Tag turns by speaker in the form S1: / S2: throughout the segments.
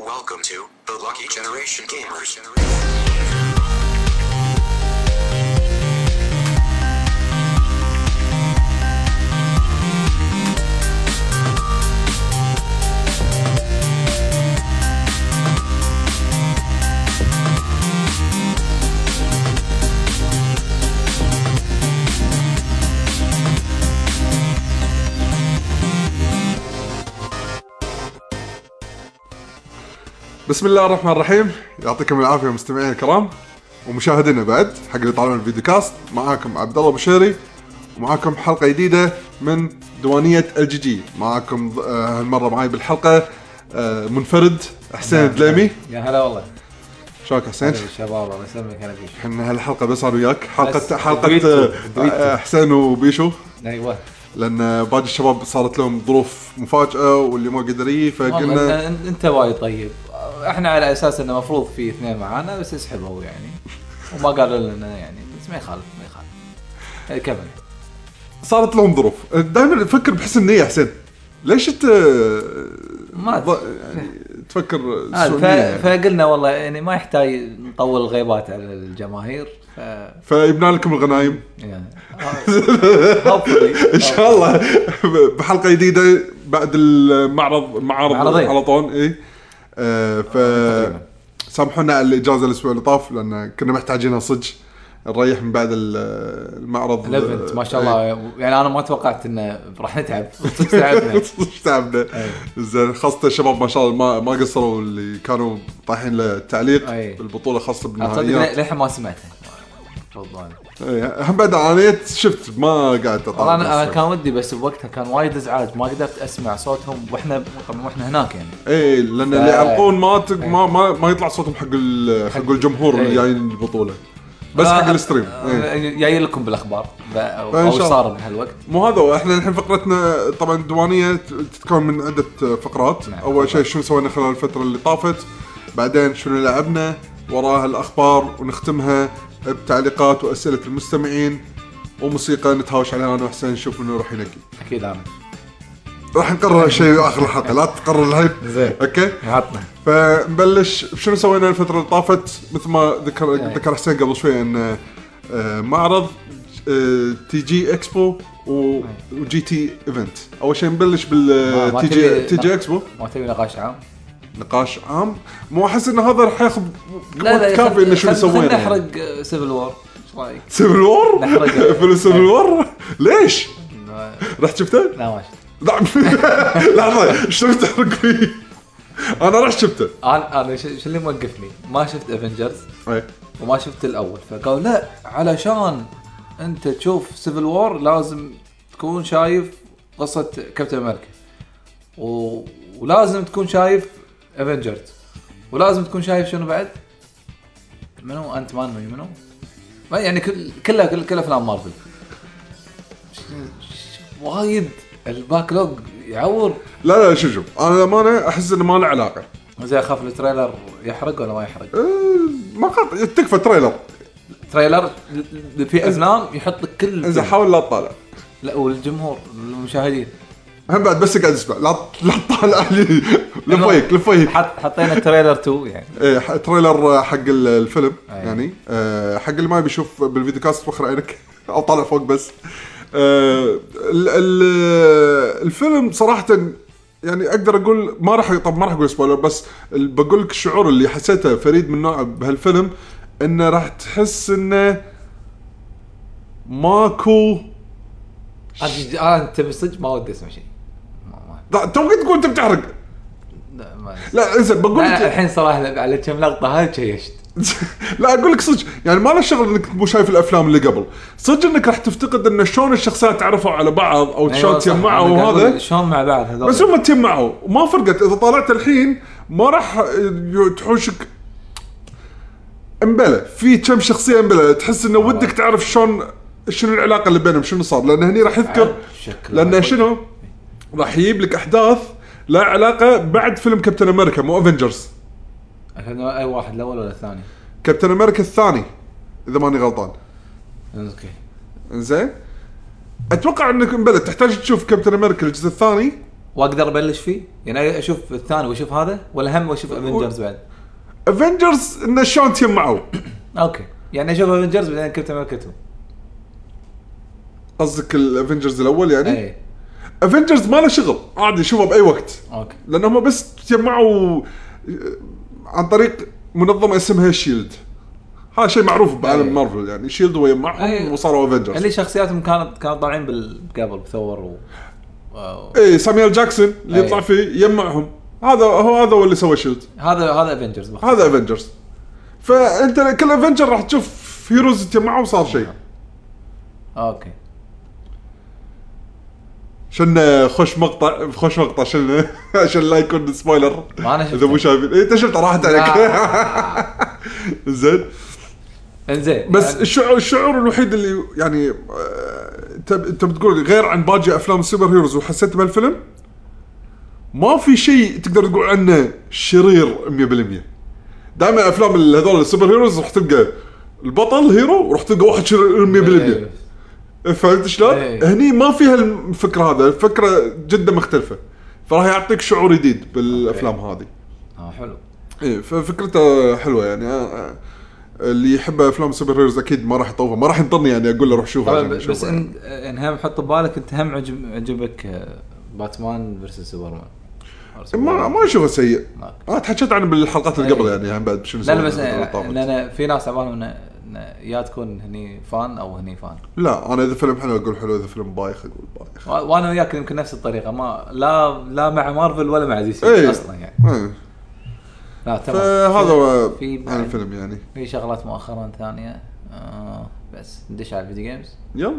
S1: Welcome to the Lucky Generation Gamers.
S2: بسم الله الرحمن الرحيم يعطيكم العافيه مستمعينا الكرام ومشاهدينا بعد حق اللي طالعون الفيديو كاست معاكم عبد الله بشيري ومعاكم حلقه جديده من ديوانيه الجي جي معاكم ض- آه، هالمره معاي بالحلقه آه، منفرد حسين الدليمي
S3: يا هلا والله
S2: شلونك حسين؟
S3: هلا بالشباب الله يسلمك هلا بيشو
S2: احنا هالحلقه بس انا وياك
S3: بس.
S2: حلقه حلقه
S3: دويتو،
S2: آه،
S3: دويتو.
S2: آه، حسين وبيشو
S3: ايوه
S2: لان آه، باقي الشباب صارت لهم ظروف مفاجاه واللي ما قدر يجي فقلنا
S3: والله أنت- انت وايد طيب احنا على اساس انه المفروض في اثنين معانا بس يسحبوا يعني وما قالوا لنا يعني بس ما يخالف ما يخالف إيه، كمل
S2: صارت لهم ظروف دائما تفكر بحسن نيه حسين ليش انت
S3: ما
S2: ض- يعني تفكر
S3: آه،
S2: سوء
S3: ف...
S2: نية يعني.
S3: فقلنا والله يعني ما يحتاج نطول الغيبات على الجماهير ف
S2: فيبنى لكم الغنايم
S3: يعني hopefully.
S2: ان شاء الله بحلقه جديده بعد المعرض معرض
S3: معرضين.
S2: على طول اي آه، ف سامحونا على الاجازه الاسبوع اللي طاف لان كنا محتاجينها صدق نريح من بعد ال- المعرض
S3: الايفنت ما شاء الله يعني انا ما توقعت انه راح نتعب صدق تعبنا
S2: صدق تعبنا
S3: أي.
S2: زين خاصه الشباب ما شاء الله ما ما قصروا اللي كانوا طايحين للتعليق
S3: أي.
S2: بالبطوله خاصه
S3: صدق
S2: بالنهائيات
S3: للحين ما سمعته تفضل
S2: أي، إيه، هم بعد عانيت شفت ما قعدت
S3: والله
S2: أطالع
S3: انا أنا
S2: بس.
S3: كان ودي بس بوقتها كان وايد ازعاج ما قدرت اسمع صوتهم واحنا طبعا واحنا هناك يعني
S2: اي لان إيه، اللي يعلقون ما تق...
S3: إيه.
S2: ما, ما ما يطلع صوتهم حق ال... حق الجمهور اللي
S3: أي.
S2: جايين البطوله بس
S3: إيه. آه،
S2: حق الستريم إيه.
S3: آه،
S2: إي.
S3: جاي لكم بالاخبار ب- او
S2: فإن
S3: أو
S2: شاء
S3: إيش
S2: الله.
S3: صار بهالوقت
S2: مو هذا هو احنا الحين فقرتنا طبعا الديوانيه ت- تتكون من عده فقرات
S3: نعم.
S2: اول شيء شنو سوينا خلال الفتره اللي طافت بعدين شنو لعبنا وراها الاخبار ونختمها بتعليقات واسئله المستمعين وموسيقى نتهاوش عليها انا وحسين نشوف منو راح ينقي
S3: اكيد انا
S2: راح نقرر شيء اخر الحلقه لا تقرر الحين
S3: زين.
S2: اوكي
S3: عطنا
S2: فنبلش بشنو سوينا الفترة اللي طافت مثل ما ذكر
S3: إيه.
S2: ذكر حسين قبل شوي ان آه، معرض آه، تي جي اكسبو و- وجي تي ايفنت اول شيء نبلش
S3: إيه. ما- ما
S2: بالتي جي
S3: تبي-
S2: تي جي اكسبو
S3: ما تبي نقاش عام
S2: نقاش عام مو احس ان هذا راح ياخذ وقت
S3: خل-
S2: كافي انه شنو
S3: خل- خل
S2: سوينا يعني.
S3: نحرق آه، سيفل وور ايش رايك؟
S2: سيفل وور
S3: نحرق- إيه.
S2: فيلم سيفل وور ليش؟
S3: إنه-
S2: رحت شفته؟
S3: لا ما شفت
S2: لا لحظه شنو بتحرق فيه؟ انا رحت شفته
S3: انا انا ش- شو اللي موقفني؟ ما شفت افنجرز
S2: إيه.
S3: وما شفت الاول فقالوا لا علشان انت تشوف سيفل وور لازم تكون شايف قصه كابتن امريكا و... ولازم تكون شايف افنجرز ولازم تكون شايف شنو بعد؟ منو انت مان منو منو؟ ما- يعني كل كلها كل كل افلام مارفل ش- ش- وايد الباك لوج يعور
S2: لا لا شوف شوف انا للامانه احس انه ما له علاقه
S3: زي اخاف التريلر يحرق ولا ما يحرق؟
S2: ما قط... تكفى تريلر
S3: تريلر في افلام يحط لك كل
S2: انزين
S3: الفيلم.
S2: حاول لا تطالع
S3: لا والجمهور المشاهدين
S2: هم بعد بس قاعد اسمع لا لا تطالع لي لفيك لفيك
S3: حط حطينا تريلر 2 يعني
S2: إيه، ح- تريلر حق ال- الفيلم
S3: أي.
S2: يعني آه، حق اللي ما بيشوف بالفيديو كاست فخر عينك او طالع فوق بس آه، ال- ال- الفيلم صراحه يعني اقدر اقول ما راح طب ما راح اقول سبويلر بس ال- بقول لك الشعور اللي حسيته فريد من نوعه بهالفيلم انه راح تحس انه ماكو
S3: أنا- انا
S2: آه،
S3: انت بالصدق ما ودي اسمع شيء ما- ما-
S2: لا، توك تقول انت بتحرق
S3: لا ما
S2: لا انزين بقول
S3: لا، لا
S2: لك
S3: الحين صراحه لا، على كم لقطه هاي تشيشت
S2: لا اقول لك صدق يعني ما له شغل انك مو شايف الافلام اللي قبل صدق انك راح تفتقد ان شلون الشخصيات تعرفوا على بعض او شلون
S3: أيوة، صح.
S2: تجمعوا
S3: أنا قاعد
S2: وهذا
S3: أقول شلون مع بعض هذول
S2: بس هم تجمعوا وما فرقت اذا طالعت الحين ما راح ي- تحوشك امبلا في كم شخصيه امبلا تحس انه ودك تعرف شلون شنو العلاقه اللي بينهم شنو صار لان هني راح يذكر
S3: شكله
S2: لان
S3: وايد.
S2: شنو راح يجيب لك احداث لا علاقه بعد فيلم كابتن امريكا مو افنجرز
S3: الحين اي واحد الاول ولا الثاني
S2: كابتن امريكا الثاني اذا ماني غلطان
S3: اوكي
S2: زين اتوقع انك بلى تحتاج تشوف كابتن امريكا الجزء الثاني
S3: واقدر ابلش فيه؟ يعني اشوف الثاني واشوف هذا ولا هم واشوف افنجرز بعد؟
S2: افنجرز انه شلون تجمعوا
S3: اوكي يعني اشوف افنجرز بعدين كابتن امريكا 2
S2: قصدك الافنجرز الاول يعني؟
S3: اي
S2: افنجرز ما له شغل عادي شوفه باي وقت
S3: اوكي
S2: لان هم بس تجمعوا عن طريق منظمه اسمها شيلد E هذا شيء معروف بعالم
S3: أي.
S2: مارفل يعني شيلد ويجمعهم
S3: أي.
S2: وصاروا افنجرز
S3: اللي شخصياتهم كانت كانوا طالعين بال- قبل ثور و واو.
S2: اي ساميال إيه، جاكسون اللي
S3: أي.
S2: يطلع فيه يجمعهم هذا هو هذا هو اللي سوى شيلد
S3: هذا هذا افنجرز
S2: هذا افنجرز فانت كل افنجر راح تشوف هيروز تجمعوا وصار شيء
S3: اوكي
S2: شلنا خوش مقطع خوش مقطع شلنا عشان لا يكون سبويلر
S3: ما أنا شفته.
S2: اذا مو شايفين إيه، انت شفته راحت عليك زين
S3: انزين
S2: بس
S3: يعني-
S2: الشعور الشعور الوحيد اللي يعني آه، انت انت بتقول غير عن باقي افلام السوبر هيروز وحسيت بهالفيلم ما في شيء تقدر تقول عنه شرير 100% دائما افلام ال- هذول السوبر هيروز راح تلقى البطل هيرو وراح تلقى واحد شرير 100% فهمت شلون؟
S3: إيه.
S2: هني ما فيها الفكره هذا الفكره جدا مختلفه فراح يعطيك شعور جديد بالافلام هذه
S3: اه حلو
S2: ايه ففكرته حلوه يعني آه، آه، اللي يحب افلام سوبر هيروز اكيد ما راح يطوفها ما راح ينطرني يعني اقول له روح شوفها
S3: طبعا
S2: عشان
S3: ب- بس
S2: يشوفها.
S3: ان ان هم حط ببالك انت هم عجب عجبك آه، باتمان فيرسس سوبرمان
S2: يعني. ما ما اشوفه سيء
S3: ماك.
S2: انا تحكيت عنه بالحلقات اللي
S3: إيه.
S2: قبل يعني عن بعد شنو
S3: لا
S2: سوينا
S3: لا بس
S2: بالفترة اللي
S3: آه،
S2: طافت.
S3: ان انا في ناس على بالهم إن- ان يا تكون هني فان او هني فان
S2: لا انا اذا فيلم حلو اقول حلو اذا فيلم بايخ اقول بايخ
S3: و- وانا وياك يمكن نفس الطريقه ما لا لا مع مارفل ولا مع دي سي
S2: ايه
S3: اصلا يعني
S2: إيه.
S3: لا تمام
S2: فهذا هو
S3: في بعد-
S2: عن الفيلم يعني
S3: في شغلات مؤخرا ثانيه آه بس ندش على الفيديو جيمز
S2: يلا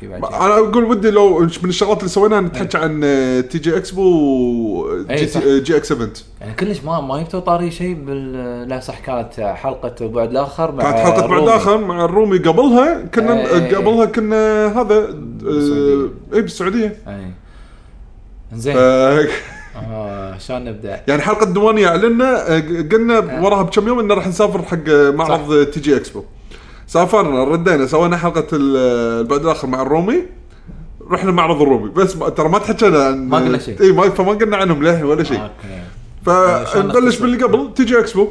S3: في بعد شيء؟
S2: انا اقول ودي لو من الشغلات اللي سويناها نتحكي عن آه، تي جي اكسبو
S3: إيه، صح.
S2: جي اكس ايفنت
S3: يعني كلش ما ما جبتوا طاري شيء بال لا صح كانت حلقه بعد الاخر مع
S2: كانت حلقه بعد
S3: رومي.
S2: اخر مع الرومي قبلها كنا
S3: إيه.
S2: قبلها كنا هذا آه، اي بالسعوديه
S3: اي زين
S2: آه،
S3: آه شلون نبدا؟
S2: يعني حلقه الديوانيه اعلنا آه، قلنا
S3: آه.
S2: وراها بكم يوم انه راح نسافر حق معرض تي جي اكسبو سافرنا ردينا سوينا حلقه ال- البعد الاخر مع الرومي رحنا معرض الرومي بس ما- ترى ما تحكينا عن
S3: ما قلنا شيء.
S2: اي ما فما قلنا عنهم للحين ولا شيء
S3: اوكي شلون
S2: فنبلش
S3: نختصر؟
S2: باللي قبل تي جي اكسبو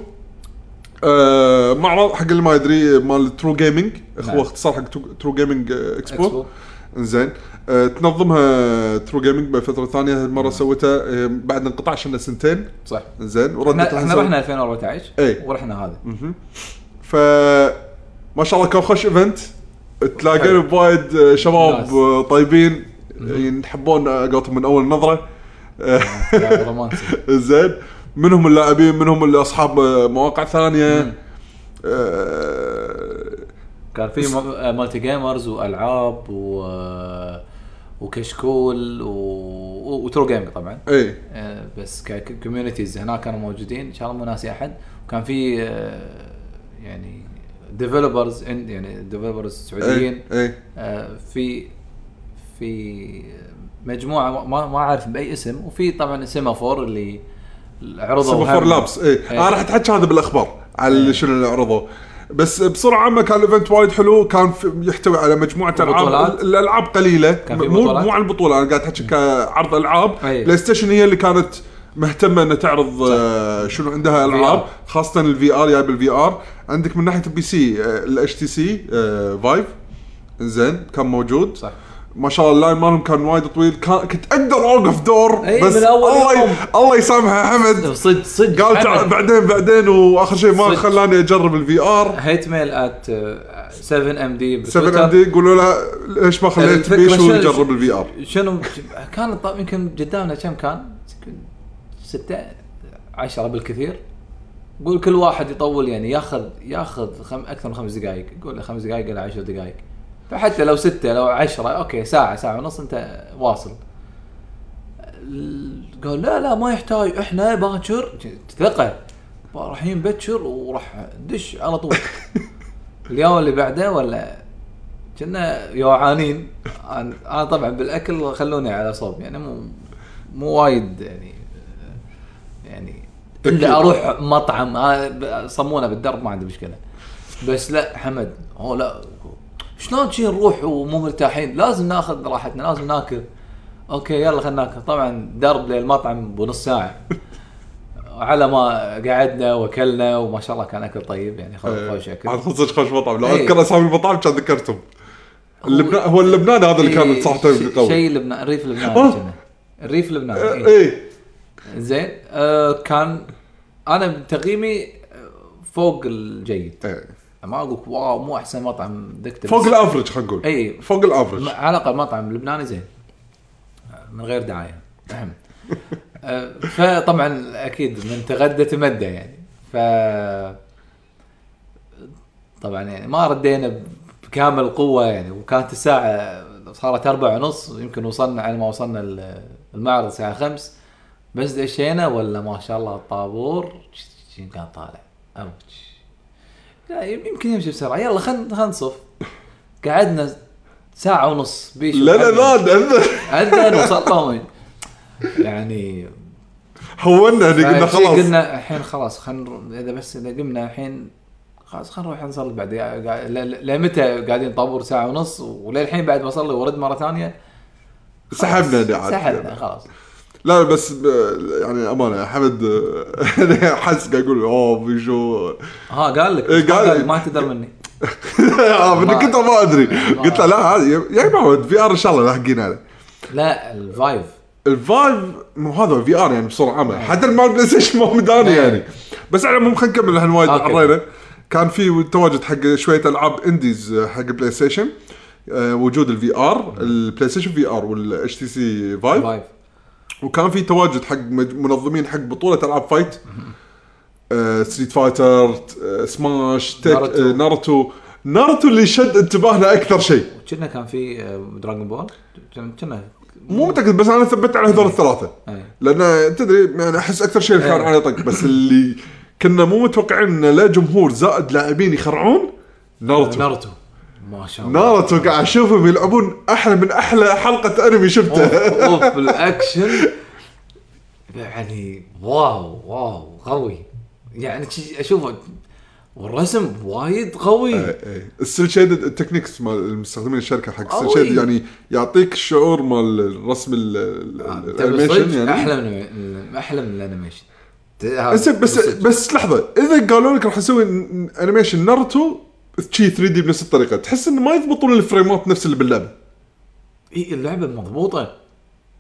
S2: آه معرض حق اللي ما يدري مال ترو جيمنج
S3: نعم.
S2: هو اختصار حق ترو جيمنج اكسبو
S3: إكسبو.
S2: انزين آه تنظمها ترو جيمنج بفتره ثانيه هالمره
S3: نعم.
S2: سويتها آه بعد انقطاع شلنا سنتين
S3: صح
S2: انزين
S3: احنا
S2: وردت
S3: احنا
S2: لها
S3: رحنا 2014
S2: إي.
S3: ورحنا هذا
S2: ف ما شاء الله كان خوش ايفنت تلاقينا
S3: حلو.
S2: بوايد آه، شباب
S3: ناس.
S2: آه، طيبين ينحبون آه، قولتهم من اول نظره
S3: يا رومانسي
S2: زين منهم اللاعبين منهم اللي اصحاب مواقع ثانيه آه،
S3: كان في م- مالتي جيمرز والعاب و آه، وكشكول و... و- وترو جيمنج طبعا
S2: ايه
S3: آه، بس ككوميونيتيز هناك كانوا موجودين ان شاء الله مو ناسي احد وكان في آه، يعني ديفلوبرز يعني ديفلوبرز سعوديين
S2: ايه ايه
S3: آه، في في مجموعه ما- ما ما اعرف باي اسم وفي طبعا سيمافور اللي عرضوا
S2: سوبر
S3: هم-
S2: لابس ايه
S3: إيه.
S2: انا راح اتحكى هذا بالاخبار على شنو اللي عرضوه بس بصوره عامه كان الايفنت وايد حلو كان في- يحتوي على مجموعه العاب
S3: وبطولات.
S2: ال- الالعاب قليله
S3: كان في
S2: مو
S3: بطولات. إيه.
S2: مو عن البطوله انا قاعد احكي كعرض العاب
S3: أي.
S2: بلاي ستيشن هي اللي كانت مهتمه انها تعرض آه، شنو عندها العاب خاصه الفي ار جايب الفي ار عندك من ناحيه البي سي الاتش تي سي فايف آه، زين كان موجود
S3: صح.
S2: ما شاء الله اللاين مالهم كان وايد طويل كان كنت اقدر اوقف دور
S3: أي،
S2: بس
S3: إيه، من أول
S2: الله ي-
S3: يوم.
S2: الله يسامحه حمد
S3: صدق صدق
S2: قال تعال بعدين بعدين واخر شيء ما
S3: صدق.
S2: خلاني اجرب الفي ار
S3: هيت ميل ات آه، 7 ام دي
S2: 7 ام دي يقولوا له ليش ما خليت
S3: الفكرة
S2: بيشو
S3: شنو-
S2: يجرب الفي ار
S3: شنو كان الط- يمكن قدامنا كم كان؟ يمكن ستة عشرة بالكثير قول كل واحد يطول يعني ياخذ ياخذ خم اكثر من خمس دقائق قول له خمس دقائق الى عشر دقائق فحتى لو ستة لو عشرة اوكي ساعة ساعة ونص انت واصل ال- قال لا لا ما يحتاج احنا باكر ثقة رايحين بكر وراح دش على طول اليوم اللي بعده ولا كنا يوعانين انا أنا طبعا بالاكل خلوني على صوب يعني مو مو وايد يعني يعني
S2: أكيد.
S3: الا اروح مطعم آه، ب- صمونه بالدرب ما عندي مشكله بس لا حمد هو لا شلون شي نروح ومو مرتاحين لازم ناخذ راحتنا لازم ناكل اوكي يلا خلنا ناكل طبعا درب للمطعم بنص ساعه على ما قعدنا واكلنا وما شاء الله كان اكل طيب يعني خوش
S2: آه،
S3: خوش
S2: عاد
S3: اكل
S2: خلصت خوش مطعم لو
S3: إيه.
S2: اذكر اسامي المطاعم كان ذكرتهم اللبنان هو اللبناني هذا اللي كان صحته قوي
S3: إيه، شيء لبنان ريف لبنان
S2: آه.
S3: كنا. الريف لبنان
S2: آه،
S3: إيه.
S2: ايه
S3: زين آه كان انا تقييمي آه، فوق الجيد
S2: إيه.
S3: ما اقول واو مو احسن مطعم ذقته
S2: فوق
S3: بس
S2: الافرج خلينا نقول
S3: إيه.
S2: فوق
S3: م-
S2: الافرج
S3: على الاقل مطعم لبناني زين من غير دعايه أهم. آه، فطبعا اكيد من تغدى تمدى يعني ف طبعا يعني ما ردينا بكامل القوه يعني وكانت الساعه صارت أربعة ونص يمكن وصلنا على ما وصلنا ال- المعرض الساعه خمس بس دشينا ولا ما شاء الله الطابور شي- شي كان طالع اوتش لا يمكن يمشي بسرعه يلا خلينا خلينا نصف قعدنا ساعه ونص بيش
S2: لا لا لا نأذن.
S3: اذن وصل طامج يعني
S2: هونا هني قلنا
S3: فشي
S2: خلاص
S3: قلنا الحين خلاص خلينا اذا بس اذا قمنا الحين خلاص خلينا نروح نصلي بعد يا- قا- ل- ل- لمتى قاعدين طابور ساعه ونص وللحين بعد ما اصلي ورد مره ثانيه
S2: سحبنا هني عاد.
S3: سحبنا خلاص
S2: لا بس ب- يعني امانه حمد أنا حس قاعد يقول اوه بيشو
S3: ها قال لك
S2: إيه، قال-
S3: قال ما تقدر مني
S2: من كنت آه، ما ادري قلت له لا عادي يا محمد في ار ان شاء الله لاحقين عليه
S3: لا الفايف
S2: الفايف مو هذا في ار يعني بصوره عامه حتى المال بلاي ستيشن ما مداني يعني بس على المهم خلينا نكمل الحين وايد
S3: أوكي.
S2: عرينا كان في تواجد حق شويه العاب انديز حق بلاي ستيشن آه، وجود الفي ار البلاي ستيشن في ار والاتش تي سي فايف
S3: فايف
S2: وكان في تواجد حق مج- منظمين حق بطوله العاب فايت آه، ستريت فايتر آه، سماش تك
S3: ناروتو.
S2: آه، ناروتو ناروتو اللي شد انتباهنا اكثر شيء
S3: كنا كان في آه، دراغون بول كنا- كنا
S2: مو متاكد بس انا ثبت على هذول الثلاثه
S3: أي.
S2: لان تدري يعني احس اكثر شيء اللي كان
S3: إيه.
S2: عليه طق بس اللي كنا مو متوقعين انه لا جمهور زائد لاعبين يخرعون ناروتو
S3: ناروتو ما شاء الله
S2: ناروتو قاعد اشوفهم يلعبون احلى من احلى حلقه انمي
S3: اوف
S2: شفتها
S3: اوف الاكشن يعني واو واو قوي يعني شي- اشوفه والرسم وايد قوي
S2: آه، إيه. السيل شيدد التكنيكس مال المستخدمين الشركه حق السيل
S3: قوي.
S2: شيدد يعني يعطيك الشعور مال الرسم ال- ال-
S3: آه، تبي
S2: الانيميشن
S3: صدق
S2: يعني
S3: احلى من احلى من آه، الانيميشن
S2: زين بس بس لحظه اذا قالوا لك راح نسوي ن- انيميشن ناروتو شي 3 دي بنفس الطريقه تحس انه ما يضبطون الفريمات نفس اللي باللعبه
S3: اي اللعبه مضبوطه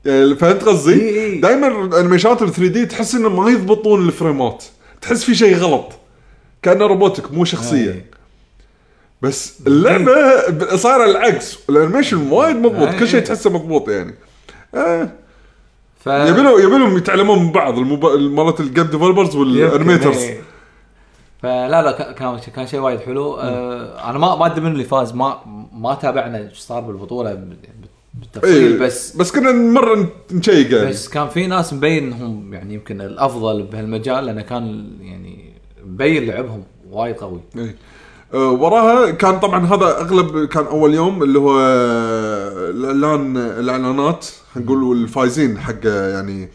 S2: يعني فهمت
S3: إي
S2: قصدي؟
S3: إي.
S2: دائما الانيميشنات ال 3 دي تحس انه ما يضبطون الفريمات، تحس في شيء غلط. كانه روبوتك مو شخصيه.
S3: أي.
S2: بس اللعبه ب- صايره العكس، الانيميشن وايد مضبوط،
S3: أي
S2: كل شيء
S3: إي.
S2: تحسه مضبوط يعني. آه.
S3: ف
S2: يبي لهم يبي لهم يتعلمون من بعض الموب... مالت الجيم ديفلوبرز
S3: يمكن،
S2: والانيميترز.
S3: إيه. فلا لا ك- كان كان شيء وايد حلو آه انا ما ما ادري من اللي فاز ما ما تابعنا ايش صار بالبطوله بال- بالتفصيل
S2: إيه.
S3: بس
S2: بس كنا مره نشيق يعني.
S3: بس كان في ناس مبين انهم يعني يمكن الافضل بهالمجال لانه كان يعني مبين لعبهم وايد قوي
S2: إيه. آه، وراها كان طبعا هذا اغلب كان اول يوم اللي هو آه، الاعلان الاعلانات نقول الفايزين حق آه، يعني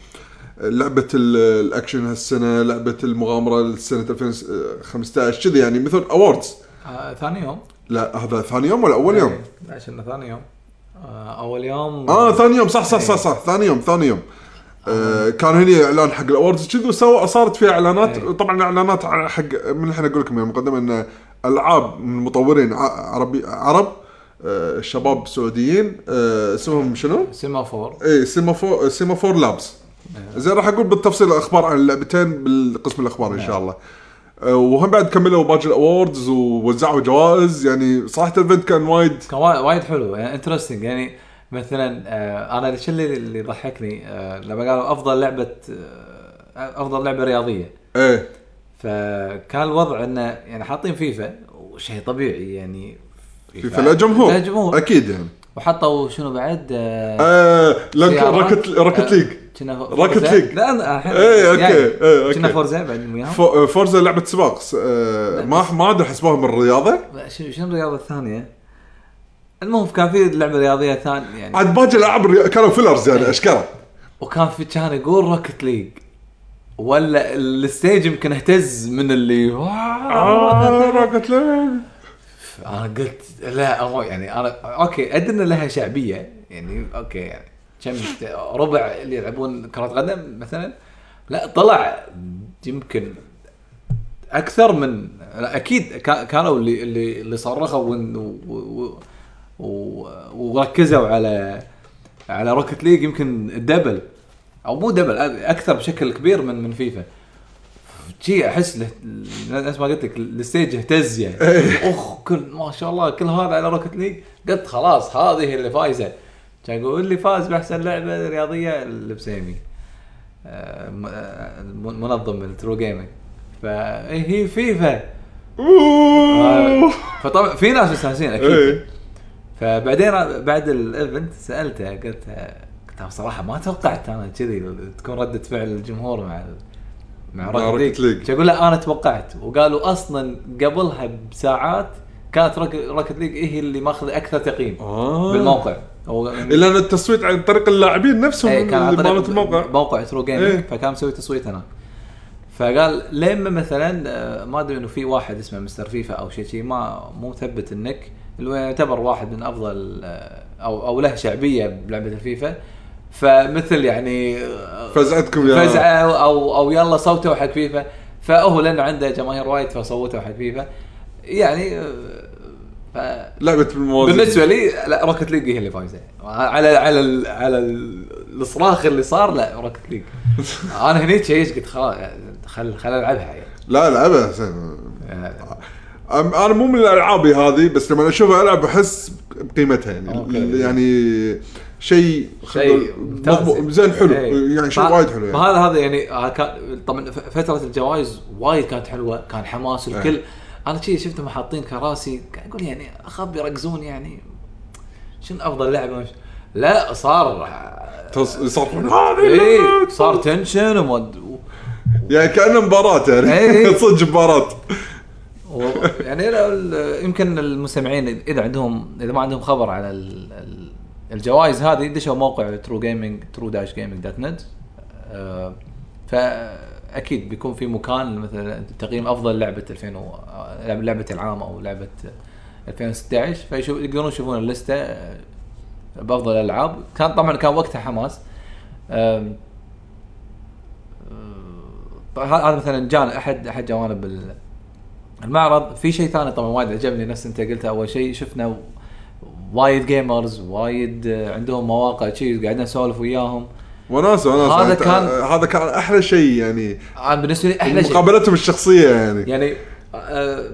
S2: آه، لعبه ال- الاكشن هالسنه لعبه المغامره لسنه 2015 آه، كذي يعني مثل اووردز
S3: آه ثاني يوم
S2: لا هذا ثاني يوم ولا اول يوم؟
S3: إيه، عشان ثاني يوم آه اول يوم
S2: اه ثاني يوم صح صح صح صح ثاني يوم ثاني يوم آه كان هني اعلان حق الاوردز كذي وسوى صارت فيها اعلانات
S3: إيه.
S2: طبعا اعلانات على حق من الحين اقول لكم يا مقدمه ان العاب من مطورين ع- عربي عرب آه شباب سعوديين آه اسمهم شنو؟ إيه،
S3: سيمافور
S2: اي سيمافور سيمافور لابس زين راح اقول بالتفصيل الاخبار عن اللعبتين بالقسم الاخبار ان شاء الله آه، وهم بعد كملوا باقي الاوردز ووزعوا جوائز يعني صراحه الايفنت كان وايد
S3: كان وايد وايد حلو يعني انترستنج يعني مثلا آه انا الشيء اللي اللي ضحكني آه لما قالوا افضل لعبه آه افضل لعبه رياضيه
S2: ايه
S3: فكان الوضع انه يعني حاطين فيفا وشيء طبيعي يعني
S2: في فلا جمهور
S3: لا جمهور
S2: اكيد يعني
S3: وحطوا شنو بعد آه
S2: آه، لك
S3: سيارات.
S2: راكت راكت
S3: آه،
S2: ليج
S3: كنا فو-
S2: راكت
S3: فورزا.
S2: ليج.
S3: لا انا الحين يعني
S2: إيه، أوكي، إيه، أوكي.
S3: كنا فورزا بعد وياهم
S2: ف- آه، فورزا لعبه سباق س- آه، ما ما ادري حسبوها من الرياضه
S3: شنو شنو الرياضه الثانيه؟ المهم كان في لعبه رياضيه ثانيه يعني
S2: عاد باقي الالعاب الري- كانوا فيلرز يعني اشكره
S3: وكان في كان يقول روكت ليج ولا الستيج يمكن اهتز من اللي
S2: آه، راكت ليج
S3: انا قلت لا هو يعني انا اوكي ادري ان لها شعبيه يعني اوكي يعني كم ربع اللي يلعبون كرة قدم مثلا لا طلع يمكن اكثر من لا، اكيد كا- كانوا اللي اللي اللي صرخوا ون- و- و- و- وركزوا على على روكت ليج يمكن الدبل او مو دبل اكثر بشكل كبير من من فيفا جي احس له- نفس ما قلت لك الستيج اهتز يعني اخ كل ما شاء الله كل هذا على روكت ليج قلت خلاص هذه اللي فايزه كان يقول اللي فاز باحسن لعبه رياضيه البسيمي آه، م- آه، منظم من ترو جيمنج فهي فيفا آه.
S2: أوه.
S3: فطبعا في ناس مستانسين اكيد
S2: ايه
S3: فبعدين بعد الايفنت سالته قلت قلت له بصراحه ما توقعت انا كذي تكون رده فعل الجمهور مع ال-
S2: مع
S3: مع روكت
S2: روكت ليج.
S3: ليج اقول لا انا توقعت وقالوا اصلا قبلها بساعات كانت روك- روكت ليج هي اللي ماخذ اكثر تقييم
S2: آه.
S3: بالموقع هو من-
S2: لان التصويت عن طريق اللاعبين نفسهم
S3: اي إيه، كان
S2: اللي
S3: عن
S2: مالت
S3: طريق
S2: الموقع
S3: موقع ترو جيمنج
S2: إيه.
S3: فكان مسوي تصويت هناك فقال لما مثلا آه، ما ادري انه في واحد اسمه مستر فيفا او شيء شيء ما مو مثبت النك اللي هو يعتبر واحد من افضل آه، او او له شعبيه بلعبه الفيفا فمثل يعني آه،
S2: فزعتكم يا
S3: فزعه او او يلا صوتوا حق فيفا فهو لانه عنده جماهير وايد فصوتوا حق فيفا يعني آه، ف
S2: لعبه بالموازين
S3: بالنسبه لي لا روكت ليج هي اللي فايزه على على ال على ال- الصراخ اللي صار لا روكت ليج انا هني شيش قلت خلاص خل خل العبها يعني
S2: لا العبها حسين.
S3: آه،
S2: أم- انا مو من الالعابي هذه بس لما اشوفها العب احس بقيمتها يعني
S3: أوكي. إيه.
S2: يعني شيء خلينا
S3: شيء
S2: نقول
S3: ممتاز.
S2: مضبوط- زين حلو
S3: إيه.
S2: يعني شيء
S3: فه-
S2: وايد حلو يعني
S3: فهذا هذا يعني آه، كان طبعا ف- فتره الجوائز وايد كانت حلوه كان حماس
S2: إيه.
S3: الكل انا شي شفتهم حاطين كراسي قاعد اقول يعني اخاف يركزون يعني شنو افضل لعبه وش- لا صار
S2: تص- يصرفون هذه
S3: ايه
S2: اللعبة.
S3: صار تنشن وما أد- و-
S2: يعني كانه مباراه يعني
S3: إيه.
S2: صدق مباراه
S3: و- يعني لو ال- يمكن المستمعين اذا عندهم اذا ما عندهم خبر على ال- ال- الجوائز هذه دشوا موقع ترو جيمنج ترو داش جيمنج دوت نت فاكيد آه، بيكون في مكان مثلا تقييم افضل لعبه 2000 و- لعبه لعبة العام او لعبه 2016 فيشوف يقدرون يشوفون اللسته آه، بافضل الالعاب كان طبعا كان وقتها حماس آم، طيب هذا مثلا جان احد احد جوانب ال- المعرض في شيء ثاني طبعا وايد عجبني نفس انت قلته اول شيء شفنا وايد جيمرز وايد آه، عندهم مواقع شيء قاعدين نسولف وياهم
S2: وناسه وناسه
S3: هذا
S2: أنت-
S3: كان-
S2: يعني هذا كان احلى شيء يعني
S3: انا بالنسبه لي احلى شيء
S2: مقابلتهم الشخصيه يعني
S3: يعني آه،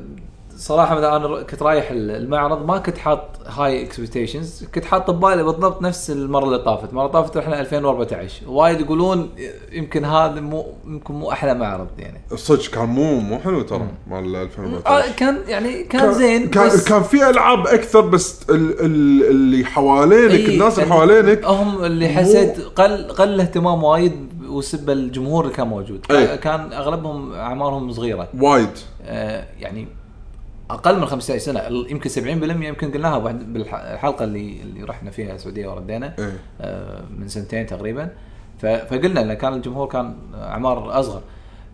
S3: صراحه مثلا انا كنت رايح المعرض ما كنت حاط هاي اكسبكتيشنز كنت حاط ببالي بالضبط نفس المره اللي طافت المره اللي طافت احنا 2014 وايد يقولون يمكن هذا مو يمكن مو احلى معرض يعني
S2: صدق كان مو مو حلو ترى مال
S3: آه،
S2: 2014
S3: كان يعني كان, زين
S2: كان,
S3: بس
S2: كان في العاب اكثر بس ال ال اللي حوالينك
S3: إي،
S2: الناس اللي
S3: ال-
S2: حوالينك
S3: إيه، هم اللي
S2: مو-
S3: حسيت قل قل اهتمام وايد وسب الجمهور اللي كان موجود
S2: إي.
S3: كان اغلبهم اعمارهم صغيره
S2: وايد
S3: آه، يعني اقل من 15 سنه ال- يمكن 70% يمكن قلناها بواحد- بالحلقه اللي اللي رحنا فيها السعوديه وردينا
S2: إيه.
S3: آه، من سنتين تقريبا ف- فقلنا ان كان الجمهور كان اعمار اصغر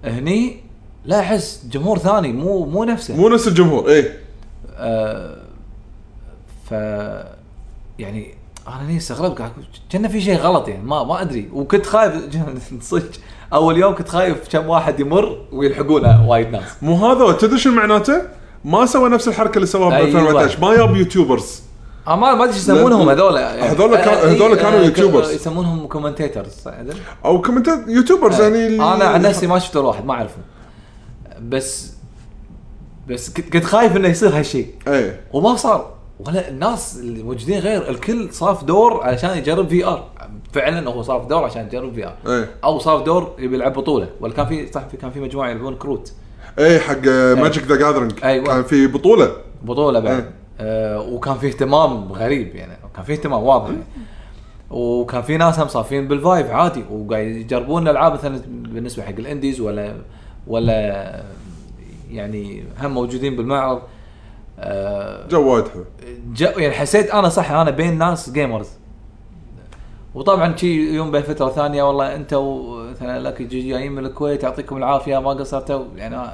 S3: هني لا احس جمهور ثاني مو مو نفسه
S2: مو نفس الجمهور ايه
S3: آه، ف يعني انا ليه استغربت قاعد أقول كنا في شيء غلط يعني ما ما ادري وكنت خايف صدق اول يوم كنت خايف كم واحد يمر ويلحقونه وايد ناس
S2: مو هذا تدري شو معناته؟ ما سوى نفس الحركه اللي سواها ب
S3: أيوة.
S2: 2014 ما جاب يوتيوبرز
S3: آه، ما ما ادري ايش يسمونهم
S2: لأن-
S3: هذول يعني.
S2: هذول كان-
S3: آه، آه،
S2: هذول كانوا
S3: آه،
S2: يوتيوبرز.
S3: يسمونهم كومنتيترز
S2: او كومنتات يوتيوبرز يعني اللي-
S3: انا إيه. عن نفسي ما شفت ولا واحد ما اعرفهم بس بس كنت كنت خايف انه يصير هالشيء
S2: ايه
S3: وما صار ولا الناس اللي موجودين غير الكل صاف دور علشان يجرب في ار فعلا هو صاف دور عشان يجرب في ار
S2: إيه.
S3: او صاف دور يبي يلعب بطوله ولا كان في صح في كان في مجموعه يلعبون كروت
S2: ايه حق
S3: إيه.
S2: ماجيك ذا جاذرنج
S3: أيوة.
S2: كان في بطوله
S3: بطوله بعد
S2: إيه.
S3: آه وكان في اهتمام غريب يعني كان في اهتمام واضح وكان في ناس هم صافين بالفايب عادي وقاعد يجربون العاب مثلا بالنسبه حق الانديز ولا ولا يعني هم موجودين بالمعرض آه
S2: جو وايد حلو
S3: جا يعني حسيت انا صح انا بين ناس جيمرز وطبعا شي يوم بين فتره ثانيه والله انت مثلا لك جايين من الكويت يعطيكم العافيه ما قصرتوا يعني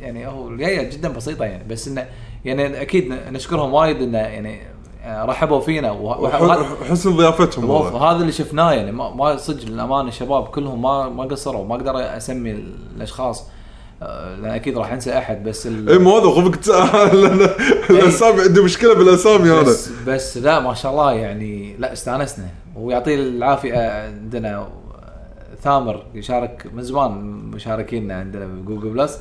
S3: يعني هو الجايه جدا بسيطه يعني بس انه يعني اكيد نشكرهم وايد انه يعني آه، رحبوا فينا وه- وه-
S2: وح- حسن ضيافتهم
S3: بالضبط
S2: والله
S3: هذا اللي شفناه يعني ما, ما صدق للامانه الشباب كلهم ما ما قصروا ما اقدر اسمي الاشخاص آه، لان اكيد راح انسى احد بس ال...
S2: اي إيه، مو هذا غبك
S3: إيه.
S2: الاسامي عندي مشكله بالاسامي انا
S3: بس بس لا ما شاء الله يعني لا استانسنا ويعطيه العافيه عندنا ثامر يشارك من زمان مشاركينا عندنا بجوجل بلس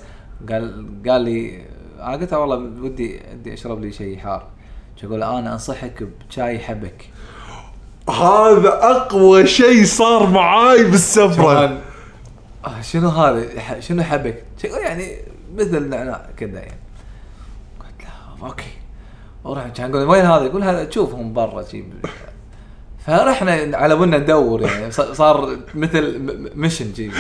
S3: قال قال لي انا قلت له والله ودي ودي اشرب لي شيء حار اقول له انا انصحك بشاي حبك
S2: هذا اقوى شيء صار معاي بالسفره
S3: طبعاً. آه، شنو هذا ح- شنو حبك شكله يعني مثل النعناع كذا يعني قلت له اوكي ورحنا كان يقول وين هذا يقول هذا تشوفهم برا شي ب- فرحنا على ودنا ندور يعني ص- صار مثل م- م- ميشن جي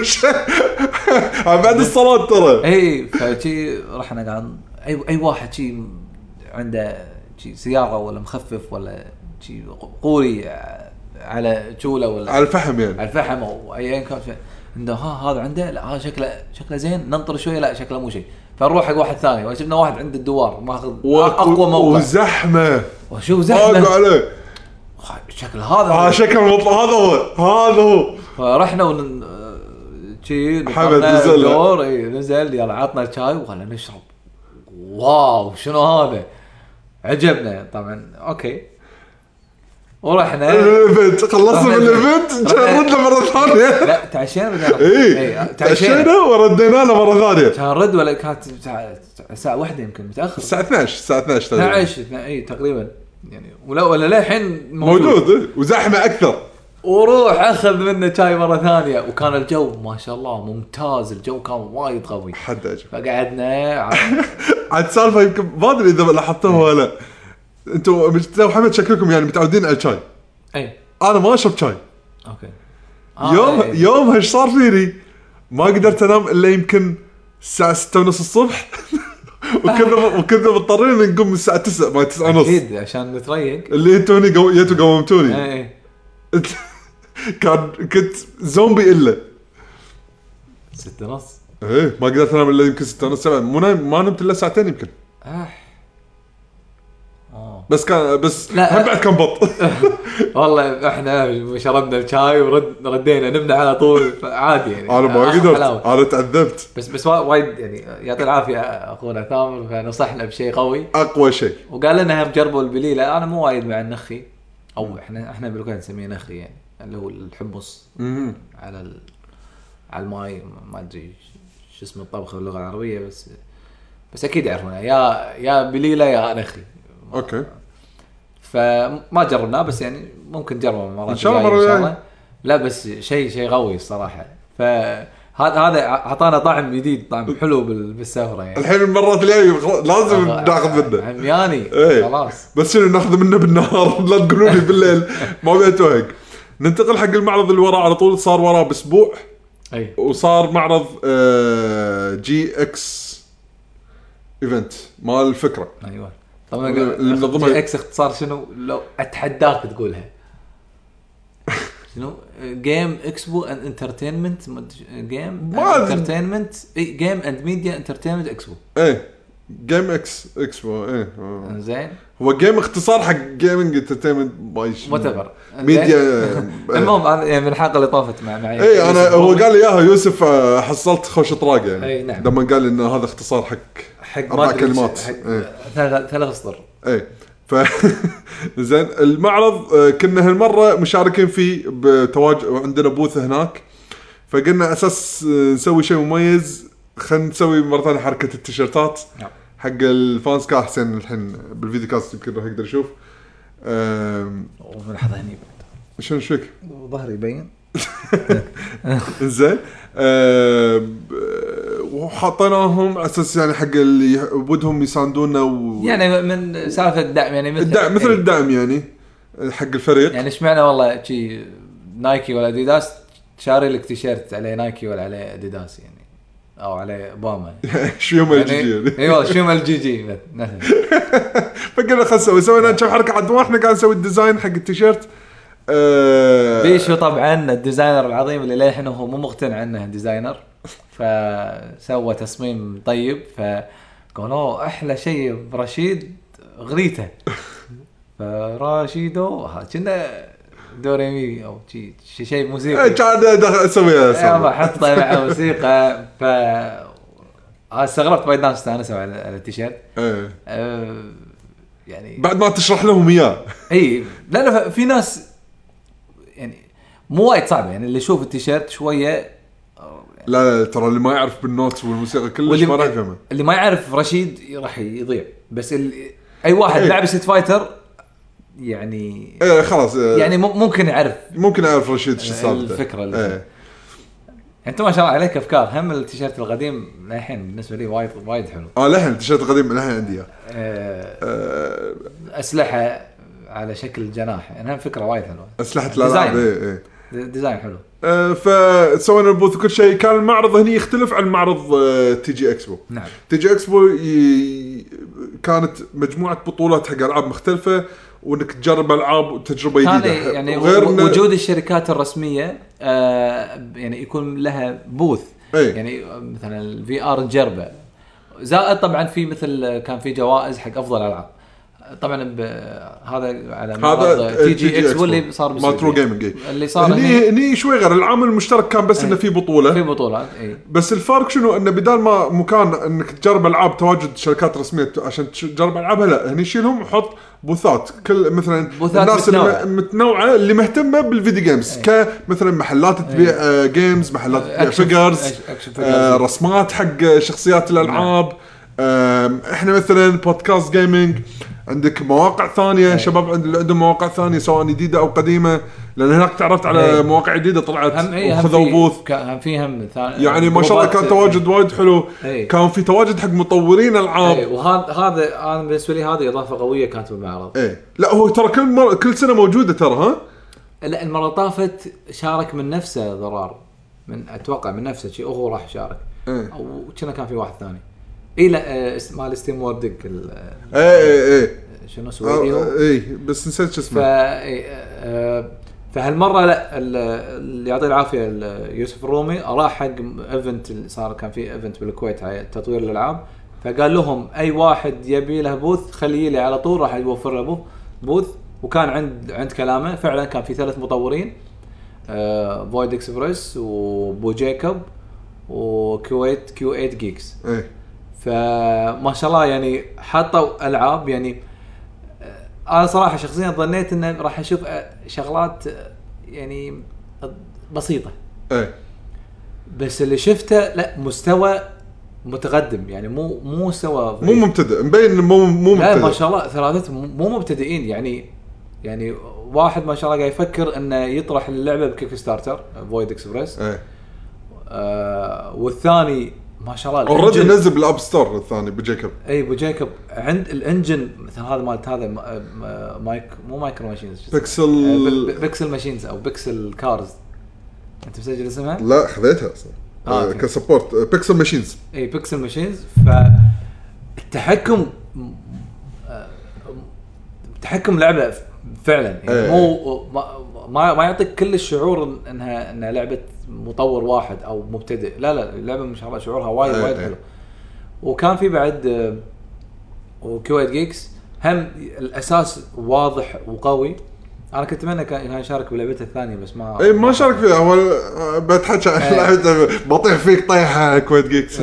S2: مش-
S3: إيه.
S2: بعد الصلاه ترى
S3: اي فشي رحنا قاعد اي اي واحد شي عنده شي سياره ولا مخفف ولا شي قوري على جوله ولا
S2: على الفحم يعني
S3: على الفحم او ايا كان شيء. عنده ها هذا عنده لا هذا شكله شكله زين ننطر شويه لا شكله مو شيء فنروح حق واحد ثاني وشفنا واحد عند الدوار ماخذ
S2: و-
S3: اقوى موقع
S2: وزحمه
S3: وشوف
S2: حق
S3: زحمه
S2: عليه
S3: شكل هذا
S2: اه شكل مطلع هذا هو هذا هو
S3: فرحنا ون شي
S2: حمد نزل.
S3: دور اي نزل يلا عطنا الشاي وخلنا نشرب واو شنو هذا عجبنا طبعا اوكي ورحنا
S2: الايفنت خلصنا من
S3: رحنا-
S2: الايفنت جاي
S3: رحنا-
S2: ردنا مره ثانيه
S3: لا تعشينا بعدين-
S2: اي
S3: إيه. تعشينا
S2: إيه. تعشينا وردينا له مره ثانيه
S3: كان رد ولا كانت بتاع- الساعه واحدة يمكن متاخر
S2: الساعه 12 الساعه 12 تقريباً.
S3: 12 اثنا- اي تقريبا يعني ولا ولا للحين
S2: موجود إيه، وزحمه اكثر
S3: وروح اخذ منه شاي مره ثانيه وكان الجو ما شاء الله ممتاز الجو كان وايد قوي
S2: حد اجل
S3: فقعدنا على-
S2: عاد سالفه يمكن ما ادري اذا لحظتوها ولا انتم مجتمع وحمد شكلكم يعني متعودين على الشاي
S3: اي
S2: انا ما اشرب شاي
S3: اوكي
S2: يوم
S3: آه، إي.
S2: يومها ايش صار فيني؟ ما قدرت انام الا يمكن الساعه 6 ونص الصبح وكنا وكنا مضطرين نقوم الساعه 9 ما 9 ونص
S3: اكيد عشان نتريق
S2: اللي توني قو... جيتوا قومتوني
S3: اي إي.
S2: كان كنت زومبي الا
S3: ستة ونص
S2: ايه ما قدرت انام الا يمكن 6 ونص 7 مو نايم ما نمت الا ساعتين يمكن
S3: آه. آه.
S2: بس كان بس
S3: لا. آه،
S2: هم بعد كان بط
S3: والله احنا شربنا الشاي ورد ردينا نمنا على طول عادي يعني
S2: انا ما
S3: آخر
S2: قدرت
S3: حلاوة.
S2: انا تعذبت
S3: بس بس وا- وايد يعني يعطي العافيه اخونا ثامر فنصحنا بشيء قوي
S2: اقوى شيء
S3: وقال لنا هم جربوا البليله انا مو وايد مع النخي او احنا احنا بالكويت نسميه نخي يعني اللي هو الحمص على ال... على الماي ما ادري شو اسم الطبخه باللغه العربيه بس بس اكيد يعرفونها يا يا بليله يا نخي
S2: اوكي
S3: فما جربناه بس يعني ممكن نجربه مرات
S2: إن شاء الله
S3: الجاية
S2: مرة
S3: ان شاء
S2: جاية.
S3: الله لا بس شيء شيء قوي الصراحه فهذا هذا اعطانا طعم جديد طعم حلو بال- بالسفره يعني
S2: الحين المرات الجايه خلاص لازم
S3: آه،
S2: ناخذ منه
S3: عمياني
S2: ايه
S3: يعني؟ خلاص
S2: بس شنو ناخذ منه بالنهار لا تقولوا لي بالليل ما ابي اتوهق ننتقل حق المعرض اللي وراه على طول صار وراه باسبوع
S3: اي
S2: وصار معرض آه، جي اكس ايفنت مال الفكره
S3: ايوه طبعا
S2: اللي منظمها-
S3: جي اكس اختصار شنو لو اتحداك تقولها شنو جيم اكسبو اند انترتينمنت جيم
S2: ما أدري.
S3: انترتينمنت جيم اند ميديا انترتينمنت اكسبو
S2: ايه جيم اكس اكسبو ايه آه.
S3: زين
S2: هو جيم اختصار حق جيمنج انترتينمنت باي شيء.
S3: وات ايفر
S2: ميديا آه.
S3: المهم انا يعني من الحلقه اللي طافت مع معي
S2: اي انا إيه، هو قال لي اياها يوسف آه، حصلت خوش طراق يعني
S3: إيه، نعم.
S2: لما قال لي ان هذا اختصار حق
S3: حق ما
S2: اربع
S3: أدري
S2: كلمات
S3: حق
S2: إيه.
S3: ثلاث ثلاث اسطر
S2: ايه ف زين المعرض آه، كنا هالمره مشاركين فيه بتواجد عندنا بوث هناك فقلنا اساس آه، نسوي شيء مميز خلينا نسوي مره ثانيه حركه التيشيرتات
S3: نعم.
S2: حق الفانز كا حسين الحين بالفيديو كاست يمكن راح يقدر يشوف آم،
S3: ومن لحظه هني بعد.
S2: شنو شك
S3: ظهري يبين
S2: زين آم، آه، وحطيناهم على اساس يعني حق اللي يح- ودهم يساندونا و...
S3: يعني من سالفه الدعم يعني مثل
S2: الدعم مثل
S3: إيه.
S2: الدعم يعني آه، حق الفريق
S3: يعني اشمعنى والله شي نايكي ولا اديداس شاري لك تيشيرت عليه نايكي ولا عليه اديداس يعني او عليه باما
S2: شو يوم
S3: يعني
S2: الجي يعني
S3: اي والله شو مال جي جي مث- مثلا
S2: فقلنا خلنا نسوي سوينا
S3: إيه.
S2: كم حركه عاد واحنا قاعد نسوي الديزاين حق التيشيرت آه،
S3: بيشو طبعا الديزاينر العظيم اللي للحين هو مو مقتنع انه ديزاينر فسوى تصميم طيب فقالوا احلى شيء برشيد غريته فراشيدو ها، كنا دوريمي او شي- شي- شيء موسيقى
S2: إيه، كان دخل- اسويها
S3: يابا
S2: اسويها
S3: حط مع موسيقى ف أنا استغربت وايد ناس استانسوا على على التيشيرت
S2: إيه.
S3: أه، يعني
S2: بعد ما تشرح لهم اياه
S3: اي لانه ف- في ناس يعني مو وايد صعبه يعني اللي يشوف التيشيرت شويه
S2: لا لا ترى اللي ما يعرف بالنوتس والموسيقى كلش
S3: واللي
S2: ما راح يفهمها
S3: اللي ما يعرف رشيد راح يضيع بس ال... اي واحد
S2: إيه.
S3: لعب ست فايتر يعني
S2: ايه خلاص إيه،
S3: يعني مم- ممكن يعرف
S2: ممكن اعرف رشيد شو السالفه
S3: الفكرة اللي-
S2: ايه
S3: انت ما شاء الله عليك افكار هم التيشيرت القديم للحين بالنسبه لي وايد وايد حلو
S2: اه لحن التيشيرت القديم لحن عندي اياه
S3: أه،
S2: آه،
S3: اسلحه على شكل جناح يعني هم فكره وايد حلوه
S2: اسلحه
S3: ديزاين.
S2: الالعاب ايه ايه
S3: د- ديزاين حلو
S2: آه، فسوينا البوث وكل شيء كان المعرض هني يختلف عن معرض آه، تي جي اكسبو
S3: نعم
S2: تي جي اكسبو ي... كانت مجموعه بطولات حق العاب مختلفه وانك تجرب العاب وتجربه
S3: كان
S2: جديده
S3: يعني
S2: وغير إنه-
S3: وجود الشركات الرسميه آه، يعني يكون لها بوث
S2: إيه.
S3: يعني مثلا الفي ار تجربه زائد طبعا في مثل كان في جوائز حق افضل العاب طبعا ب- هذا على معرض تي جي اكس اللي صار
S2: مال ترو جيمنج إيه.
S3: اللي صار
S2: هني
S3: هني يعني
S2: هني شوي غير العامل المشترك كان بس انه في بطوله
S3: في بطولات إيه. اي
S2: بس الفرق شنو انه بدال ما مكان انك تجرب العاب تواجد شركات رسميه عشان تجرب العابها لا هني شيلهم وحط بوثات كل مثلا
S3: بوثات
S2: الناس
S3: متنوعة. إيه.
S2: المتنوعه اللي مهتمه بالفيديو جيمز كمثلا محلات تبيع آه، جيمز محلات تبيع
S3: أكشن-
S2: فيجرز
S3: أكشن- أكشن
S2: آه،
S3: فيجرز.
S2: رسمات حق شخصيات الالعاب
S3: نعم.
S2: آم، احنا مثلا بودكاست جيمنج عندك مواقع
S3: إيه.
S2: ثانيه شباب عند- اللي عندهم مواقع ثانيه سواء جديده او قديمه لان هناك تعرفت على
S3: إيه.
S2: مواقع جديده طلعت
S3: هم اي هم
S2: وخذوا
S3: في-
S2: بوث
S3: كان هم في هم ثان-
S2: يعني ما شاء الله كان
S3: جروبات-
S2: تواجد وايد حلو
S3: إيه.
S2: كان في تواجد حق مطورين
S3: إيه،
S2: العاب
S3: وهذا هذا انا بالنسبه لي هذه اضافه قويه كانت بالمعرض
S2: ايه لا هو ترى كل مر... كل سنه موجوده ترى ها
S3: لا المره اللي طافت شارك من نفسه ضرار من اتوقع من نفسه شيء هو راح يشارك
S2: إيه.
S3: او كنا كان في واحد ثاني اي لا آه، اس- مال ستيم ووردك ال- آه،
S2: ايه ايه ايه
S3: شنو سويدي إيه. هو
S2: آه، ايه بس نسيت شو
S3: ف
S2: اسمه
S3: إيه، آه، فهالمره لا ال- اللي يعطيه العافيه ال- يوسف الرومي راح حق ايفنت اللي صار كان في ايفنت بالكويت على تطوير الالعاب فقال لهم اي واحد يبي له بوث خليه لي على طول راح يوفر له بوث- بوث وكان عند عند كلامه فعلا كان في ثلاث مطورين آه، فويد اكسبرس وبو جيكوب وكويت كيو 8 جيكس
S2: ايه
S3: فما شاء الله يعني حطوا العاب يعني آه، انا صراحه شخصيا ظنيت انه راح اشوف آه، شغلات آه، يعني بسيطه طيب.
S2: ايه
S3: بس اللي شفته لا مستوى متقدم يعني مو مو مستوى
S2: مو مبتدئ مبين إنه مو مو
S3: لا ما
S2: مبتدئ
S3: شاء الله ثلاثتهم مو مبتدئين يعني يعني واحد ما شاء الله قاعد يفكر انه يطرح اللعبه بكيك ستارتر فويد اكسبرس
S2: ايه
S3: آه والثاني ما شاء الله
S2: اوريدي
S3: الإنجن-
S2: نزل بالاب ستور الثاني بجيكب
S3: اي ابو جيكوب إيه، عند الانجن مثل هذا مالت هذا م- م- مايك مو مايكرو ماشينز شو اسمه؟ آه، ب- ب-
S2: بيكسل
S3: بيكسل ماشينز او بيكسل كارز انت مسجل اسمها؟
S2: لا خذيتها اصلا
S3: آه،
S2: آه
S3: أوكي.
S2: كسبورت آه، بيكسل ماشينز
S3: اي بيكسل ماشينز فالتحكم آه، تحكم لعبه ف- فعلا
S2: إيه.
S3: يعني مو ما- ما ما يعطيك كل الشعور انها انها لعبه مطور واحد او مبتدئ لا لا اللعبه ما شاء الله شعورها وايد
S2: إيه،
S3: وايد
S2: إيه.
S3: حلو وكان في بعد آه، وكويت جيكس هم الاساس واضح وقوي انا كنت اتمنى كان كان يشارك بلعبته الثانيه بس ما
S2: اي إيه، ما شارك فيها هو آه، بتحكى عن
S3: إيه.
S2: لعبة- بطيح فيك طيحه كويت جيكس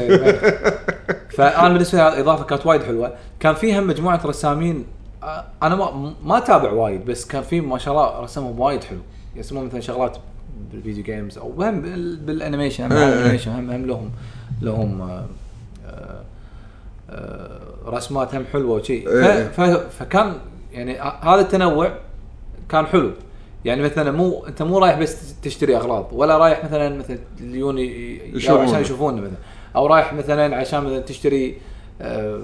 S3: فانا بالنسبه إيه. لي الاضافه كانت وايد حلوه كان فيها مجموعه رسامين آه، انا ما ما تابع وايد بس كان في ما شاء الله رسمهم وايد حلو يرسمون مثلا شغلات بالفيديو جيمز او هم بال- بالانيميشن هم
S2: إيه، إيه.
S3: الانيميشن هم هم لهم لهم آه، آه، آه، رسمات هم حلوه وشي
S2: إيه.
S3: ف- ف- فكان يعني ه- هذا التنوع كان حلو يعني مثلا مو انت مو رايح بس تشتري اغراض ولا رايح مثلا مثل اليون ي- ي-
S2: يشوفونه.
S3: عشان يشوفونه مثلا او رايح مثلا عشان مثلا تشتري آه،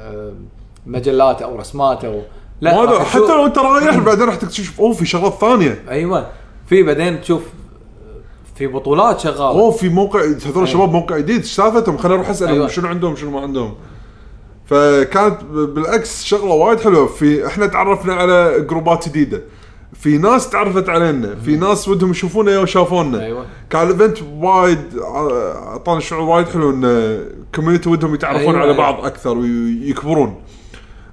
S3: آه، مجلات او رسمات او
S2: ما أدري،
S3: راح
S2: حتى
S3: تشوف-
S2: لو انت رايح بعدين راح تكتشف اوه في شغلات ثانيه
S3: ايوه في بعدين تشوف في بطولات شغاله
S2: اوه في موقع هذول الشباب موقع جديد ايش سالفتهم خليني اروح اسالهم
S3: إيه. أيوة.
S2: شنو عندهم شنو ما عندهم فكانت ب- بالعكس شغله وايد حلوه في احنا تعرفنا على جروبات جديده في ناس تعرفت علينا في ناس ودهم يشوفونا وشافونا
S3: أيوة.
S2: كان الايفنت وايد ع- اعطانا شعور وايد حلو ان كوميونتي ودهم يتعرفون
S3: أيوة،
S2: على
S3: أيوة.
S2: بعض اكثر ويكبرون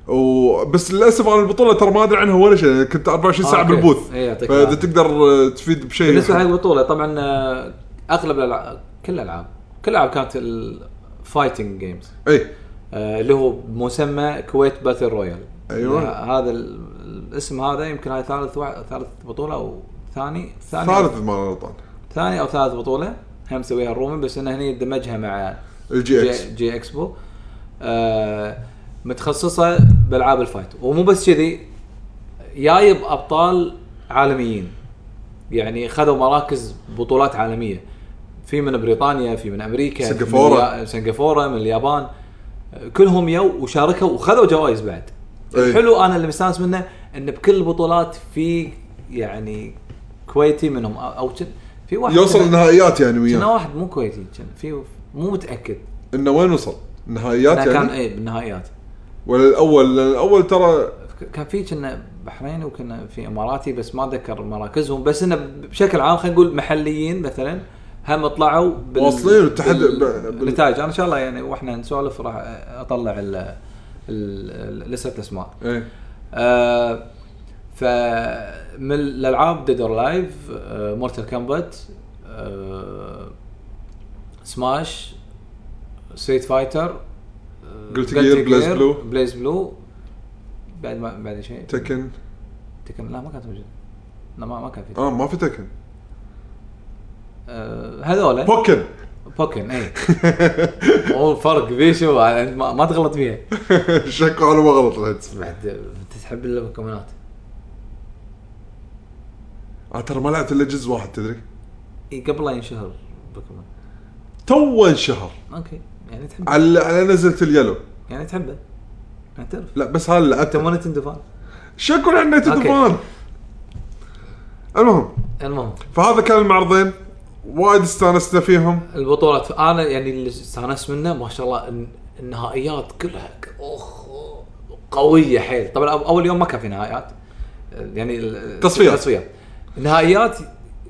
S2: وبس للاسف انا البطوله ترى ما ادري عنها ولا شيء يعني كنت 24 ساعه
S3: أوكي.
S2: بالبوث
S3: إيه، يعطيك
S2: فاذا
S3: العافية.
S2: تقدر آه، تفيد بشيء
S3: بالنسبه حق البطوله طبعا آه، اغلب الالعاب كل الالعاب كل الالعاب كانت الفايتنج جيمز
S2: اي
S3: آه، اللي هو بمسمى كويت باتل رويال
S2: أيوة.
S3: هذا ال- الاسم هذا يمكن هاي ثالث واحد ثالث بطوله او ثاني ثاني
S2: ثالث إذا ما أنا غلطان
S3: ثاني او ثالث بطوله هم مسويها الرومن بس انه هني دمجها مع
S2: الجي اكس
S3: جي, جي اكسبو آه متخصصه بالعاب الفايت ومو بس كذي جايب ابطال عالميين يعني خذوا مراكز بطولات عالميه في من بريطانيا في من امريكا في من
S2: سنغافورة.
S3: اليا- سنغافوره من اليابان آه، كلهم يو وشاركوا وخذوا جوائز بعد
S2: أي.
S3: الحلو انا اللي مستانس منه ان بكل البطولات في يعني كويتي منهم او- او كن- في واحد
S2: يوصل
S3: كنا-
S2: النهائيات يعني
S3: كنا
S2: وياه
S3: واحد مو كويتي كان في مو متاكد
S2: انه وين وصل؟ النهائيات
S3: لا كان
S2: يعني
S3: ايه بالنهائيات
S2: ولا الاول لان الاول ترى
S3: ك- كان في كنا بحريني وكنا في اماراتي بس ما اتذكر مراكزهم بس انه بشكل عام خلينا نقول محليين مثلا هم طلعوا بال...
S2: واصلين والتحد- ب- بال-
S3: بالنتائج انا ان شاء الله يعني واحنا نسولف راح اطلع ال... ال... ال... لسه الاسماء
S2: ايه
S3: آه فمن الالعاب ديد اور لايف مورتال كامبات آه، سماش ستريت فايتر آه،
S2: Guilty Gear, Blaze Blue.
S3: بليز بلو بعد ما بعد شيء
S2: تكن
S3: تكن لا ما كانت موجوده لا ما ما كان في
S2: اه ما في تكن
S3: آه إيه. هذول
S2: بوكن
S3: بوكن اي هو فرق بيشو أنت ما ما تغلط فيها
S2: شكو انا ما غلط الحين تسمع
S3: بعد انت تحب الكومنات
S2: انا آه، ترى ما لعبت الا جزء واحد تدري
S3: اي إيه، قبل لا ينشهر بوكيمون
S2: تو انشهر
S3: اوكي يعني تحب
S2: على على نزلت اليلو
S3: يعني تحبه يعني تعرف
S2: لا بس هذا
S3: انت
S2: لعبته
S3: مو نتندو فان
S2: شكو عندنا تدفان المهم
S3: المهم
S2: فهذا كان المعرضين وايد استانسنا فيهم
S3: البطولات انا يعني اللي استانست منه ما شاء الله الن- النهائيات كلها ك- اخ قويه حيل طبعا أو- اول يوم ما كان في نهائيات يعني ال-
S2: تصفيات.
S3: تصفيات النهائيات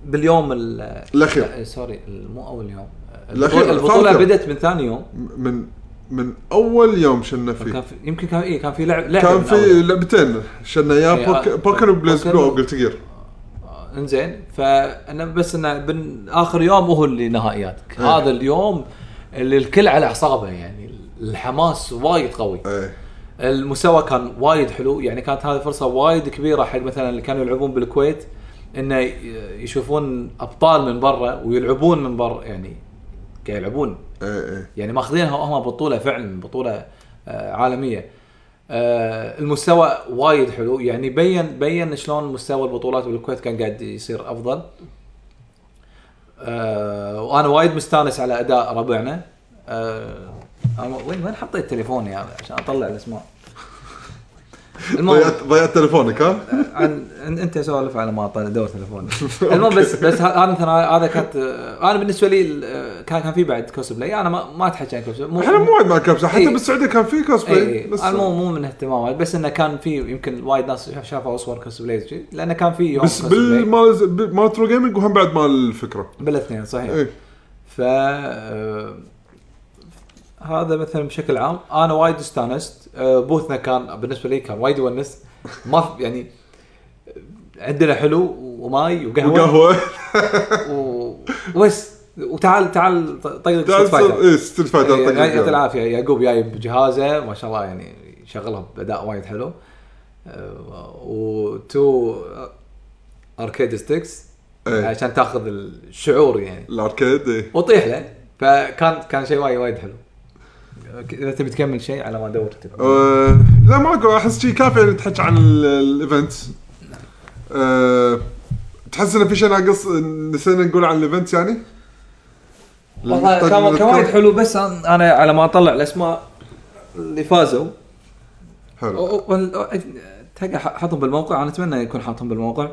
S3: باليوم ال-
S2: الأخير.
S3: لا، سوري ال- مو اول يوم
S2: الأخير،
S3: البطوله, البطولة
S2: ثالث يوم.
S3: بدت من ثاني يوم
S2: من من اول يوم شلنا
S3: كان
S2: فيه
S3: في يمكن كان اي كان في لعب لعبه
S2: كان
S3: من أول
S2: في
S3: يوم.
S2: لعبتين شلنا
S3: إيه،
S2: يا
S3: آه،
S2: بوكن وبليز
S3: بوكن
S2: بلو
S3: و-
S2: او قلت جير
S3: انزين فانا آه، بس انه بن اخر يوم هو اللي نهائيات هذا اليوم اللي الكل على اعصابه يعني الحماس وايد قوي
S2: ايه
S3: المستوى كان وايد حلو يعني كانت هذه فرصه وايد كبيره حق مثلا اللي كانوا يلعبون بالكويت انه ي- يشوفون ابطال من برا ويلعبون من برا يعني قاعد يلعبون
S2: ايه ايه
S3: يعني ماخذينها هم بطوله فعلا بطوله آه، عالميه آه، المستوى وايد حلو يعني بين بين شلون مستوى البطولات بالكويت كان قاعد يصير افضل آه، وانا وايد مستانس على اداء ربعنا آه، أنا وين وين حطيت تليفوني هذا عشان اطلع الاسماء المهم
S2: ضيعت ضيعت تليفونك ها؟
S3: عن عن- انت سولف على ما طلع دور تليفوني المهم بس بس ه- هذا مثلا هذا كانت آه، انا بالنسبه لي ال- آه، كان كان في بعد كوسبلاي انا ما ما اتحكى عن كوسبلاي
S2: احنا مو وايد مع كابس حتى
S3: إيه.
S2: بالسعوديه كان في كوسبلاي
S3: اي
S2: بس
S3: انا إيه. مو مو من اهتمامي بس انه كان في يمكن وايد ناس شافوا اصور كوسبلايز وشي، لانه كان في يوم
S2: بس
S3: كوسبلاي.
S2: بال- مال بال- مال ترو جيمنج وهم بعد مال الفكره
S3: بالاثنين صحيح
S2: ايه
S3: ف آه، هذا مثلا بشكل عام انا وايد استانست آه، بوثنا كان بالنسبه لي كان وايد يونس ما في- يعني عندنا حلو وماي وقهوه
S2: وقهوه
S3: و- وبس وتعال تعال طقطق ستريت فايتر
S2: ايه ستريت فايتر
S3: يعني يعطي
S2: طقطق.
S3: العافيه يعقوب جايب جهازه ما شاء الله يعني شغلها باداء وايد حلو أه، وتو اركيد ستيكس
S2: إيه.
S3: عشان تاخذ الشعور يعني
S2: الاركيد ايه
S3: وطيح له فكان كان شيء وايد وايد حلو ك- اذا تبي تكمل شيء على ما ادور تليفون.
S2: أه، لا ما اقول احس شي كافي يعني تحكي عن ال- الايفنت أه، تحس انه في شيء ناقص نسينا نقول عن الايفنت يعني؟
S3: والله
S2: نحتاج
S3: كان كان
S2: نذكر؟
S3: وايد حلو بس أنا- انا على ما اطلع الاسماء اللي فازوا
S2: حلو
S3: أو- أو- وال- تلقى ح- حاطهم بالموقع انا اتمنى يكون حاطهم بالموقع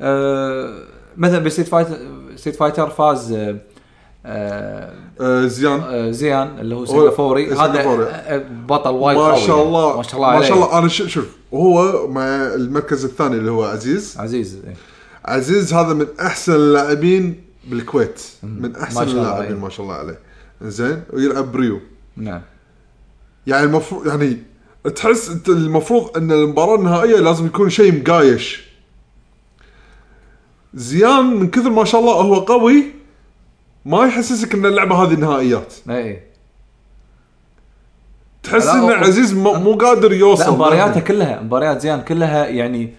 S3: أه مثلا بستيت فايتر ستيت فايتر فاز أه، أه،
S2: أه، زيان
S3: أه، زيان اللي هو سنغافوري هذا
S2: إيه، سنغافوري.
S3: أه، بطل وايد
S2: ما
S3: قوي
S2: شاء
S3: يعني.
S2: الله
S3: ما شاء الله
S2: ما شاء
S3: عليه.
S2: الله انا ش- شوف هو مع المركز الثاني اللي هو عزيز
S3: عزيز إيه.
S2: عزيز هذا من احسن اللاعبين بالكويت من احسن
S3: ما شاء الله
S2: اللاعبين
S3: عليه.
S2: ما شاء الله عليه زين ويلعب بريو
S3: نعم
S2: يعني المفروض يعني تحس انت المفروض ان المباراه النهائيه لازم يكون شيء مقايش زيان من كثر ما شاء الله هو قوي ما يحسسك ان اللعبه هذه نهائيات
S3: اي
S2: تحس
S3: لا،
S2: ان
S3: هو-
S2: عزيز مو مو قادر
S3: لا
S2: يوصل
S3: مبارياته كلها مباريات زيان كلها يعني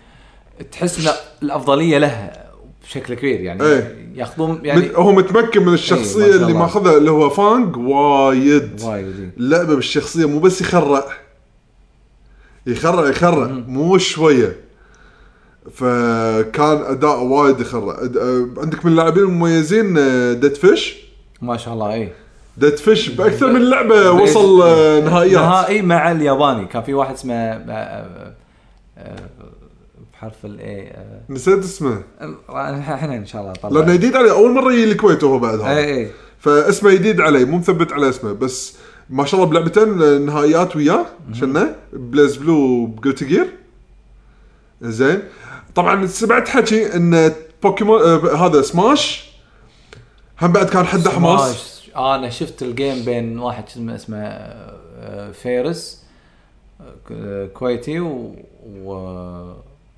S3: تحس ان الافضليه لها بشكل كبير يعني
S2: إيه.
S3: ياخذون
S2: يعني
S3: يعني
S2: من هو متمكن من
S3: إيه، ما
S2: الشخصيه
S3: شاء
S2: اللي
S3: الله.
S2: ماخذها اللي هو فانج وايد
S3: وايد إيه. زين.
S2: لعبه بالشخصيه مو بس يخرع يخرع يخرع مو شويه فكان اداء وايد يخرع أد- أه، عندك من اللاعبين المميزين أه، ديد فيش
S3: ما شاء الله إيه. اي
S2: ديد فيش باكثر من لعبه وصل أه، نهائيات
S3: نهائي مع الياباني كان في واحد اسمه آه، آه، بحرف الاي
S2: نسيت اسمه
S3: آه، احنا ان شاء الله إيه، طلع
S2: لانه جديد علي اول مره يجي الكويت وهو بعد هذا
S3: اي اي
S2: فاسمه جديد علي مو مثبت على اسمه بس ما شاء الله بلعبتين نهائيات وياه شنه بليز بلو بجوتي جير زين طبعا سمعت حكي ان بوكيمون آه هذا سماش هم بعد كان حده حماس
S3: سماش. انا شفت الجيم بين واحد شو اسمه اسمه آه، فيرس آه، ك- آه، كويتي و... و...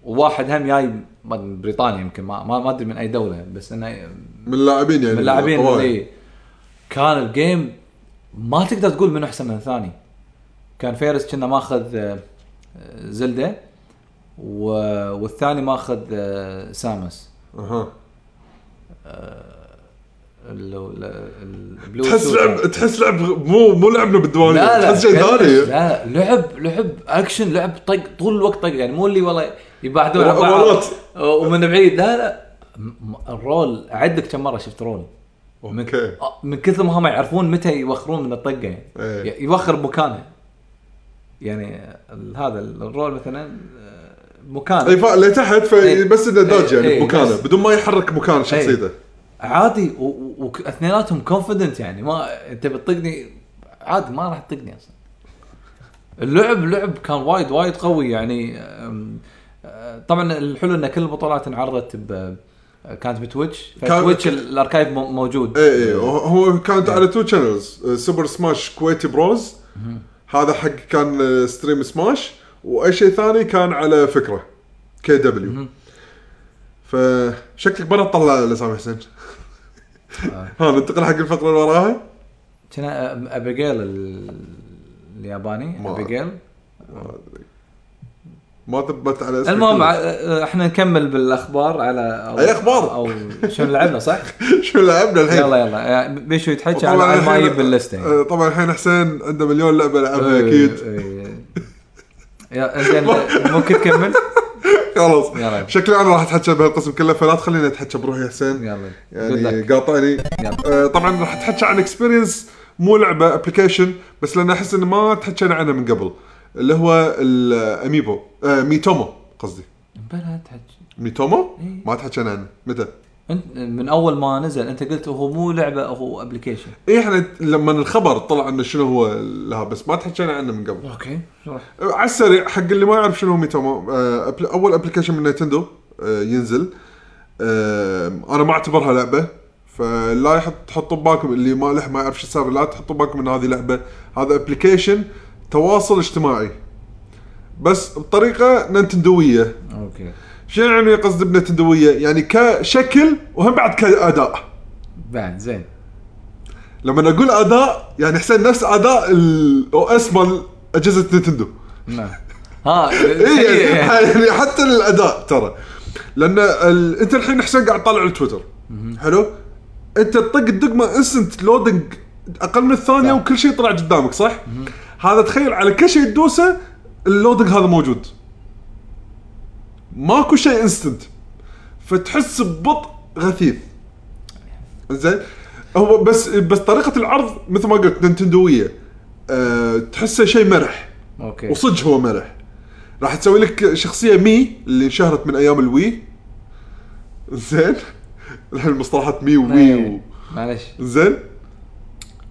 S3: وواحد هم جاي ما أدري من بريطانيا يمكن ما ما ما ادري من اي دوله بس انه
S2: من اللاعبين يعني
S3: من اللاعبين
S2: قوية.
S3: اللي كان الجيم ما تقدر تقول من احسن من الثاني كان فيرس كنا ماخذ آه، آه، زلده و... والثاني ماخذ آه، سامس
S2: اها
S3: ال- ال- البلو
S2: تحس
S3: سوت.
S2: لعب تحس لعب مو مو لعبنا بالديوانيه
S3: لا لا
S2: تحس شيء
S3: كلش.
S2: ثاني
S3: لا لعب لعب اكشن لعب طق طول الوقت طق يعني مو اللي والله يبعدون عن بعض
S2: مرات.
S3: ومن بعيد لا لا م- الرول اعدك كم مره شفت رول من,
S2: أوكي.
S3: آه، من كثر ما هم يعرفون متى يوخرون من الطقه يعني
S2: إيه.
S3: ي- يوخر مكانه يعني ال- هذا الرول مثلا آه،
S2: اي
S3: مكانه
S2: ف- لتحت
S3: إيه.
S2: فبس انه داج
S3: إيه،
S2: يعني
S3: إيه،
S2: بمكانه
S3: بس.
S2: بدون ما يحرك مكان شخصيته
S3: عادي واثنيناتهم كونفدنت يعني ما انت بتطقني عادي ما راح تطقني اصلا اللعب لعب كان وايد وايد قوي يعني أم، أه، طبعا الحلو ان كل البطولات انعرضت ب كانت بتويتش
S2: كان-
S3: فتويتش ال- الاركايف مو- موجود
S2: اي اي هو- إيه، هو كانت على آه، تو شانلز سوبر سماش كويتي بروز هذا حق كان آه، ستريم سماش واي شيء ثاني كان على فكره كي دبليو فشكلك برا تطلع الاسامي حسين
S3: آه.
S2: ها ننتقل حق الفقره اللي وراها
S3: كان أ- ابيجيل ال- الياباني
S2: ما-
S3: ابيجيل
S2: ما ثبت على اسمك
S3: المهم
S2: كله.
S3: ع- احنا نكمل بالاخبار على أو-
S2: أي أخبار؟ طيب.
S3: او شنو لعبنا صح؟
S2: شو لعبنا الحين؟
S3: يلا يلا بيشو يتحكى على
S2: طبعاً
S3: على ما
S2: الحين-
S3: يجيب باللسته يعني.
S2: آه، طبعا الحين حسين عنده مليون لعبه لعبها
S3: إيه.
S2: اكيد
S3: اكيد يا زين ممكن تكمل؟
S2: خلاص
S3: يلا.
S2: شكلي انا راح اتحكى بهالقسم كله فلا تخليني اتحكى بروحي يا حسين
S3: يلا
S2: يعني قاطعني
S3: يلا.
S2: آه، طبعا راح تحكي عن اكسبيرينس مو لعبه ابلكيشن بس لان احس انه ما تحكينا عنه من قبل اللي هو الاميبو آه، ميتومو قصدي
S3: بلا تحكي
S2: ميتومو
S3: إيه.
S2: ما تحكينا عنه متى؟
S3: انت من اول ما نزل انت قلت هو مو لعبه هو ابلكيشن
S2: اي احنا إيه، لما الخبر طلع انه شنو هو لها بس ما تحكينا عنه من قبل
S3: اوكي
S2: على السريع حق اللي ما يعرف شنو هو ميتومو آه، أبل- اول ابلكيشن من نينتندو آه، ينزل آه، انا ما اعتبرها لعبه فلا يحط تحطوا ببالكم اللي ما له ما يعرف شو السالفه لا تحطوا ببالكم ان هذه لعبه هذا ابلكيشن تواصل اجتماعي بس بطريقه نينتندويه
S3: اوكي
S2: شنو يعني قصد بنينتندويه يعني كشكل وهم بعد كاداء
S3: بعد زين
S2: لما اقول اداء يعني حسين نفس اداء الاو اس مال اجهزه نينتندو
S3: نعم ها
S2: اي
S3: الحقيقة يعني.
S2: يعني حتى الاداء ترى لان ال... انت الحين حسين قاعد طالع التويتر حلو انت تطق الدقمه انستنت لودنج اقل من الثانيه
S3: صح.
S2: وكل شيء طلع قدامك صح؟ هذا تخيل على كل شيء تدوسه اللودنج هذا موجود ماكو شيء انستنت فتحس ببطء غثيث زين هو بس بس طريقه العرض مثل ما قلت نينتندويه أه تحسه شيء مرح
S3: اوكي
S2: وصدق هو مرح راح تسوي لك شخصيه مي اللي انشهرت من ايام الوي زين الحين المصطلحات مي ووي و...
S3: إيه. معلش
S2: زين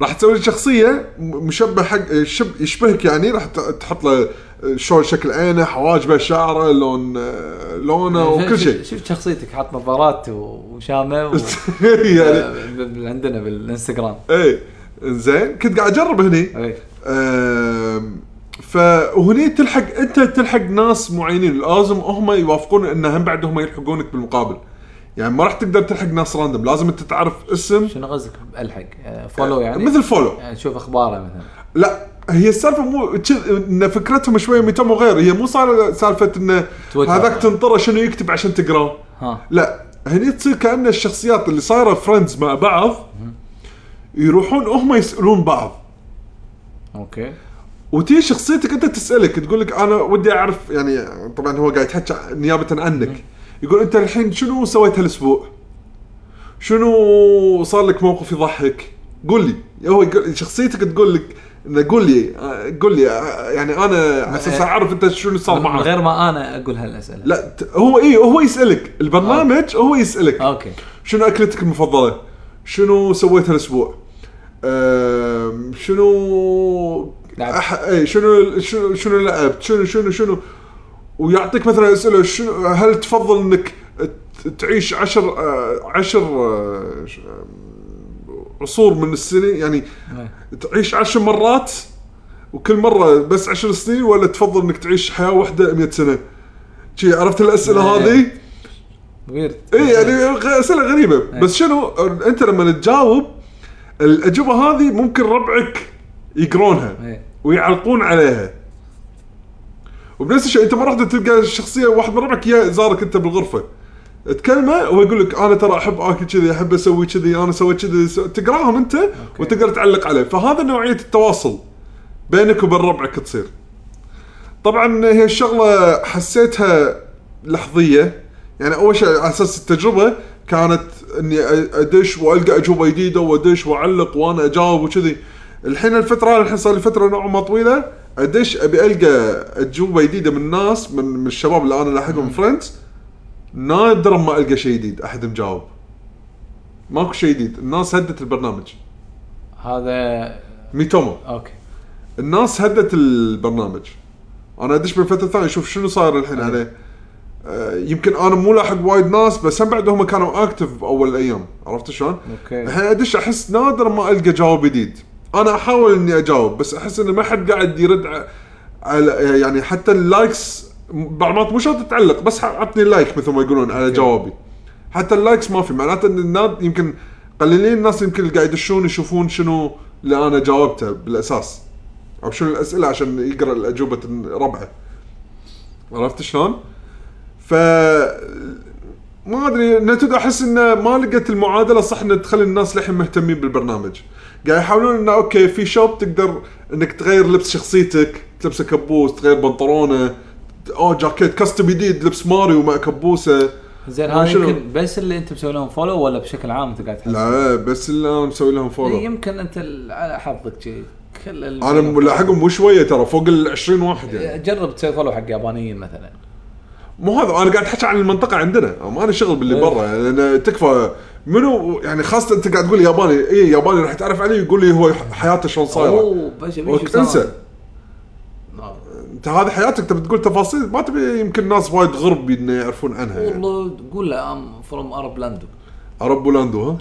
S2: راح تسوي لك شخصيه م- مشبه حق شب... يشبهك يعني راح ت- تحط له شلون شكل عينه حواجبه شعره لون آه، لونه وكل شيء
S3: شفت شخصيتك حاط نظارات و- وشامه و...
S2: يعني إيه.
S3: آه، ب- ب- عندنا بالانستغرام
S2: اي زين كنت قاعد اجرب هني
S3: اي
S2: أم، فهني تلحق انت تلحق ناس معينين لازم هم يوافقون ان هم بعد هم يلحقونك بالمقابل يعني ما راح تقدر تلحق ناس راندم لازم انت تعرف اسم
S4: شنو قصدك
S3: آه،
S4: الحق فولو يعني
S2: مثل فولو
S4: يعني تشوف اخباره مثلا
S2: لا هي السالفه مو تش- ان فكرتهم شويه ميتامو غير هي مو صار سالفه انه
S4: تويتر.
S2: هذاك تنطره شنو يكتب عشان تقراه
S4: ها
S2: لا هني تصير كان الشخصيات اللي صايره فريندز مع بعض يروحون هم يسالون بعض
S4: اوكي
S2: وتي شخصيتك انت تسالك تقول لك انا ودي اعرف يعني طبعا هو قاعد يتحكى نيابه عنك يقول انت الحين شنو سويت هالاسبوع؟ شنو صار لك موقف يضحك؟ قول لي هو يقول شخصيتك تقول لك انه قول لي آه، قول لي آه، يعني انا على اساس اعرف انت شنو صار
S4: من
S2: معك
S4: غير ما انا اقول هالاسئله
S2: لا ت- هو اي هو يسالك
S4: آه.
S2: البرنامج هو يسالك
S4: اوكي
S2: شنو اكلتك المفضله؟ شنو سويت هالاسبوع؟ أم، شنو
S4: لعبت.
S2: أح... اي شنو شنو شنو لعبت؟ شنو شنو شنو ويعطيك مثلا اسئله شنو هل تفضل انك ت- تعيش عشر آه، عشر آه، ش- آم، عصور من السنه يعني تعيش عشر مرات وكل مره بس عشر سنين ولا تفضل انك تعيش حياه واحده 100 سنه؟ شي عرفت الاسئله
S4: إيه.
S2: هذه؟
S4: ويرد
S2: اي يعني غ- اسئله غريبه بس شنو انت لما تجاوب الاجوبه هذه ممكن ربعك يقرونها
S4: إيه.
S2: ويعلقون عليها وبنفس الشيء انت مره واحده تلقى الشخصيه واحد من ربعك يا- زارك انت بالغرفه تكلمه هو يقول لك انا ترى احب اكل كذي احب اسوي كذي انا سويت كذي سو- تقراهم انت وتقدر تعلق عليه فهذا نوعيه التواصل بينك وبين ربعك تصير طبعا هي الشغله حسيتها لحظيه يعني اول شيء على اساس التجربه كانت اني أ- ادش والقى اجوبه جديده وادش واعلق وانا اجاوب وكذي الحين الفتره الحين صار لي فتره نوعا ما طويله ادش ابي القى اجوبه جديده من الناس من, من الشباب اللي انا لاحقهم فريندز نادرا ما القى شيء جديد احد مجاوب ماكو شيء جديد الناس هدت البرنامج
S4: هذا
S2: ميتومو
S4: اوكي
S2: الناس هدت البرنامج انا ادش من فتره ثانيه اشوف شنو صاير الحين عليه آه، يمكن انا مو لاحق وايد ناس بس هم بعد هم كانوا اكتف اول الايام عرفت شلون؟
S4: أوكي.
S2: الحين ادش احس نادر ما القى جواب جديد انا احاول اني اجاوب بس احس انه ما حد قاعد يرد ع- على يعني حتى اللايكس بعض المرات مو شرط تعلق بس ح- عطني لايك مثل ما يقولون على جوابي حتى اللايكس ما في معناته ان الناس يمكن قليلين الناس يمكن اللي قاعد يدشون يشوفون شنو اللي انا جاوبته بالاساس او شنو الاسئله عشان يقرا الاجوبه ربعه عرفت شلون؟ ف ما ادري نتود احس انه ما لقت المعادله صح انها تخلي الناس للحين مهتمين بالبرنامج قاعد يحاولون انه اوكي في شوب تقدر انك تغير لبس شخصيتك تلبسه كبوس تغير بنطلونه او جاكيت كاستم جديد لبس ماريو مع كبوسه
S4: زين
S2: ما
S4: هذا
S2: شنو؟
S4: يمكن بس اللي انت مسوي لهم فولو ولا بشكل عام انت قاعد تحس؟
S2: لا بس اللي انا مسوي لهم
S4: إيه،
S2: فولو
S4: يمكن انت ال- على حظك شيء كل ال-
S2: انا ملاحقهم مو شويه ترى فوق ال 20 واحد يعني
S4: جرب تسوي فولو حق يابانيين مثلا
S2: مو هذا انا قاعد احكي عن المنطقه عندنا ما انا شغل باللي
S4: إيه.
S2: برا يعني أنا تكفى منو يعني خاصه انت قاعد تقول لي ياباني اي ياباني راح تعرف عليه يقول لي هو ح- حياته شلون صايره
S4: اوه بشا بيشو
S2: وك-
S4: صار.
S2: انسى
S4: آه.
S2: انت هذه حياتك تبي تقول تفاصيل ما تبي يمكن ناس وايد غرب إن يعرفون عنها يعني
S4: والله تقول له ام فروم ارب لاندو
S2: عرب بولاندو ها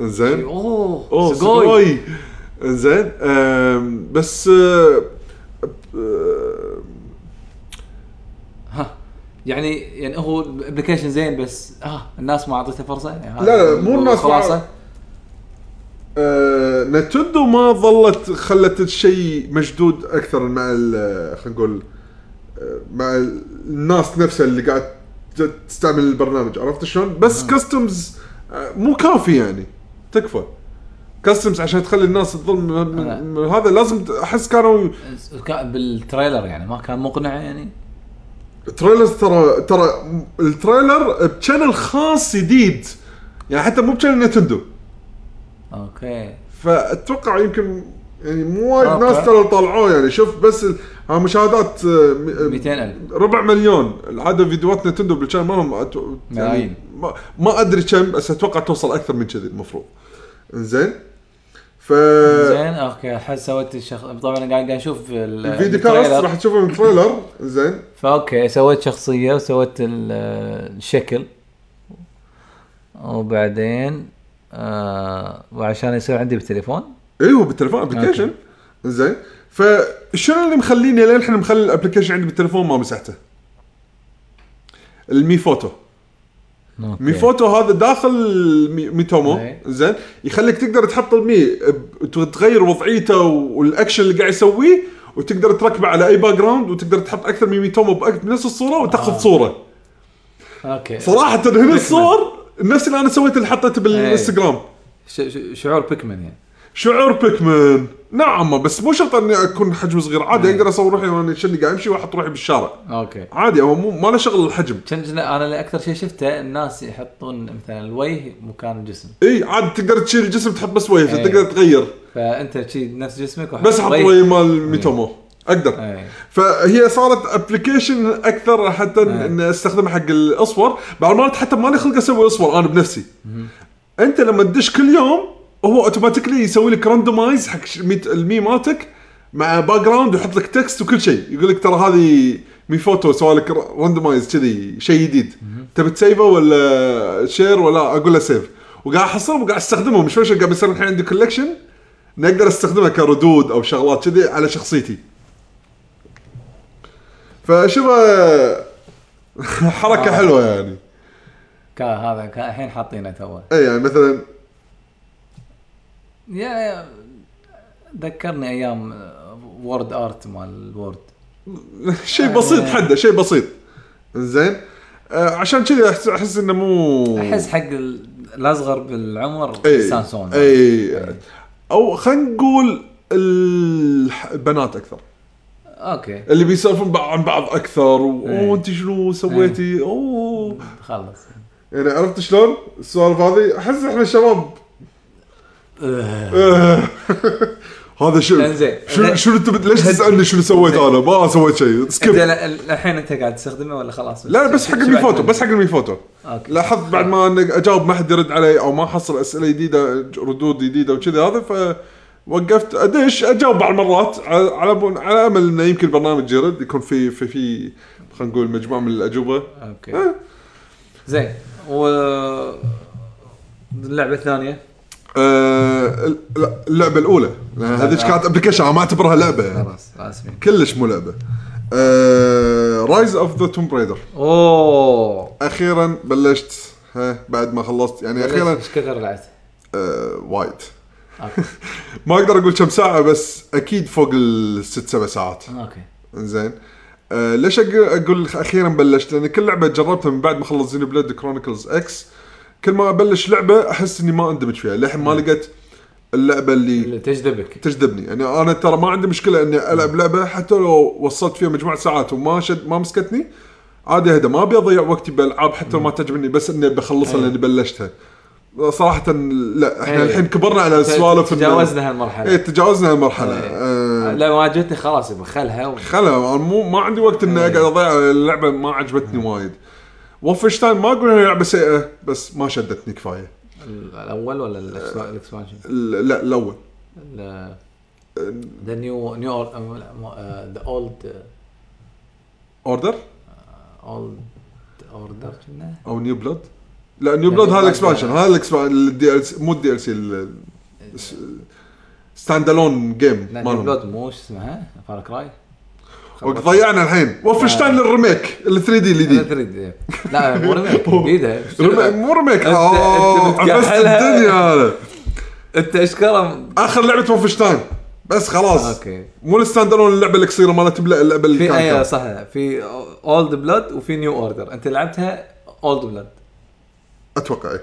S2: زين
S4: اوه
S2: اوه
S4: سجوي.
S2: سجوي زين آم، بس آه، آه،
S4: ها. يعني يعني هو ابلكيشن زين بس اه الناس ما اعطته فرصه يعني هذا
S2: لا، لا، مو الناس ما-
S4: خلاصه
S2: آه، نتندو ما ظلت خلت الشيء مشدود اكثر مع ال- خلينا نقول آه، مع ال- الناس نفسها اللي قاعد ت- تستعمل البرنامج عرفت شلون؟ بس كاستمز مو كافي يعني تكفى كاستمز عشان تخلي الناس تظل من-
S4: أنا-
S2: من- من هذا لازم ت- احس كانوا
S4: كان بالتريلر يعني ما كان مقنع يعني
S2: تريلرز ترى ترى التريلر بشانل خاص جديد يعني حتى مو بشانل نتندو
S4: اوكي
S2: فاتوقع يمكن يعني مو وايد
S4: أوكي.
S2: ناس ترى طلعوه يعني شوف بس ال- ها مشاهدات آه، م- آه،
S4: 200,000.
S2: ربع مليون العاده فيديوهات نتندو بالشان مالهم أت- يعني
S4: ملايين.
S2: ما, ما ادري كم بس اتوقع توصل اكثر من كذي المفروض انزين ف الفيديو
S4: زين اوكي احس سويت الشخص طبعا قاعد قاعد اشوف ال-
S2: كاست
S4: التريلر.
S2: راح تشوفه من التريلر زين
S4: فاوكي سويت شخصيه وسويت ال- الشكل وبعدين آه وعشان يصير عندي بالتليفون
S2: ايوه إيه، بالتليفون ابلكيشن زين فشنو اللي مخليني للحين مخلي الابلكيشن عندي بالتليفون ما مسحته المي فوتو مي فوتو هذا داخل مي- ميتومو
S3: إيه.
S2: زين يخليك تقدر تحط المي ب- تغير وضعيته والاكشن اللي قاعد يسويه وتقدر تركبه على اي باك جراوند وتقدر تحط اكثر من ميتومو بأك- بنفس الصوره وتاخذ آه. صوره
S3: اوكي
S2: صراحه هنا الصور نفس اللي انا سويته اللي حطيته بالانستغرام
S3: ش- ش- شعور بيكمن يعني
S2: شعور بيكمان نعم بس مو شرط اني اكون حجم صغير عادي
S3: إيه.
S2: اقدر اصور روحي وانا شني قاعد امشي واحط روحي بالشارع
S3: اوكي
S2: عادي هو مو ما له شغل الحجم
S3: كان انا اللي اكثر شيء شفته الناس يحطون مثلا الوجه مكان الجسم
S2: اي عادي تقدر تشيل الجسم تحط بس وجهك
S3: إيه.
S2: تقدر تغير
S3: فانت شي نفس جسمك وحط
S2: بس حط
S3: وجه.
S2: وجه مال ميتومو اقدر
S3: طيب. إيه.
S2: فهي صارت ابلكيشن اكثر حتى
S3: إيه.
S2: ان استخدمها حق الاصور بعض المرات حتى مالي خلق اسوي اصور انا بنفسي انت لما تدش كل يوم هو اوتوماتيكلي يسوي لك راندومايز حق ش- ميت- المي مالتك مع باك جراوند ويحط لك تكست وكل شيء يقول لك ترى هذه مي فوتو سوى لك راندومايز كذي شيء جديد تبي تسيفه ولا شير ولا اقول له سيف وقاعد احصلهم وقاعد استخدمهم شوي شوي قاعد يصير الحين عندي كولكشن نقدر استخدمها كردود او شغلات كذي على شخصيتي فشوفها حركه حلوه يعني
S3: كان هذا كان الحين حاطينه توه
S2: اي يعني مثلا
S3: يا يا ذكرني ايام وورد ارت مال الوورد
S2: شيء
S3: آه.
S2: بسيط حده شيء بسيط زين آه عشان كذي احس احس انه مو
S3: احس حق ال- الاصغر بالعمر
S2: اي
S3: سانسون
S2: اي او خلينا نقول الح- البنات اكثر
S3: اوكي
S2: اللي بيسولفون بع- عن بعض اكثر و-
S3: إي.
S2: اوه انت شنو سويتي اوه
S3: خلص
S2: يعني عرفت شلون السوالف هذه احس احنا شباب إيه. هذا شنو
S3: إنزين.
S2: شنو شنو انت بت- ليش تسالني شنو سويت انا ما سويت شيء
S3: انت
S2: سكيب
S3: لا- الحين انت قاعد تستخدمه ولا خلاص
S2: لا بس حق المي فوتو بس حق المي فوتو
S3: أوكي.
S2: لاحظت بعد ما انك اجاوب ما حد يرد علي او ما احصل اسئله جديده ردود جديده وكذا هذا ف وقفت ادش اجاوب بعض المرات على على بون- على امل انه يمكن البرنامج يرد يكون في في في خلينا نقول مجموعه من الاجوبه
S3: اوكي زين و اللعبه الثانيه
S2: آه، ال- ال- اللعبه الاولى لأن هذيك كانت ابلكيشن ما اعتبرها لعبه يعني
S3: خلاص اسفين
S2: كلش مو آه، لعبه رايز اوف ذا توم برايدر
S3: اوه
S2: اخيرا بلشت ها بعد ما خلصت يعني اخيرا
S3: ايش كثر لعبت؟
S2: آه، وايد
S3: اوكي
S2: ما اقدر اقول كم ساعه بس اكيد فوق الست سبع ساعات
S3: اوكي
S2: زين آه ليش أق- اقول اخيرا بلشت لان كل لعبه جربتها من بعد ما خلص زين بلاد كرونيكلز اكس كل ما ابلش لعبه احس اني ما اندمج فيها للحين ما لقيت اللعبه اللي
S3: اللي تجذبك
S2: تجذبني يعني انا ترى ما عندي مشكله اني العب لعبه حتى لو وصلت فيها مجموعه ساعات وما شد ما مسكتني عادي اهدى ما ابي اضيع وقتي بالالعاب حتى لو ما تعجبني بس اني بخلصها لاني بلشتها صراحه لا احنا
S3: إيه.
S2: الحين كبرنا على السوالف إن-
S3: تجاوزنا
S2: ايه
S3: هالمرحله
S2: تجاوزنا المرحله
S3: إيه.
S2: آه
S3: لا ما عجبتني خلاص يبا خلها و...
S2: خلا مو ما عندي وقت اني
S3: إيه.
S2: اقعد اضيع اللعبه ما عجبتني وايد وولفنشتاين ما اقول انها لعبه سيئه بس ما شدتني كفايه
S3: الاول ولا الإكسبا- الاكسبانشن؟
S2: ال- لا الاول
S3: ذا نيو نيو ذا اولد
S2: اوردر
S3: اولد اوردر كنا
S2: او نيو بلود لا نيو بلود هذا الاكسبانشن هذا الاكسبانشن الدي ال سي مو الدي ال سي ستاند الون جيم
S3: إيه. لا نيو
S2: مالهم
S3: بلود مو شو اسمها فار كراي
S2: وقت ضيعنا الحين وولفنشتاين الريميك ال 3 دي
S3: لا
S2: الجديد
S3: تريد لا مو ريميك جديده
S2: ريميك- مو ريميك
S3: أنت-
S2: اه
S3: أنت
S2: عبست
S3: بتكحلها.
S2: الدنيا هذا
S3: انت اشكره
S2: اخر لعبه وولفنشتاين بس خلاص
S3: اوكي
S2: مو الستاند الون اللعبه القصيره مالت بلا- اللعبه اللي
S3: في إيه،
S2: كانت
S3: اي
S2: كامل.
S3: صح في اولد بلود وفي نيو اوردر انت لعبتها اولد بلود
S2: اتوقع اي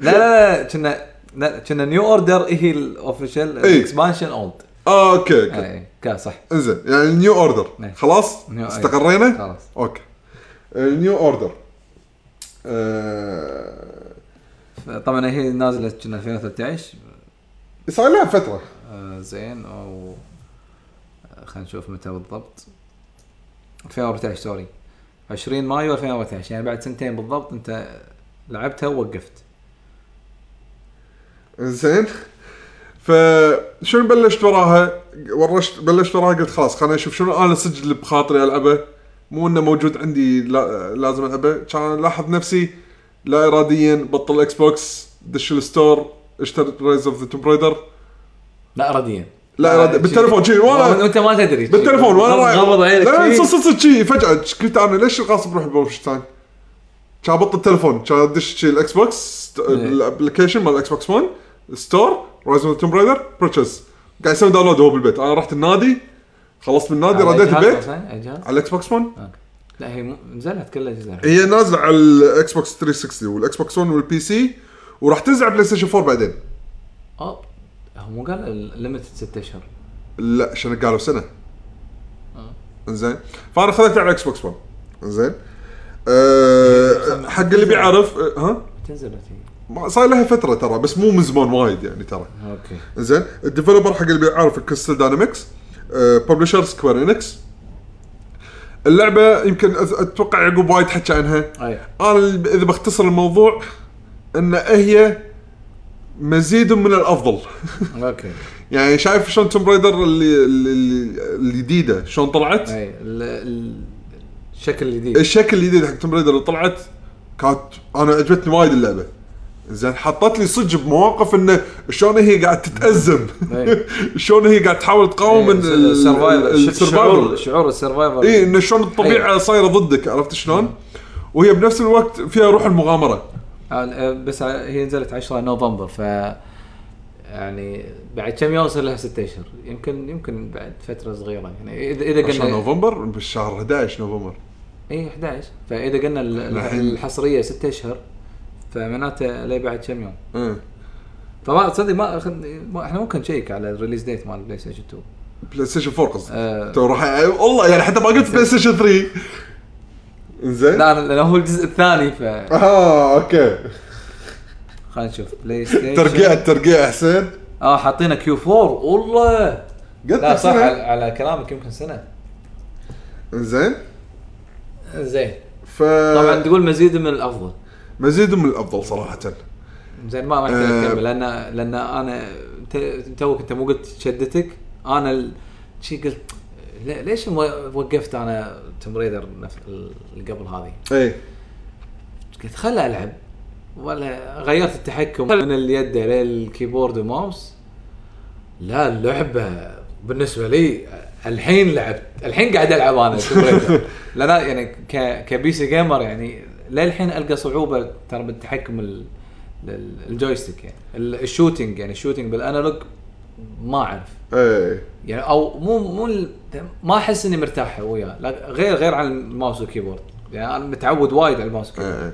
S3: لا لا لا كنا لا كنا إيه نيو اوردر هي الاوفيشال
S2: إي.
S3: الاكسبانشن اولد
S2: آه، اوكي اوكي
S3: اي كا صح
S2: انزين يعني نيو اوردر
S3: نعم.
S2: خلاص
S3: نيو- أي.
S2: استقرينا آه،
S3: خلاص.
S2: اوكي نيو اوردر آه،
S3: طبعا هي نازله كنا 2013
S2: صار لها فتره
S3: آه، زين او آه، خلينا نشوف متى بالضبط 2014 سوري 20 مايو 2014 يعني بعد سنتين بالضبط انت لعبتها ووقفت
S2: انزين فشنو بلشت وراها؟ ورشت بلشت وراها قلت خلاص خليني اشوف شنو انا صدق اللي بخاطري العبه مو انه موجود عندي لا لازم العبه كان لاحظ نفسي لا اراديا بطل الاكس بوكس دش الستور اشتريت رايز اوف ذا توم برايدر
S3: لا اراديا
S2: لا لا بالتليفون شي
S3: آه، وأنت-
S2: وانا
S3: وانت ما تدري
S2: بالتليفون وانا رايح
S3: غمض عينك
S2: لا
S3: شي.
S2: صدق صدق شي فجاه ش- قلت انا ليش القاصب بروح بوش تايم؟ كان ابطل التليفون كان ادش شي الاكس بوكس
S3: إيه.
S2: ت- الابلكيشن مال الاكس بوكس 1 ستور رايزون توم برايدر برتشز قاعد يسوي داونلود هو بالبيت انا رحت النادي خلصت من النادي رديت آه.
S3: على
S2: البيت
S3: جهاز مثلاً؟ على جهاز؟
S2: على الاكس بوكس 1
S3: أوكي. آه. لا هي مو- نزلت كلها جزء
S2: هي نازله على الاكس بوكس 360 والاكس بوكس 1 والبي سي وراح تنزل بلاي ستيشن 4 بعدين
S3: اه هو مو قال الليمتد ست اشهر
S2: لا عشان قالوا سنه زين فانا خذيته على الاكس بوكس 1 زين أه حق اللي بيعرف أه، ها
S3: تنزلت هي
S2: ما- صار لها فتره ترى بس مو من زمان وايد يعني ترى
S3: اوكي
S2: زين الديفلوبر حق اللي بيعرف كريستال داينامكس أه ببلشر سكوير انكس اللعبه يمكن أت- اتوقع يعقوب وايد حكى عنها
S3: اي
S2: انا ال- اذا بختصر الموضوع ان هي مزيد من الافضل
S3: اوكي
S2: يعني شايف شلون توم رايدر اللي اللي- اللي- الجديده شلون طلعت
S3: اي ال- ال- الشكل الجديد
S2: الشكل الجديد حق توم رايدر اللي طلعت كانت انا عجبتني وايد اللعبه زين حطت لي صدق بمواقف انه شلون هي قاعد تتازم
S3: إيه.
S2: شلون هي قاعد تحاول تقاوم
S3: إيه، السرفايفل شعور
S2: السرفايفل
S3: شعور السرفايفل
S2: اي انه إيه، شلون
S3: إيه.
S2: الطبيعه صايره ضدك عرفت شلون؟ وهي بنفس الوقت فيها روح المغامره
S3: آه، بس هي نزلت 10 نوفمبر ف يعني بعد كم يوم صار لها ست اشهر يمكن يمكن بعد فتره صغيره يعني اذا اذا
S2: 10
S3: قلنا
S2: نوفمبر بالشهر 11 نوفمبر
S3: اي 11 فاذا قلنا ال- ال-
S2: الحين-
S3: الحصريه ست اشهر فمعناته لي بعد كم يوم
S2: إيه.
S3: طبعا تصدق ما خل- ما- احنا ممكن نشيك على الريليز ديت مال بلاي ستيشن 2
S2: بلاي ستيشن 4 قصدي
S3: آه.
S2: تو راح والله يعني حتى ما قلت بلاي ستيشن 3 زين
S3: لا أنا- لأن هو الجزء الثاني ف
S2: اه اوكي
S3: خلينا نشوف بلاي ستيشن
S2: ترقيع الترقيع حسين
S3: اه حاطينه كيو 4 والله
S2: قلت
S3: لا
S2: لك
S3: صح على,
S2: سنة.
S3: على كلامك يمكن سنه
S2: زين آه.
S3: زين
S2: ف آه.
S3: طبعا تقول مزيد من الافضل
S2: مزيد من الافضل صراحه
S3: زين ما ما
S2: آه.
S3: احتاج اكمل لان لان انا ت- توك انت مو قلت شدتك انا ال- شي قلت لي- ليش مو- وقفت انا توم ريدر نفس ال- اللي قبل هذه
S2: اي
S3: قلت خل العب ولا غيرت التحكم من اليد للكيبورد وماوس لا اللعبه بالنسبه لي الحين لعبت الحين قاعد العب انا توم ريدر. لان أنا يعني ك كبي سي جيمر يعني للحين القى صعوبه ترى بالتحكم ال- ال- الجويستيك يعني ال- الشوتينج يعني الشوتينج بالانالوج ما اعرف
S2: اي
S3: يعني او مو مو ال- ما احس اني مرتاح وياه لا- غير غير عن الماوس والكيبورد يعني انا متعود وايد على الماوس والكيبورد
S2: إي.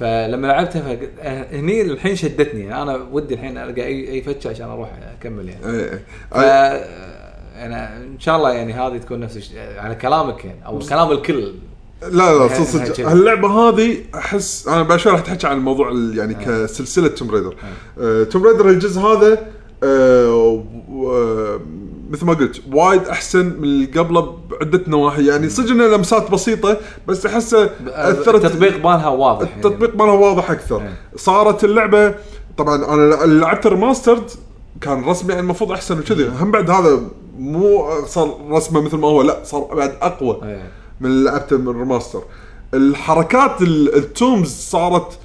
S3: فلما لعبتها فق... آه، هني الحين شدتني يعني انا ودي الحين القى اي اي فتشه عشان اروح اكمل يعني
S2: اي
S3: ف... انا ان شاء الله يعني هذه تكون نفس الشيء على كلامك يعني او كلام الكل
S2: لا لا صدق
S3: ها-
S2: صدق
S3: ها-
S2: هاللعبه هذه احس انا بعد شوي راح تحكي عن الموضوع ال- يعني
S3: آه.
S2: كسلسله توم رايدر توم رايدر الجزء هذا آه، و- آه، مثل ما قلت وايد احسن من اللي قبله بعده نواحي يعني صدق انه لمسات بسيطه بس احسه اثرت
S3: آه، التطبيق مالها واضح يعني.
S2: التطبيق مالها واضح اكثر
S3: إيه.
S2: صارت اللعبه طبعا انا اللي لعبت الريماسترد كان رسمي يعني المفروض احسن وكذي
S3: آه.
S2: هم بعد هذا مو صار رسمه مثل ما هو لا صار بعد اقوى
S3: إيه.
S2: من اللي لعبته من الريماستر الحركات ال- التومز صارت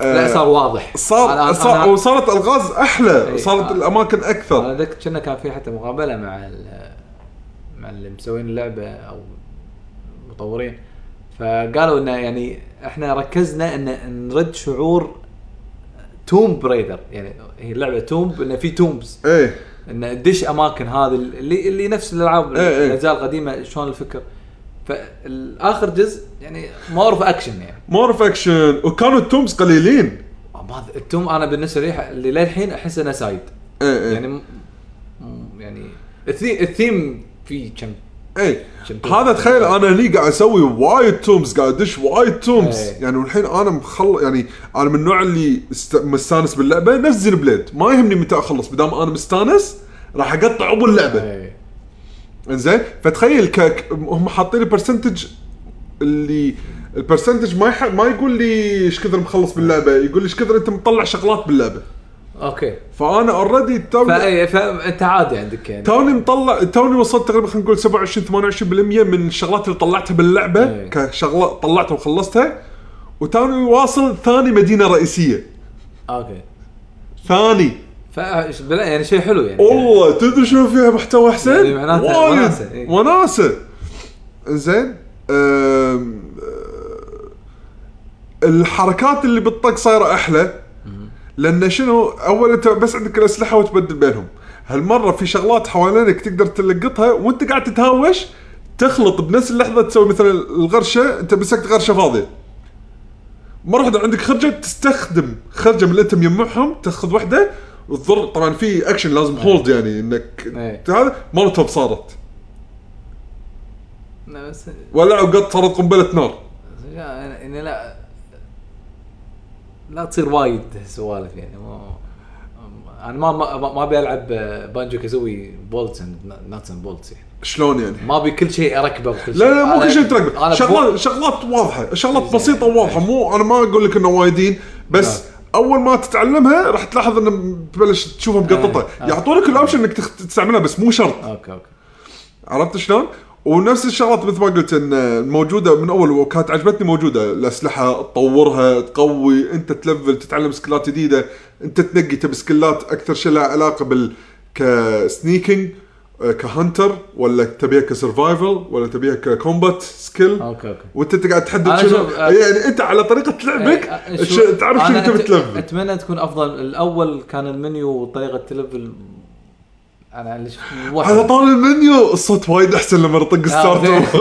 S2: آه،
S3: لا صار واضح
S2: صار
S3: أنا-
S2: صار
S3: أنا-
S2: وصارت الغاز احلى
S3: إيه،
S2: صارت
S3: آه.
S2: الاماكن
S3: انا
S2: اكثر
S3: ذكر كنا كان في حتى مقابله مع ال- مع اللي مسوين اللعبه او مطورين فقالوا انه يعني احنا ركزنا ان نرد شعور توم بريدر يعني هي اللعبه تومب انه في تومبز
S2: ايه
S3: ان تدش اماكن هذه اللي اللي نفس الالعاب
S2: إيه إيه.
S3: الاجزاء القديمه شلون الفكر فالاخر جزء يعني ما اعرف اكشن يعني
S2: مور اكشن وكانوا التومز قليلين
S3: ما أد- التوم انا بالنسبه لي ح- اللي للحين احس انه سايد
S2: ايه ايه
S3: يعني م- م- يعني الثيم, الثيم في كم
S2: اي
S3: عشان تلعب.
S2: إيه. هذا تخيل
S3: آه.
S2: انا هني قاعد اسوي وايد تومز قاعد ادش وايد تومز
S3: إي.
S2: يعني والحين انا مخل يعني انا من النوع اللي است... مستانس باللعبه نفس زين بليد ما يهمني متى اخلص بدام انا مستانس راح اقطع ابو اللعبه
S3: إيه.
S2: انزين فتخيل ك... ك- هم حاطين لي برسنتج اللي البرسنتج ما يح... ما يقول لي ايش كثر مخلص باللعبه يقول لي ايش كثر انت مطلع شغلات باللعبه
S3: اوكي
S2: فانا اوريدي
S3: فأي- فانت عادي عندك يعني
S2: توني مطلع توني وصلت تقريبا خلينا نقول 27 28% من الشغلات اللي طلعتها باللعبه
S3: إيه.
S2: كشغله طلعتها وخلصتها وتوني واصل ثاني مدينه رئيسيه
S3: اوكي
S2: ثاني
S3: ف يعني شيء حلو يعني
S2: والله تدري شنو فيها محتوى حسين؟
S3: يعني معناتها
S2: وايد.
S3: وناسة، إيه.
S2: وناسه زين أم، أه، الحركات اللي بالطق صايره احلى لان شنو اول انت بس عندك الاسلحه وتبدل بينهم هالمره في شغلات حوالينك تقدر تلقطها وانت قاعد تتهاوش تخلط بنفس اللحظه تسوي مثلا الغرشه انت مسكت غرشه فاضيه مره واحده عندك خرجه تستخدم خرجه من اللي انت مجمعهم تاخذ واحده وتضر طبعا في اكشن لازم هولد يعني انك
S3: إيه.
S2: هذا مولوتوف صارت
S3: لا بس
S2: ولع وقط صارت قنبله نار
S3: لا يعني لا لا تصير وايد سوالف يعني ما انا ما ما ما ابي العب بانجو كازوي بولتس ناتس اند بولتس يعني
S2: شلون يعني؟
S3: ما ابي كل شيء اركبه بكل
S2: لا لا مو
S3: أنا-
S2: كل شيء ترقب
S3: أنا
S2: شغلات
S3: بو-
S2: شغلات واضحه شغلات
S3: زين.
S2: بسيطه وواضحه مو انا ما اقول لك انه وايدين بس
S3: لا.
S2: اول ما تتعلمها راح تلاحظ انه تبلش تشوفها مقططه
S3: آه.
S2: يعطونك الاوبشن انك تخ- تستعملها بس مو شرط
S3: اوكي اوكي
S2: عرفت شلون؟ ونفس الشغلات مثل ما قلت ان موجوده من اول وكانت عجبتني موجوده الاسلحه تطورها تقوي انت تلفل تتعلم سكلات جديده انت تنقي تبي سكلات اكثر شيء لها علاقه بال كسنيكينج آه، كهنتر ولا تبيها كسرفايفل ولا تبيها ككومبات سكيل
S3: اوكي اوكي
S2: وانت قاعد تحدد
S3: أنا
S2: شنو
S3: شوف-
S2: يعني انت على طريقه لعبك
S3: أه،
S2: ش-
S3: شوف،
S2: تعرف شنو
S3: أنا
S2: تبي
S3: أت-
S2: تلفل
S3: اتمنى تكون افضل الاول كان المنيو وطريقه تلفل انا اللي شفت واحد.
S2: على طول المنيو الصوت وايد احسن لما نطق ستارت
S3: آه، أوكي.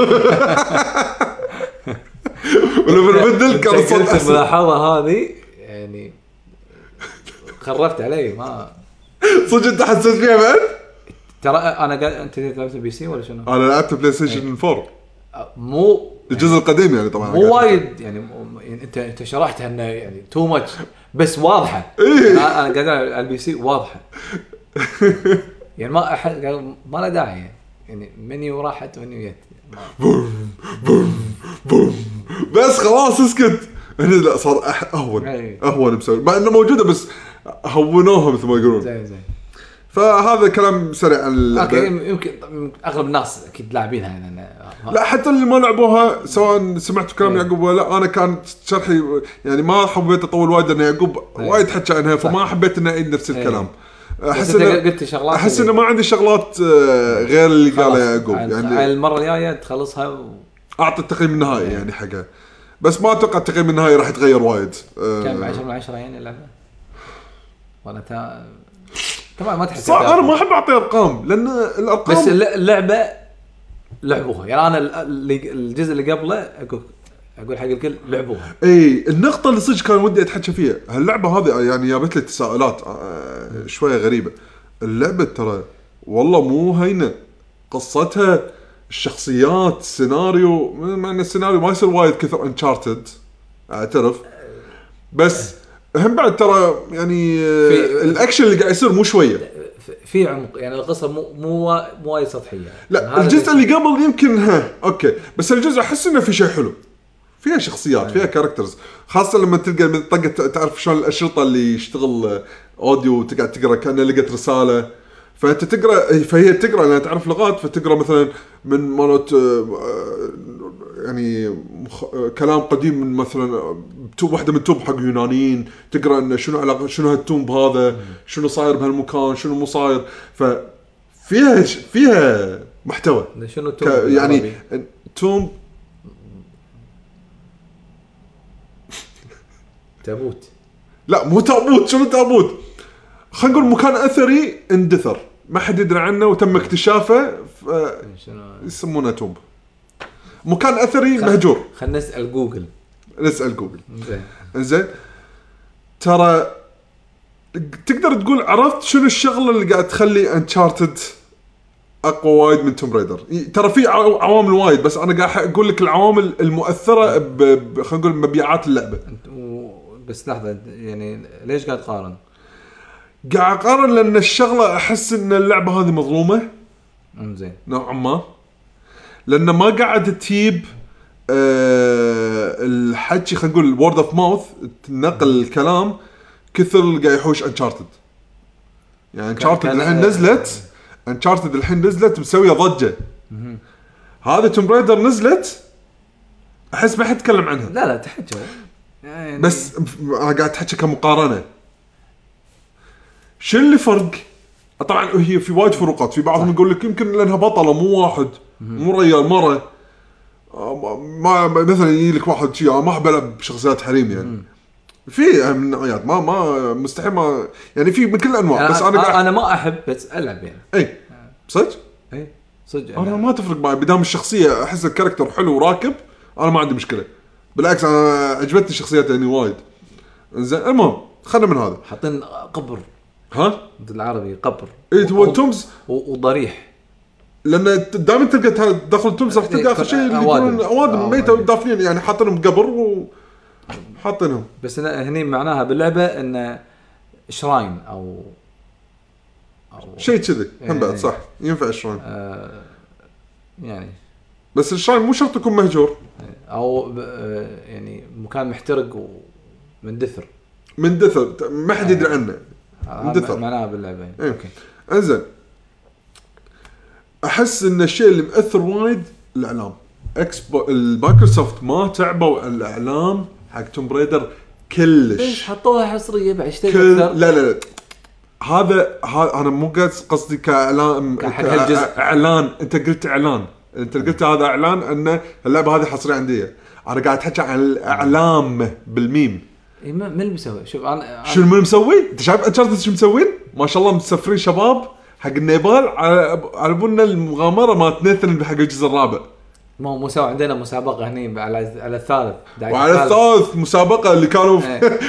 S2: ولما نبدل كان
S3: أنت
S2: الصوت
S3: قلت
S2: احسن
S3: الملاحظه هذه يعني خرفت علي ما
S2: صدق انت حسيت فيها بعد؟
S3: ترى انا قاعد انت لعبت بي سي ولا شنو؟
S2: انا لعبت بلاي
S3: إيه.
S2: ستيشن 4 آه.
S3: مو
S2: الجزء القديم يعني طبعا
S3: مو إيه. وايد يعني مو- يعني انت انت شرحتها انه يعني تو ماتش بس واضحه
S2: إيه.
S3: انا أنا قاعد ألعب على البي سي واضحه يعني ما أح... قال ما له داعي يعني. يعني منيو راحت منيو جت
S2: بس خلاص اسكت هنا لا صار أح- اهون
S3: أي.
S2: اهون مسوي مع انه موجوده بس هونوها مثل ما يقولون
S3: زين زين
S2: فهذا كلام سريع عن اللعبة.
S3: اوكي يم- يمكن طب- اغلب الناس اكيد لاعبينها لان ما-
S2: لا حتى اللي ما لعبوها سواء سمعتوا كلام
S3: إيه.
S2: يعقوب ولا لا، انا كان شرحي يعني ما حبيت اطول وايد لان يعقوب
S3: إيه.
S2: وايد حكى عنها فما حبيت اني اعيد نفس الكلام احس
S3: بس انت
S2: إنه-
S3: قلت شغلات يعني
S2: احس انه ما عندي شغلات آه، غير اللي
S3: خلاص،
S2: قاله يعقوب
S3: عن-
S2: يعني
S3: عن المره الجايه تخلصها و...
S2: اعطي التقييم النهائي يعني حقها بس ما اتوقع التقييم النهائي راح يتغير وايد آه،
S3: كم 10 من 10 يعني اللعبه ولا تا طبعا ما تحس
S2: صح
S3: بتاع-
S2: انا ما احب اعطي ارقام لان الارقام
S3: بس الل- اللعبه لعبوها يعني انا ال- اللي- الجزء اللي قبله اقول اقول حق الكل لعبوها
S2: اي النقطة اللي صدق كان ودي اتحكى فيها، هاللعبة هذه يعني جابت لي تساؤلات آه، شوية غريبة. اللعبة ترى والله مو هينة قصتها الشخصيات السيناريو مع ان السيناريو ما يصير وايد كثر انشارتد اعترف بس هم بعد ترى يعني آه،
S3: في-
S2: الاكشن اللي قاعد يصير مو شويه
S3: ف- في عمق يعني القصه مو مو وا- مو وايد سطحيه
S2: لا
S3: هذا
S2: الجزء اللي قبل يمكن ها اوكي بس الجزء احس انه في شيء حلو فيها شخصيات فيها كاركترز خاصه لما تلقى من طقه تعرف شلون الاشرطه اللي يشتغل آه، اوديو وتقعد تقرا كانها لقت رساله فانت تقرا إيه، فهي تقرا لانها تعرف لغات فتقرا مثلا من مالت آه، آه، يعني مخ... آه، كلام قديم من مثلا آه، توب واحده من توب حق يونانيين تقرا انه شنو علاقه شنو هالتوب هذا شنو صاير بهالمكان شنو مو صاير ف فيها فيها محتوى
S3: اللي شنو
S2: ك-
S3: تو
S2: يعني توم
S3: تابوت
S2: لا مو تابوت شنو تابوت خلينا نقول مكان اثري اندثر ما حد يدري عنه وتم اكتشافه ف-
S3: شنو
S2: يسمونه توم مكان اثري مهجور
S3: خلينا نسال جوجل
S2: نسال جوجل
S3: زين
S2: انزين ترى تقدر تقول عرفت شنو الشغله اللي قاعد تخلي انشارتد اقوى وايد من توم ريدر ترى في عو- عوامل وايد بس انا قاعد اقول لك العوامل المؤثره ب- ب- خلينا نقول مبيعات اللعبه
S3: أنت- و- بس لحظه أنت يعني ليش قاعد تقارن؟
S2: قاعد اقارن لان الشغله احس ان اللعبه هذه مظلومه
S3: أم زين
S2: نوعا ما لان ما قاعد تجيب أه الحكي خلينا نقول الورد اوف ماوث نقل الكلام كثر اللي قاعد يحوش انشارتد يعني انشارتد
S3: كان-
S2: الحين نزلت انشارتد الحين نزلت مسويه ضجه هذا توم رايدر نزلت احس ما حد تكلم عنها
S3: لا لا تحكي يعني
S2: بس ف- انا قاعد احكي كمقارنه شو اللي فرق؟ طبعا هي في وايد فروقات في بعضهم يقول لك يمكن لانها بطله مو واحد مو رجال مره آه، ما ما- مثلا يجي لك واحد شي آه، ما احب العب بشخصيات حريم يعني في نوعيات ما ما مستحيل ما يعني في من كل الانواع بس انا قاعد
S3: انا ما احب بس العب يعني
S2: اي صدق؟
S3: اي صدق
S2: انا
S3: أنا
S2: ما تفرق معي بدام الشخصيه احس الكاركتر حلو وراكب انا ما عندي مشكله بالعكس انا عجبتني الشخصيات يعني وايد زين المهم خلنا من هذا
S3: حاطين قبر
S2: ها
S3: بالعربي قبر
S2: اي هو
S3: و-
S2: تومز
S3: و- وضريح
S2: لان دائما تلقى تا- داخل تومز راح تلقى
S3: إيه،
S2: اخر شيء اللي
S3: أوادم.
S2: يقولون
S3: آه،
S2: اوادم ميته
S3: أوادم.
S2: دافنين يعني حاطينهم قبر و حاطينهم
S3: بس أنا هني معناها باللعبه انه شراين او او
S2: شيء كذي هم
S3: إيه.
S2: بعد صح ينفع الشراين
S3: آه يعني
S2: بس الشراين مو شرط يكون مهجور
S3: او ب- آه، يعني مكان محترق ومندثر
S2: من دثر ما حد
S3: إيه.
S2: يدري عنه
S3: هذا
S2: مندثر.
S3: معناها باللعبه يعني.
S2: إيه.
S3: اوكي
S2: انزين احس ان الشيء اللي مأثر وايد الاعلام اكسبو المايكروسوفت ما تعبوا على الاعلام حق توم بريدر
S3: ليش
S2: كلش
S3: حطوها حصريه بعد اشتري
S2: كل
S3: اكثر
S2: لا لا لا هذا ها انا مو قاعد قصدي كاعلام
S3: كحق
S2: كأ-
S3: هالجزء.
S2: اعلان انت قلت اعلان انت قلت هذا اعلان ان اللعبه هذه حصريه عندي انا قاعد احكي عن الاعلام بالميم
S3: إيه، ما- من اللي مسوي شوف انا
S2: شو المهم مسوي؟ انت شايف انشارتد شو مسوين؟ ما شاء الله مسافرين شباب حق النيبال على على بالنا المغامره مالت نيثن حق الجزء الرابع
S3: مو مو سوى عندنا مسابقه هني على على الثالث داعي
S2: وعلى الثالث مسابقه اللي كانوا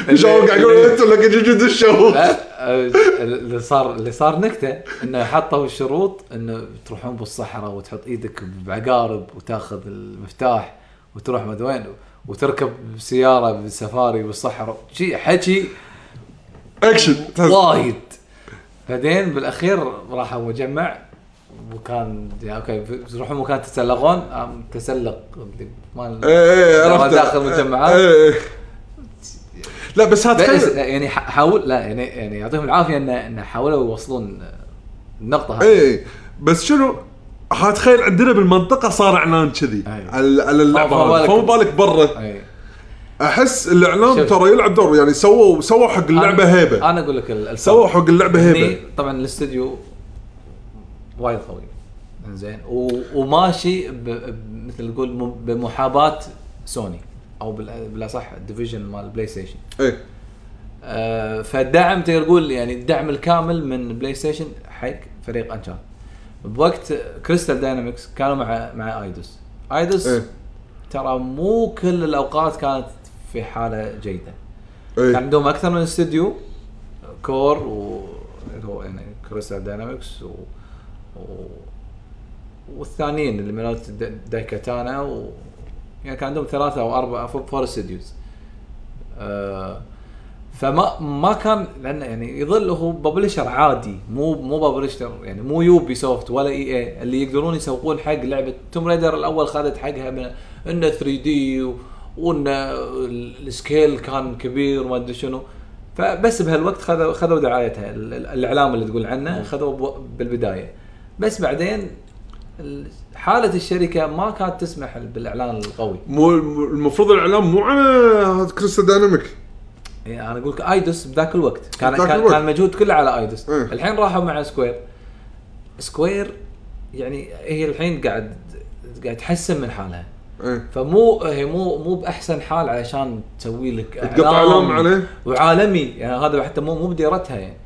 S3: إيه.
S2: شباب قاعد يقولون انتم لك جد الشو
S3: لا، آه، اللي صار اللي صار نكته انه حطوا الشروط انه تروحون بالصحراء وتحط ايدك بعقارب وتاخذ المفتاح وتروح ما أدري وين وتركب سياره بالسفاري بالصحراء شي حكي
S2: اكشن
S3: وايد بعدين بالاخير راحوا مجمع وكان يعني اوكي بتروحون مكان تتسلقون آم، تسلق مال
S2: ايه ايه
S3: لما
S2: عرفت
S3: داخل مجمعات.
S2: ايه، ايه. لا بس هذا
S3: لا،
S2: تخيل-
S3: لا، يعني ح- حاول لا يعني يعني يعطيهم العافيه ان ان حاولوا يوصلون النقطه هذه
S2: ايه بس شنو هات تخيل عندنا بالمنطقه صار اعلان كذي
S3: ايه.
S2: على على اللعبه
S3: فما
S2: هذه.
S3: بالك-
S2: فما بالك برا
S3: أي.
S2: احس الاعلام
S3: شوف.
S2: ترى يلعب دور يعني سووا سووا حق اللعبه
S3: أنا-
S2: هيبه
S3: انا اقول لك ال- الفرق.
S2: سووا حق اللعبه هيبه
S3: هني طبعا الاستوديو وايد قوي زين و- وماشي ب- ب- مثل نقول م- بمحاباه سوني او بال- بالاصح الديفيجن مال بلاي ستيشن
S2: ايه
S3: آه، فالدعم تقدر تقول يعني الدعم الكامل من بلاي ستيشن حق فريق انشان بوقت كريستال داينامكس كانوا مع مع ايدوس ايدوس
S2: إيه.
S3: ترى مو كل الاوقات كانت في يعني حاله جيده كان
S2: ايه
S3: عندهم اكثر من استوديو كور و اللي هو يعني كريستال داينامكس و... و... والثانيين اللي مالت دا- دايكاتانا و... يعني كان عندهم ثلاثه او اربعه فور- فور استوديوز آه فما ما كان لانه يعني يظل هو ببلشر عادي مو مو ببلشر يعني مو يوبي سوفت ولا اي اي اللي يقدرون يسوقون حق لعبه توم ريدر الاول خذت حقها من انه 3 دي وان ال- السكيل كان كبير وما ادري شنو فبس بهالوقت خذوا خذوا دعايتها ال- ال- الاعلام اللي تقول عنه خذوه ب- بالبدايه بس بعدين ال- حاله الشركه ما كانت تسمح بالاعلان القوي
S2: مو مو- المفروض الاعلام مو على كريستال دايناميك
S3: يعني انا اقول لك ايدوس بذاك الوقت كان
S2: بذاك
S3: كان,
S2: الوقت.
S3: كان مجهود كله على ايدوس
S2: إيه.
S3: الحين راحوا مع سكوير سكوير يعني هي الحين قاعد قاعد تحسن من حالها
S2: ايه
S3: فمو هي مو مو باحسن حال علشان تسوي لك
S2: تقطع إعلام عليه.
S3: وعالمي يعني هذا حتى مو مو بديرتها يعني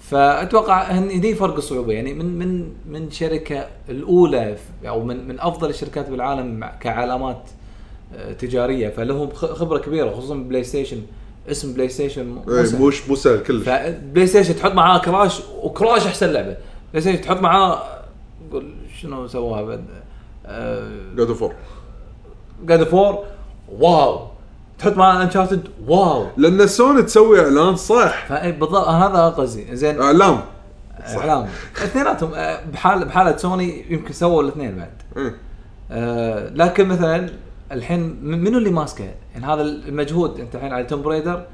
S3: فاتوقع هن هني فرق الصعوبه يعني من من من شركه الاولى ف- او من من افضل الشركات بالعالم مع- كعلامات آه، تجاريه فلهم خ- خبره كبيره خصوصا بلاي ستيشن اسم بلاي ستيشن م- مو
S2: ايه
S3: سهل.
S2: مو مو سهل كلش
S3: فبلاي ستيشن تحط معاه كراش وكراش احسن لعبه بلاي ستيشن تحط معاه قول شنو سووها بعد آه،
S2: جاد اوف
S3: جاد فور واو تحط معاه انشارتد واو
S2: لان سوني تسوي اعلان صح
S3: فبالضبط هذا قصدي زين
S2: اعلام
S3: اعلام اثنيناتهم آه، بحال بحاله سوني يمكن سووا الاثنين بعد
S2: ايه
S3: آه، لكن مثلا الحين م- منو اللي ماسكه؟ يعني هذا المجهود انت الحين على توم بريدر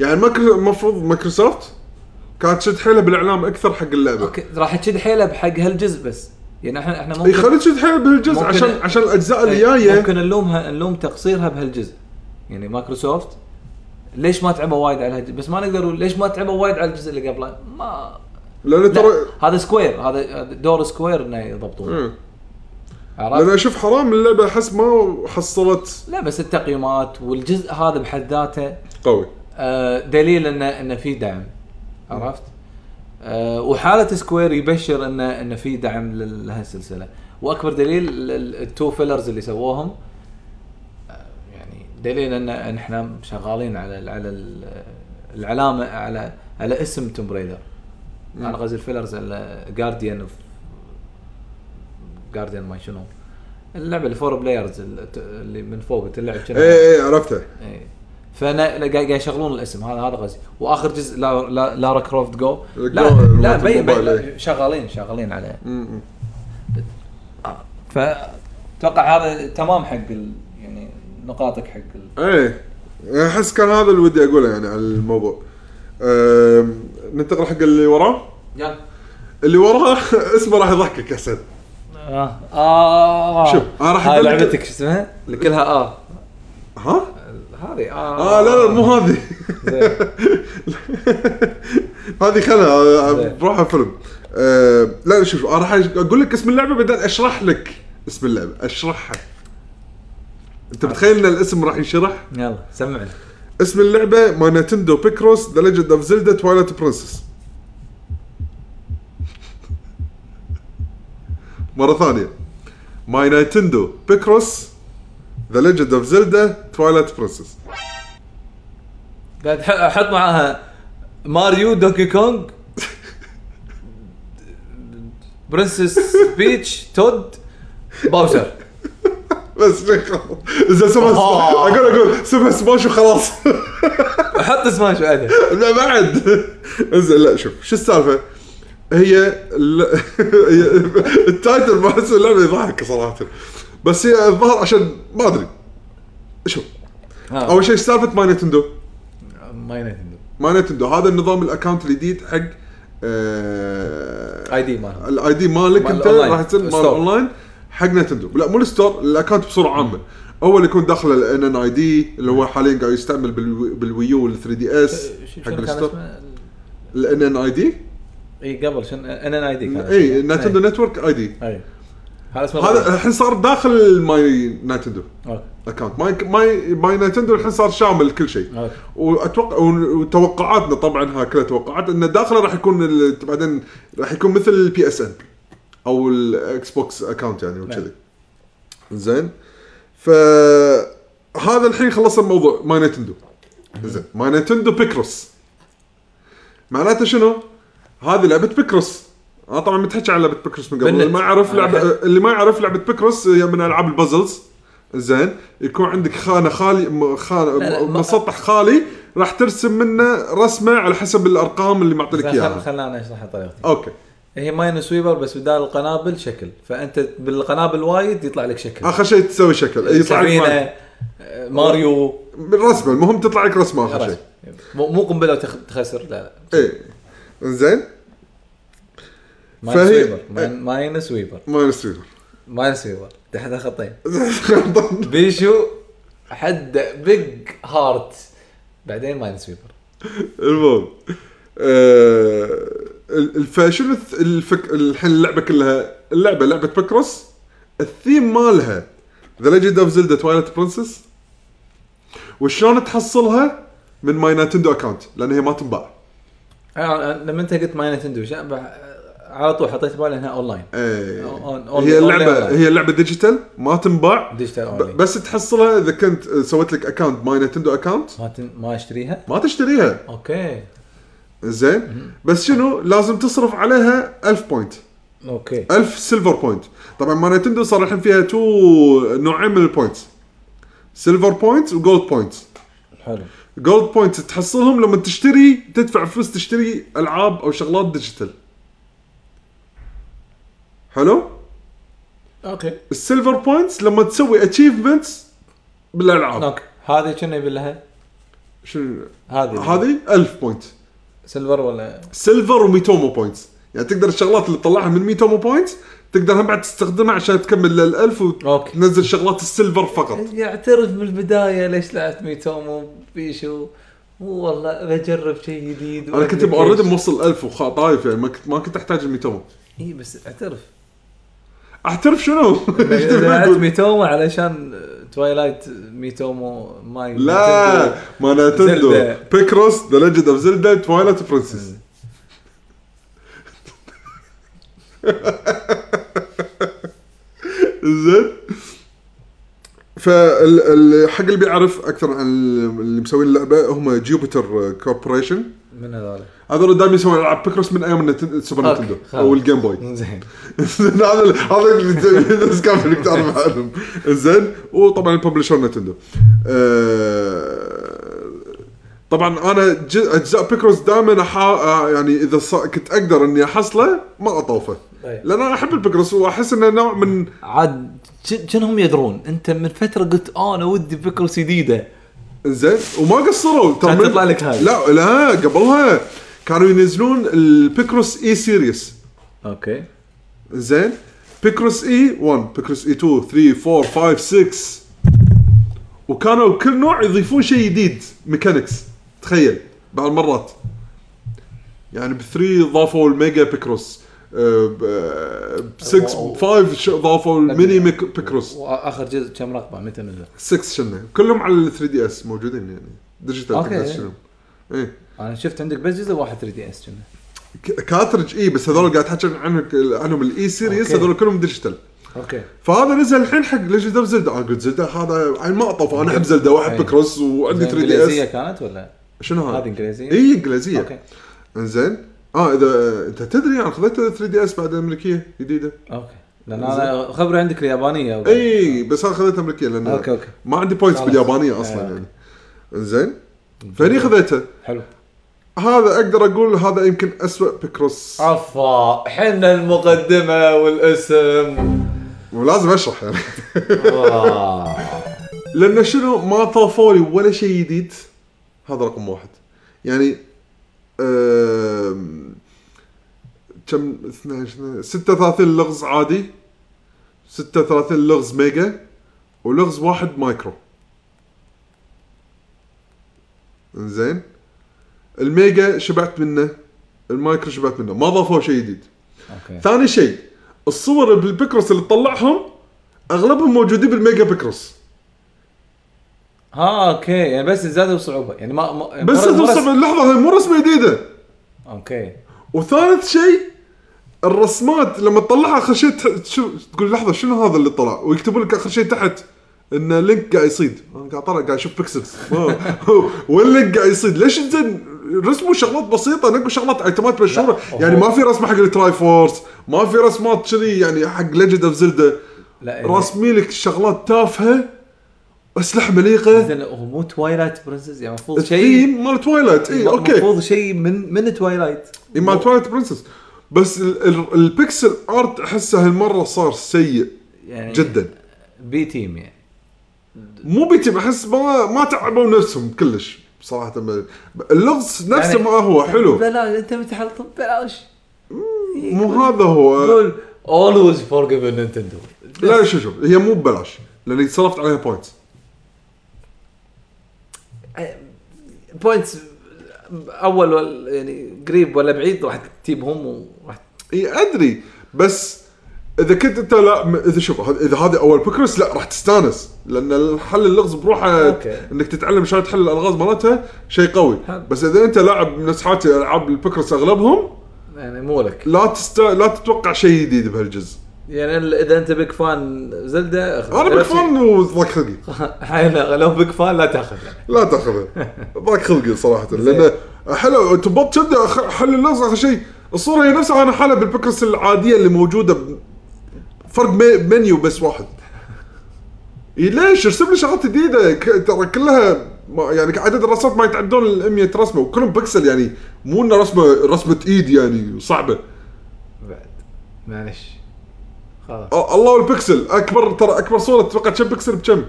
S2: يعني مايكرو- المفروض مايكروسوفت كانت تشد حيلها بالاعلام اكثر حق اللعبه
S3: اوكي راح تشد حيله بحق هالجزء بس يعني احنا احنا
S2: اي
S3: ممكن
S2: خليك إيه، تشد حيلها بهالجزء
S3: ممكن-
S2: عشان عشان الاجزاء اللي
S3: إيه،
S2: جايه
S3: ممكن نلومها نلوم تقصيرها بهالجزء يعني مايكروسوفت ليش ما تعبوا وايد على هالج- بس ما نقدروا ليش ما تعبوا وايد على الجزء اللي قبله ما
S2: لان
S3: لا،
S2: ترى
S3: هذا سكوير هذا هذا دور سكوير انه يضبطونه
S2: إيه. لان
S3: عرفت؟
S2: اشوف حرام اللعبه احس ما حصلت
S3: لا بس التقييمات والجزء هذا بحد ذاته
S2: قوي
S3: آه، دليل انه انه في دعم عرفت؟ آه، وحاله سكوير يبشر انه انه في دعم لل- لهالسلسله واكبر دليل ال- ال- التو فيلرز اللي سووهم آه، يعني دليل ان إن احنا شغالين على ال- على ال- العلامه على على اسم توم بريدر انا قصدي الفيلرز جارديان اوف جارديان ما شنو اللعبه الفور بلايرز اللي من فوق تلعب شنو؟
S2: اي اي إيه، عرفتها
S3: ايه فانا لا، قاعد قاعد يشغلون الاسم هذا هذا قصدي واخر جزء لا لا لارا كروفت جو لا
S2: جو،
S3: لا
S2: مالت
S3: بي
S2: الموبايل،
S3: بي
S2: إيه.
S3: شغالين شغالين عليه
S2: مم.
S3: فاتوقع هذا تمام حق ال يعني نقاطك حق ال
S2: ايه احس كان هذا اللي ودي اقوله يعني على الموضوع أم، ننتقل حق اللي وراه
S3: يلا
S2: اللي وراه اسمه راح يضحكك احسن
S3: اه اه
S2: شوف، أنا راح
S3: هاي
S2: أقول لك-
S3: لعبتك شو اسمها؟ اللي كلها اه
S2: ها؟
S3: هذه اه
S2: اه لا لا مو هذه
S3: زين.
S2: هذه خلها آه،
S3: زين.
S2: بروحها فيلم أم، لا شوف انا راح اقول لك اسم اللعبه بعدين اشرح لك اسم اللعبه اشرحها انت متخيل ان الاسم راح ينشرح؟
S3: يلا سمعنا
S2: اسم اللعبه ما نتندو بيكروس ذا ليجند اوف زلدا تويلايت برنسس مره ثانيه ماي نينتندو بيكروس ذا ليجند اوف زلدا تويلايت برنسس
S3: قاعد أح- احط معاها ماريو دوكي كونغ برنسس بيتش تود باوزر
S2: بس اذا سمع
S3: آه.
S2: اقول اقول سمع سماش وخلاص
S3: احط سماش بعدها
S2: لا بعد انزين لا شوف شو السالفه هي ال... هي التايتل ما احس اللعبه يضحك صراحه بس هي الظاهر عشان ما ادري شوف
S3: آه.
S2: اول شيء إيش سالفه ماي نتندو
S3: ماي نتندو
S2: ماي نتندو هذا النظام الاكونت الجديد حق آه...
S3: اي دي مالها
S2: الاي دي مالك
S3: مال
S2: انت
S3: الأونلاين.
S2: راح تصير مال
S3: الستور.
S2: اونلاين حق نتندو لا مو الستور الاكونت بصوره عامه اول يكون داخل الان ان اي دي اللي هو حاليا قاعد يستعمل بالوي- بالويو وال 3 دي اس حق الستور الان ان اي دي
S3: اي قبل شن ان ان اي دي كان
S2: اي
S3: اسمه.
S2: نتندو نتورك اي دي
S3: اي هذا اسمه
S2: هذا الحين صار داخل ماي نتندو
S3: أوكي.
S2: اكونت ماي ماي ماي نتندو الحين صار شامل كل شيء
S3: أوكي.
S2: واتوقع وتوقعاتنا طبعا ها كلها توقعات ان داخله راح يكون ال- بعدين راح يكون مثل البي اس ان او الاكس بوكس اكونت يعني وكذي زين ف هذا الحين خلص الموضوع ماي نتندو زين ماي نتندو بيكروس معناته شنو؟ هذه لعبه بيكروس انا طبعا متحكي عن لعبه بيكروس من قبل
S3: بالنت.
S2: اللي ما يعرف
S3: أنا
S2: لعبه
S3: أحب.
S2: اللي ما يعرف لعبه بيكروس هي من العاب البازلز زين يكون عندك خانه خالي م- خانه
S3: لا، لا،
S2: م-
S3: ما-
S2: مسطح خالي راح ترسم منه رسمه على حسب الارقام اللي معطيك
S3: زين، خل-
S2: اياها
S3: خلنا انا اشرح طريقتي
S2: اوكي
S3: هي ماين سويبر بس بدال القنابل شكل فانت بالقنابل وايد يطلع لك شكل
S2: اخر شيء تسوي شكل آه، إيه، يطلع لك معك.
S3: سفينة، آه، ماريو
S2: بالرسمه المهم تطلع لك رسمه اخر شيء
S3: خلاص. مو مو قنبله وتخ- تخسر لا لا
S2: ايه زين
S3: ماين
S2: فهي-
S3: سويبر ماين- ماين سويبر
S2: ما نسوي
S3: ماين سويبر تحت خطين بيشو حد بيج هارت بعدين ماين سويبر
S2: المهم آه، ال- الفاشل الث- الفك... الحين اللعبه كلها اللعبه لعبه بكروس الثيم مالها ذا ليجند اوف زلدا تويلايت برنسس وشلون تحصلها من ماي نتندو اكونت لان هي ما تنباع
S3: أنا- أنا آه، لما انت قلت ماين نتندو شا- بح- على طول حطيت بالي انها اونلاين
S2: إيه.
S3: أون- أون-
S2: هي اللعبه
S3: أونلاين.
S2: هي لعبه ديجيتال ما تنباع
S3: ديجيتال
S2: ب-
S3: اونلاين
S2: بس تحصلها اذا كنت آه، سويت لك اكونت ماي نتندو اكونت
S3: ما تن... ما اشتريها
S2: ما تشتريها
S3: اوكي
S2: زين بس شنو لازم تصرف عليها 1000 بوينت
S3: اوكي
S2: 1000 سيلفر بوينت طبعا ما نتندو صار الحين فيها تو نوعين من البوينتس سيلفر بوينت وجولد بوينت
S3: حلو
S2: جولد بوينت تحصلهم لما تشتري تدفع فلوس تشتري العاب او شغلات ديجيتال حلو
S3: اوكي
S2: السيلفر بوينتس لما تسوي اتشيفمنتس بالالعاب
S3: اوكي هذه شنو يبي لها؟
S2: شنو
S3: هذه
S2: هذه 1000 بوينت
S3: سيلفر ولا
S2: سيلفر وميتومو بوينتس يعني تقدر الشغلات اللي تطلعها من ميتومو بوينتس تقدر هم بعد تستخدمها عشان تكمل لل 1000
S3: أوكي.
S2: وتنزل شغلات السيلفر فقط
S3: يعترف بالبدايه ليش لعبت ميتومو بيشو مو والله بجرب شيء جديد
S2: انا كنت اوريدي موصل 1000 وخاطايف يعني ما كنت ما كنت احتاج ال 200
S3: اي بس اعترف
S2: اعترف شنو؟ إيش تبي
S3: لعبت
S2: أقول؟
S3: ميتوما علشان توايلايت ميتومو ماي
S2: لا ما نتندو
S3: زلدة.
S2: بيكروس ذا ليجند اوف زلدا تويلايت برنسس
S3: Mm.
S2: زين فحق اللي بيعرف اكثر عن اللي مسوين اللعبه هم جوبيتر كوربوريشن
S3: من هذول
S2: هذول دائما يسوون العاب بيكروس من ايام النت- سوبر
S3: أوكي،
S2: نتندو
S3: خلاص.
S2: او الجيم بوي
S3: زين
S2: زين هذا هذا اللي تبي- بس كان بدك تعرف عنهم زين وطبعا الببلشر نتندو آه، طبعا انا ج- اجزاء بيكروس دائما أحا... يعني اذا ص... كنت اقدر اني احصله ما اطوفه
S3: طيب.
S2: لان انا احب البيكروس واحس انه نوع من
S3: عاد شن- شنهم يدرون انت من فتره قلت آه، انا ودي بكروس جديده
S2: زين وما قصروا ترى
S3: كانت
S2: من-
S3: تطلع لك هاي.
S2: لا لا قبلها كانوا ينزلون البيكروس اي سيريس
S3: اوكي
S2: زين E بيكروس اي 1 بيكروس اي 2 3 4 5 6 وكانوا كل نوع يضيفون شيء جديد ميكانكس تخيل بعض المرات يعني ب 3 ضافوا الميجا بيكروس آه، ب 6 5 ضافوا الميني ميك- بيكروس
S3: واخر جزء كم رقبه متى نزل؟
S2: 6 شنو كلهم على ال 3 دي اس موجودين يعني ديجيتال
S3: أوكي.
S2: كلهم شنو ايه
S3: انا شفت عندك بس جزء واحد 3 دي اس كنا
S2: ك- كاترج اي بس هذول قاعد تحكي عنهم عنهم الاي سيريس
S3: أوكي.
S2: هذول كلهم ديجيتال
S3: اوكي
S2: فهذا نزل الحين حق ليجند اوف زلدا انا آه، قلت زلدا هذا عين ما اطف انا احب زلدا واحب
S3: أي.
S2: بكروس وعندي 3 دي
S3: انجليزيه
S2: اس
S3: كانت ولا؟
S2: شنو
S3: إيه. هذه
S2: هذا؟ إيه،
S3: انجليزيه؟
S2: اي انجليزيه
S3: اوكي
S2: انزين اه اذا انت تدري انا خذيت 3 دي اس بعد امريكيه جديدة
S3: اوكي لان انا خبري عندك اليابانيه
S2: اي إيه، بس انا خذيتها امريكيه لان
S3: إيه. أوكي، أوكي.
S2: ما عندي بوينتس
S3: خلاص.
S2: باليابانيه
S3: آه،
S2: اصلا
S3: أوكي.
S2: يعني انزين فهني خذيتها
S3: حلو
S2: هذا اقدر اقول هذا يمكن اسوء
S3: آه.
S2: بكروس
S3: عفا حنا المقدمه والاسم
S2: ولازم اشرح يعني
S3: آه.
S2: لان شنو ما طافوا لي ولا شيء جديد هذا رقم واحد يعني آم، كم 12 36 لغز عادي 36 لغز ميجا ولغز واحد مايكرو انزين الميجا شبعت منه المايكرو شبعت منه ما ضافوا شيء جديد
S3: اوكي
S2: ثاني شيء الصور بالبيكروس اللي طلعهم اغلبهم موجودين بالميجا بيكروس
S3: ها اوكي يعني بس زادوا صعوبه يعني ما, ما
S2: بس
S3: مرة- مرة-
S2: توصل اللحظه هاي مو رسمه جديده
S3: اوكي
S2: وثالث شيء الرسمات لما تطلعها اخر شيء تح- شو تقول لحظه شنو هذا اللي طلع ويكتبوا لك اخر شيء تحت ان لينك قاعد يصيد انا قاعد طلع قاعد اشوف بيكسلز واللينك قاعد يصيد ليش زين رسموا شغلات بسيطه نقوا شغلات ايتمات مشهوره
S3: لا،
S2: يعني
S3: هو-
S2: ما في رسمه حق التراي فورس ما في رسمات كذي يعني حق ليجند اوف زلدا
S3: لا إيه.
S2: رسمي لك شغلات تافهه اسلحه مليقه
S3: زين هو مو توايلايت برنسز يعني المفروض شيء
S2: الثيم مال إيه، تويلايت اي اوكي
S3: المفروض شيء من من توايلايت
S2: اي مال تواليت برنسس بس ال- ال- البيكسل ارت احسه هالمره صار سيء
S3: يعني
S2: جدا
S3: بي تيم يعني
S2: مو بيتي بحس ما ما تعبوا نفسهم كلش صراحه اللغز نفسه
S3: يعني-
S2: ما هو حلو
S3: بلاش انت متحلط ببلاش
S2: مو هذا هو
S3: قول اولويز فور جيفن نينتندو
S2: لا شوف شوف هي مو ببلاش لاني صرفت عليها بوينتس
S3: بوينتس اول ولا يعني قريب ولا بعيد راح تجيبهم وراح
S2: اي ادري بس اذا كنت انت لا م- اذا شوف هذ- اذا هذه اول بكرس لا راح تستانس لان الحل اللغز بروحه
S3: أوكي.
S2: انك تتعلم شلون تحل الالغاز مالتها شيء قوي
S3: حلو.
S2: بس اذا انت لاعب من اصحابي العاب البكرس اغلبهم
S3: يعني مو لك
S2: لا تست... لا تتوقع شيء جديد بهالجزء
S3: يعني ال- اذا انت بيك فان زلدة اخذ
S2: انا بكفان وضاق خلقي
S3: حينا لو بيك فان لا تاخذ
S2: لا تاخذه ضاق خلقي صراحه لان حلو تبط كبده أخ- حل اللغز اخر شيء الصوره هي نفسها انا حالها بالبكرس العاديه اللي موجوده ب... فرق مي... منيو بس واحد إي ليش ارسم لي شغلات جديده ك... ترى كلها ما... يعني عدد الرسمات ما يتعدون ال 100 رسمه وكلهم بكسل يعني مو انه رسمه رسمه ايد يعني صعبه
S3: بعد معلش خلاص
S2: أه، الله والبكسل اكبر ترى اكبر صوره تتوقع كم بكسل بكم؟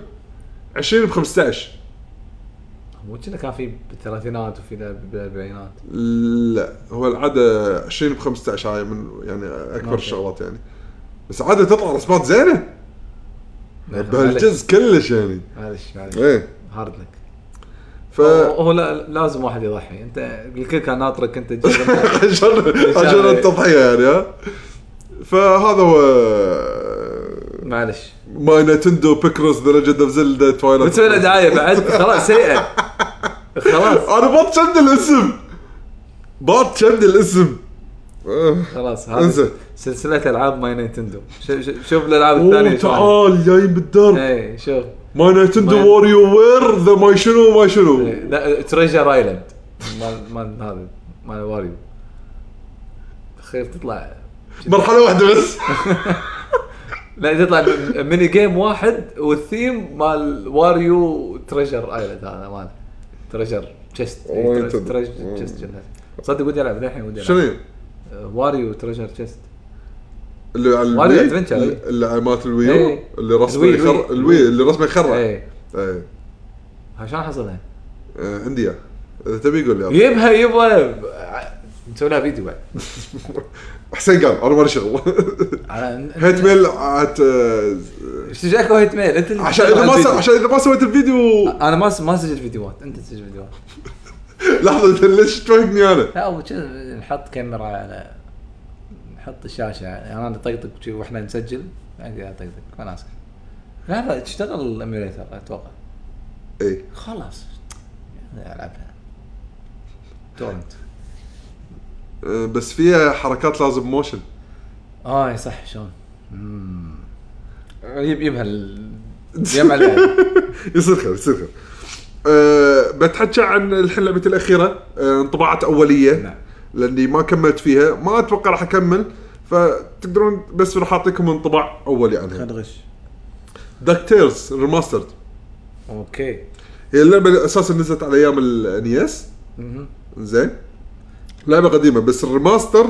S2: 20 ب 15
S3: مو كنا كان في بالثلاثينات وفي ذا بالاربعينات
S2: لا هو العاده 20 ب 15 هاي من يعني اكبر
S3: أوكي.
S2: الشغلات يعني بس عاده تطلع رسمات زينه
S3: معلش،
S2: بهالجزء كلش يعني
S3: معلش معلش
S2: ايه
S3: هارد لك
S2: ف
S3: هو هو لا لازم واحد يضحي انت الكل كان ناطرك انت تجرب.
S2: عشان عشان التضحيه يعني ها فهذا هو
S3: معلش
S2: ماي نتندو بيكروس ذا ليجند اوف زلدا توايلايت
S3: بتسوي له دعايه بعد خلاص سيئه خلاص
S2: انا بط شد الاسم بط شد الاسم آه.
S3: خلاص
S2: انزل.
S3: هذا سلسله العاب ماي نينتندو شو- شو- شوف الالعاب
S2: اوه
S3: الثانيه شلون.
S2: تعال جاي بالدرب
S3: اي شوف
S2: ماي نتندو
S3: ماي-
S2: واريو وير ذا ماي شنو ماي شنو
S3: إيه، لا تريجر ايلاند مال مال هذا مال واريو خير تطلع
S2: مرحله واحده بس
S3: لا تطلع ميني جيم واحد والثيم مال واريو تريجر ايلاند هذا مال تريجر تشست
S2: والله ينتدب.
S3: تريجر تشست صدق ودي العب للحين ودي آه،
S2: شنو
S3: العب
S2: هي؟
S3: واريو تريجر تشست
S2: اللي على
S3: واريو
S2: الوي؟
S3: أدفنتشر.
S2: اللي على مالت الويو
S3: إيه.
S2: اللي رسمه
S3: الوي-
S2: يخر...
S3: الوي.
S2: الوي اللي رسمه يخرع ايه
S3: ايه
S2: آه،
S3: عشان حصلها
S2: إيه، عندي اياه اذا تبي قول لي إياه.
S3: يبها يبها ب- نسوي لها فيديو بعد
S2: حسين قال انا مالي شغل
S3: على-
S2: هيت ميل عت- آه،
S3: ايش جاك هيت ميل انت اللي
S2: عشان اذا ما
S3: الفيديو.
S2: س- عشان اذا ما سويت الفيديو
S3: انا ما س- ما اسجل فيديوهات انت تسجل فيديوهات
S2: لحظه ليش توهقني انا؟
S3: لا أول شي نحط كاميرا على نحط الشاشه يعني انا نطقطق شي واحنا نسجل اقعد اطقطق وناسك لا لا تشتغل الايميوليتر اتوقع
S2: اي
S3: خلاص يعني العبها تورنت
S2: آه، بس فيها حركات لازم موشن
S3: اه صح شلون يب يبها ال- يجمع العيال.
S2: يصير خير يصير خير أه بتحكى عن الحين لعبتي الاخيره أه انطباعات اوليه
S3: نعم.
S2: لاني ما كملت فيها ما اتوقع راح اكمل فتقدرون بس راح اعطيكم انطباع اولي عنها
S4: غش
S2: دكتيرز ريماسترد
S3: اوكي
S2: هي اللعبه اساسا نزلت على ايام الانيس
S3: مهم.
S2: E زين لعبه قديمه بس الريماستر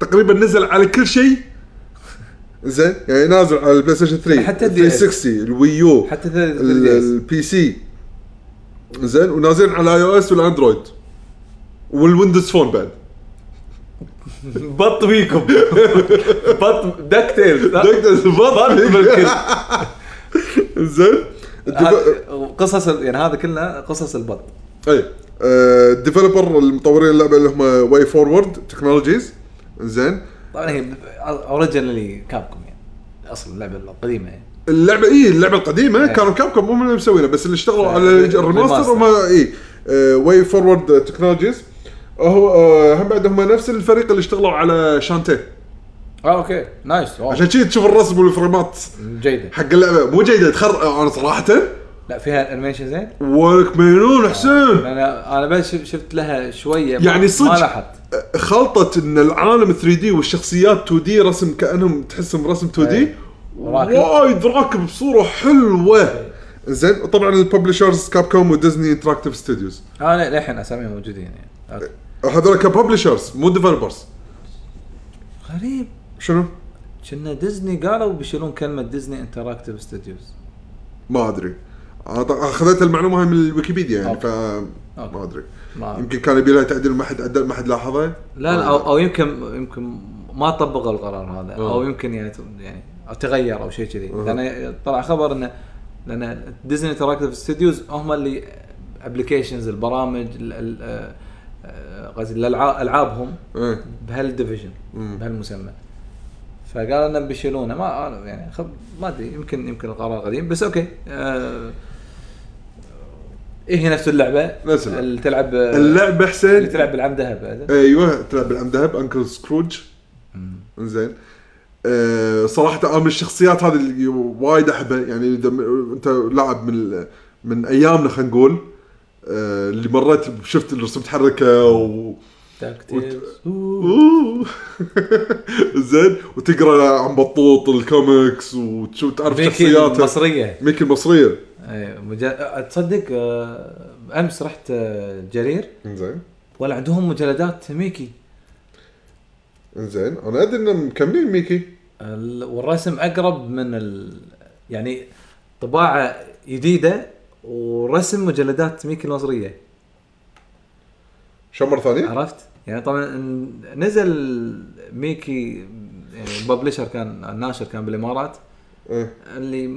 S2: تقريبا نزل على كل شيء زين يعني نازل على البلاي ستيشن 3
S3: حتى ال DS.
S2: 360 الويو
S3: حتى E ثلاث
S2: ال-
S3: فيديوز.
S2: البي سي زين ونازلين على اي او اس والاندرويد والويندوز فون بعد
S3: بط بيكم بط دكتيل
S2: دكتيرز بط
S3: بالكل.
S2: زين
S3: آه.
S2: الديف-
S3: قصص ال- يعني هذا كله قصص البط
S2: اي آه، الديفلوبر المطورين اللعبه اللي هم واي فورورد تكنولوجيز زين
S3: طبعا هي اوريجنالي كابكم يعني اصل اللعبه القديمه يعني
S2: اللعبه اي اللعبه القديمه
S3: إيه.
S2: كانوا كاب كوم هم اللي مسوينها بس اللي اشتغلوا
S3: آه،
S2: على
S3: الريماستر.
S2: الريماستر هم إيه، آه، اي واي فورورد تكنولوجيز هو آه، هم بعد هم نفس الفريق اللي اشتغلوا على شانتيه
S3: اه اوكي نايس أوه.
S2: عشان كذي تشوف الرسم والفريمات
S3: جيده
S2: حق اللعبه مو جيده تخرع انا صراحه
S3: لا فيها انيميشن زين
S2: ولك مجنون حسين
S3: انا انا بس شف- شفت لها شويه ما-
S2: يعني
S3: ما
S2: صدق.
S3: لاحظت
S2: خلطه ان العالم 3 دي والشخصيات 2 دي رسم كانهم تحسهم رسم 2 دي
S3: إيه. راكب.
S2: وايد راكب بصوره حلوه زين وطبعا الببلشرز كاب كوم وديزني انتراكتيف ستوديوز
S3: انا آه، للحين اساميهم موجودين يعني أوكي.
S2: هذول كببلشرز مو ديفلوبرز
S3: غريب
S2: شنو؟
S3: كنا ديزني قالوا بيشيلون كلمه ديزني انتراكتيف ستوديوز
S2: ما ادري أنا طبعاً اخذت المعلومه هاي من الويكيبيديا يعني
S3: أوكي.
S2: ف
S3: أوكي.
S2: ما ادري
S3: ما
S2: يمكن كان يبي لها تعديل ما حد عدل ما حد لاحظه
S3: لا لا او, أو يمكن يمكن ما طبقوا القرار هذا او
S2: آه.
S3: يمكن يعني يعني أو تغير او شيء كذي لان طلع خبر انه لان ديزني انتراكتيف ستوديوز هم اللي ابلكيشنز البرامج ال- ال- آه، آه، قصدي الالعاب العابهم
S2: إيه.
S3: بهالديفيجن
S2: مم.
S3: بهالمسمى فقال انه بيشيلونه ما أنا يعني خب ما ادري يمكن يمكن القرار قديم بس اوكي آه إيه هي نفس اللعبه
S2: نفس اللعبة.
S3: اللي تلعب آه،
S2: اللعبه حسين
S3: اللي تلعب بالعم ذهب
S2: ايوه تلعب بالعم ذهب انكل سكروج زين أه صراحه انا من الشخصيات هذه اللي وايد احبها يعني اذا م- انت لاعب من ال- من ايامنا خلينا نقول أه اللي مريت شفت اللي رسمت حركه و...
S3: تاكتيكس
S2: أوه. زين وتقرا عن بطوط الكوميكس وتشوف تعرف شخصياته
S3: مصريه
S2: ميكي المصريه
S3: أي، مجا... تصدق آه، امس رحت آه، جرير
S2: زين
S3: ولا عندهم مجلدات ميكي
S2: زين انا ادري انهم مكملين ميكي
S3: ال- والرسم اقرب من ال... يعني طباعه جديده ورسم مجلدات ميكي المصريه
S2: شو مره ثانيه؟
S3: عرفت؟ يعني طبعا ن- نزل ميكي يعني الببلشر كان الناشر كان بالامارات
S2: إيه.
S3: اللي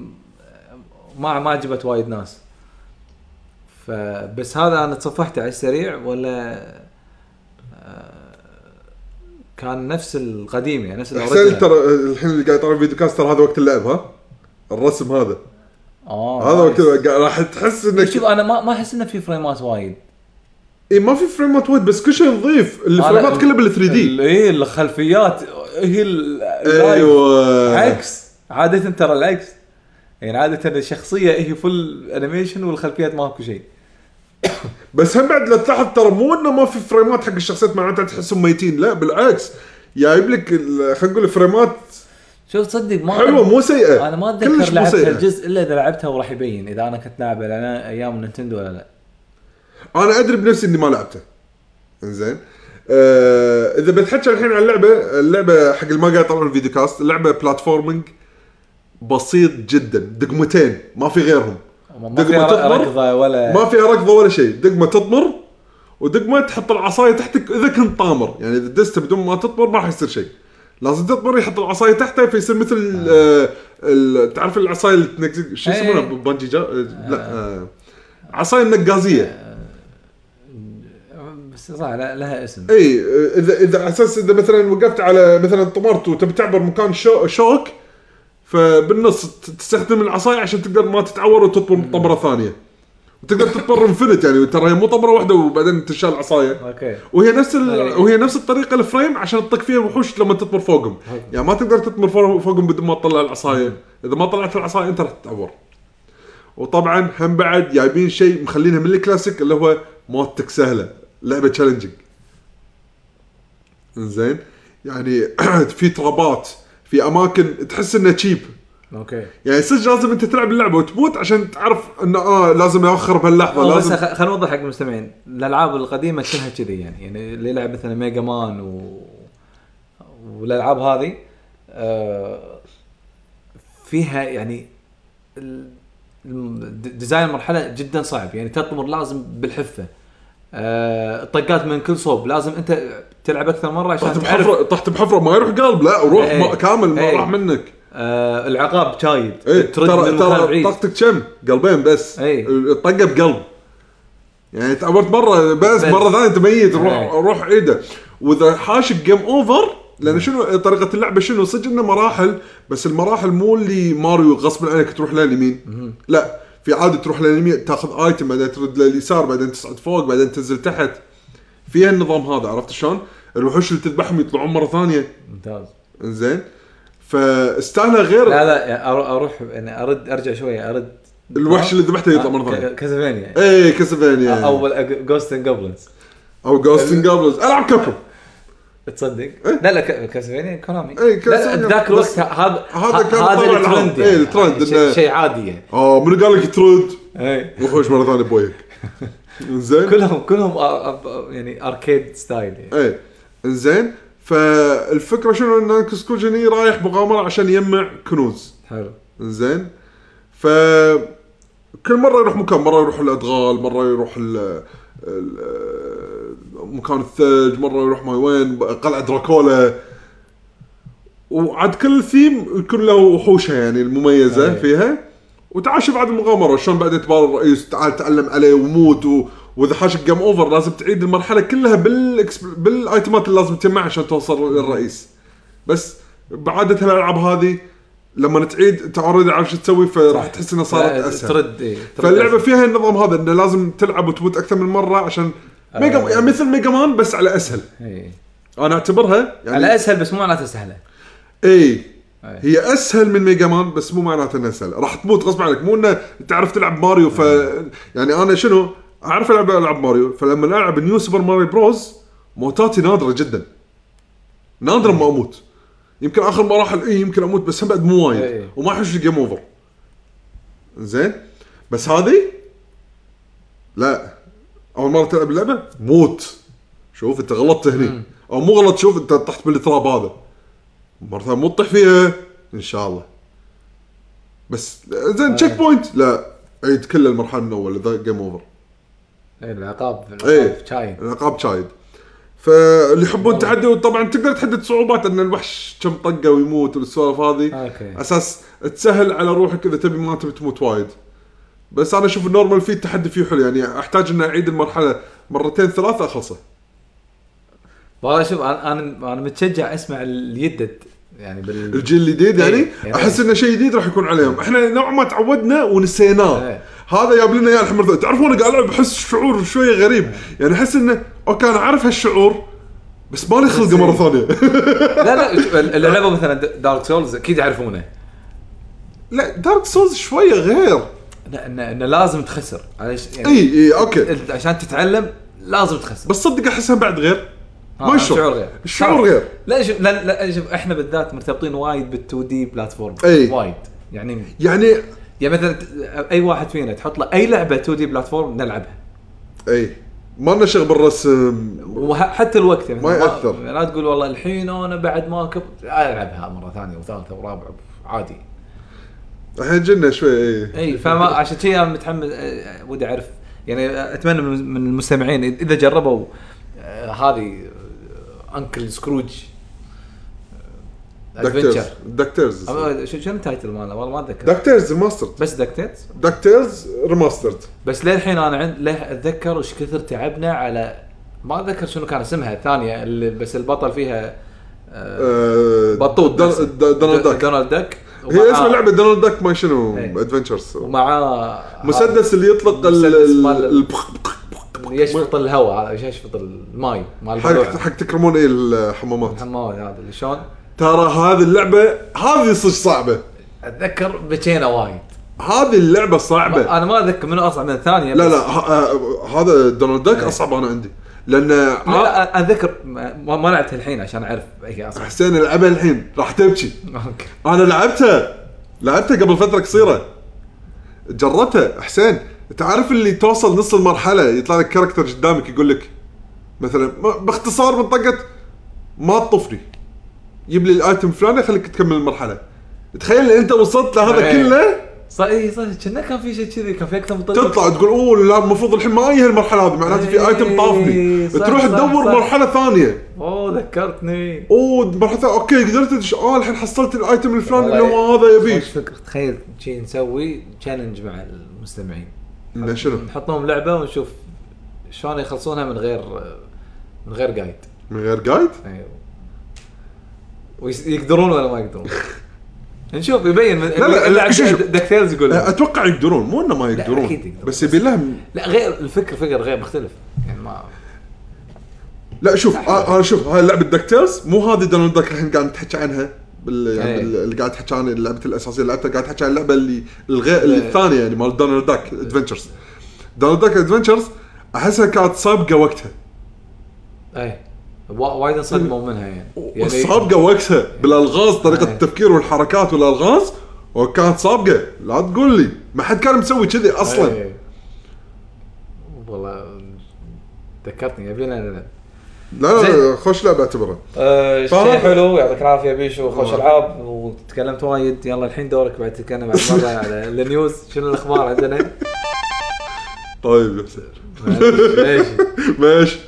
S3: ما ما عجبت وايد ناس فبس هذا انا تصفحته على السريع ولا آه، كان نفس القديم يعني نفس
S2: حسين
S3: الأوريجينال.
S2: ترى الحين اللي قاعد يطالع فيديو كاست ترى هذا وقت اللعب ها الرسم هذا
S3: اه
S2: هذا وقت
S3: نايس.
S2: اللعب. قاعد- راح تحس انك
S3: شوف انا ما ما احس انه في فريمات وايد
S2: اي إيه، ما في فريمات وايد بس كل شيء نظيف الفريمات
S3: أنا-
S2: كلها بال 3 دي
S3: اي الخلفيات هي ال-
S2: ايوه
S3: عكس عاده ترى العكس يعني عاده الشخصيه هي فل انيميشن والخلفيات ماكو شيء
S2: بس هم بعد لو تلاحظ ترى مو انه ما في فريمات حق الشخصيات معناتها تحسهم ميتين لا بالعكس جايب لك ال- خلينا نقول الفريمات
S3: شوف تصدق ما
S2: حلوه مو سيئه
S3: انا ما
S2: كلش
S3: اتذكر
S2: مو
S3: لعبت
S2: سيئة.
S3: الجزء الا اذا لعبتها وراح يبين اذا انا كنت لاعب انا ايام نينتندو ولا لا
S2: انا ادري بنفسي اني ما لعبته انزين آه اذا بنحكي الحين عن اللعبه اللعبه حق اللي ما قاعد يطلعون الفيديو كاست اللعبه بلاتفورمينج بسيط جدا دقمتين ما في غيرهم
S3: ما- ما
S2: دق
S3: فيها
S2: وتطمر.
S3: ركضه ولا
S2: ما فيها ركضه ولا شيء دقمه تطمر ودقمه تحط العصايه تحتك اذا كنت طامر يعني اذا دستها بدون ما تطمر ما راح يصير شيء لازم تطمر يحط العصايه تحتها فيصير مثل آه. ال- تعرف العصايه اللي تنقزق شو
S3: إيه.
S2: يسمونها بانجي جا... آه. لا آه. عصايه النقازيه
S3: بس صح لا- لها اسم
S2: اي آه، اذا اذا على اساس اذا مثلا وقفت على مثلا طمرت وتبي تعبر مكان شو... شوك فبالنص ت- تستخدم العصايه عشان تقدر ما تتعور وتطمر طمره ثانيه وتقدر تطمر انفنت يعني ترى هي مو طمره واحده وبعدين تنشال العصايه
S3: اوكي
S2: وهي نفس ال... وهي نفس الطريقه الفريم عشان تطق فيها الوحوش لما تطمر فوقهم يعني ما تقدر تطمر فوق- فوقهم بدون ما تطلع العصايه اذا ما طلعت العصايه انت راح تتعور وطبعا هم بعد جايبين شيء مخلينها من الكلاسيك اللي هو موتك سهله لعبه تشالنجينج زين يعني في ترابات في اماكن تحس انها تشيب
S3: اوكي
S2: يعني صدق لازم انت تلعب اللعبه وتموت عشان تعرف انه اه لازم اوخر بهاللحظه
S3: والله بس
S2: لازم
S3: خ- خلينا نوضح حق المستمعين الالعاب القديمه كلها كذي يعني يعني اللي يلعب مثلا ميجا مان و... والالعاب هذه آه، فيها يعني ال- الم- د- ديزاين المرحله جدا صعب يعني تطمر لازم بالحفه آه، طقات من كل صوب لازم انت تلعب اكثر مره عشان
S2: طحت
S3: تعرف
S2: بحفره طحت بحفره ما يروح قلب لا وروح
S3: ايه.
S2: ما- كامل ما
S3: ايه.
S2: راح منك
S3: آه، العقاب شايد
S2: ايه
S3: ترد
S2: ترى
S3: من مكان
S2: ترى
S3: بعيد
S2: طاقتك كم؟ قلبين بس
S3: ايه.
S2: الطقه بقلب يعني تعورت مره بس
S3: بس.
S2: مره ثانيه انت ميت روح
S3: ايه.
S2: روح عيده واذا حاشك جيم اوفر لان شنو طريقه اللعبه شنو صدق انه مراحل بس المراحل مو اللي ماريو غصب عنك تروح لليمين لا في عاده تروح لليمين تاخذ ايتم بعدين ترد لليسار بعدين تصعد فوق بعدين تنزل تحت فيها النظام هذا عرفت شلون؟ الوحوش اللي تذبحهم يطلعون مره ثانيه
S3: ممتاز
S2: انزين فاستاهله غير
S3: لا لا أرو- اروح يعني ارد ارجع شويه ارد
S2: الوحش اللي ذبحته يطلع مره
S3: آه،
S2: ثانيه
S3: كازافينيا
S2: اي إيه، كاسلفينيا او
S3: اول جوست اند جوبلنز
S2: او جوستن جابلز العب كابكم
S3: تصدق؟ لا لا ك- كاسلفينيا كونامي
S2: إيه،
S3: لا،
S2: كاسلفينيا.
S3: ذاك
S2: بس
S3: الوقت هذا
S2: هذا كان طالع
S3: هذا
S2: العرض.
S3: الترند
S2: إيه، الترند إنه-
S3: شيء شيء عادي يعني
S2: اه من قال لك ترد
S3: إيه.
S2: وحوش مره ثانيه بويك زين
S3: كلهم كلهم آر- آر- يعني اركيد ستايل يعني
S2: اي زين فالفكره إيه. شنو ان انك سكوجني رايح مغامره عشان يجمع كنوز
S3: حلو
S2: زين ف كل مره يروح مكان مره يروح الادغال مره يروح ال ال- مكان الثلج مره يروح ما وين قلعه دراكولا وعاد كل ثيم يكون له وحوشه يعني المميزه
S3: أي.
S2: فيها وتعاش بعد المغامره شلون بعدين تبارى الرئيس تعال تعلم عليه وموت و... واذا حاشك جيم اوفر لازم تعيد المرحله كلها بال بالايتمات اللي لازم تجمعها عشان توصل للرئيس بس بعاده الالعاب هذه لما تعيد تعرض عارف شو تسوي فراح تحس انها صارت
S3: لا،
S2: اسهل
S3: ترد إيه، ترد
S2: فاللعبه
S3: أسهل.
S2: فيها النظام هذا انه لازم تلعب وتموت اكثر من مره عشان ميجا يعني مثل ميجا مان بس على اسهل
S3: إيه.
S2: انا اعتبرها يعني
S3: على اسهل بس مو معناته سهله
S2: اي
S3: أي.
S2: إيه. هي اسهل من ميجا مان بس مو معناته انها سهله راح تموت غصب عنك مو انه تعرف تلعب ماريو ف يعني انا شنو اعرف العب العب ماريو فلما العب نيو سوبر ماريو بروز موتاتي نادره جدا نادرا ما اموت يمكن اخر مراحل اي يمكن اموت بس هم بعد مو وايد
S3: أي.
S2: وما احوش الجيم اوفر زين بس هذه لا اول مره تلعب اللعبه موت شوف انت غلطت هني او مو غلط شوف انت طحت بالتراب هذا مرة ثانية مو تطيح فيها ان شاء الله بس زين تشيك بوينت لا عيد كل المرحله من اول ذا جيم اوفر
S3: إيه، العقاب العقاب
S2: إيه.
S3: شايد
S2: العقاب شايد فاللي يحبون التحدي وطبعا تقدر تحدد صعوبات ان الوحش كم طقه ويموت والسوالف هذه
S3: اوكي
S2: اساس تسهل على روحك اذا تبي ما تبي تموت وايد بس انا اشوف النورمال فيه التحدي فيه حلو يعني احتاج اني اعيد المرحله مرتين ثلاثه اخلصه
S3: والله شوف انا انا انا متشجع اسمع اليدد يعني بال
S2: الجيل الجديد يعني
S3: إيه.
S2: احس انه شيء جديد راح يكون عليهم احنا نوعا ما تعودنا ونسيناه
S3: إيه.
S2: هذا جاب لنا اياه الحين مرة ثانية. تعرفون انا قاعد العب احس شعور شويه غريب يعني احس انه اوكي انا عارف هالشعور بس مالي خلقه مره ثانيه
S3: لا لا شوف، ال- اللعبه مثلا دارك سولز اكيد يعرفونه
S2: لا دارك سولز شويه غير
S3: إيه. انه انه لازم تخسر معليش يعني
S2: اي اي اوكي
S3: ال- عشان تتعلم لازم تخسر
S2: بس صدق احسها بعد غير
S3: آه،
S2: ما يشعر
S3: شعور غير
S2: الشعور
S3: تعرف-
S2: غير
S3: لا شوف لا لا شوف احنا بالذات مرتبطين وايد بال2 دي بلاتفورم
S2: إي.
S3: وايد يعني
S2: يعني
S3: يعني مثلا ت- اي واحد فينا تحط له اي لعبه 2 دي بلاتفورم نلعبها
S2: اي إيه، ما لنا شغل بالرسم
S3: وحتى الوقت يعني
S2: ما يأثر.
S3: لا تقول والله الحين انا بعد ما كبت العبها مره ثانيه وثالثه ورابعه عادي
S2: الحين جنة شوي اي
S3: اي فما عشان كذي انا متحمس آه، ودي اعرف يعني اتمنى من من المستمعين اذا جربوا آه، هذه آه، انكل سكروج آه،
S2: دكتيرز
S3: أدفنتشر.
S2: دكتيرز
S3: أما شو شنو التايتل ماله والله ما اتذكر
S2: دكتيرز ريماسترد
S3: بس دكتيت
S2: دكتيرز ريماسترد
S3: بس للحين انا عند ليه اتذكر وش كثر تعبنا على ما اتذكر شنو كان اسمها الثانيه اللي- بس البطل فيها آه، بطوط بس.
S2: دون- دون- دونالد
S3: دو-
S2: داك
S3: دونالد داك
S2: هي
S3: ومعاه-
S2: اسم اللعبه دونالد داك ما شنو
S3: إيه.
S2: ادفنتشرز
S3: ومعاه
S2: مسدس اللي يطلق ال-
S3: مسدس
S2: ال-
S3: مال-
S2: ال- بخ- بخ-
S3: يشفط الهواء هذا ايش يشفط الماي مال
S2: حق
S3: البلوعة.
S2: حق تكرمون اي الحمامات
S3: حمام هذا اللي شلون
S2: ترى هذه اللعبه هذه صدق صعبه
S3: اتذكر بكينا وايد
S2: هذه اللعبه صعبه
S3: انا ما اتذكر منو اصعب من الثانيه
S2: لا
S3: بس- إيه.
S2: لا ه- آه، هذا دونالد داك اصعب انا عندي لان
S3: لا، لا أنا اتذكر ما, ما لعبتها الحين عشان اعرف هي اصعب
S2: حسين العبها الحين راح تبكي
S3: اوكي
S2: انا لعبتها لعبتها قبل فتره قصيره جربتها حسين تعرف اللي توصل نص المرحله يطلع لك كاركتر قدامك يقول لك مثلا ما- باختصار منطقه ما تطفني جيب لي الايتم فلاني خليك تكمل المرحله تخيل إن انت وصلت لهذا
S3: إيه.
S2: كله
S3: صح اي صح إيه، كنا كان في شيء كذي كان في اكثر من طريقه
S2: تطلع تقول اوه لا المفروض الحين ما اجي هالمرحله هذه معناته في
S3: إيه،
S2: ايتم طافني
S3: صح،
S2: تروح
S3: صح،
S2: تدور
S3: صح.
S2: مرحله ثانيه
S3: اوه ذكرتني
S2: اوه مرحله اوكي قدرت أدش- اه الحين حصلت الايتم الفلاني اللي هو
S3: والله
S2: هذا يبيه
S3: خوش فكره تخيل شي نسوي تشالنج مع المستمعين
S2: إنه شنو؟
S3: نحط لهم لعبه ونشوف شلون يخلصونها من غير من غير جايد
S2: من غير جايد؟
S3: أيوه. ويقدرون ولا ما يقدرون نشوف يبين من
S2: لا، لا،
S3: اللاعب
S2: شوف، شوف.
S3: دكتيلز يقول
S2: أه،
S3: لك.
S2: اتوقع يقدرون مو انه ما يقدرون
S3: أكيد يقدرون.
S2: بس يبي لهم
S3: لا غير الفكر فكر غير مختلف يعني ما
S2: لا شوف آه، انا شوف هاي لعبه دكتيرز مو هذه دونالد داك الحين قاعد تحكي عنها بال... يعني
S3: إيه.
S2: بال- اللي قاعد تحكي عن لعبه الاساسيه اللي لعبتها قاعد تحكي عن اللعبه اللي الغير
S3: إيه.
S2: اللي الثانيه يعني مال دونالد داك ادفنتشرز دونالد داك ادفنتشرز احسها كانت سابقه وقتها
S3: اي إيه. وا- وايد انصدموا منها يعني يعني
S2: سابقه وقتها بالالغاز طريقه
S3: إيه.
S2: التفكير والحركات والالغاز وكانت سابقه لا تقول لي ما حد كان مسوي كذي اصلا
S3: إي. إيه. والله ذكرتني يبي لنا نلعب
S2: لا لا، لا
S3: زين.
S2: خوش لعبه اعتبرها
S3: أه
S2: فهذا-
S3: شيء حلو يعطيك العافيه بيشو خوش
S2: الله.
S3: العاب وتكلمت وايد يلا الحين دورك بعد تتكلم بعد مره على النيوز شنو الاخبار عندنا؟
S2: طيب يا حسين.
S3: ليش؟
S2: ماشي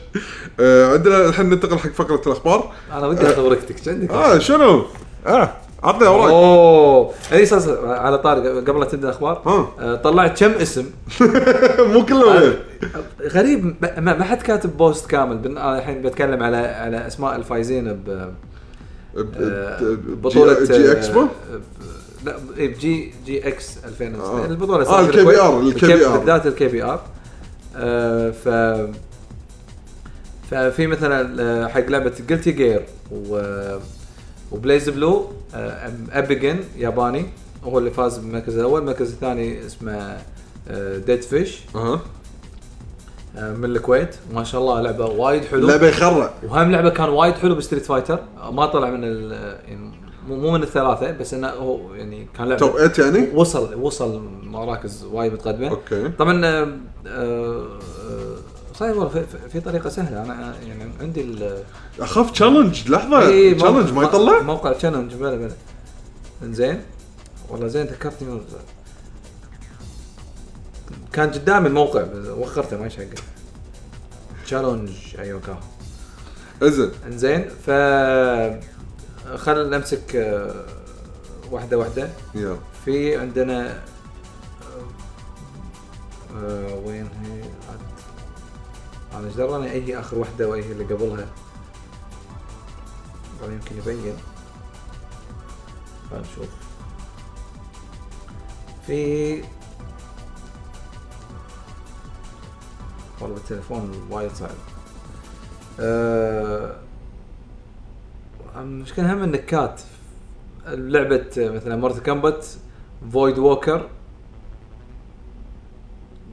S2: آه عندنا الحين ننتقل حق فقره الاخبار
S3: انا ودي اخذ ورقتك عندك
S2: اه شنو؟ اه عطني اوراق
S3: اوه اي صح على طارق قبل لا تبدا الاخبار
S2: ها.
S3: أه، طلعت كم اسم
S2: مو كله
S3: أنا-
S2: وين.
S3: غريب ما- ما ما حد كاتب بوست كامل بن- انا الحين بتكلم على على اسماء الفايزين ب
S2: ب-
S3: آه،
S2: ب-
S3: بطولة
S2: جي, جي
S3: آه،
S2: اكسبو
S3: آه، لا إيه، بجي جي اكس 2000
S2: آه.
S3: البطولة
S2: آه،
S3: صارت
S2: الكي بي آر،
S3: بالكويت.
S2: الكي بي آر.
S3: بالذات الكي بي ار آه، ف ففي مثلا آه، حق لعبة جلتي جير و وبلايز بلو آه، ابيجن ياباني هو اللي فاز بالمركز الاول المركز الثاني اسمه آه، ديد فيش
S2: اها
S3: آه، من الكويت ما شاء الله لعبه وايد حلوه
S2: لعبه يخرع
S3: وهم لعبه كان وايد حلو بستريت فايتر ما طلع من ال يعني مو مو من الثلاثه بس انه هو يعني كان لعبه
S2: توب 8 يعني
S3: وصل وصل مراكز وايد متقدمه
S2: أوكي.
S3: طبعا آه، آه، صحيح والله في- في- في طريقه سهله انا يعني عندي ال
S2: اخاف تشالنج لحظه
S3: إي، موقع-
S2: تشالنج ما يطلع
S3: موقع تشالنج بلا بلا زين والله زين ذكرتني من- كان قدامي الموقع بس وخرته ما ايش حقه تشالنج ايوه كان
S2: انزين
S3: انزين ف خل نمسك آه، واحده واحده
S2: يلا
S3: في عندنا آه، آه، وين هي عاد انا ايش دراني اي هي اخر وحده واي هي اللي قبلها والله يمكن يبين خلينا نشوف في والله التليفون وايد صعب أه... المشكلة هم النكات لعبة مثلا مورت كامبت فويد ووكر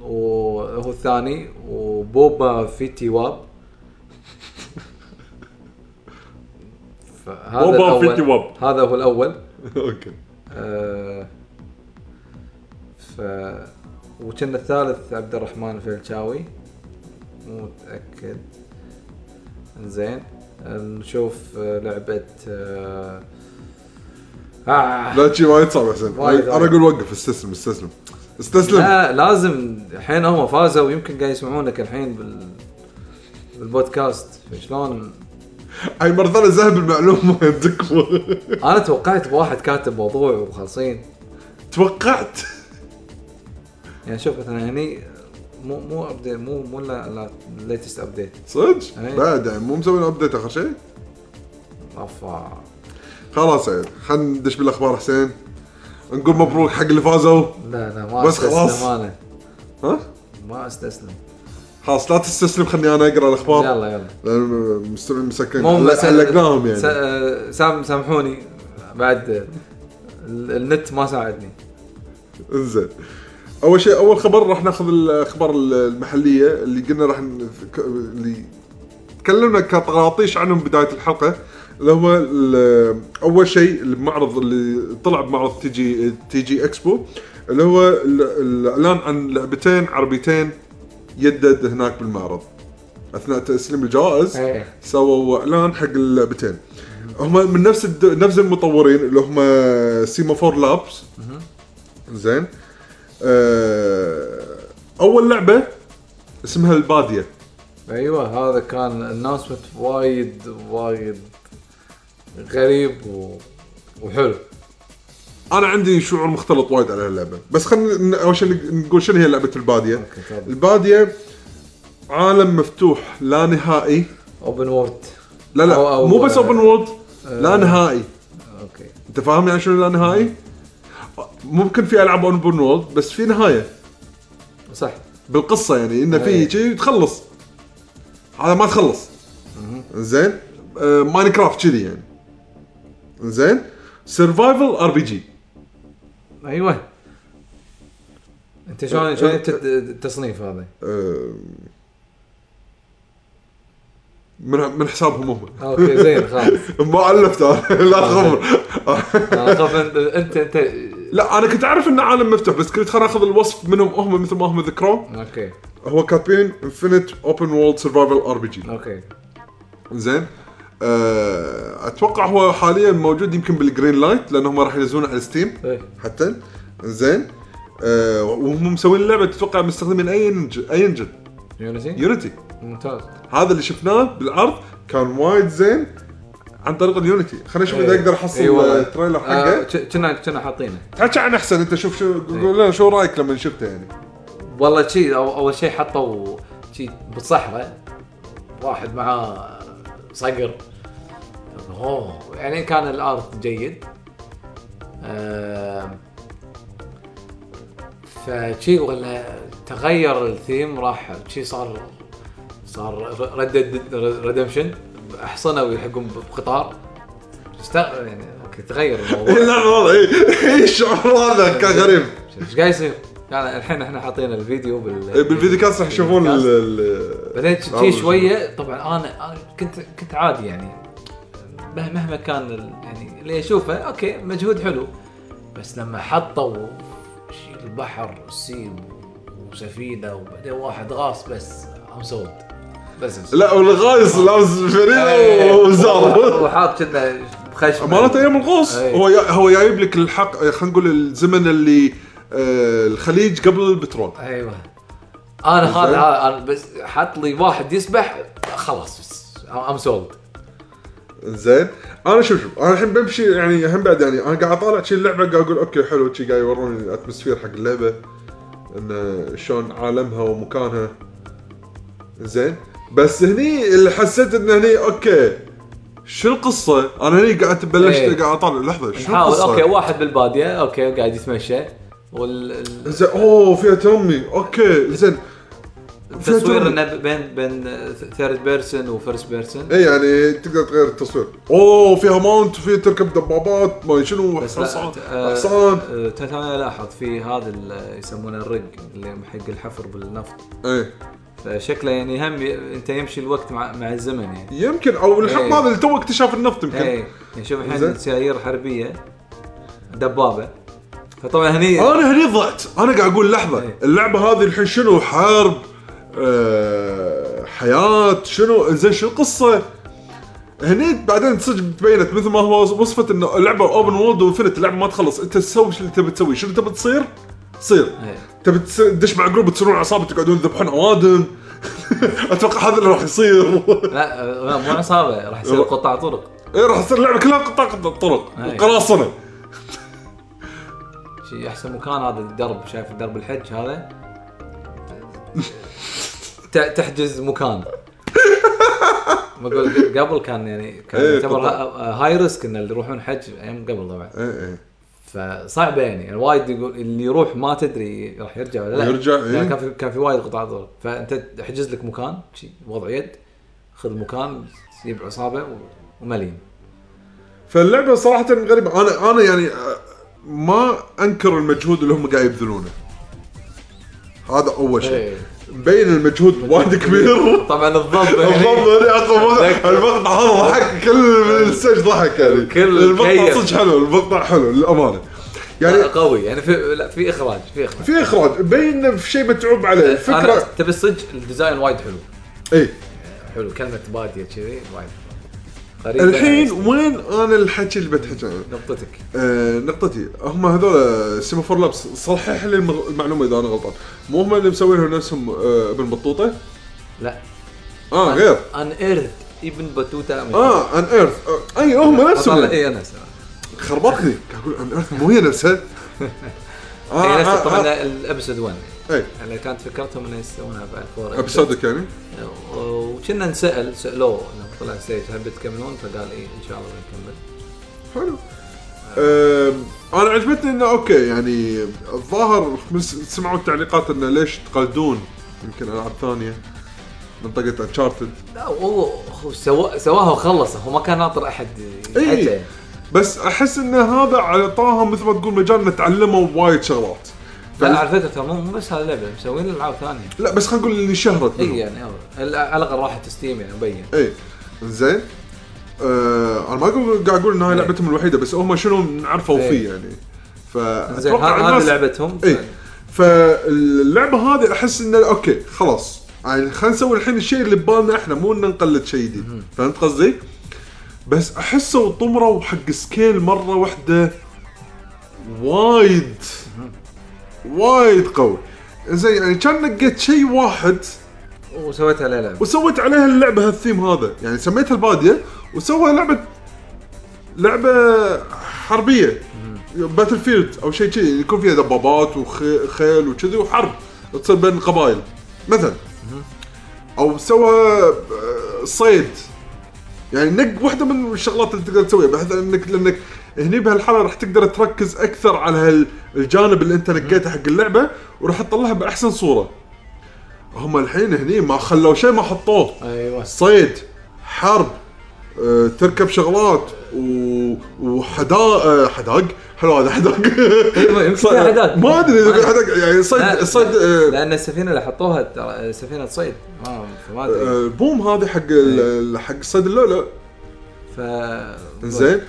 S3: وهو الثاني وبوبا فيتي واب فهذا
S5: بوبا
S3: الأول-
S5: فيتي واب.
S3: هذا هو الأول
S2: اوكي
S3: آه، ف وكان الثالث عبد الرحمن الفلشاوي مو متاكد زين نشوف آه، لعبه آه، آه.
S2: لا شيء وايد صعب حسين
S3: وايد
S2: انا اقول وقف استسلم استسلم استسلم
S3: لا لازم الحين هم فازوا ويمكن قاعد يسمعونك الحين بال بالبودكاست شلون
S2: هاي مره ثانيه ذهب المعلومه عندك
S3: انا توقعت بواحد كاتب موضوع وخالصين
S2: توقعت
S3: يعني شوف مثلا هني مو مو ابديت مو مو لا ليتست ابديت
S2: صدق؟
S3: إيه.
S2: بعد يعني مو مسوي ابديت اخر شيء؟
S3: افا
S2: خلاص عيل خلينا ندش بالاخبار حسين نقول مبروك حق اللي فازوا
S3: لا لا ما
S2: بس
S3: استسلم
S2: خلاص.
S3: انا
S2: ها؟
S3: ما استسلم
S2: خلاص لا تستسلم خلني انا اقرا الاخبار
S3: يلا يلا
S2: لأن المستمعين مسكين
S3: مو
S2: علق-
S3: بس-
S2: علقناهم
S3: س-
S2: يعني
S3: آه، سام سامحوني بعد آه، ال- النت ما ساعدني
S2: انزين اول شيء اول خبر راح ناخذ الاخبار المحليه اللي قلنا راح ن- ك- اللي تكلمنا كطراطيش عنهم بدايه الحلقه اللي هو ال- اول شيء المعرض اللي طلع بمعرض تي جي تي جي اكسبو اللي هو ال- الاعلان عن لعبتين عربيتين يدد هناك بالمعرض اثناء تسليم الجوائز
S3: إيه.
S2: سووا اعلان حق اللعبتين هم من نفس الد... نفس المطورين اللي هم سيمافور لابس زين آه، اول لعبه اسمها الباديه
S3: ايوه هذا كان الناس وايد وايد غريب و... وحلو
S2: انا عندي شعور مختلط وايد على هاللعبه بس خلينا اول شيء نقول شنو هي لعبه الباديه
S3: أوكي، تفضل.
S2: الباديه عالم مفتوح لا نهائي
S3: اوبن وورد
S2: لا لا
S3: أو- أو- آه،
S2: مو بس اوبن وورد لا نهائي
S3: اوكي
S2: انت فاهم يعني شنو لا نهائي ممكن في العاب اوبن وورد بس في نهايه
S3: صح
S2: بالقصه يعني انه في
S3: إيه.
S2: شيء تخلص هذا ما تخلص زين آه ماين كرافت كذي يعني زين سرفايفل ار بي جي
S3: ايوه انت شلون شلون انت التصنيف هذا؟
S2: آه، من من حسابهم هم
S3: اوكي زين خلاص
S2: ما الفت أنا، لا خبر
S3: أنا أخاف أنت- انت انت
S2: لا انا كنت اعرف انه عالم مفتوح بس كنت خليني اخذ الوصف منهم هم مثل ما هم ذكروه
S3: اوكي
S2: هو كاتبين انفنت اوبن وولد سرفايفل ار بي جي
S3: اوكي
S2: زين أه، اتوقع هو حاليا موجود يمكن بالجرين لايت لانهم راح ينزلونه على ستيم
S3: إيه.
S2: حتى زين أه، وهم مسوين اللعبه تتوقع مستخدمين اي انجن اي انجن
S3: يونسي
S2: يونيتي
S3: ممتاز
S2: هذا اللي شفناه بالعرض كان وايد زين عن طريق اليونيتي خلينا نشوف اذا
S3: إيه.
S2: اقدر احصل
S3: إيه والله.
S2: التريلر
S3: آه،
S2: حقه
S3: ك- كنا كنا حاطينه
S2: تحكي عن احسن انت شوف شو قول لنا شو رايك لما شفته يعني
S3: والله شي أو- اول شيء حطوا شي بالصحراء واحد معاه صقر اوه يعني كان الارت جيد آم، فشي ولا تغير الثيم راح شي صار صار ردد ريدمشن احصنوا يلحقون بقطار است- يعني اوكي تغير الموضوع
S2: لا والله اي الشعور هذا
S3: إيه.
S2: كان غريب
S3: ايش قاعد يصير؟ يعني الحين احنا حاطين الفيديو بال
S2: إيه، بالفيديو كاست راح يشوفون ال- ال-
S3: بالفيديو كاست. بعدين
S2: العرض
S3: شي شويه طبعا انا انا كنت كنت عادي يعني مه- مهما كان ال- يعني اللي اشوفه اوكي مجهود حلو بس لما حطوا شي البحر والسيب وسفينه وبعدين واحد غاص بس ام سود بس
S2: لا والغايص لابس
S3: إيه.
S2: فريده وزار
S3: وحاط كنا بخشم
S2: امانه ايام الغوص
S3: أي.
S2: هو يا- هو جايب لك الحق خلينا نقول الزمن اللي آه، الخليج قبل البترول
S3: ايوه انا هذا انا بس حط لي واحد يسبح خلاص بس ام سولد
S2: زين انا شوف شوف انا الحين بمشي يعني الحين بعد يعني انا قاعد اطالع شي اللعبه قاعد اقول اوكي حلو شي قاعد يوروني الاتموسفير حق اللعبه انه شلون عالمها ومكانها زين بس هني اللي حسيت انه هني اوكي شو القصه؟ انا هني قعدت بلشت
S3: إيه.
S2: قاعد اطالع لحظه شو
S3: نحاول
S2: القصه؟
S3: اوكي واحد بالباديه اوكي قاعد يتمشى وال ال-
S2: زين اوه فيها تمي اوكي زين
S3: التصوير
S2: فيها
S3: انه بين بين ثيرد بيرسون وفيرست بيرسون
S2: اي يعني تقدر تغير التصوير اوه فيها ماونت وفيها تركب دبابات ما شنو
S3: بس
S2: حصان
S3: لا آه،
S2: حصان
S3: آه، ترى انا لاحظ في هذا اللي يسمونه الرق اللي حق الحفر بالنفط
S2: اي
S3: فشكله يعني هم ي- انت يمشي الوقت مع مع الزمن يعني
S2: يمكن او الحق
S3: إيه.
S2: هذا اللي تو اكتشاف النفط يمكن
S3: اي يعني شوف
S2: زين.
S3: الحين سيايير حربيه دبابه فطبعا هني
S2: انا هني ضعت انا قاعد اقول لحظه
S3: إيه.
S2: اللعبه هذه الحين شنو حرب أه حياه شنو زين شو القصه هني بعدين صدق بينت مثل ما هو وصفت انه اللعبه اوبن وورلد وانفنت اللعبه ما تخلص انت تسوي شو اللي تبي تسوي شنو تبي تصير صير
S3: إيه.
S2: تبي تس- تدش مع جروب تصيرون عصابه تقعدون تذبحون اوادم اتوقع هذا اللي راح يصير
S3: لا آه، لا، مو عصابه راح يصير قطاع طرق
S2: ايه راح تصير اللعبه كلها قطاع قطاع طرق
S3: إيه.
S2: وقراصنه
S3: شي احسن مكان هذا الدرب شايف درب الحج هذا ت- تحجز مكان بقول قبل كان يعني كان
S2: إيه،
S3: يعتبر
S2: طبعاً.
S3: ها- هاي ريسك ان اللي يروحون حج ايام قبل طبعا
S2: ايه ايه
S3: فصعبه يعني الوايد يقول اللي يروح ما تدري راح يرجع ولا لا
S2: يرجع،
S3: يعني
S2: إيه.
S3: كان في كان في وايد قطاع طرق فانت تحجز لك مكان شي وضع يد خذ مكان جيب عصابه و- ومليم
S2: فاللعبه صراحه غريبه انا انا يعني آه، ما انكر المجهود اللي هم قاعد يبذلونه هذا اول شيء
S3: إيه.
S2: مبين المجهود وايد كبير
S3: طبعا الضبه يعني
S2: الضربه هنا أصلاً
S3: ذكر.
S2: المقطع هذا ضحك كل من السج ضحك يعني
S3: كل
S2: المقطع
S3: كيف.
S2: صدق حلو المقطع حلو للامانه يعني
S3: قوي يعني في لا في اخراج في اخراج
S2: في اخراج مبين إنه في شيء متعوب عليه إيه.
S3: انا
S2: الفكره
S3: تبي الصدق الديزاين وايد حلو
S2: اي
S3: حلو كلمه باديه كذي وايد قريب
S2: الحين وين انا الحكي اللي بتحكي عنه؟
S3: نقطتك
S2: آه، نقطتي هم هذول سيمافور لابس صحح لي المغ- المعلومه اذا انا غلطان مو هم اللي مسوينهم نفسهم آه، ابن بطوطه
S3: لا
S2: اه
S3: نعم.
S2: غير
S3: ان ايرث ابن باتوتا
S2: اه ان ايرث اي هم نفسهم
S3: اي انا
S2: آه،
S3: أسمع.
S2: خربطني قاعد اقول ان ايرث مو هي نفسها اه
S3: هي نفس
S2: آه،
S3: طبعا
S2: آه.
S3: الابسود 1
S2: اي
S3: يعني كانت فكرتهم انه يسوونها بعد فور
S2: ابسودك يعني
S3: وكنا نسال سالوه انه طلع ستيج هل بتكملون فقال اي ان شاء الله بنكمل
S2: حلو آم، انا عجبتني انه اوكي يعني الظاهر مس- سمعوا التعليقات انه ليش تقلدون يمكن العاب ثانيه منطقه انشارتد
S3: لا هو هو سوا سواها وخلص هو ما كان ناطر احد يحكي
S2: إي. إيه. بس احس ان هذا عطاهم مثل ما تقول مجال إن تعلموا وايد شغلات
S3: لا
S2: فال-
S3: على فكره ترى مو مو بس هذا اللعبه مسوين العاب ثانيه
S2: لا بس خلينا نقول اللي شهرت
S3: اي
S2: منهم.
S3: يعني يلا. هلا على الاقل راحت ستيم يعني مبين
S2: اي زين آه انا ما اقول قاعد اقول ان هاي لعبتهم الوحيده بس هم شنو عرفوا
S3: إيه.
S2: فيه يعني
S3: زين
S2: فاتوقع
S3: ها- هذه
S2: الناس
S3: لعبتهم
S2: اي فاللعبه إيه. هذه احس انه اوكي خلاص يعني خلينا نسوي الحين الشيء اللي ببالنا احنا مو ان نقلد شيء جديد فهمت قصدي؟ بس احسه طمره حق سكيل مره واحده وايد وايد قوي زين يعني كان نقيت شيء واحد
S3: وسويتها لعبه
S2: وسويت عليها اللعبه هالثيم هذا يعني سميتها الباديه وسوى لعبه لعبه حربيه باتل فيلد او شيء كذي يكون فيها دبابات وخيل وكذي وحرب تصير بين القبائل مثلا او سوى آه، صيد يعني نق واحده من الشغلات اللي تقدر تسويها بحيث انك لانك هني بهالحاله راح تقدر تركز اكثر على هال- الجانب اللي انت نقيته حق اللعبه وراح تطلعها باحسن صوره هم الحين هني ما خلوا شيء ما حطوه أيوة.
S3: ايوه
S2: صيد حرب آه، تركب شغلات و... وحدائق حدائق حلو هذا حدائق
S3: يمكن فيها حدائق.
S2: ما ادري اذا في حدائق يعني
S3: لا،
S2: صيد صيد آه،
S3: لان السفينه اللي حطوها ترى سفينه صيد ما فما ادري
S2: آه، البوم هذه حق
S3: إيه.
S2: ال- حق صيد اللولو
S3: ف
S2: زين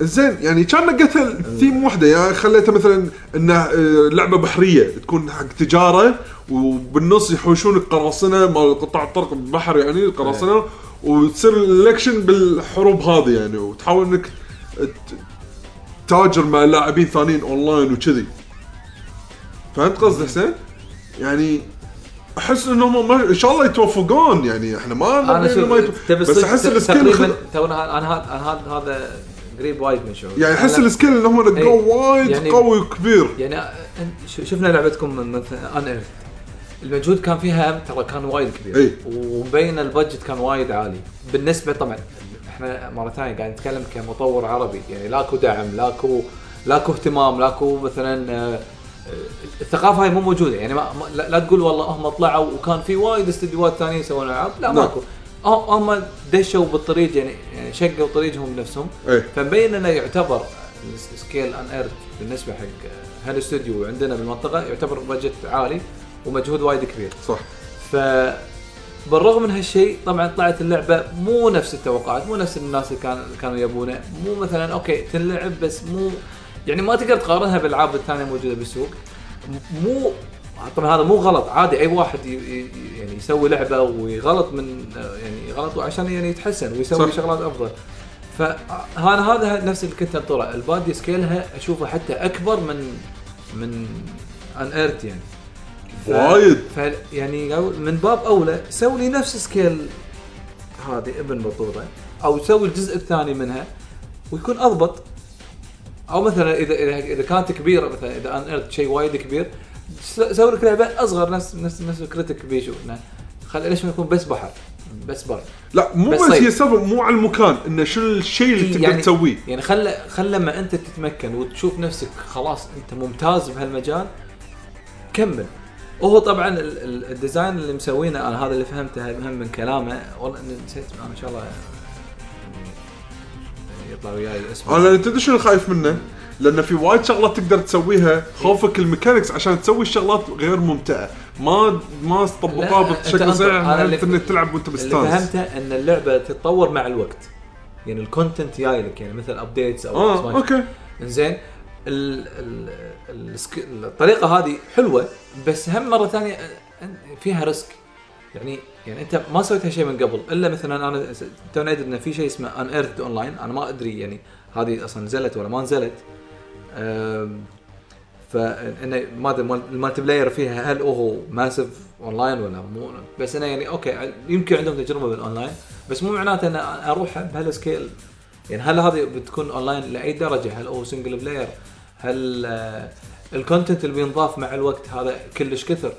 S2: زين يعني كان نقيت الثيم وحده يعني خليتها مثلا انه آه، لعبه بحريه تكون حق تجاره وبالنص يحوشونك قراصنه مال قطاع الطرق بالبحر يعني قراصنه
S3: إيه.
S2: وتصير الاكشن بالحروب هذه يعني وتحاول انك ت- تاجر مع لاعبين ثانيين اونلاين وكذي فهمت قصدي
S3: إيه.
S2: حسين؟ يعني احس انهم ما- ان شاء الله يتوفقون يعني احنا ما
S3: انا
S2: نبي إنه ما يتو-
S3: شوف تبي
S2: بس احس
S3: الصدق
S2: السكيل
S3: تقريبا
S2: خذ-
S3: تونا انا هذا انا هذا هذا قريب وايد من شعور
S2: يعني احس
S3: أنا-
S2: السكيل اللي هم نقوه
S3: إيه.
S2: وايد
S3: يعني-
S2: قوي وكبير
S3: يعني إن- ش- شفنا لعبتكم من مثلا ان ايرث المجهود كان فيها ترى كان وايد كبير
S2: إي.
S3: ومبين البادجت كان وايد عالي بالنسبه طبعا احنا مره ثانيه قاعد نتكلم كمطور عربي يعني لاكو دعم لاكو لاكو اهتمام لاكو مثلا آه، آه، الثقافه هاي مو موجوده يعني ما ما- لا, لا تقول والله هم طلعوا وكان في وايد استديوهات ثانيه يسوون العاب لا
S2: نعم.
S3: ماكو هم هم دشوا بالطريق يعني يعني شقوا طريقهم بنفسهم
S2: ايه
S3: فمبين انه يعتبر الس- سكيل ان ايرث بالنسبه حق هالاستوديو عندنا بالمنطقه يعتبر بجت عالي ومجهود وايد كبير
S2: صح
S3: ف بالرغم من هالشيء طبعا طلعت اللعبه مو نفس التوقعات مو نفس الناس اللي كان كانوا يبونه مو مثلا اوكي تنلعب بس مو يعني ما تقدر تقارنها بالالعاب الثانيه الموجوده بالسوق م- مو طبعا هذا مو غلط عادي اي واحد ي- ي- يعني يسوي لعبه ويغلط من يعني يغلط عشان يعني يتحسن ويسوي
S2: صح.
S3: شغلات افضل فانا هذا نفس اللي كنت انطره البادي سكيلها اشوفه حتى اكبر من من ان ايرت يعني ف-
S2: وايد.
S3: ف يعني قال من باب اولى سوي لي نفس سكيل هذه ابن بطوطه او سوي الجزء الثاني منها ويكون اضبط او مثلا اذا اذا اذا كانت كبيره مثلا اذا ان ارت شيء وايد كبير س- سوي لك لعبه اصغر نفس نفس نفس كريتك بيشو إنه خل ليش ما يكون بس بحر بس بر
S2: لا مو
S3: بس
S2: بس
S3: صيد.
S2: هي السالفه مو على المكان انه شو الشيء اللي تقدر
S3: يعني-
S2: تسويه
S3: يعني خل خل لما انت تتمكن وتشوف نفسك خلاص انت ممتاز بهالمجال كمل وهو طبعا ال- ال- الديزاين اللي مسوينه انا هذا اللي فهمته هم من كلامه والله إني نسيت انا ان شاء الله يعني يطلع وياي اسمه
S2: انا تدري شنو خايف منه؟ لان في وايد شغلات تقدر
S3: إيه.
S2: تسويها خوفك الميكانكس عشان تسوي الشغلات غير ممتعه ما ما طبقوها
S3: لا، أنت
S2: بشكل
S3: أنت-
S2: صحيح
S3: أنا اللي-
S2: انك تلعب وانت
S3: اللي
S2: مستانس
S3: فهمته ان اللعبه تتطور مع الوقت يعني الكونتنت جاي لك يعني مثل ابديتس او
S2: اه
S3: expansion.
S2: اوكي
S3: زين ال- ال- ال- السك- الطريقه هذه حلوه بس هم مره ثانيه أن- فيها ريسك يعني يعني انت ما سويت هالشيء من قبل الا مثلا انا س- تونا ادري ان في شيء اسمه ان ايرث اون لاين انا ما ادري يعني هذه اصلا نزلت ولا ما نزلت أم، فانه ما ادري مال- المالتي بلاير فيها هل هو ماسف اونلاين ولا مو بس انا يعني اوكي يمكن عندهم تجربه بالاونلاين بس مو معناته ان اروح بهالسكيل يعني هل هذه بتكون اونلاين لاي درجه؟ هل هو سنجل بلاير؟ هل آه، الكونتنت اللي بينضاف مع الوقت هذا كلش كثر؟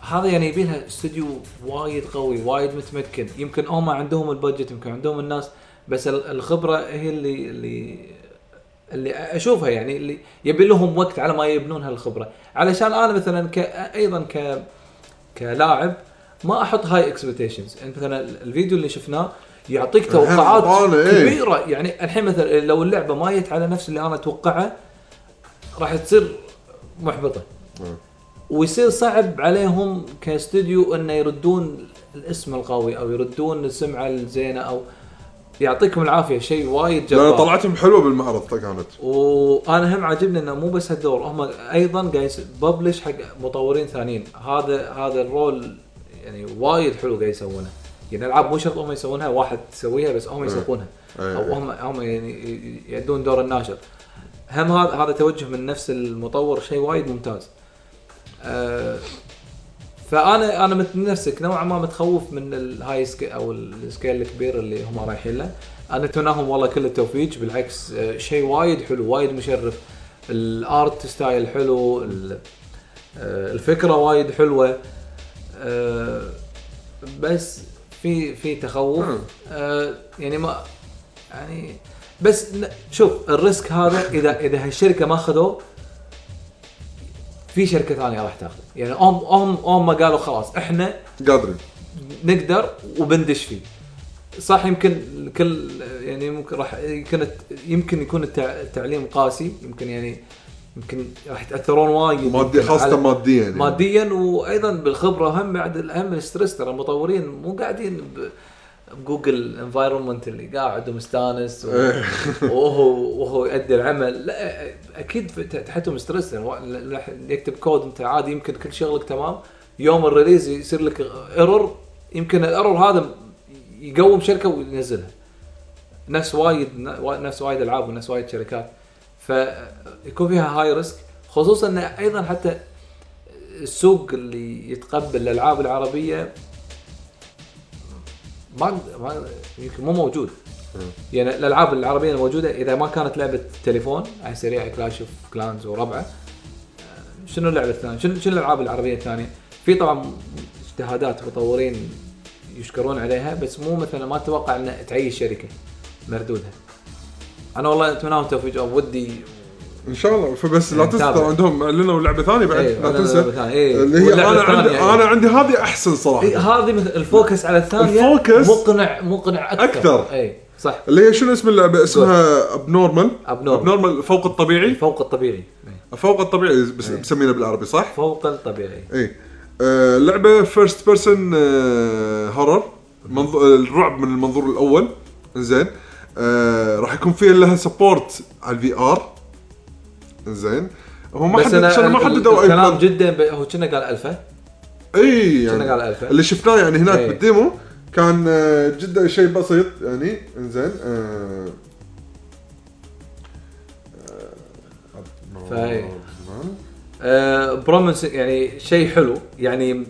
S3: هذا يعني يبي لها استوديو وايد قوي وايد متمكن يمكن هم عندهم البادجت يمكن عندهم الناس بس ال- الخبره هي اللي اللي اللي اشوفها يعني اللي يبي لهم وقت على ما يبنون هالخبره علشان انا مثلا ك ايضا ك كلاعب ما احط هاي اكسبكتيشنز يعني مثلا الفيديو اللي شفناه يعطيك توقعات
S2: طالع، إيه.
S3: كبيره يعني الحين مثلا لو اللعبه ما جت على نفس اللي انا اتوقعه راح تصير محبطه ويصير صعب عليهم كاستوديو انه يردون الاسم القوي او يردون السمعه الزينه او يعطيكم العافيه شيء وايد
S2: لان
S3: جبار
S2: طلعتهم حلوه بالمعرض طيب، كانت
S3: وانا هم عاجبني انه مو بس هالدور هم ايضا قاعد ببلش حق مطورين ثانيين هذا هذا الرول يعني وايد حلو قاعد يسوونه يعني العاب مو شرط هم يسوونها واحد تسويها بس هم يسوقونها
S2: إيه.
S3: او هم هم يعني ي- يأدون دور الناشر هم هذا هذا توجه من نفس المطور شيء وايد ممتاز آه، فانا انا مثل نفسك نوعا ما متخوف من الهاي سكيل او السكيل الكبير اللي هم رايحين له انا اتمناهم والله كل التوفيق بالعكس آه، شيء وايد حلو وايد مشرف الارت ستايل حلو ال- آه، الفكره وايد حلوه آه، بس في في تخوف
S2: مم.
S3: آه، يعني ما يعني بس ن- شوف الريسك هذا اذا اذا هالشركه ما خذوه في شركه ثانيه راح تاخذه يعني هم هم هم قالوا خلاص احنا
S2: قادرين
S3: نقدر وبندش فيه صح يمكن الكل يعني ممكن راح يمكن يمكن يكون التع- التعليم قاسي يمكن يعني يمكن راح يتاثرون وايد
S2: مادي
S3: يمكن على-
S2: خاصه ماديا يعني
S3: ماديا وايضا بالخبره هم بعد الاهم الستريس ترى المطورين مو قاعدين ب- بجوجل انفايرمنت اللي قاعد ومستانس و-
S2: إيه.
S3: وهو وهو يؤدي العمل لا اكيد في- تحتهم ستريس يعني وا- راح يكتب كود انت عادي يمكن كل شغلك تمام يوم الريليز يصير لك ايرور يمكن الايرور هذا يقوم شركه وينزلها نفس وايد نفس وايد العاب ونفس وايد شركات فيكون فيها هاي ريسك خصوصا ان ايضا حتى السوق اللي يتقبل الالعاب العربيه ما ما يمكن مو موجود يعني الالعاب العربيه الموجوده اذا ما كانت لعبه تليفون على سريع كلاش اوف كلانز وربعه آه، شنو اللعبه الثانيه؟ شنو شنو الالعاب العربيه الثانيه؟ في طبعا اجتهادات مطورين يشكرون عليها بس مو مثلا ما اتوقع ان تعيش شركه مردودها. انا والله اتمنى لهم التوفيق ودي
S2: ان شاء الله فبس لا تنسى
S3: نتابع.
S2: ترى عندهم اعلنوا لعبه ثانيه بعد
S3: إيه،
S2: لا
S3: أعلنوا
S2: تنسى
S3: لعبة ثانية، إيه.
S2: اللي هي
S3: واللعبة
S2: انا عندي
S3: الثانية، يعني.
S2: انا عندي هذه احسن صراحه
S3: إيه، هذه مثل الفوكس على الثانيه
S2: الفوكس
S3: مقنع مقنع اكثر
S2: أكثر.
S3: اي صح
S2: اللي هي شنو اسم اللعبه اسمها ابنورمال
S3: Abnormal.
S2: ابنورمال فوق الطبيعي
S3: فوق الطبيعي
S2: فوق الطبيعي بس مسمينها بالعربي صح؟
S3: إيه. فوق الطبيعي
S2: اي آه، لعبه فيرست بيرسون هورر آه، الرعب من المنظور الاول زين آه، راح يكون فيها لها سبورت على الفي ار زين هو ما حد عشان ما حددوا اي
S3: الكلام
S2: بلد.
S3: جدا ب... هو كنا قال الفا
S2: اي
S3: كنا قال
S2: يعني
S3: ألفا.
S2: اللي شفناه يعني هناك
S3: إي.
S2: بالديمو كان آه، جدا شيء بسيط يعني انزين آه،
S3: فهي. آه برومنس يعني شيء حلو يعني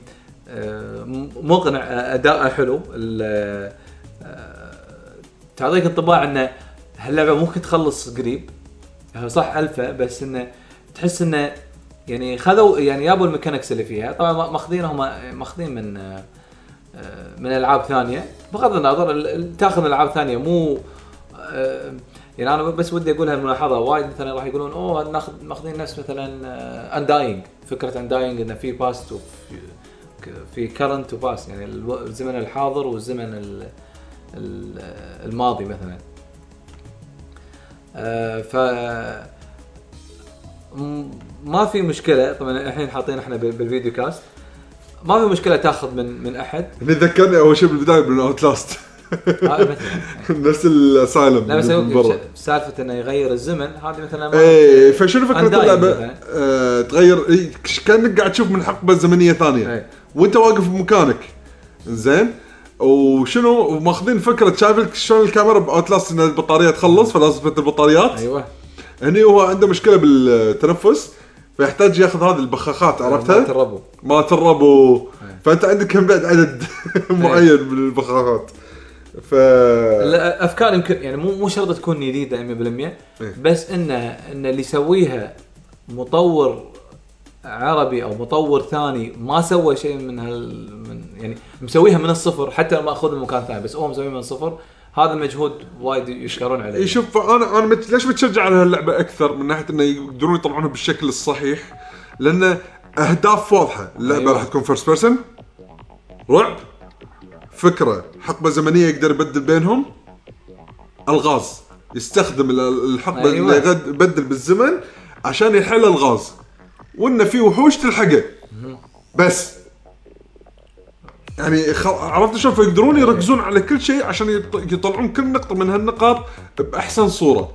S3: آه م- مقنع آه، اداءه حلو ال- آه، تعطيك انطباع انه هاللعبه ممكن تخلص قريب هو صح الفا بس انه تحس انه يعني خذوا يعني جابوا الميكانكس اللي فيها طبعا ما- ماخذينهم ماخذين من آه، آه، من العاب ثانيه بغض النظر ال- ال- تاخذ العاب ثانيه مو آه، يعني انا بس ودي اقول هالملاحظه وايد مثلا راح يقولون اوه ناخذ ماخذين نفس آه، مثلا انداينج فكره انداينج انه في باست في كرنت وباست يعني الو- الزمن الحاضر والزمن ال- ال- الماضي مثلا آه، ف م- ما في مشكله طبعا الحين حاطين احنا بال- بالفيديو كاست ما في مشكله تاخذ من من احد
S2: اللي ذكرني اول شيء بالبدايه بالاوت لاست
S3: آه، مثلا
S2: نفس الاسايلم
S3: لا بس
S2: من برا.
S3: هو سالفه انه يغير الزمن هذه مثلا ما-
S2: ايه فشنو فكره
S3: Undying
S2: اللعبه؟
S3: مثلاً.
S2: آه تغير إيه، كش- كانك قاعد تشوف من حقبه زمنيه ثانيه
S3: إيه.
S2: وانت واقف بمكانك زين وشنو وماخذين فكره شايف لك شلون الكاميرا باوتلاست ان البطاريه تخلص فلسفه البطاريات
S3: ايوه
S2: هني هو عنده مشكله بالتنفس فيحتاج ياخذ هذه البخاخات
S3: مالت
S2: عرفتها؟
S3: الربو
S2: مالت الربو فانت عندك كم بعد عدد معين من البخاخات ف آه.
S3: الافكار يمكن يعني مو مو شرط تكون جديده 100%
S2: إيه.
S3: بس انه ان اللي يسويها مطور عربي او مطور ثاني ما سوى شيء من هال من يعني مسويها من الصفر حتى ماخذ من مكان ثاني بس هو مسويها من الصفر هذا المجهود وايد يشكرون عليه
S2: اي إيه، شوف انا انا مت... ليش متشجع على هاللعبه اكثر من ناحيه انه يقدرون يطلعونها بالشكل الصحيح لان اهداف واضحه اللعبه
S3: أيوة.
S2: راح تكون فيرست بيرسون رعب فكره حقبه زمنيه يقدر يبدل بينهم الغاز يستخدم ال- الحقبه
S3: أيوة.
S2: اللي يغد- يبدل بالزمن عشان يحل الغاز وانه في وحوش تلحقه بس يعني خل... عرفت شلون فيقدرون يركزون على كل شيء عشان يط... يطلعون كل نقطه من هالنقاط باحسن صوره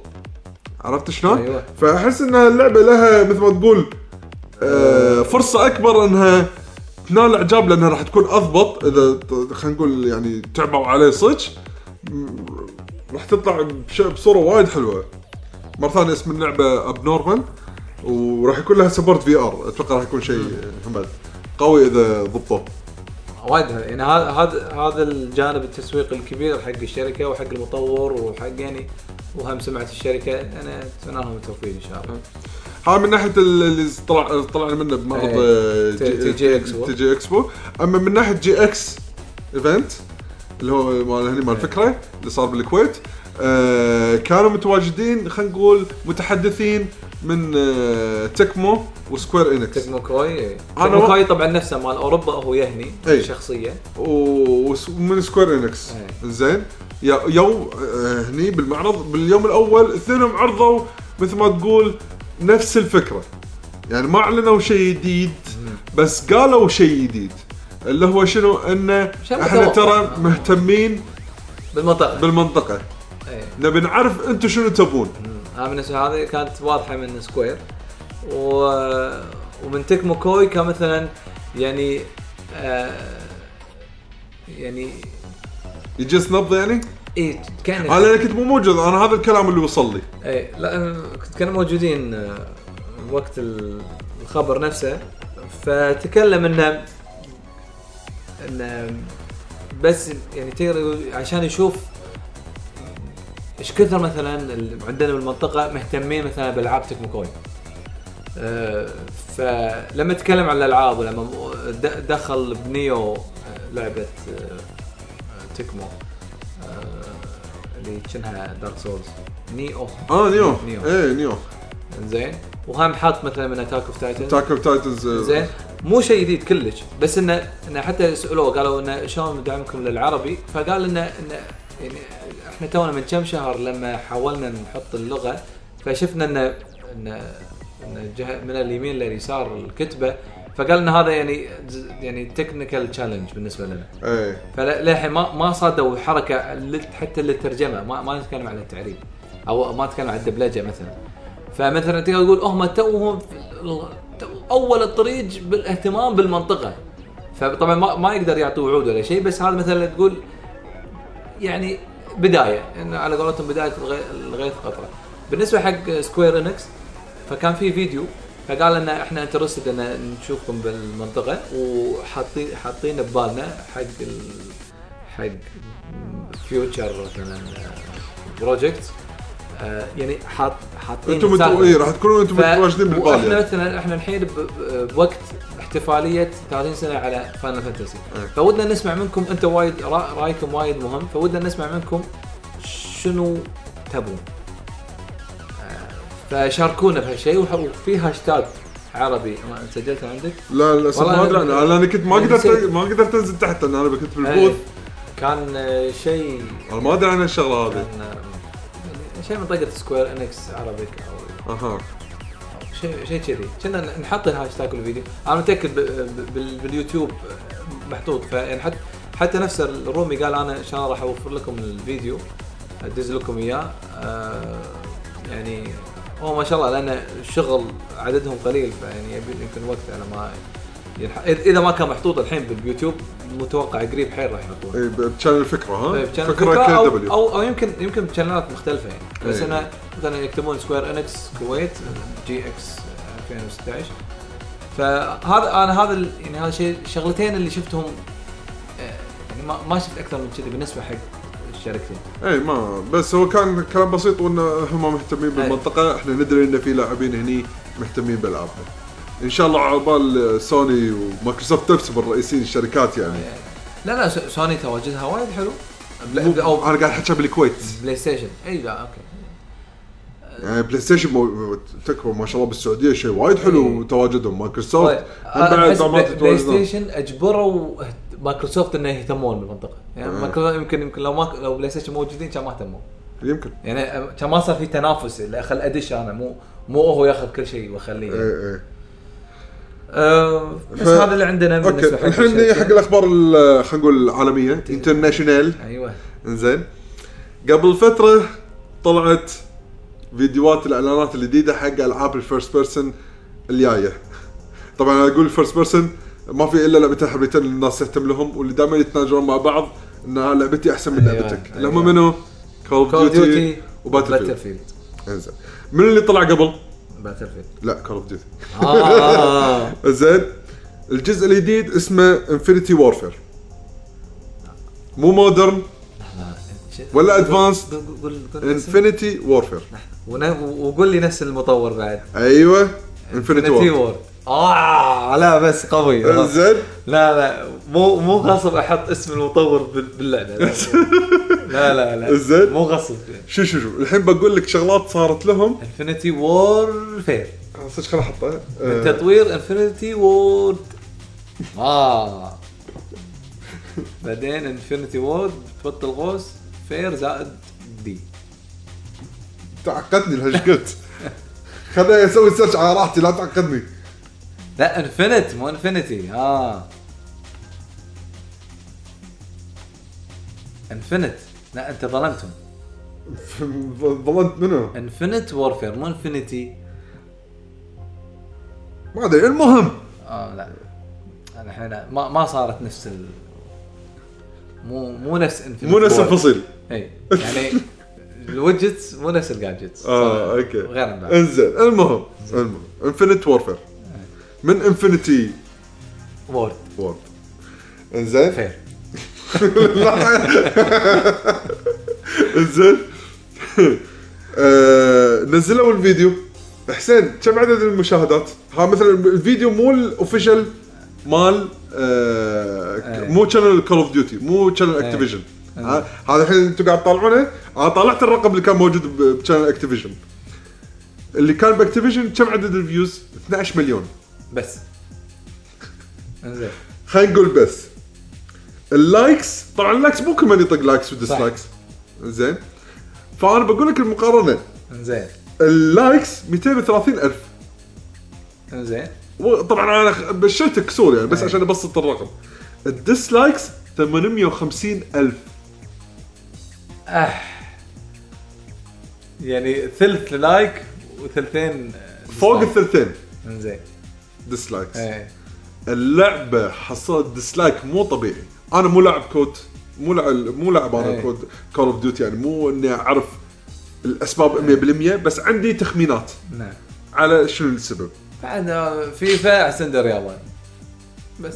S2: عرفت شلون؟
S3: أيوة.
S2: فاحس ان اللعبه لها مثل ما تقول آه فرصه اكبر انها تنال اعجاب لانها راح تكون اضبط اذا ت- خلينا نقول يعني تعبوا عليه صدق م- راح تطلع بش... بصوره وايد حلوه مره ثانيه اسم اللعبه ابنورمال وراح يكون لها سبورت في ار اتوقع راح يكون شيء محمد قوي اذا ضبطوه
S3: وايد هذا- يعني هذا هذا هذا الجانب التسويقي الكبير حق الشركه وحق المطور وحق يعني وهم سمعه الشركه انا اتمنى لهم التوفيق ان شاء الله
S2: هاي من ناحيه ال- اللي طلع طلعنا منه بمعرض
S3: إيه.
S2: آه،
S3: تي- تي جي إكسبو.
S2: تي جي اكسبو اما من ناحيه جي اكس ايفنت اللي هو مال هني
S3: إيه.
S2: مال الفكره اللي صار بالكويت آه، كانوا متواجدين خلينا نقول متحدثين من آه، تكمو وسكوير انكس
S3: تكمو كوي
S2: أنا
S3: تكمو
S2: و-
S3: كوي طبعا نفسه مال اوروبا هو يهني
S2: إي.
S3: شخصيا
S2: و- وس- ومن سكوير انكس
S3: إيه.
S2: زين يا- يوم آه، هني بالمعرض باليوم الاول اثنينهم عرضوا مثل ما تقول نفس الفكره يعني ما اعلنوا شيء جديد بس قالوا شيء جديد اللي هو شنو انه
S3: شيء
S2: احنا
S3: متوقع.
S2: ترى مهتمين
S3: بالمنطقه
S2: بالمنطقه
S3: إي.
S2: نبي نعرف انتم شنو تبون
S3: انا بالنسبه لي هذه كانت واضحه من سكوير و... ومن تكمو كوي كان مثلا يعني آه... يعني إيه،
S2: يجي سنب يعني
S3: اي كان
S2: انا لأن كنت مو موجود انا هذا الكلام اللي وصل لي
S3: اي إيه، لا آه، كنت- كانوا موجودين آه، وقت ال- الخبر نفسه فتكلم انه انه بس يعني تقدر يقول- عشان يشوف ايش كثر مثلا ال- عندنا بالمنطقه مهتمين مثلا بالعاب تكمو كوي آه، فلما تكلم عن الالعاب ولما د- دخل بنيو آه، لعبه آه، آه، تكمو آه، اللي كانها دارك سولز نيو
S2: اه نيو
S3: نيو
S2: ايه نيو
S3: زين وهم حاط مثلا من اتاك اوف تايتن
S2: تاك اوف تايتنز
S3: زين مو شيء جديد كلش بس انه انه حتى سالوه قالوا انه شلون ندعمكم للعربي فقال انه انه يعني احنا تونا من كم شهر لما حاولنا نحط اللغه فشفنا انه انه إن جهة من اليمين لليسار الكتبه فقال ان هذا يعني يعني تكنيكال تشالنج بالنسبه لنا
S2: ايه
S3: فللحين ما ما صادوا حركه لل- حتى للترجمه ما ما نتكلم عن التعريب او ما نتكلم عن الدبلجه مثلا فمثلا تقدر تقول هم توهم في ال- تو اول الطريق بالاهتمام بالمنطقه فطبعا ما, ما يقدر يعطي وعود ولا شيء بس هذا مثلا تقول يعني بدايه انه على قولتهم بدايه الغي- الغيث قطره بالنسبه حق سكوير انكس فكان في فيديو فقال لنا احنا انترستد ان نشوفكم بالمنطقه وحاطين حاطين ببالنا حق ال... حق فيوتشر مثلا بروجكت آه، يعني حاط حاطين
S2: انتم
S3: سالفة.
S2: انتم ايه راح تكونوا انتم
S3: ف-
S2: متواجدين بالبال
S3: واحنا
S2: يعني.
S3: مثلا احنا الحين ب- ب- بوقت احتفاليه 30 سنه على فاينل فانتسي
S2: أي.
S3: فودنا نسمع منكم انت وايد را- رايكم وايد مهم فودنا نسمع منكم شنو تبون آه، فشاركونا بهالشيء وح- وفي هاشتاج عربي ما سجلته عندك
S2: لا للاسف
S3: والله
S2: ما
S3: أنا- يعني
S2: ادري عنها، لان انا كنت ما قدرت
S3: نسيت.
S2: ما قدرت انزل تحت لان انا كنت
S3: آه،
S2: بالبوث
S3: كان آه، شيء
S2: انا ما ادري عن الشغله هذه
S3: كان آه، شيء منطقه سكوير انكس عربيك او
S2: اها
S3: شيء شيء كذي كنا نحط الهاشتاج والفيديو انا متاكد ب- ب- بال- باليوتيوب محطوط فيعني حتى حتى نفس الرومي قال انا ان شاء الله راح اوفر لكم الفيديو ادز لكم اياه آه، يعني هو ما شاء الله لان الشغل عددهم قليل فيعني يبي يمكن وقت على ما يلحق إذ- اذا ما كان محطوط الحين باليوتيوب متوقع قريب حيل راح يحطونه
S2: اي بتشانل فكره ها
S3: طيب، كان
S2: فكره كي
S3: أو,
S2: دبليو
S3: او او يمكن يمكن بشانلات مختلفه يعني بس
S2: إيه.
S3: انه مثلا يكتبون سكوير انكس كويت جي اكس 2016 فهذا انا هذا ال- يعني هذا الشيء الشغلتين اللي شفتهم آه، يعني ما ما شفت اكثر من كذي بالنسبه حق الشركتين
S2: اي إيه، ما بس هو كان كلام بسيط وانه هم
S3: إيه.
S2: مهتمين بالمنطقه احنا ندري ان في لاعبين هني مهتمين بالالعابنا ان شاء الله على بال سوني ومايكروسوفت نفسهم الرئيسيين الشركات يعني
S3: إيه. لا لا س- سوني تواجدها وايد حلو بلا-
S2: مو-
S3: او
S2: انا قاعد احكي بالكويت
S3: بلاي ستيشن اي إيه، لا اوكي
S2: يعني بلاي ستيشن مو... تكبر ما شاء الله بالسعوديه شيء وايد حلو
S3: إيه.
S2: تواجدهم مايكروسوفت
S3: طيب
S2: هم
S3: أنا أحس
S2: بعد ما
S3: بلاي- بلاي
S2: تتواجدون
S3: ستيشن اجبروا مايكروسوفت انه يهتمون بالمنطقه يعني
S2: آه.
S3: مايكروسوفت يمكن يمكن لو ما لو بلاي ستيشن موجودين كان ما اهتموا
S2: يمكن
S3: يعني كان ما صار في تنافس اللي خل ادش انا يعني مو مو هو ياخذ كل شيء واخليه
S2: ايه ايه
S3: أه بس
S2: ف-
S3: هذا اللي عندنا بالنسبه
S2: اوكي
S3: حق
S2: الحين
S3: الشركة.
S2: حق الاخبار ال- خلينا نقول العالميه
S3: إيه.
S2: انترناشونال
S3: ايوه
S2: انزين قبل فتره طلعت فيديوهات الاعلانات الجديده حق العاب الفيرست بيرسون الجايه طبعا انا اقول الفيرست بيرسون ما في الا لعبتين حبيتين الناس تهتم لهم واللي دائما يتناجرون مع بعض ان لعبتي احسن من
S3: أيوة،
S2: لعبتك اللي
S3: أيوة.
S2: هم منو؟ كول
S3: كول
S2: اوف ديوتي وباتل فيلد
S3: فيلد
S2: انزين من اللي طلع قبل؟
S3: باتل فيلد
S2: لا كول اوف ديوتي
S3: آه، اه
S2: زين الجزء الجديد اسمه انفنتي وورفير مو مودرن ولا advanced.
S3: قول- قول- قول اسم.
S2: انفنتي وورفير
S3: ون- وقول لي نفس المطور بعد
S2: ايوه انفنتي وورفير
S3: وورد اه لا بس قوي لا
S2: زين
S3: لا مو مو غصب احط اسم المطور بال- باللعبه لا لا لا
S2: زين.
S3: مو غصب
S2: شو شو شو الحين بقول لك شغلات صارت لهم
S3: انفنتي وور فير
S2: صدق خل احطها آه،
S3: تطوير انفنتي وورد اه بعدين انفنتي وورد تحط الغوص فير زائد دي
S2: تعقدني الهشكت خليني اسوي سيرش على راحتي لا تعقدني
S3: لا انفنت مو انفنتي اه انفنت لا انت ظلمتهم
S2: ظلمت منو
S3: انفنت وورفير مو انفنتي
S2: ما ادري المهم
S3: اه لا انا الحين ما ما صارت نفس ال مو مو نفس انفنت
S2: مو نفس
S3: وورد.
S2: الفصيل
S3: اي يعني الوجتس مو نفس الجادجتس
S2: اه اوكي
S3: غير عن بعض
S2: انزين المهم المهم انفنت وورفير من انفنتي
S3: وورد
S2: وورد انزين
S3: فير
S2: انزين آه، نزلوا الفيديو حسين كم عدد المشاهدات؟ ها مثلا الفيديو مو الاوفيشال مال آه
S3: إيه.
S2: مو شانل كول اوف ديوتي مو شانل اكتيفيجن ها- هذا الحين انتم قاعد تطالعونه انا طلعت الرقم اللي كان موجود بشانل اكتيفيجن اللي كان باكتيفيجن كم عدد الفيوز؟ 12 مليون
S3: بس انزين
S2: خلينا نقول بس اللايكس طبعا اللايكس مو كمان يطق لايكس وديسلايكس زين فانا بقول لك المقارنه
S3: انزين
S2: اللايكس 230 الف
S3: انزين
S2: طبعا انا خ- بشيت كسور يعني بس عشان ابسط الرقم الديسلايكس 850 الف
S3: يعني ثلث لايك وثلثين
S2: فوق الثلثين
S3: انزين
S2: ديسلايكس
S3: ايه
S2: اللعبه حصلت ديسلايك مو طبيعي انا مو لاعب كود مو لاعب مو لاعب انا
S3: إيه.
S2: كود كول اوف ديوتي يعني مو اني اعرف الاسباب 100% بس عندي تخمينات
S3: نعم
S2: على شنو السبب
S3: بعد فيفا احسن دوري ياباني بس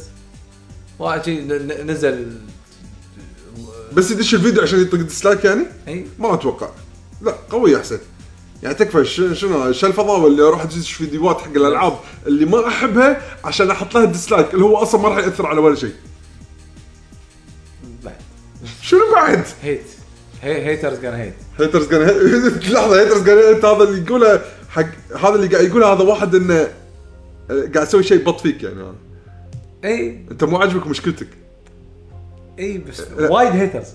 S3: واحد شي ن- ن- نزل
S2: بس يدش الفيديو عشان يطق ديسلايك يعني
S3: اي
S2: ما اتوقع لا قوي احسن يعني تكفى ش- شنو شالفضاوه اللي اروح ادش فيديوهات حق الالعاب اللي ما احبها عشان احط لها ديسلايك اللي هو اصلا ما راح ياثر على ولا شيء
S3: بعد
S2: شنو بعد؟
S3: هيت هي هيترز كان هيت
S2: هيترز قال لحظه هيترز قال هيت هذا اللي يقوله حق هذا اللي قاعد يقوله هذا واحد انه آه، قاعد يسوي شيء بط فيك يعني هذا.
S3: اي
S2: انت مو عاجبك مشكلتك
S3: اي بس وايد هيترز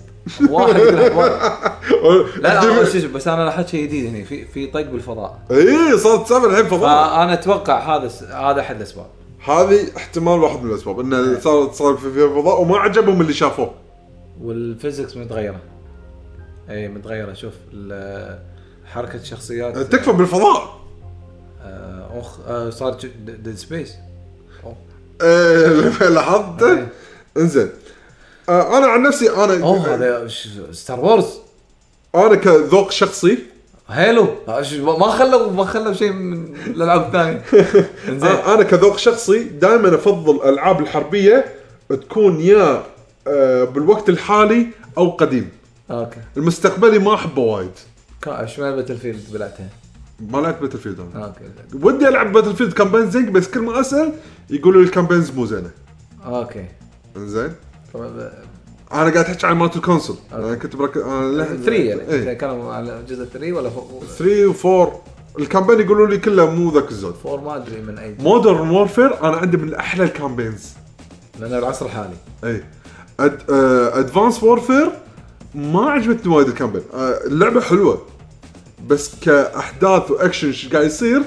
S3: واحد يقول لك واحد. لا لا شو اسمه، بس انا لاحظت شيء جديد هنا في في طق بالفضاء
S2: اي إيه، صارت سالفه الحين فضاء
S3: فانا اتوقع هذا س- هذا احد الاسباب
S2: هذه احتمال واحد من الاسباب انه صار صار في في فضاء وما عجبهم اللي شافوه
S3: والفيزكس متغيره اي متغيره شوف ال- حركه الشخصيات
S2: تكفى بالفضاء
S3: آه، أخ آه، صار ديد سبيس
S2: إيه، لاحظت
S3: إيه.
S2: انزين آه، انا عن نفسي
S3: اوه
S2: انا
S3: هذا ش- ستار وورز
S2: انا كذوق شخصي
S3: هيلو آه، ش- ما خلوا ما خلوا شيء من الالعاب الثانيه زين
S2: انا آه، كذوق شخصي دائما افضل الالعاب الحربيه تكون يا آه، بالوقت الحالي او قديم
S3: اوكي
S2: المستقبلي ما احبه وايد
S3: كا- شمال باتل فيلد بلعتها
S2: ما لعبت باتل فيلد أنا.
S3: اوكي
S2: ودي العب باتل فيلد كامبين زين بس كل ما اسال يقولوا لي الكامبينز مو زينه
S3: اوكي
S2: انزين
S3: طبعاً،
S2: انا قاعد احكي عن مالت الكونسول انا كنت بركز انا
S3: آه،
S2: لحن-
S3: 3 يعني
S2: إيه.
S3: كانوا على جزء 3 ولا
S2: 3
S3: 4
S2: و4 الكامبين يقولوا لي كله مو ذاك الزود
S3: ما ادري من اي
S2: مودرن وورفير انا عندي من احلى الكامبينز
S3: لان العصر الحالي
S2: اي أد... آه، ادفانس وورفير ما عجبتني وايد الكامبين آه، اللعبه حلوه بس كاحداث واكشن ايش قاعد يصير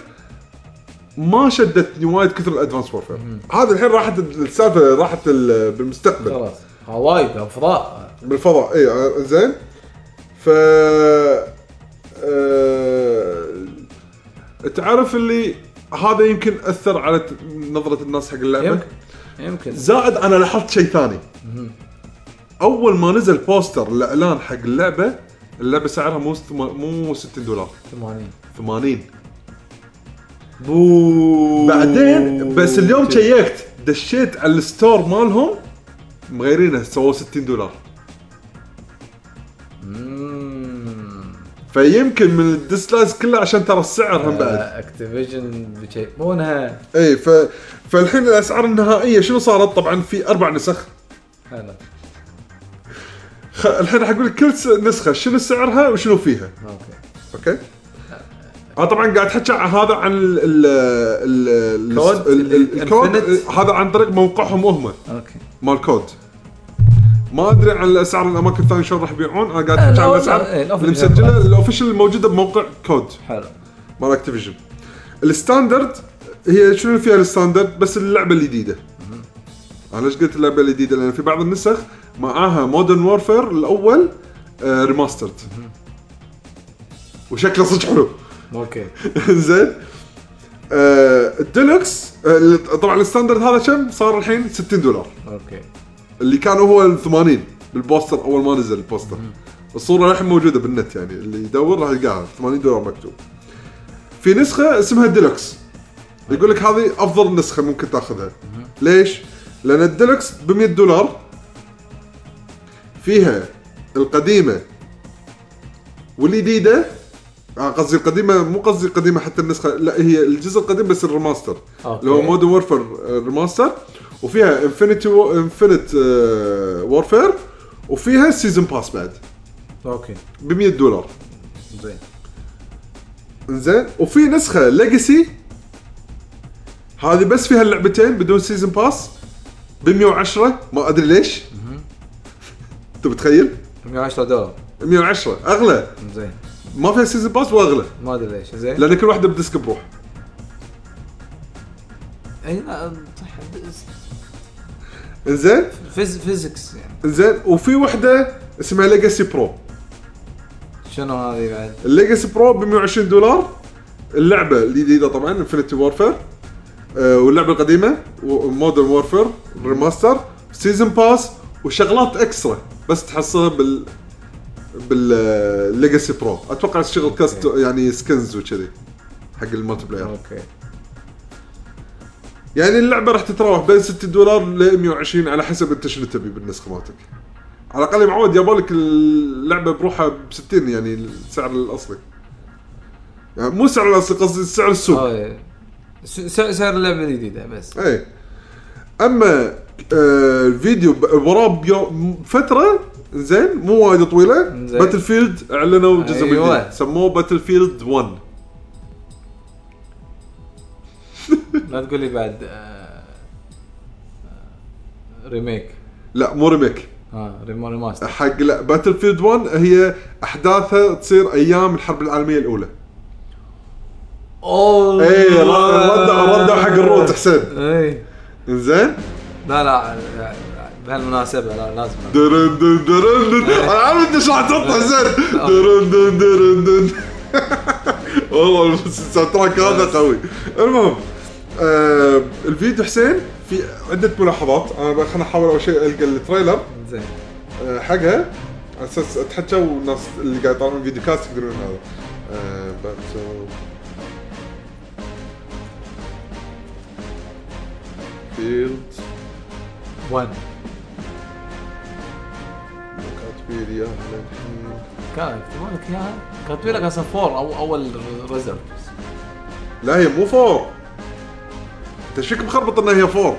S2: ما شدتني وايد كثر الادفانس وورفير هذا الحين راحت السالفه راحت ال- بالمستقبل
S3: خلاص آه، وايد فضاء
S2: بالفضاء اي آه، زين ف آه، تعرف اللي هذا يمكن اثر على ت- نظره الناس حق اللعبه
S3: يمكن يمكن
S2: زائد انا لاحظت شيء ثاني اول ما نزل بوستر الاعلان حق اللعبه اللعبه سعرها مو ست- مو 60 دولار
S3: 80
S2: 80
S3: بو
S2: بعدين بس اليوم شيكت دشيت على الستور مالهم مغيرينها سووا 60 دولار فيمكن من الديسلايز كله عشان ترى السعر هم بعد
S3: آه، اكتيفيجن بيشيبونها
S2: اي إيه، ف فالحين الاسعار النهائيه شنو صارت طبعا في اربع نسخ
S3: حلو
S2: خ... الحين راح اقول لك كل س- نسخه شنو سعرها وشنو فيها
S3: اوكي
S2: اوكي انا طبعا قاعد احكي عن هذا عن ال ال ال
S3: كود
S2: ال- ال- الكود آه،
S3: الإنفينيت.
S2: هذا عن طريق موقعهم هم
S3: اوكي
S2: مال كود ما ادري عن الاسعار الاماكن الثانيه شلون راح يبيعون انا قاعد احكي عن
S3: لا،
S2: الاسعار
S3: لا، إيه،
S2: اللي
S3: الأوفيشال
S2: مسجله
S3: بس.
S2: الاوفيشال الموجوده بموقع كود
S3: حلو
S2: مال اكتيفيجن الستاندرد هي شنو فيها الستاندرد بس اللعبه الجديده انا ليش قلت اللعبه الجديده لان في بعض النسخ معاها مودرن وورفير الاول ريماسترد آه، وشكله صدق حلو
S3: اوكي
S2: زين آه، الديلوكس آه، طبعا الستاندرد هذا كم صار الحين 60 دولار
S3: اوكي
S2: اللي كان هو ال 80 بالبوستر اول ما نزل البوستر الصوره للحين موجوده بالنت يعني اللي يدور راح يلقاها 80 دولار مكتوب في نسخه اسمها الديلوكس يقول لك هذه افضل نسخه ممكن تاخذها ليش؟ لان الديلوكس ب 100 دولار فيها القديمه والجديده آه، قصدي القديمه مو قصدي القديمه حتى النسخه لا هي الجزء القديم بس الريماستر
S3: أوكي.
S2: اللي هو مودرن وورفير ريماستر وفيها انفينيتي انفينيت وورفير آه، وفيها سيزون باس بعد
S3: اوكي
S2: ب 100 دولار
S3: زين
S2: زين وفي نسخه ليجاسي هذه بس فيها اللعبتين بدون سيزون باس ب 110 ما ادري ليش انت متخيل
S3: 110 دولار
S2: 110 اغلى
S3: زين
S2: ما فيها سيزون باس واغلى
S3: ما ادري ليش زين
S2: لان كل واحده بديسك بروح
S3: اي لا صح
S2: زين
S3: فيز فيزكس يعني
S2: زين وفي وحده اسمها ليجاسي برو
S3: شنو هذه بعد؟
S2: الليجاسي برو ب 120 دولار اللعبه الجديده طبعا انفنتي وورفير آه واللعبه القديمه مودرن وورفير ريماستر سيزون باس وشغلات اكسترا بس تحصلها بال بالليجاسي برو اتوقع الشغل كاست يعني سكنز وكذي حق المالتي بلاير
S3: اوكي
S2: يعني اللعبه راح تتراوح بين 60 دولار ل 120 على حسب انت شنو تبي بالنسخه مالتك على الاقل يا معود جابوا لك اللعبه بروحها ب 60 يعني السعر الاصلي يعني مو السعر الاصلي قصدي سعر السوق
S3: هاي. س- سعر سعر اللعبه الجديده بس
S2: اي اما إيه. آه الفيديو ب- وراه بيوم فتره زين مو وايد طويله
S3: زين.
S2: باتل فيلد اعلنوا جزء
S3: أيوة.
S2: جديد سموه باتل فيلد 1
S3: لا تقول لي بعد آه، آه، ريميك
S2: لا مو ريميك
S3: ها ريم- ريماستر
S2: حق لا باتل فيلد 1 هي احداثها تصير ايام الحرب العالميه الاولى إيه،
S3: اوه
S2: اي ردوا ردوا حق الروت حسين
S3: اي
S2: انزين
S3: إيه. لا لا لا، بهالمناسبه لا لازم
S2: درن دن درن دن انا عارف انت شو راح تحط حسين درن دن درن دن والله الساوند تراك هذا قوي المهم آه الفيديو حسين في عده ملاحظات انا بقى- خلنا احاول اول شيء القى التريلر
S3: زين
S2: آه، حقها على اساس اتحكى والناس اللي قاعد يطالعون فيديو كاست يقدرون هذا آه، باتل فيلد
S3: وين
S2: كاتبيريا للحين
S3: كان اكتبوا لك اياها كاتبين لك اصلا فور او اول ريزرف
S2: لا هي مو فور انت شك مخربط انها هي فور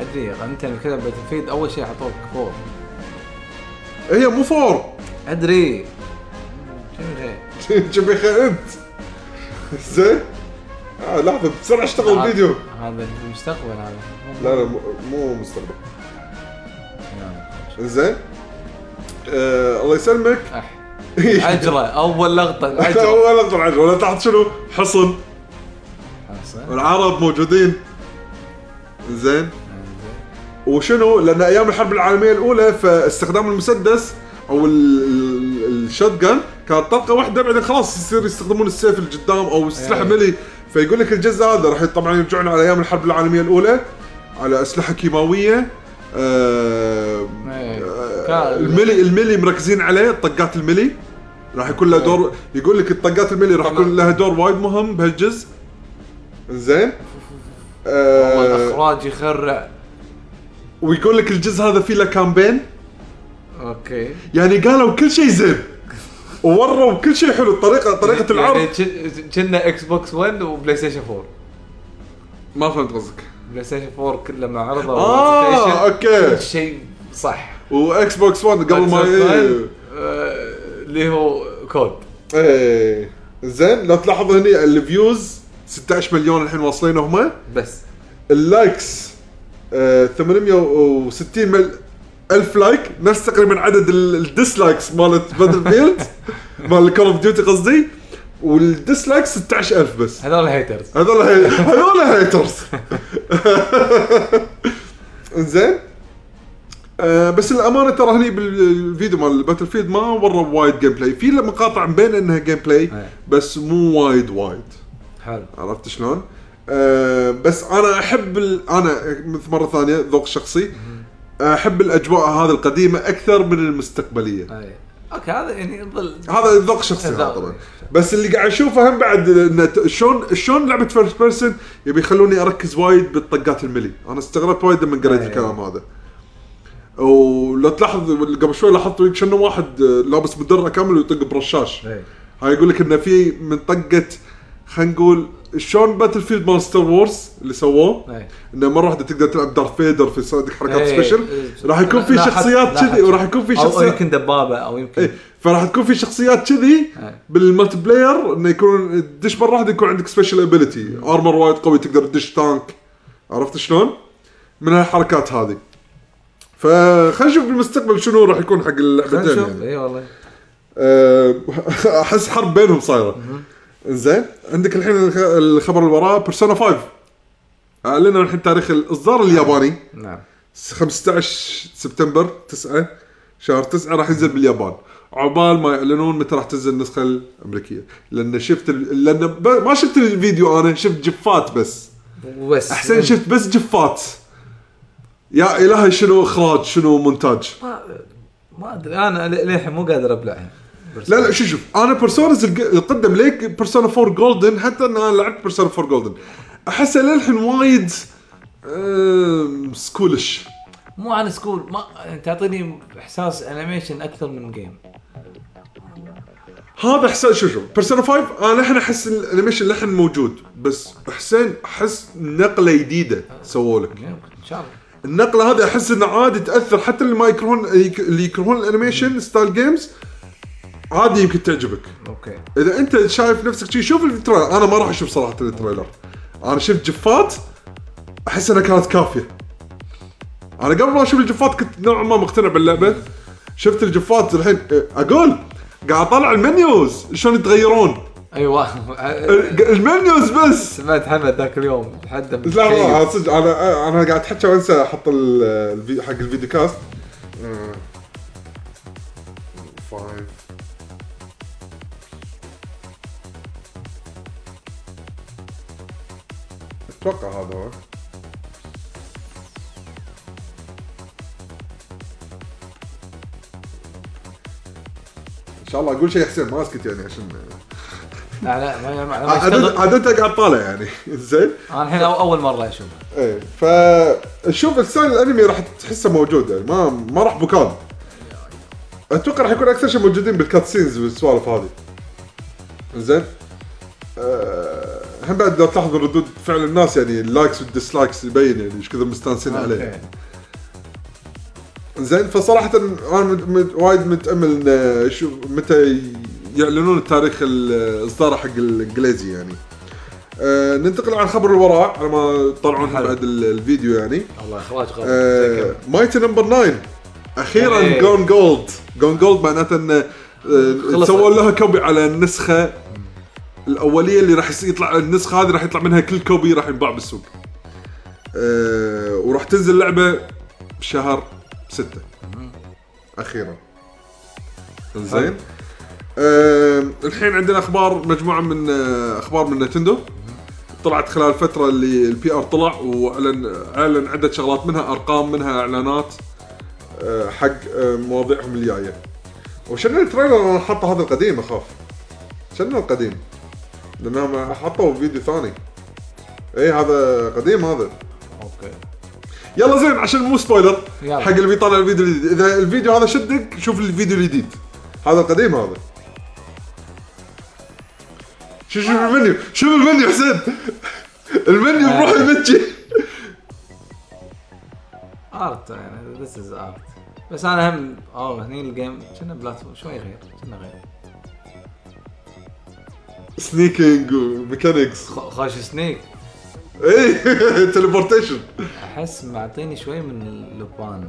S3: ادري انت اللي كتب باتل فيلد اول شيء حطوك فور
S2: إيه، هي مو فور
S3: ادري شنو غير
S2: شبي انت زين آه لحظه بسرعه اشتغل
S3: هذا-
S2: الفيديو
S3: هذا المستقبل هذا
S2: لا لا مو- مو مستقبل زين آه الله يسلمك
S3: أح. عجرة اول لقطة العجرة
S2: ولا طلع عجل ولا تحت شنو حصن
S3: حصل.
S2: والعرب موجودين زين وشنو لان ايام الحرب العالميه الاولى فاستخدام المسدس او الشوت جان كانت طلقه واحده بعدين خلاص يصير يستخدمون السيف اللي قدام او السلاح
S3: أيوة.
S2: الملي فيقول لك الجزء هذا راح طبعا يرجعون على ايام الحرب العالميه الاولى على اسلحه كيماويه آه
S3: أيوة.
S2: آه
S3: كان-
S2: الملي الملي مركزين عليه طقات الملي راح يكون لها دور يقول لك الطقات الملي راح
S3: طبعاً.
S2: يكون لها دور وايد مهم بهالجزء زين
S3: والله
S2: آه
S3: الاخراج يخرع
S2: ويقول لك الجزء هذا فيه له كامبين
S3: اوكي
S2: يعني قالوا كل شيء زين ووروا كل شيء حلو الطريقه طريقه
S3: يعني
S2: العرض
S3: ج- كنا اكس بوكس 1 وبلاي ستيشن 4
S2: ما فهمت قصدك
S3: بلاي ستيشن 4 كله مع عرضه
S2: آه، أوكي.
S3: كل شيء صح
S2: واكس بوكس 1 قبل ما
S3: آه،
S2: إيه.
S3: اللي هو كود
S2: ايه زين لو تلاحظ هني الفيوز 16 مليون الحين واصلين هم
S3: بس
S2: اللايكس آه، 860 مل... الف لايك نفس تقريبا عدد ال- الديسلايكس مالت باتل فيلد مال كول اوف ديوتي قصدي والديسلايكس 16000 بس
S3: هذول هيترز
S2: هذول هي- هذول هيترز انزين آه بس الامانه ترى هني بالفيديو مال باتل فيلد ما وروا وايد جيم بلاي في له مقاطع مبين انها جيم بلاي
S3: أي.
S2: بس مو وايد وايد
S3: حلو
S2: عرفت شلون؟ آه بس انا احب ال... انا مثل مره ثانيه ذوق شخصي احب الاجواء هذه القديمه اكثر من المستقبليه
S3: أي. اوكي طيب. هذا يعني يظل
S2: هذا ذوق شخصي هذا
S3: ذوق.
S2: طبعا بس اللي قاعد اشوفه هم بعد إن شلون شلون لعبه فيرست بيرسون يبي يخلوني اركز وايد بالطقات الملي انا استغربت وايد لما قريت
S3: أي.
S2: الكلام هذا آه،
S3: إيه.
S2: ولو تلاحظ قبل شوي لاحظت كأنه واحد لابس مدرع كامل ويطق برشاش
S3: أي.
S2: هاي يقول لك انه في من طقه خلينا نقول شلون باتل فيلد مال ستار وورز اللي سووه
S3: إيه.
S2: انه مره واحده تقدر تلعب دارث فيدر في صادق حركات
S3: إيه.
S2: سبيشل راح يكون في
S3: لا- لا
S2: شخصيات
S3: حد- لا
S2: كذي
S3: حد.
S2: وراح يكون في
S3: أو- او
S2: شخصيات
S3: يمكن دبابه او يمكن
S2: إيه، فراح تكون في شخصيات كذي
S3: إيه.
S2: بالملتي بلاير انه يكون تدش مره واحده يكون عندك سبيشل ابيلتي ارمر وايد قوي تقدر تدش تانك عرفت شلون؟ من هالحركات هذه فخلينا نشوف بالمستقبل شنو راح يكون حق
S3: خلينا
S2: اللعبتين
S3: نشوف
S2: يعني
S3: اي إيه والله
S2: أه، احس حرب بينهم صايره زين عندك الحين الخ- الخبر اللي وراه بيرسونا 5 اعلنوا الحين تاريخ الاصدار الياباني
S3: نعم
S2: 15 سبتمبر 9 شهر 9 راح ينزل باليابان عقبال ما يعلنون متى راح تنزل النسخه الامريكيه لان شفت ال... لان ب... ما شفت الفيديو انا شفت جفات بس
S3: وبس
S2: احسن شفت بس جفات يا الهي شنو اخراج شنو مونتاج
S3: ما ما ادري انا ل- للحين مو قادر ابلعها
S2: لا لا شوف شوف انا بيرسونز القدم ليك بيرسونا 4 جولدن حتى ان انا لعبت بيرسونا 4 جولدن احسه للحين وايد آم، سكولش
S3: مو عن سكول ما تعطيني احساس انيميشن اكثر من جيم
S2: هذا حسين شو شو بيرسونا 5 انا الحين احس الانيميشن لحن موجود بس حسين احس نقله جديده سووا لك
S3: ان شاء الله
S2: النقله هذه احس انه عادي تاثر حتى اللي ما يكرهون اللي يكرهون الانيميشن ستايل جيمز عادي يمكن تعجبك
S3: اوكي
S2: اذا انت شايف نفسك شي شوف التريلر انا ما راح اشوف صراحه التريلر انا شفت جفات احس انها كانت كافيه انا قبل ما اشوف الجفات كنت نوعا ما مقتنع باللعبه شفت الجفات الحين أه، اقول قاعد اطلع المنيوز شلون يتغيرون
S3: ايوه
S2: ال- المنيوز بس
S3: سمعت حمد ذاك اليوم تحدى من
S2: لا
S3: شيء.
S2: لا أنا صدق انا انا قاعد احكي وانسى احط ال- الفي- حق الفيديو كاست أه. Five. اتوقع هذا هو ان شاء الله اقول شيء حسين ما اسكت يعني عشان
S3: لا لا ما- ما- ما
S2: عادة
S3: اشتغل.
S2: عادة قاعد طالع يعني زين
S3: انا الحين أو- اول مره اشوفه
S2: ايه ف شوف الستايل الانمي راح تحسه موجود يعني ما ما راح مكان اتوقع راح يكون اكثر شيء موجودين بالكاتسينز والسوالف هذه زين أه... هم بعد لو تلاحظوا ردود فعل الناس يعني اللايكس والديسلايكس يبين يعني ايش كثر مستانسين عليه زين فصراحه انا مت... مت... وايد متامل إن شو متى ي- يعلنون التاريخ الاصدار حق الانجليزي يعني أه... ننتقل عن خبر الوراء على ما يطلعون
S3: حلو.
S2: بعد ال- الفيديو يعني
S3: الله اخراج
S2: آه،
S3: غريب
S2: مايتي نمبر 9 اخيرا
S3: إيه.
S2: جون جولد جون جولد معناته ان
S3: خلصت.
S2: سووا لها كوبي على النسخه الاوليه اللي راح يصير- يطلع النسخه هذه راح يطلع منها كل كوبي راح ينباع بالسوق آه، وراح تنزل لعبه بشهر 6 اخيرا زين آه، الحين عندنا اخبار مجموعه من آه، اخبار من نتندو طلعت خلال الفتره اللي البي ار طلع واعلن اعلن عده شغلات منها ارقام منها اعلانات آه، حق آه، مواضيعهم الجايه وشنو التريلر انا حاطه هذا القديم اخاف شنو القديم لانهم حطوا فيديو ثاني اي هذا قديم هذا
S3: اوكي
S2: يلا زين عشان مو سبويلر
S3: يلا.
S2: حق اللي بيطلع الفيديو الجديد اذا الفيديو هذا شدك شوف الفيديو الجديد هذا القديم هذا شوف شوف المنيو شوف المنيو حسين المنيو
S3: آه.
S2: بروحه يبكي
S3: ارت يعني ذس از ارت بس انا هم اوه هني الجيم كنا بلاتفورم شوي غير كنا غير
S2: سنيكينج وميكانكس
S3: خ- خاش سنيك
S2: اي تليبورتيشن
S3: احس معطيني شوي من لوبان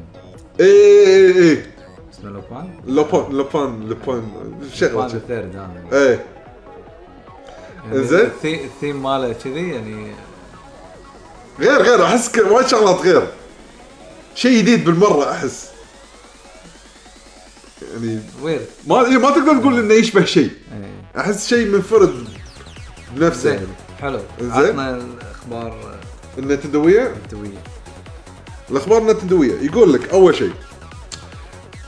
S2: اي اي اي اي
S3: اسمه لوبان؟
S2: لوبان لوبان لوبان إيه. شغله
S3: لوبان
S2: شي.
S3: الثيرد هذا
S2: اي
S3: يعني
S2: إنزين.
S3: الثي- الثيم ماله كذي يعني
S2: غير غير احس ك- وايد شغلات غير شيء جديد بالمره احس يعني
S3: ويرد
S2: ما إيه، ما تقدر تقول انه يشبه شيء
S3: إيه.
S2: احس شيء منفرد بنفسه يعني
S3: زين حلو
S2: إنزين.
S3: عطنا الاخبار
S2: النتندويه
S3: التويه
S2: الاخبار النتندويه يقول لك اول شيء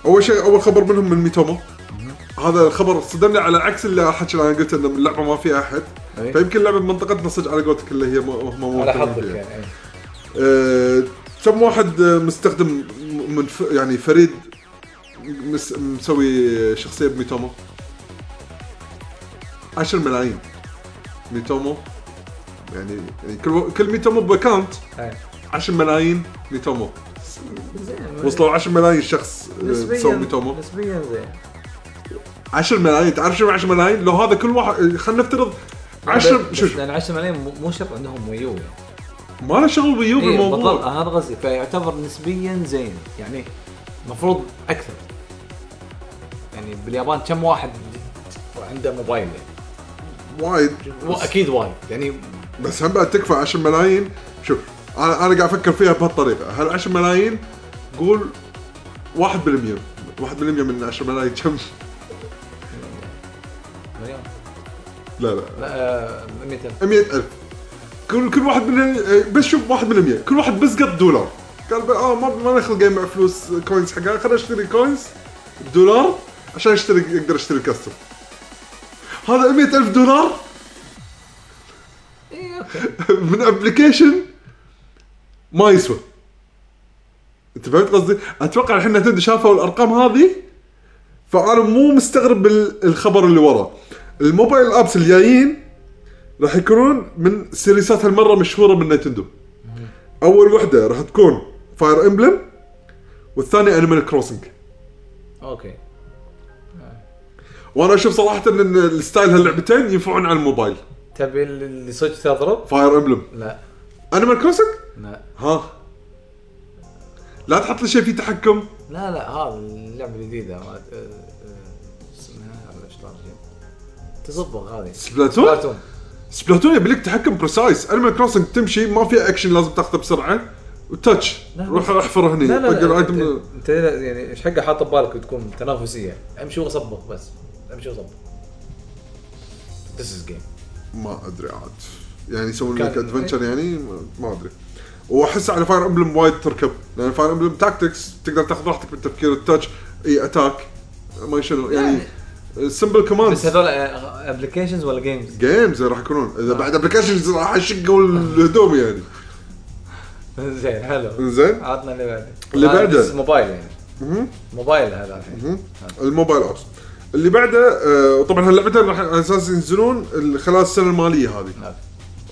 S2: اول شيء اول خبر منهم من ميتومو هذا الخبر صدمني على عكس اللي حكي انا قلت ان اللعبه ما فيها احد
S3: إيه.
S2: فيمكن اللعبه بمنطقتنا صدق على قولتك اللي هي مو- هم مو
S3: على
S2: مهتمين
S3: حظك
S2: فيها.
S3: يعني إيه.
S2: آه، كم واحد آه، مستخدم م- من ف- يعني فريد مس- مسوي شخصيه بميتومو 10 ملايين ميتومو يعني يعني كل كل ميتومو باكونت
S3: إيه.
S2: 10 ملايين ميتومو
S3: زين
S2: وصلوا 10 ملايين شخص آه، سووا ميتومو
S3: نسبيا نسبيا زين
S2: 10 ملايين تعرف شنو 10 ملايين لو هذا كل واحد خلينا نفترض 10
S3: بس-
S2: شوف
S3: لان 10 يعني ملايين مو- مو شرط عندهم ويو يعني.
S2: ما له شغل بيو
S3: إيه، بالضبط
S2: بالموضوع
S3: آه، هذا قصدي فيعتبر نسبيا زين يعني المفروض اكثر يعني باليابان كم واحد عنده موبايل يعني؟
S2: وايد
S3: واكيد وايد يعني
S2: بس هم بعد تكفى 10 ملايين شوف انا انا قاعد افكر فيها بهالطريقه هل 10 ملايين قول 1% 1% من 10 ملايين كم
S3: مليون
S2: لا لا
S3: لا آه، 100
S2: 100000 كل كل واحد من بس شوف واحد من 100 كل واحد بس قط دولار قال ب- اه ما ما نخلق مع فلوس كوينز حقها خليني اشتري كوينز دولار عشان اشتري اقدر اشتري كاستم هذا 100000 دولار
S3: اي اوكي
S2: من ابلكيشن ما يسوى انت فهمت قصدي؟ اتوقع الحين نتندو شافوا الارقام هذه فانا مو مستغرب بال- الخبر اللي وراه الموبايل ابس اللي جايين راح يكونون من سيريسات هالمره مشهوره من نتندو اول وحده راح تكون فاير امبلم والثانيه انيمال كروسنج
S3: اوكي
S2: وانا اشوف صراحه ان الستايل هاللعبتين ينفعون على الموبايل
S3: تبي اللي صدق تضرب؟
S2: فاير امبلم
S3: لا
S2: انيمال كروسنج
S3: لا
S2: ها لا تحط لي شيء فيه تحكم
S3: لا لا هذا اللعبه الجديده ما أه، أه، اسمها على شلون جيم. تصبغ هذه
S2: سبلاتون
S3: سبلاتون
S2: سبلاتون يبي لك تحكم بريسايز انيمال كروسنج تمشي ما في اكشن لازم تاخذه بسرعه وتاتش
S3: لا،
S2: روح
S3: بس-
S2: احفر هني
S3: لا لا
S2: طق
S3: لا
S2: الايتم
S3: انت, انت يعني ايش حقه حاطه ببالك بتكون تنافسيه امشي وصبغ بس امشي وصبغ This is game
S2: ما ادري عاد يعني يسوون
S3: كان-
S2: لك ادفنشر يعني ما- ما ادري واحس على فاير امبلم وايد تركب لان فاير امبلم تاكتكس تقدر تاخذ راحتك بالتفكير التاتش اي اتاك ما شنو يعني سمبل
S3: بس
S2: كوماندز
S3: هذول ابلكيشنز ولا جيمز؟
S2: جيمز راح يكونون اذا بعد ابلكيشنز راح يشقوا الهدوم يعني
S3: زين حلو
S2: زين
S3: عطنا اللي بعده
S2: اللي
S3: هذا
S2: بعده.
S3: this is موبايل يعني موبايل هذا الحين
S2: الموبايل ابس اللي بعده آه، طبعا هاللعبتين راح على اساس ينزلون ال- خلال السنه الماليه هذه
S3: نعم.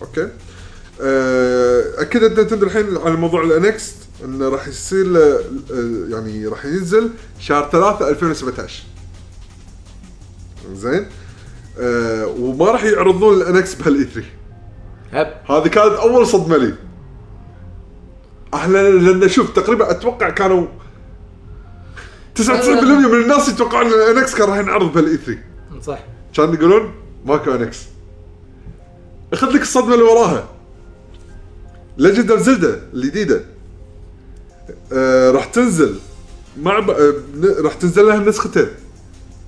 S2: اوكي آه، اكدت نتندو الحين على موضوع الانكست انه راح يصير له- آه، يعني راح ينزل شهر 3 2017 زين آه، وما راح يعرضون الانكس بهالاي 3
S3: هب
S2: هذه كانت اول صدمه لي احنا لان شوف تقريبا اتوقع كانوا 99% من الناس يتوقعون ان الانكس كان راح ينعرض بالاي 3
S3: صح
S2: كانوا يقولون ماكو انكس اخذ لك الصدمه اللي وراها ليجند اوف زلدا الجديده آه راح تنزل مع ب... آه ن- راح تنزل لها نسختين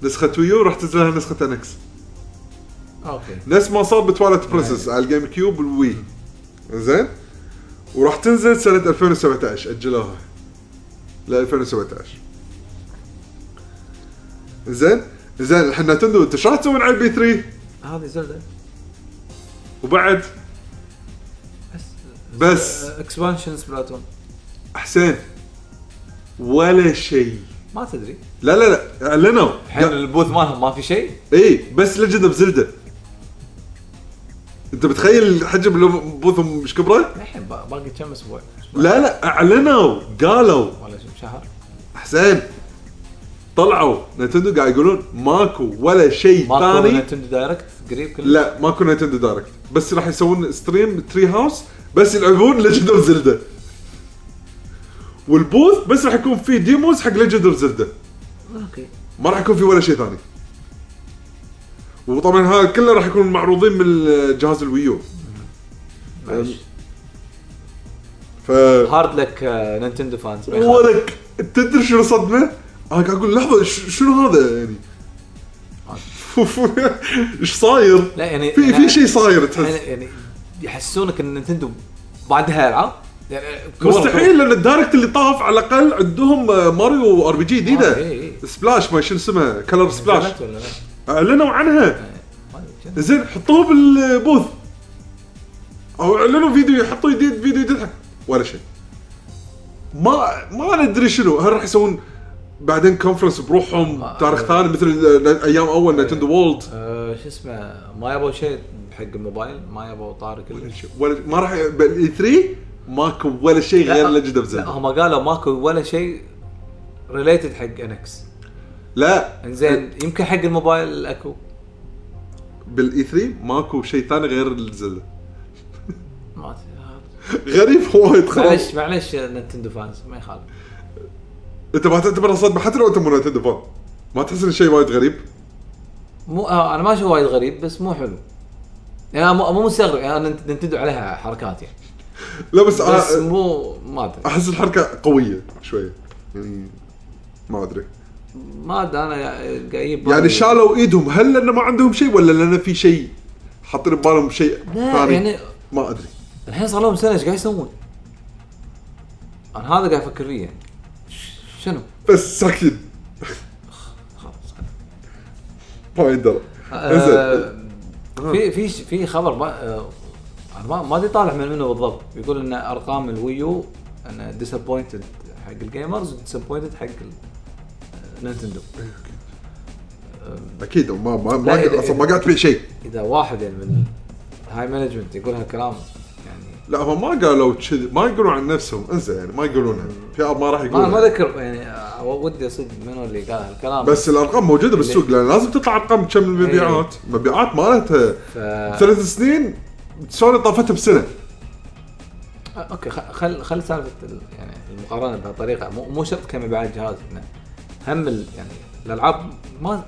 S2: نسخه ويو راح تنزل لها نسخه انكس
S3: اوكي
S2: نفس ما صار بتوالت برنسس على الجيم كيوب والوي زين وراح تنزل سنه 2017 اجلوها ل 2017 زين زين الحين نتندو انت شو راح تسوون على البي 3
S3: هذه زلده
S2: وبعد
S3: بس آه،
S2: بس
S3: اكسبانشن سبلاتون
S2: حسين ولا شيء
S3: ما تدري
S2: لا لا لا اعلنوا
S3: الحين البوث مالهم ما في شيء
S2: اي بس ليجند اوف زلدا انت متخيل حجم اللي بوثهم مش كبره؟
S3: الحين با- باقي كم اسبوع
S2: لا لا اعلنوا قالوا
S3: ولا شو- شهر
S2: حسين طلعوا نتندو قاعد يقولون ماكو ولا شيء
S3: ماكو
S2: ثاني
S3: نتندو دايركت قريب كله
S2: لا ماكو نتندو دايركت بس راح يسوون ستريم تري هاوس بس يلعبون ليجند اوف زلدا والبوث بس راح يكون فيه ديموز حق ليجند اوف زلدا
S3: اوكي
S2: ما راح يكون في ولا شيء ثاني وطبعا هذا كله راح يكون معروضين من جهاز الويو
S3: معلش.
S2: ف
S3: هارد لك آه، نينتندو فانز ما يخالف.
S2: ولك تدري شنو صدمه؟ انا قاعد اقول لحظه ش- شنو هذا يعني؟ ايش صاير؟
S3: لا يعني
S2: في في شيء صاير تحس
S3: يعني, يعني يحسونك ان نينتندو بعدها العاب يعني كبروا-
S2: مستحيل لان الدايركت اللي طاف على الاقل عندهم آه، ماريو ار بي جي
S3: آه، إي،
S2: جديده
S3: إي.
S2: سبلاش ما شنو اسمها كلر سبلاش
S3: نزلت ولا لا؟
S2: اعلنوا عنها
S3: ما أدري كم.
S2: زين حطوه بالبوث او اعلنوا فيديو يحطوا جديد فيديو جديد ولا شيء ما ما ندري شنو هل راح يسوون بعدين كونفرنس بروحهم
S3: آه،
S2: تاريخ
S3: آه.
S2: ثاني مثل ال- ال- ايام اول نتندو وولد
S3: آه، آه، شو اسمه ما يبغوا شيء حق الموبايل ما يبغوا طاري كل شيء
S2: ولا ما راح بالاي 3 ماكو ولا شيء غير لجنه
S3: لا
S2: بزلدة
S3: هم قالوا ماكو ولا شيء ريليتد حق انكس
S2: لا
S3: انزين
S2: إيه.
S3: يمكن حق الموبايل اكو
S2: بالاي 3 E ماكو شيء ثاني غير الزلدة
S3: ما أدري.
S2: غريب وايد خلاص
S3: معلش معلش نتندو فانز ما يخالف
S2: انت ما تعتبرها صدمه حتى لو انت مو نتندو فان ما تحس ان شيء وايد غريب
S3: مو آه، انا ما اشوف وايد غريب بس مو حلو يعني أنا مو مو مستغرب يعني انا نت- نتندو عليها حركات يعني
S2: لا بس, آه،
S3: بس
S2: أ-
S3: مو ما ادري
S2: احس الحركه قويه شويه يعني ما ادري
S3: ما ادري انا جايب
S2: يعني شالوا ايدهم هل لانه ما عندهم شيء ولا لانه في شيء حاطين ببالهم شيء
S3: لا
S2: ثاني
S3: يعني
S2: ما ادري
S3: الحين صار لهم سنه ايش قاعد يسوون؟ انا هذا قاعد افكر فيه يعني ش- شنو؟
S2: بس ساكتين
S3: خلاص
S2: ما يندرى
S3: آه،
S2: انزين
S3: في في ش- في خبر ما آه، أنا ما ما ادري طالع من منه بالضبط يقول ان ارقام الويو ان ديسابوينتد حق الجيمرز ديسابوينتد حق آه، ال- نينتندو
S2: اكيد ما ما
S3: لا، يعني
S2: ما
S3: إذا-
S2: اصلا ما قاعد تبيع شيء
S3: اذا واحد يعني من هاي مانجمنت يقول هالكلام يعني
S2: لا هم ما قالوا كذي ما يقولون عن نفسهم انزين يعني ما يقولونها في ما راح
S3: ما ما
S2: يقولونها
S3: اذكر يعني آه، ودي اصدق منو اللي قال هالكلام
S2: بس الارقام موجوده بالسوق لان لازم تطلع ارقام كم المبيعات مبيعات مالتها
S3: إيه. ف-
S2: ثلاث سنين سوني طافتها بسنه
S3: آه، اوكي خ- خل خل سالفه ال- يعني المقارنه بهالطريقه مو مو شرط كمبيعات جهاز إنه هم ال- يعني الالعاب ما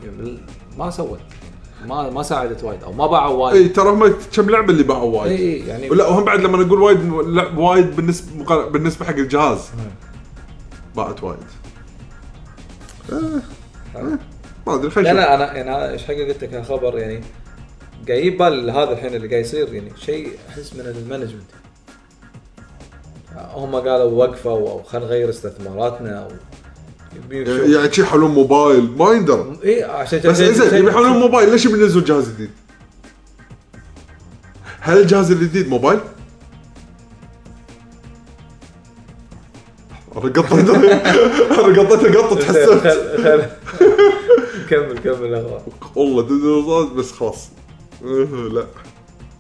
S3: ما سوت يعني ما ما ساعدت وايد او ما باعوا وايد
S2: اي ترى هم كم لعبه اللي باعوا وايد
S3: اي يعني
S2: إيه. لا وهم بعد لما نقول وايد لعب وايد بالنسبه مقار- بالنسبه حق الجهاز باعت وايد آه، آه، ما ادري
S3: لا
S2: خلينا نشوف
S3: لا انا يعني أنا ايش حقي قلت لك هالخبر يعني قاعد يبال هذا الحين اللي قاعد يصير يعني شيء احس من المانجمنت هم قالوا وقفوا او خلينا نغير استثماراتنا او يبي-
S2: يعني- يعني شي يحلون موبايل ما يندرى
S3: اي إيه، عشان
S2: بس إيه، زين يحلون موبايل ليش بينزلون جهاز جديد؟ هل الجهاز الجديد موبايل؟ انا قطيت انا قطيت قطه تحسبت
S3: خل- خل- كمل كمل الاخبار
S2: والله ديناصورات بس خلاص أه، لا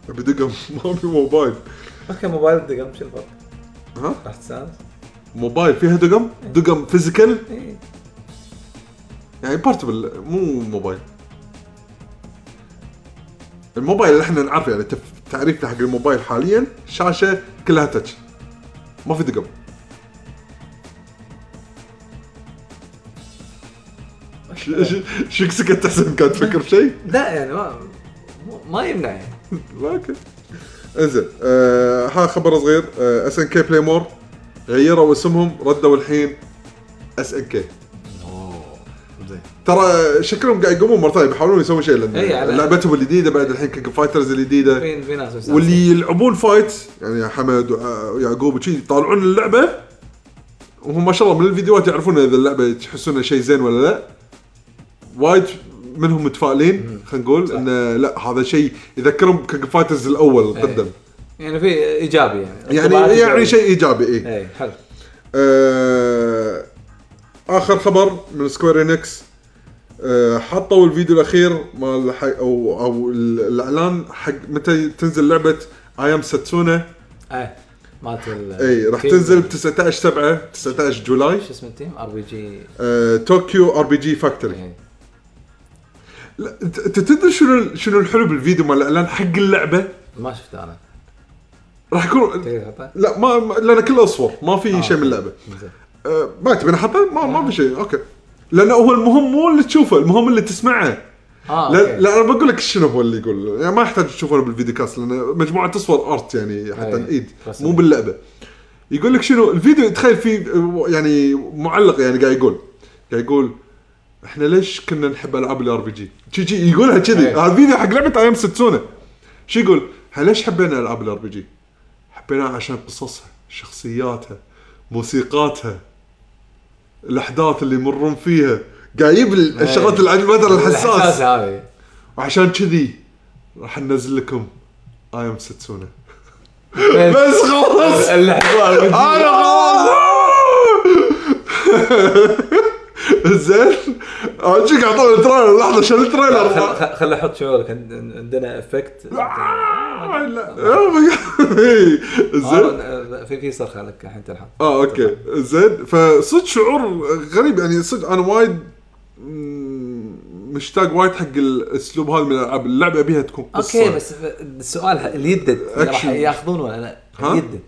S2: ابي دقم ما في موبال
S3: اوكي موبايل دقم شو الفرق؟
S2: ها؟
S3: راح تستانس؟ إيه.
S2: موبايل فيها دقم دقم فيزيكال
S3: إي.
S2: يعني بورتبل مو موبايل الموبايل اللي احنا نعرفه يعني تف- تعريفنا حق الموبايل حاليا شاشه كلها تاتش ما في دقم ش- ش- شك سكت تحسن قاعد تفكر بشيء؟
S3: لا يعني ما مو- ما يمنع يعني
S2: اوكي انزين آه ها خبر صغير آه، اس ان كي بلاي مور غيروا اسمهم ردوا الحين اس ان كي ترى شكلهم قاعد يقومون مره ثانيه بيحاولون يسوون شيء لان
S3: إي، على- إيه.
S2: لعبتهم الجديده بعد الحين كينج فايترز الجديده
S3: في في ناس مستانسة.
S2: واللي يلعبون فايت يعني يا حمد ويعقوب وشي يطالعون اللعبه وهم ما شاء الله من الفيديوهات يعرفون اذا اللعبه تحسونها شيء زين ولا لا وايد منهم متفائلين خلينا نقول انه لا هذا شيء يذكرهم بكينج فايترز الاول القدم
S3: يعني في ايجابي يعني إيه.
S2: يعني
S3: انطباعات إيجابية.
S2: يعني شيء ايجابي اي
S3: اي حلو
S2: آه، اخر خبر من سكوير انكس آه، حطوا الفيديو الاخير مال حق او او ال- الاعلان حق متى تنزل لعبه ايام ساتسونا
S3: ايه مالت ال
S2: اي راح
S3: تيم-
S2: تنزل ب 19 7 19 جولاي
S3: شو اسمه التيم؟ ار بي جي
S2: آه، طوكيو ار بي جي
S3: إيه.
S2: فاكتوري لا، انت أنت تدري شنو شنو الحلو بالفيديو مال الاعلان حق اللعبه
S3: ما شفته انا
S2: راح يكون
S3: تقدر تحطه؟
S2: لا ما ما- لان كله صور ما في شيء من اللعبه
S3: زين.
S2: آه، ما تبي نحطه ما ما في شيء اوكي لانه هو المهم مو اللي تشوفه المهم اللي تسمعه
S3: اه
S2: لا,
S3: أوكي.
S2: لا انا بقول لك شنو هو اللي يقول يعني ما يحتاج تشوفونه بالفيديو كاست لان مجموعه تصور ارت يعني حتى
S3: أي،
S2: الايد
S3: رسم.
S2: مو باللعبه يقول لك شنو الفيديو تخيل فيه يعني معلق يعني قاعد يقول قاعد يقول احنا ليش كنا نحب العاب الار بي جي؟ شي شي يقولها كذي
S3: أي.
S2: هذا الفيديو حق لعبه ايام ستسونا شو يقول؟ احنا ليش حبينا العاب الار بي جي؟ حبيناها عشان قصصها، شخصياتها، موسيقاتها، الاحداث اللي يمرون فيها قاعد يجيب الشغلات اللي على المدى الحساس
S3: الإحساس هذه
S2: وعشان كذي راح ننزل لكم اي ام ستسونا
S3: بس
S2: بس خلاص
S3: اللحظه
S2: انا خلاص زين اجيك اعطوني التريلر لحظه شنو التريلر
S3: خل خل احط شعورك عند- عندنا افكت
S2: آه، لا. Oh my God. إي، زين
S3: آه، في في صرخه لك الحين تلحق
S2: اه اوكي زين فصدق شعور غريب يعني صدق انا وايد مم، مشتاق وايد حق الاسلوب هذا من الالعاب اللعبه بيها تكون قصه
S3: اوكي بس السؤال اللي يدد راح
S2: أكشن.
S3: ياخذون ولا لا؟
S2: ها؟
S3: اللي يدد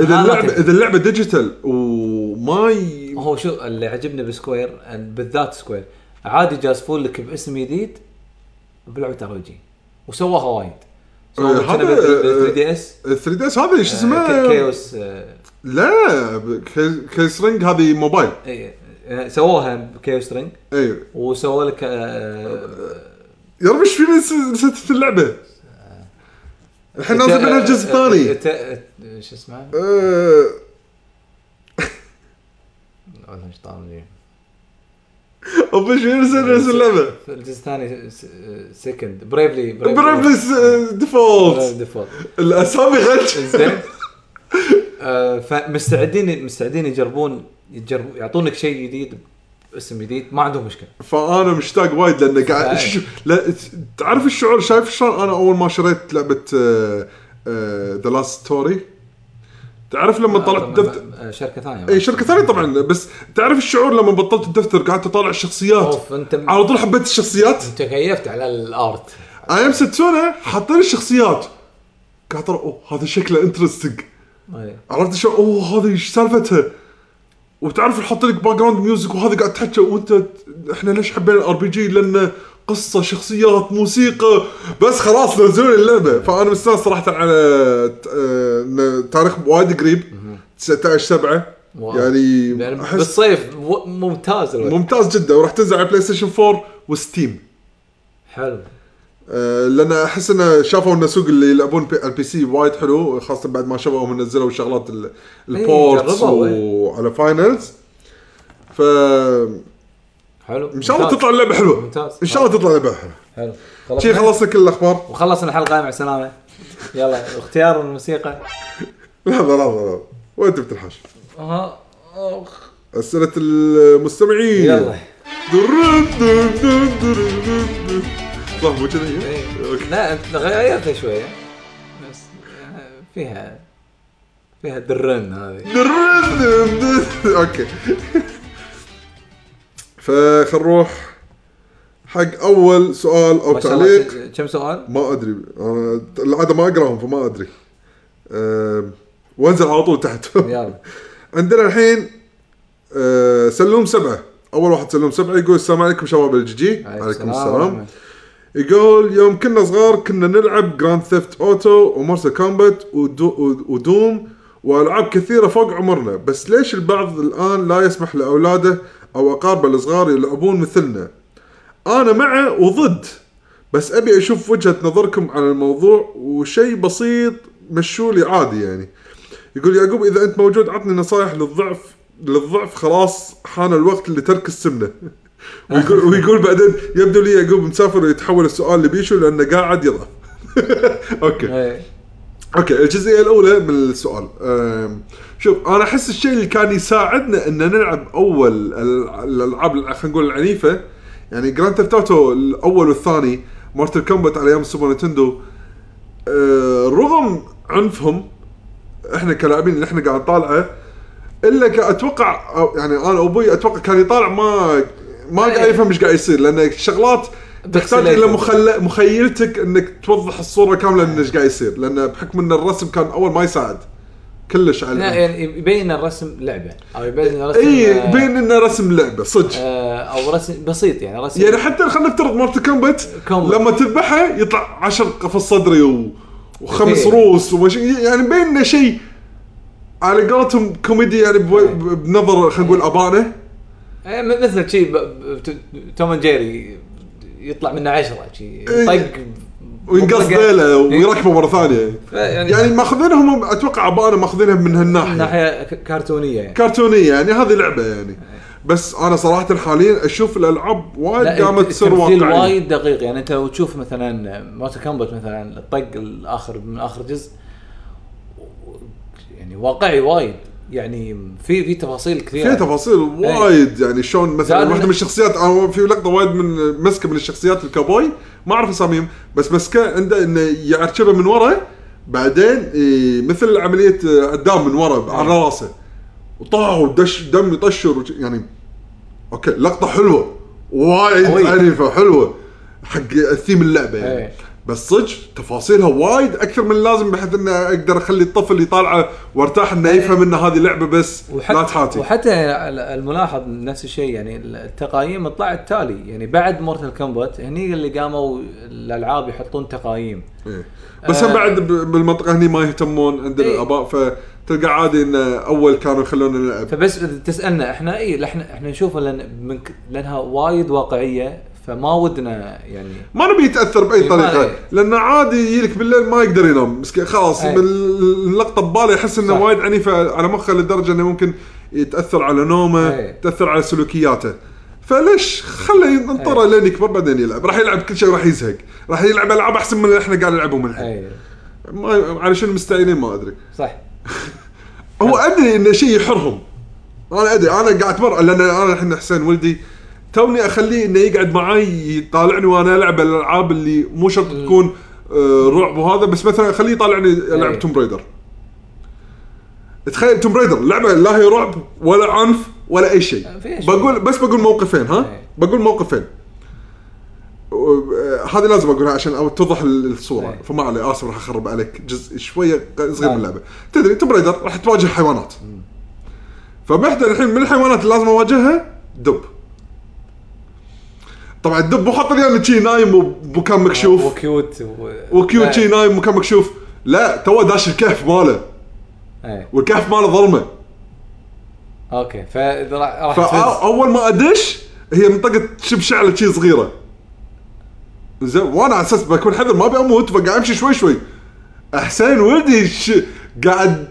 S2: اذا
S3: ما
S2: اللعبه
S3: تدري.
S2: اذا اللعبه ديجيتال وما ي...
S3: هو شو اللي عجبني بسكوير أن- بالذات سكوير عادي جازفون لك باسم جديد بلعبه ار جي وسواها وايد
S2: آه،
S3: سواها
S2: هذا-
S3: بال 3 دي اس
S2: 3 دي اس هذا ايش اسمه؟
S3: كيوس آه،
S2: لا كي- كيس رينج هذه موبايل
S3: إيه، آه، سووها بكيوس رينج
S2: اي
S3: وسووا لك آه،
S2: يا رب ايش فيني نس- نسيت اللعبه؟ الحين نازل منها الجزء
S3: آه، آه،
S2: الثاني
S3: آه، آه، شو اسمه؟
S2: آه،
S3: والله إيش طالعني.
S2: رب ايش فيني آه. نسيت
S3: آه.
S2: نسيت اللعبه؟
S3: الجزء الثاني آه، سكند بريفلي
S2: برايفلي آه، ديفولت
S3: ديفولت
S2: الاسامي غش
S3: زين آه، فمستعدين مستعدين يجربون يجربون يعطونك شيء جديد اسم جديد ما عندهم مشكله
S2: فانا مشتاق وايد لان قاعد
S3: صحيح.
S2: شو- لا ت- تعرف الشعور شايف شلون انا اول ما شريت آه، لعبه ذا لاست ستوري تعرف لما طلعت دفتر
S3: آه، شركه ثانيه
S2: اي شركه ثانيه طبعا بس تعرف الشعور لما بطلت الدفتر قعدت اطالع الشخصيات
S3: اوف انت
S2: على طول حبيت الشخصيات
S3: انت كيفت على الارت
S2: ايام ستسونا حاطين الشخصيات قاعد أطلع، اوه هذا شكله انترستنج
S3: إيه.
S2: عرفت شلون اوه هذه ايش سالفتها وتعرف يحط لك باك جراوند ميوزك وهذا قاعد تحكي وانت احنا ليش حبينا الار بي جي لانه قصه شخصيات موسيقى بس خلاص نزلوا لي اللعبه فانا مستانس صراحه على ت- آه، إن تاريخ وايد قريب 19 7
S3: واو.
S2: يعني
S3: يعني
S2: احس
S3: بالصيف و- ممتاز الوقت
S2: ممتاز جدا وراح تنزل على بلاي ستيشن 4 وستيم
S3: حلو
S2: آه، لان احس انه شافوا ان السوق اللي يلعبون بي- البي سي وايد حلو خاصه بعد ما شافوا هم نزلوا شغلات ال- البورتس
S3: جربوا، إيه.
S2: وعلى فاينلز ف
S3: حلو
S2: ان شاء الله تطلع اللعبه حلوه
S3: ممتاز. إيه؟
S2: ان شاء الله تطلع اللعبه حلوه
S3: حلو
S2: شي
S3: خلصنا
S2: خلصنا كل الاخبار
S3: وخلصنا الحلقه مع السلامه يلا اختيار الموسيقى
S2: لحظه لحظه لحظه وين انت بتنحاش؟
S3: اها أخ.
S2: اسئله المستمعين
S3: يلا
S2: درن درن درن درن درن. صح مو كذا هي؟
S3: إيه.
S2: اوكي
S3: لا انت غيرتها شويه بس آه، فيها فيها درن هذه
S2: درن درن درن. اوكي فخل نروح حق اول سؤال او
S3: ما شاء الله
S2: تعليق
S3: ت- كم سؤال؟
S2: ما ادري انا العاده ما اقراهم فما ادري أم، وانزل على طول تحت
S3: يلا
S2: عندنا الحين أه، سلوم سبعه اول واحد سلوم سبعه يقول السلام عليكم شباب الجي عليكم السلام
S3: ورحمة
S2: يقول يوم كنا صغار كنا نلعب جراند ثيفت اوتو ومارسل كومبات ودو- ودوم والعاب كثيره فوق عمرنا بس ليش البعض الان لا يسمح لاولاده او اقاربه الصغار يلعبون مثلنا انا مع وضد بس ابي اشوف وجهه نظركم على الموضوع وشيء بسيط مشولي عادي يعني يقول يعقوب اذا انت موجود عطني نصايح للضعف للضعف خلاص حان الوقت لترك السمنه ويقول ويقول بعدين يبدو لي يعقوب مسافر ويتحول السؤال لبيشو لانه قاعد يضعف اوكي
S3: الله. إيه.
S2: اوكي الجزئيه الاولى من السؤال أم، شوف انا احس الشيء اللي كان يساعدنا ان نلعب اول ال- الالعاب الع- خلينا نقول العنيفه يعني جراند ثيفت اوتو الاول والثاني مارتل كومبات على ايام السوبر نتندو أه، رغم عنفهم احنا كلاعبين اللي احنا قاعد طالعه الا ك- اتوقع أو- يعني انا ابوي اتوقع كان يطالع ما ما قاعد يفهم ايش قاعد يصير لان شغلات تحتاج الى مخل... مخيلتك انك توضح الصوره كامله من ايش قاعد يصير لان بحكم ان الرسم كان اول ما يساعد كلش
S3: لا
S2: على
S3: يعني يبين الرسم لعبه او يبين الرسم
S2: اي
S3: آه،
S2: إيه، بين انه رسم لعبه صدق
S3: آه، او رسم بسيط يعني رسم
S2: يعني حتى خلينا نفترض مارت كومبات
S3: كومبات.
S2: لما تذبحه يطلع عشر قفص صدري و... وخمس
S3: إيه.
S2: روس ومش... يعني بين انه شيء على قولتهم كوميدي يعني بو... ب- بنظر خلينا نقول ابانه
S3: إيه، م- مثل شيء ب- ب- ت- توم أند جيري يطلع منه عشرة شيء طق
S2: إيه. وينقص
S3: مطلقة.
S2: ديله
S3: إيه.
S2: ويركبه مره ثانيه
S3: يعني,
S2: يعني ماخذينهم اتوقع ابانه ماخذينها من
S3: من
S2: هالناحيه
S3: ناحيه ك- كرتونيه يعني آه.
S2: كرتونيه يعني هذه لعبه يعني بس انا صراحه حاليا اشوف الالعاب وايد
S3: لا،
S2: قامت تصير
S3: التمثيل
S2: واقعيه
S3: وايد دقيق يعني انت لو تشوف مثلا موتا كومبات مثلا الطق الاخر من اخر جزء و- يعني واقعي وايد يعني في في تفاصيل كثيره
S2: فيها تفاصيل وايد يعني شلون مثلا
S3: زاد
S2: واحده
S3: إن-
S2: من الشخصيات أو في لقطه وايد من مسكه من الشخصيات الكابوي ما اعرف اساميهم بس مسكه عنده انه يعرشبه من ورا بعدين إيه، مثل عمليه آه، عدام من ورا على راسه وطاح ودش دم يطشر وج- يعني اوكي لقطه حلوه وايد
S3: قوية.
S2: عنيفه حلوه حق الثيم اللعبه يعني
S3: إيه.
S2: بس صدق تفاصيلها وايد اكثر من اللازم بحيث انه اقدر اخلي الطفل يطالعه وارتاح انه يفهم ان هذه لعبه بس لا
S3: وحتى
S2: تحاتي
S3: وحتى ال- الملاحظ نفس الشيء يعني التقايم طلعت تالي يعني بعد مورتال كومبات هني اللي قاموا الالعاب يحطون تقايم
S2: إيه. بس هم
S3: آه.
S2: بعد ب- بالمنطقه هني ما يهتمون عند
S3: إيه.
S2: الاباء فتلقى عادي ان اول كانوا يخلونا نلعب
S3: فبس إيه، إذا تسالنا احنا اي احنا احنا نشوفها لان من ك- لانها وايد واقعيه فما ودنا يعني
S2: ما نبي يتاثر باي
S3: إيه، ما-
S2: طريقه
S3: إيه.
S2: لان عادي يجيلك بالليل ما يقدر ينام مسكين خلاص
S3: إيه.
S2: من ال- اللقطه بباله يحس انه
S3: صح.
S2: وايد عنيفه على مخه لدرجه انه ممكن يتاثر على نومه
S3: إيه.
S2: تاثر على سلوكياته فليش خله ينطره
S3: إيه.
S2: لين يكبر بعدين يلعب راح يلعب كل شيء راح يزهق راح يلعب العاب احسن من اللي احنا قاعد نلعبهم الحين
S3: اي
S2: ما- على شنو مستعينين ما ادري
S3: صح
S2: هو ادري انه شيء يحرهم انا ادري انا قاعد اتمرن لان انا الحين حسين ولدي توني اخليه انه يقعد معاي يطالعني وانا العب الالعاب اللي مو شرط تكون آه، رعب وهذا بس مثلا اخليه يطالعني العب
S3: إيه.
S2: توم بريدر تخيل توم بريدر لعبه لا هي رعب ولا عنف ولا اي شيء
S3: فيها شيء.
S2: بقول بس بقول موقفين ها
S3: إيه.
S2: بقول موقفين و- آه، هذه لازم اقولها عشان أو توضح ال- الصوره
S3: إيه.
S2: فما علي اسف راح اخرب عليك جزء شويه صغير من اللعبه تدري توم رايدر راح تواجه حيوانات فبحدى الحين من الحيوانات اللي لازم اواجهها دب طبعا الدب مو حاط لي شي نايم ومكان مكشوف
S3: آه، وكيوت إيه.
S2: وكيوت شي نايم مكان مكشوف لا تو داش الكهف ماله
S3: اي
S2: والكهف ماله ظلمه
S3: اوكي فإذا راح راح تفز.
S2: فاول ما ادش هي منطقه شب شعله شي صغيره زين وانا على اساس بكون حذر ما ابي اموت فقاعد امشي شوي شوي حسين ولدي ش... قاعد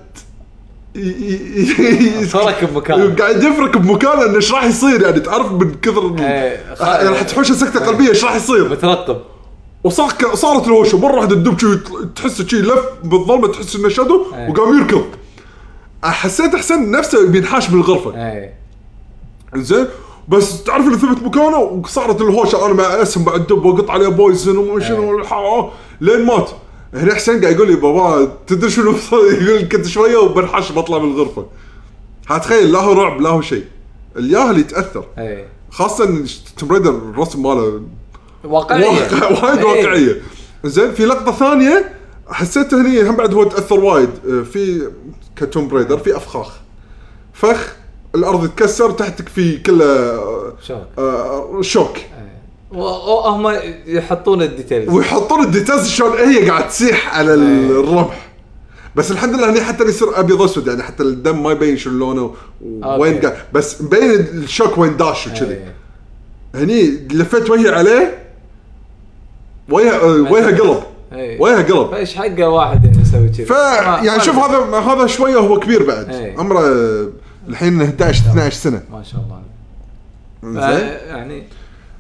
S2: ي- ي- ي-
S3: فرك بمكان.
S2: إيه، قاعد يفرك بمكان انه ايش راح يصير يعني تعرف من كثر ال-
S3: إيه، خ-
S2: يعني راح تحوشه سكته قلبيه ايش راح يصير
S3: مترقب
S2: وصار صارت الهوشه مره واحده الدب شي يطل- تحس شي لف بالظلمه تحس انه شادو
S3: إيه.
S2: وقام يركض حسيت حسين نفسه بينحاش
S3: إيه.
S2: بالغرفه
S3: اي
S2: زين بس تعرف اللي ثبت مكانه وصارت الهوشه انا مع اسم بعد دب واقط عليه بويزن وما شنو والحا- لين مات هنا حسين قاعد يقول لي بابا تدري شنو بص- يقول كنت شويه وبنحش بطلع من الغرفه هتخيل لا هو رعب لا هو شيء الياهل يتاثر
S3: اي
S2: خاصه توم رايدر الرسم ماله
S3: واقعيه
S2: واقع وايد
S3: إي.
S2: واقعيه زين في لقطه ثانيه حسيت هني هم بعد هو تاثر وايد آه، في كتوم بريدر في افخاخ فخ الارض تكسر تحتك في كله آه،
S3: شوك
S2: آه، شوك
S3: إيه. وهم يحطون الديتيلز
S2: ويحطون الديتاز شلون هي قاعد تسيح على ال-
S3: إيه.
S2: الرمح بس الحمد لله هني حتى يصير ابيض اسود يعني حتى الدم ما يبين شو لونه وين
S3: آه، أوكي. إيه.
S2: قاعد بس مبين الشوك وين داش وكذي
S3: إي.
S2: هني لفيت وجهي عليه وجهه آه، وجهه قلب
S3: إي.
S2: وجهه قلب
S3: فايش حقه واحد انه يسوي كذي
S2: ف يعني شوف هذا هذا شويه هو كبير بعد
S3: إيه.
S2: عمره آه، الحين 11 12 سنه
S3: ما شاء الله
S2: زين
S3: آه، يعني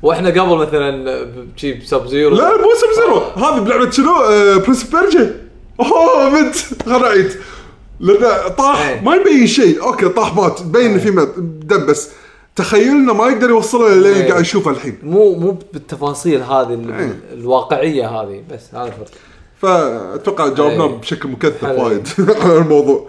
S3: واحنا قبل مثلا ب- شي بسب زيرو
S2: لا مو سب زيرو هذه بلعبه شنو آه، برنس برجي اوه بنت خلنا اعيد لانه طاح
S3: إيه.
S2: ما يبين شيء اوكي طاح مات تبين ان في مات- دم بس تخيلنا ما يقدر يوصله للي
S3: إيه.
S2: قاعد يشوفه الحين
S3: مو مو بالتفاصيل هذه ال-
S2: إيه.
S3: الواقعيه هذه بس هذا الفرق
S2: فاتوقع جاوبنا
S3: إيه.
S2: بشكل مكثف
S3: حلو.
S2: وايد على الموضوع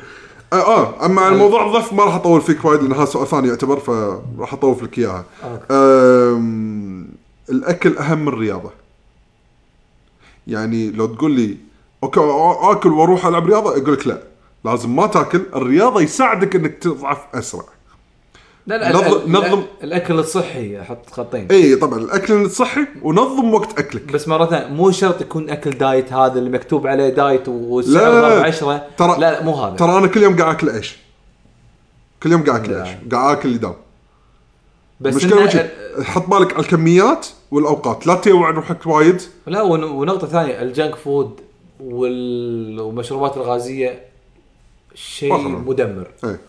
S2: آه، اه اما عن موضوع الضف ما راح اطول فيك وايد لانها سؤال ثاني يعتبر فراح اطول لك اياها
S3: أوكي.
S2: آم، الاكل اهم من الرياضه يعني لو تقول لي اوكي آ- اكل واروح العب رياضه اقول لك لا لازم ما تاكل الرياضه يساعدك انك تضعف اسرع
S3: لا لا
S2: نظم-
S3: ال- ال-
S2: نظم- إيه.
S3: الاكل الصحي حط خطين
S2: اي طبعا الاكل صحي ونظم وقت اكلك
S3: بس مره ثانيه مو شرط يكون اكل دايت هذا اللي مكتوب عليه دايت والسعر
S2: لا، لا، لا.
S3: ضرب 10
S2: ترى-
S3: لا لا مو هذا
S2: ترى انا كل يوم قاعد اكل عيش كل يوم قاعد اكل
S3: لا.
S2: عيش قاعد اكل لدام
S3: بس
S2: المشكله
S3: إنه-
S2: وش حط بالك على الكميات والاوقات لا تيوع روحك وايد
S3: لا ون- ونقطة ثانية الجنك فود وال- والمشروبات الغازية شيء
S2: أخرى.
S3: مدمر
S2: ايه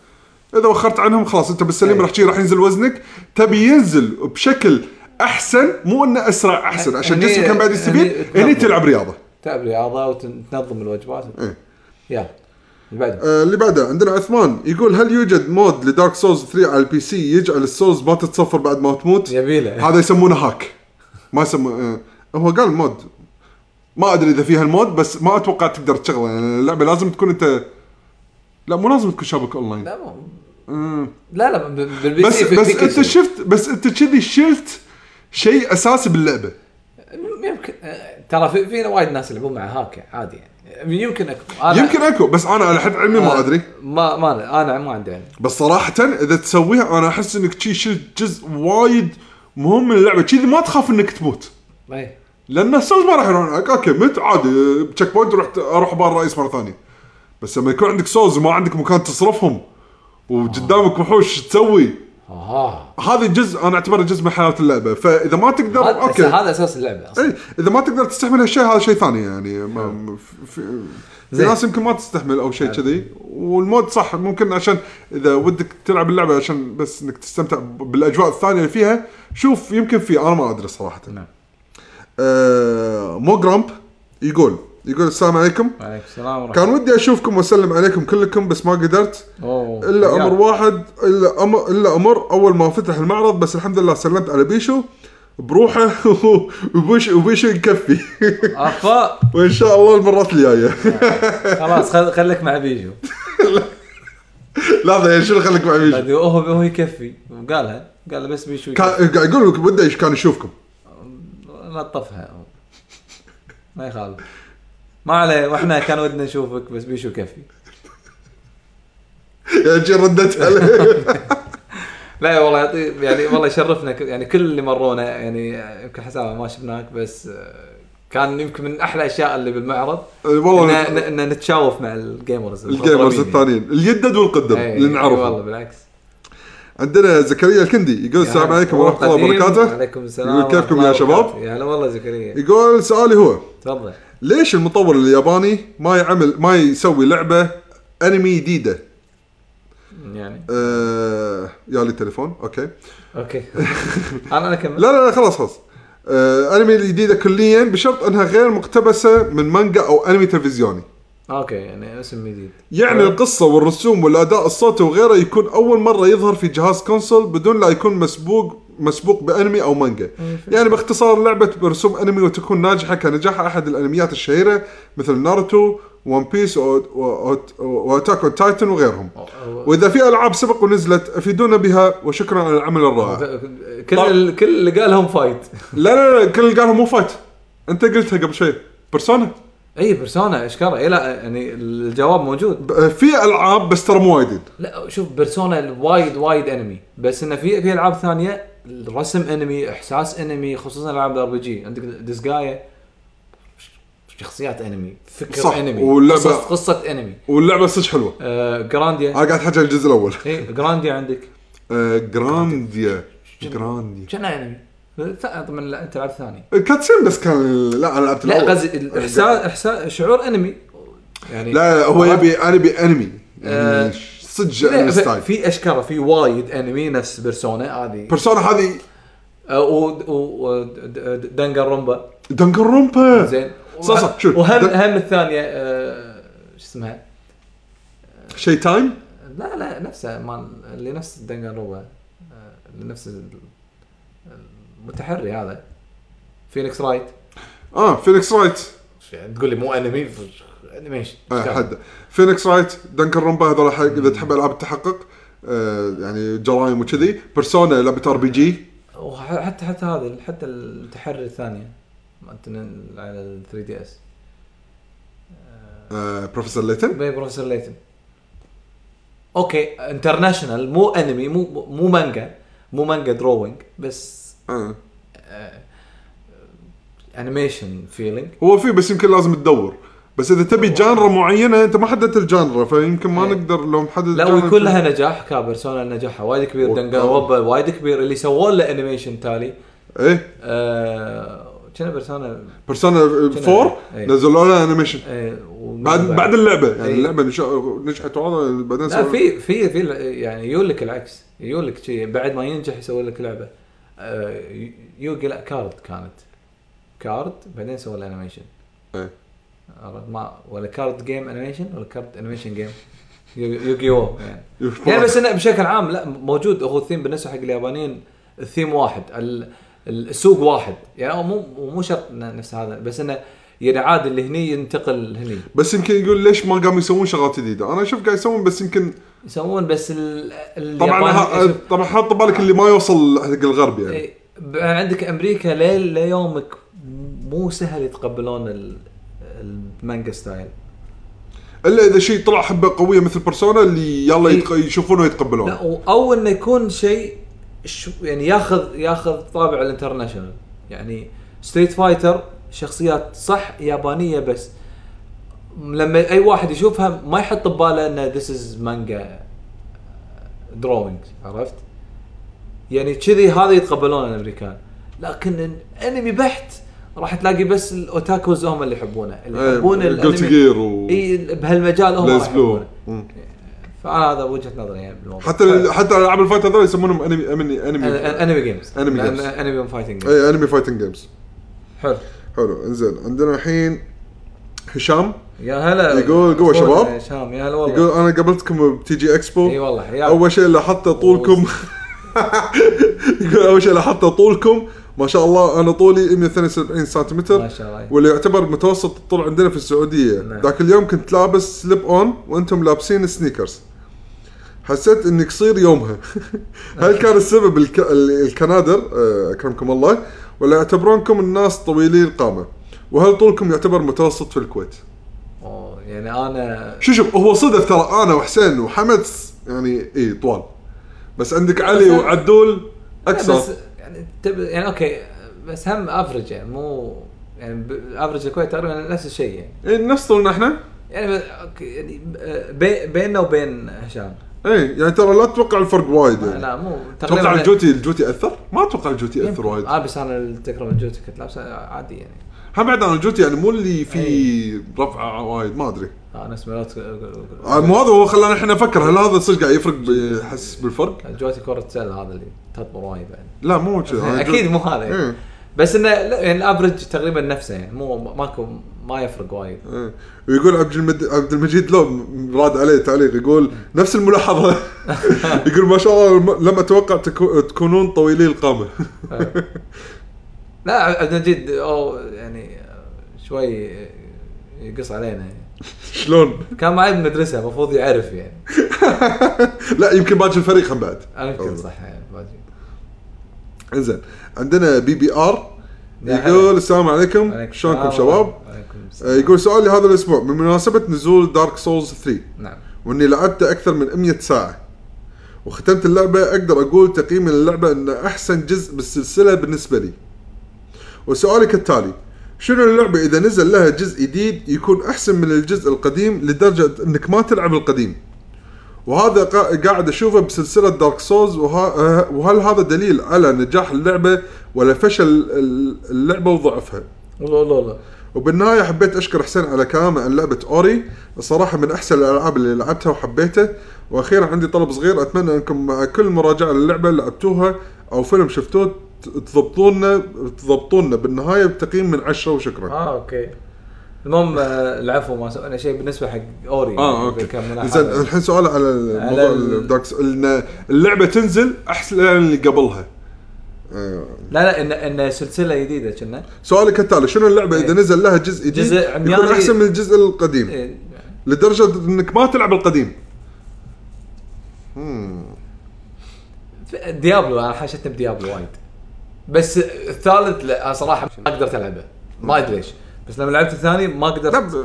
S2: اذا وخرت عنهم خلاص انت بالسليم
S3: إيه.
S2: راح شي راح ينزل وزنك تبي ينزل بشكل احسن مو انه اسرع احسن عشان
S3: هني-
S2: جسمك كان بعد يستفيد
S3: هني
S2: هني
S3: تنظم.
S2: تلعب رياضه
S3: تلعب رياضة وتنظم الوجبات
S2: إيه.
S3: يلا اللي بعده
S2: آه، اللي بعده عندنا عثمان يقول هل يوجد مود لدارك سولز 3 على البي سي يجعل السولز ما تتصفر بعد ما تموت؟
S3: يبيله
S2: هذا يسمونه هاك ما يسمونه آه، هو قال مود ما ادري اذا فيها المود بس ما اتوقع تقدر تشغله يعني اللعبه لازم تكون انت لا مو لازم تكون شابك اونلاين
S3: لا مو- لا لا ب- بالبي
S2: بس
S3: سي في-
S2: بس
S3: في كل
S2: انت
S3: شيء.
S2: شفت بس انت كذي شلت شيء اساسي باللعبه
S3: يمكن آه، ترى في, في وايد ناس يلعبون مع هاك عادي يعني يمكن اكو أنا-
S2: يمكن اكو بس انا على حد علمي
S3: آه.
S2: ما ادري
S3: ما ما انا ما عندي علم
S2: بس صراحة اذا تسويها انا احس انك شي شلت جزء وايد مهم من اللعبة كذي ما تخاف انك تموت
S3: اي
S2: لان السولز ما راح يروحون عليك اوكي مت عادي تشيك بوينت رحت اروح بار الرئيس مرة ثانية بس لما يكون عندك سولز وما عندك مكان تصرفهم وقدامك وحوش تسوي
S3: اه
S2: هذا جزء انا اعتبره جزء من حياة اللعبة فاذا ما تقدر
S3: هذا أوكي.
S2: اوكي
S3: هذا اساس اللعبه اصلا
S2: اي اذا إيه، ما تقدر تستحمل هالشيء هذا شيء ثاني يعني ما في- في, في
S3: نعم. زين. نعم.
S2: ناس يمكن ما تستحمل او شيء كذي والمود صح ممكن عشان اذا ودك تلعب اللعبه عشان بس انك تستمتع بالاجواء الثانيه اللي فيها شوف يمكن في انا ما ادري صراحه
S3: نعم.
S2: آه مو جرامب يقول يقول السلام عليكم
S3: عليك السلام ورحمه
S2: كان ودي اشوفكم واسلم عليكم كلكم بس ما قدرت
S3: الله
S2: الا امر واحد الا امر الا امر اول ما فتح المعرض بس الحمد لله سلمت على بيشو بروحه وبيشو وبيشو يكفي
S3: افا
S2: وان شاء الله المرات الجايه
S3: خلاص خل- خليك مع بيجو
S2: لا لا شو اللي خليك مع بيشو
S3: بعد هو هو يكفي وقالها قال له بس بيشو يكفي.
S2: كان قاعد يقول لك بده ايش كان يشوفكم
S3: نطفها ما يخالف ما عليه واحنا كان ودنا نشوفك بس بيشو كفي
S2: يعني جي ردت عليه
S3: لا والله يعطي يعني والله يشرفنا ك- يعني كل اللي مرونا يعني يمكن حسابه ما شفناك بس آه، كان يمكن من احلى الاشياء اللي بالمعرض
S2: والله
S3: ان إن نتشاوف مع الجيمرز
S2: الجيمرز الثانيين اليدد والقدم اللي
S3: إيه، والله
S2: نعرفه
S3: بالعكس
S2: عندنا زكريا الكندي يقول السلام عليكم ورحمه الله
S3: قديم.
S2: وبركاته
S3: يعني وعليكم السلام
S2: يقول
S3: ورحمة
S2: كيفكم
S3: الله
S2: يا شباب؟ إيه.
S3: وبركاته. يا هلا والله زكريا
S2: يقول سؤالي هو
S3: تفضل
S2: ليش المطور الياباني ما يعمل ما يسوي لعبه انمي جديده
S3: يعني
S2: آه يا لي التليفون اوكي
S3: اوكي انا انا كمل
S2: لا لا لا خلاص خلاص آه انمي الجديده كليا بشرط انها غير مقتبسه من مانجا او انمي تلفزيوني
S3: اوكي يعني اسم جديد
S2: يعني القصه والرسوم والاداء الصوتي وغيره يكون اول مره يظهر في جهاز كونسول بدون لا يكون مسبوق مسبوق بانمي او مانجا يعني باختصار لعبه برسوم انمي وتكون ناجحه كنجاح احد الانميات الشهيره مثل ناروتو وان بيس واتاك اون تايتن وغيرهم
S3: آه.
S2: واذا في العاب سبق ونزلت افيدونا بها وشكرا على العمل الرائع
S3: كل ال- كل اللي قالهم فايت
S2: لا لا لا كل اللي قالها مو فايت انت قلتها قبل شوي بيرسونا
S3: اي بيرسونا اشكال اي لا يعني الجواب موجود
S2: ب- في العاب بس ترى مو وايدين
S3: لا شوف بيرسونا وايد وايد انمي بس انه في في العاب ثانيه الرسم انمي احساس انمي خصوصا العاب الار بي جي عندك ديسجايا شخصيات انمي فكر
S2: صح،
S3: انمي
S2: واللعبة-
S3: قصه قصه انمي
S2: واللعبه صدق حلوه
S3: آه جرانديا
S2: انا قاعد احكي عن الجزء الاول
S3: اي جرانديا إيه، عندك
S2: آه، جرانديا جرانديا
S3: كان انمي ت- طبعا لا، انت لعبت ثاني
S2: الكاتسين آه، بس كان لا انا لعبت
S3: لا
S2: الأول.
S3: قصدي الاحساس احساس شعور انمي يعني
S2: لا هو
S3: عرفت؟
S2: يبي انا يبي انمي
S3: آه،
S2: يعني صدق
S3: لا،
S2: انمي
S3: ف-
S2: ستايل
S3: في اشكال في وايد انمي نفس بيرسونا هذه
S2: بيرسونا هذه
S3: آه، و- و و- د- د- دنجر رومبا
S2: دنجر رومبا
S3: زين
S2: أه. صح، صح، شوف.
S3: وهم
S2: دن-
S3: هم الثانيه آه، شو اسمها
S2: شي تايم
S3: لا لا نفسها مال اللي نفس دنجر رومبا اللي نفس ال- المتحري هذا فينيكس رايت
S2: اه فينيكس رايت
S3: يعني تقول لي مو انمي ف- انيميشن
S2: آه حد فينيكس رايت دنجر رومبا هذول حق اذا تحب العاب التحقق آه يعني جرايم وكذي بيرسونا لعبه ار بي جي
S3: وحتى حتى هذه حتى المتحري الثانيه مالت ال- على ال 3 دي اس
S2: بروفيسور ليتن
S3: باي بروفيسور ليتن اوكي انترناشونال مو انمي مو مو مانجا مو مانجا دروينج بس
S2: آه.
S3: انيميشن فيلينج
S2: هو في بس يمكن لازم تدور بس اذا تبي جانرا معينه انت ما حددت الجانرا فيمكن ما
S3: إيه.
S2: نقدر لو محدد
S3: لا
S2: جانرا-
S3: ويكون لها نجاح كبيرسونا نجاحها وايد كبير
S2: وطبعاً.
S3: دنجاروبا وايد كبير اللي سووا له انيميشن تالي
S2: ايه
S3: آه، كان بيرسونا
S2: بيرسونا 4
S3: إيه.
S2: نزلوا لها انيميشن
S3: آه، ومن
S2: بعد بعد اللعبه يعني
S3: إيه.
S2: اللعبه نش- نجحت وهذا بعدين
S3: لا
S2: سووا-
S3: في في في يعني يقول لك العكس يقول لك شي بعد ما ينجح يسوي لك لعبه آه، يوجي لا كارد كانت كارد بعدين سوى الانيميشن
S2: إيه.
S3: عرفت؟ ما ولا كارد جيم انيميشن ولا كارد انيميشن جيم يوغي او يعني يعني بس انه بشكل عام لا موجود هو الثيم بالنسبه حق اليابانيين الثيم واحد ال- السوق واحد يعني هو مو مو شرط إنه نفس هذا بس انه يعني عادي اللي هني ينتقل هني
S2: بس يمكن يقول ليش ما قاموا يسوون شغلات جديده انا اشوف قاعد يسوون بس يمكن
S3: يسوون بس ال- الياباني
S2: طبعا ها-
S3: شوف،
S2: طبعا حاط بالك اللي ما يوصل حق الغرب يعني
S3: إيه، عندك امريكا ليل ليومك مو سهل يتقبلون ال- المانجا ستايل
S2: الا اذا شيء طلع حبه قويه مثل بيرسونا اللي يلا
S3: إيه.
S2: يتق- يشوفونه ويتقبلونه
S3: لا و- او انه يكون شيء شو يعني ياخذ ياخذ طابع الانترناشونال يعني ستريت فايتر شخصيات صح يابانيه بس لما اي واحد يشوفها ما يحط بباله انه ذيس از مانجا دروينج عرفت؟ يعني كذي هذا يتقبلون الامريكان لكن انمي بحت راح تلاقي بس الاوتاكوز هم اللي يحبونه اللي
S2: إيه،
S3: يحبون
S2: قلت
S3: الانمي
S2: جير و
S3: اي بهالمجال هم راح
S2: لاز بلو
S3: يحبونه فانا هذا وجهه نظري يعني بالموضوع
S2: حتى ال- حتى العاب الفايت هذول يسمونهم انمي انمي انمي
S3: انمي جيمز
S2: Anime games. إيه.
S3: انمي فايتنج جيمز
S2: اي انمي فايتنج جيمز
S3: حلو
S2: حلو انزين عندنا الحين هشام
S3: يا هلا
S2: يقول إيه، قوة
S3: أخونا
S2: شباب.
S3: هشام يا هلا والله
S2: يقول انا قابلتكم بتي جي اكسبو
S3: اي والله يا
S2: اول شيء لاحظت طولكم يقول اول شيء لاحظت طولكم ما شاء الله انا طولي 172
S3: ما
S2: سنتيمتر
S3: شاء الله
S2: واللي يعتبر متوسط الطول عندنا في السعوديه
S3: نعم.
S2: ذاك اليوم كنت لابس سليب اون وانتم لابسين سنيكرز حسيت اني قصير يومها هل كان السبب الك... ال- الكنادر آه، اكرمكم الله ولا يعتبرونكم الناس طويلي القامه وهل طولكم يعتبر متوسط في الكويت
S3: أوه، يعني انا
S2: شو شوف هو صدف ترى انا وحسين وحمد س- يعني اي طوال بس عندك علي
S3: بس-
S2: وعدول
S3: بس
S2: اكثر
S3: يعني تب... يعني اوكي بس هم افرج يعني مو يعني افرج الكويت تقريبا نفس الشيء يعني
S2: اي نفس طولنا احنا
S3: يعني ب- اوكي يعني ب- بي... بيننا وبين هشام
S2: اي يعني ترى لا تتوقع الفرق وايد يعني
S3: لا مو
S2: اتوقع الجوتي الجوتي اثر؟ ما اتوقع الجوتي
S3: يمكن.
S2: ياثر وايد
S3: اه بس انا تكرم الجوتي كنت لابسه عادي يعني
S2: هم بعد انا الجوتي يعني مو اللي فيه رفعه وايد ما ادري
S3: آه، انا سمعت
S2: آه، مو هذا هو خلانا احنا نفكر هل هذا صدق قاعد يفرق ب- يحس بالفرق؟
S3: جوتي كره سله هذا اللي تطمر وايد بعد
S2: لا مو كذا أنا الجو-
S3: اكيد مو هذا يعني.
S2: إيه.
S3: بس انه لا، يعني الافرج تقريبا نفسه يعني مو ماكو ما يفرق وايد
S2: إيه. ويقول عبد المد... عبد المجيد لو م- راد عليه تعليق يقول نفس الملاحظه يقول ما شاء الله الم- لم اتوقع تكو... تكونون طويلي القامه
S3: لا عبد المجيد او يعني شوي يقص علينا يعني.
S2: شلون؟
S3: كان معي بالمدرسه المفروض يعرف يعني
S2: لا يمكن باجي الفريق هم بعد
S3: انا يمكن صح يعني باجي.
S2: انزين عندنا بي بي ار
S3: يا هلا.
S2: يقول السلام عليكم
S3: عليكم
S2: شلونكم
S3: السلام
S2: شباب؟
S3: وعليكم السلام.
S2: آه، يقول سؤالي هذا الاسبوع بمناسبه نزول دارك سولز 3
S3: نعم
S2: واني لعبته اكثر من 100 ساعه وختمت اللعبه اقدر اقول تقييم اللعبه انه احسن جزء بالسلسله بالنسبه لي وسؤالي كالتالي شنو اللعبه اذا نزل لها جزء جديد يكون احسن من الجزء القديم لدرجه انك ما تلعب القديم وهذا قا- قاعد اشوفه بسلسله دارك سولز وه... وهل هذا دليل على نجاح اللعبه ولا فشل ال- اللعبه وضعفها
S3: والله والله والله
S2: وبالنهايه حبيت اشكر حسين على كلامه عن لعبه اوري الصراحه من احسن الالعاب اللي لعبتها وحبيتها واخيرا عندي طلب صغير اتمنى انكم مع كل مراجعه للعبه اللي لعبتوها او فيلم شفتوه ت- تضبطونا تضبطونا بالنهايه بتقييم من 10 وشكرا
S3: اه اوكي المهم آه، العفو ما سوينا شيء بالنسبه حق اوري
S2: اه اوكي
S3: آه، كان
S2: زين
S3: ملاحظة.
S2: الحين سؤال على
S3: على
S2: موضوع
S3: ال-
S2: الداركس ان اللعبه تنزل احسن من اللي قبلها آه.
S3: لا لا ان ان سلسله جديده كنا
S2: سؤالي كالتالي شنو اللعبه اذا
S3: إيه.
S2: نزل لها جزء جديد
S3: جزء
S2: يكون
S3: عمياني-
S2: احسن من الجزء القديم
S3: إيه،
S2: لدرجه انك ما تلعب القديم
S3: ديابلو انا حاشتني بديابلو وايد بس الثالث لا صراحه ما قدرت العبه ما ادري ليش بس لما لعبت الثاني ما قدرت
S2: لا، ب-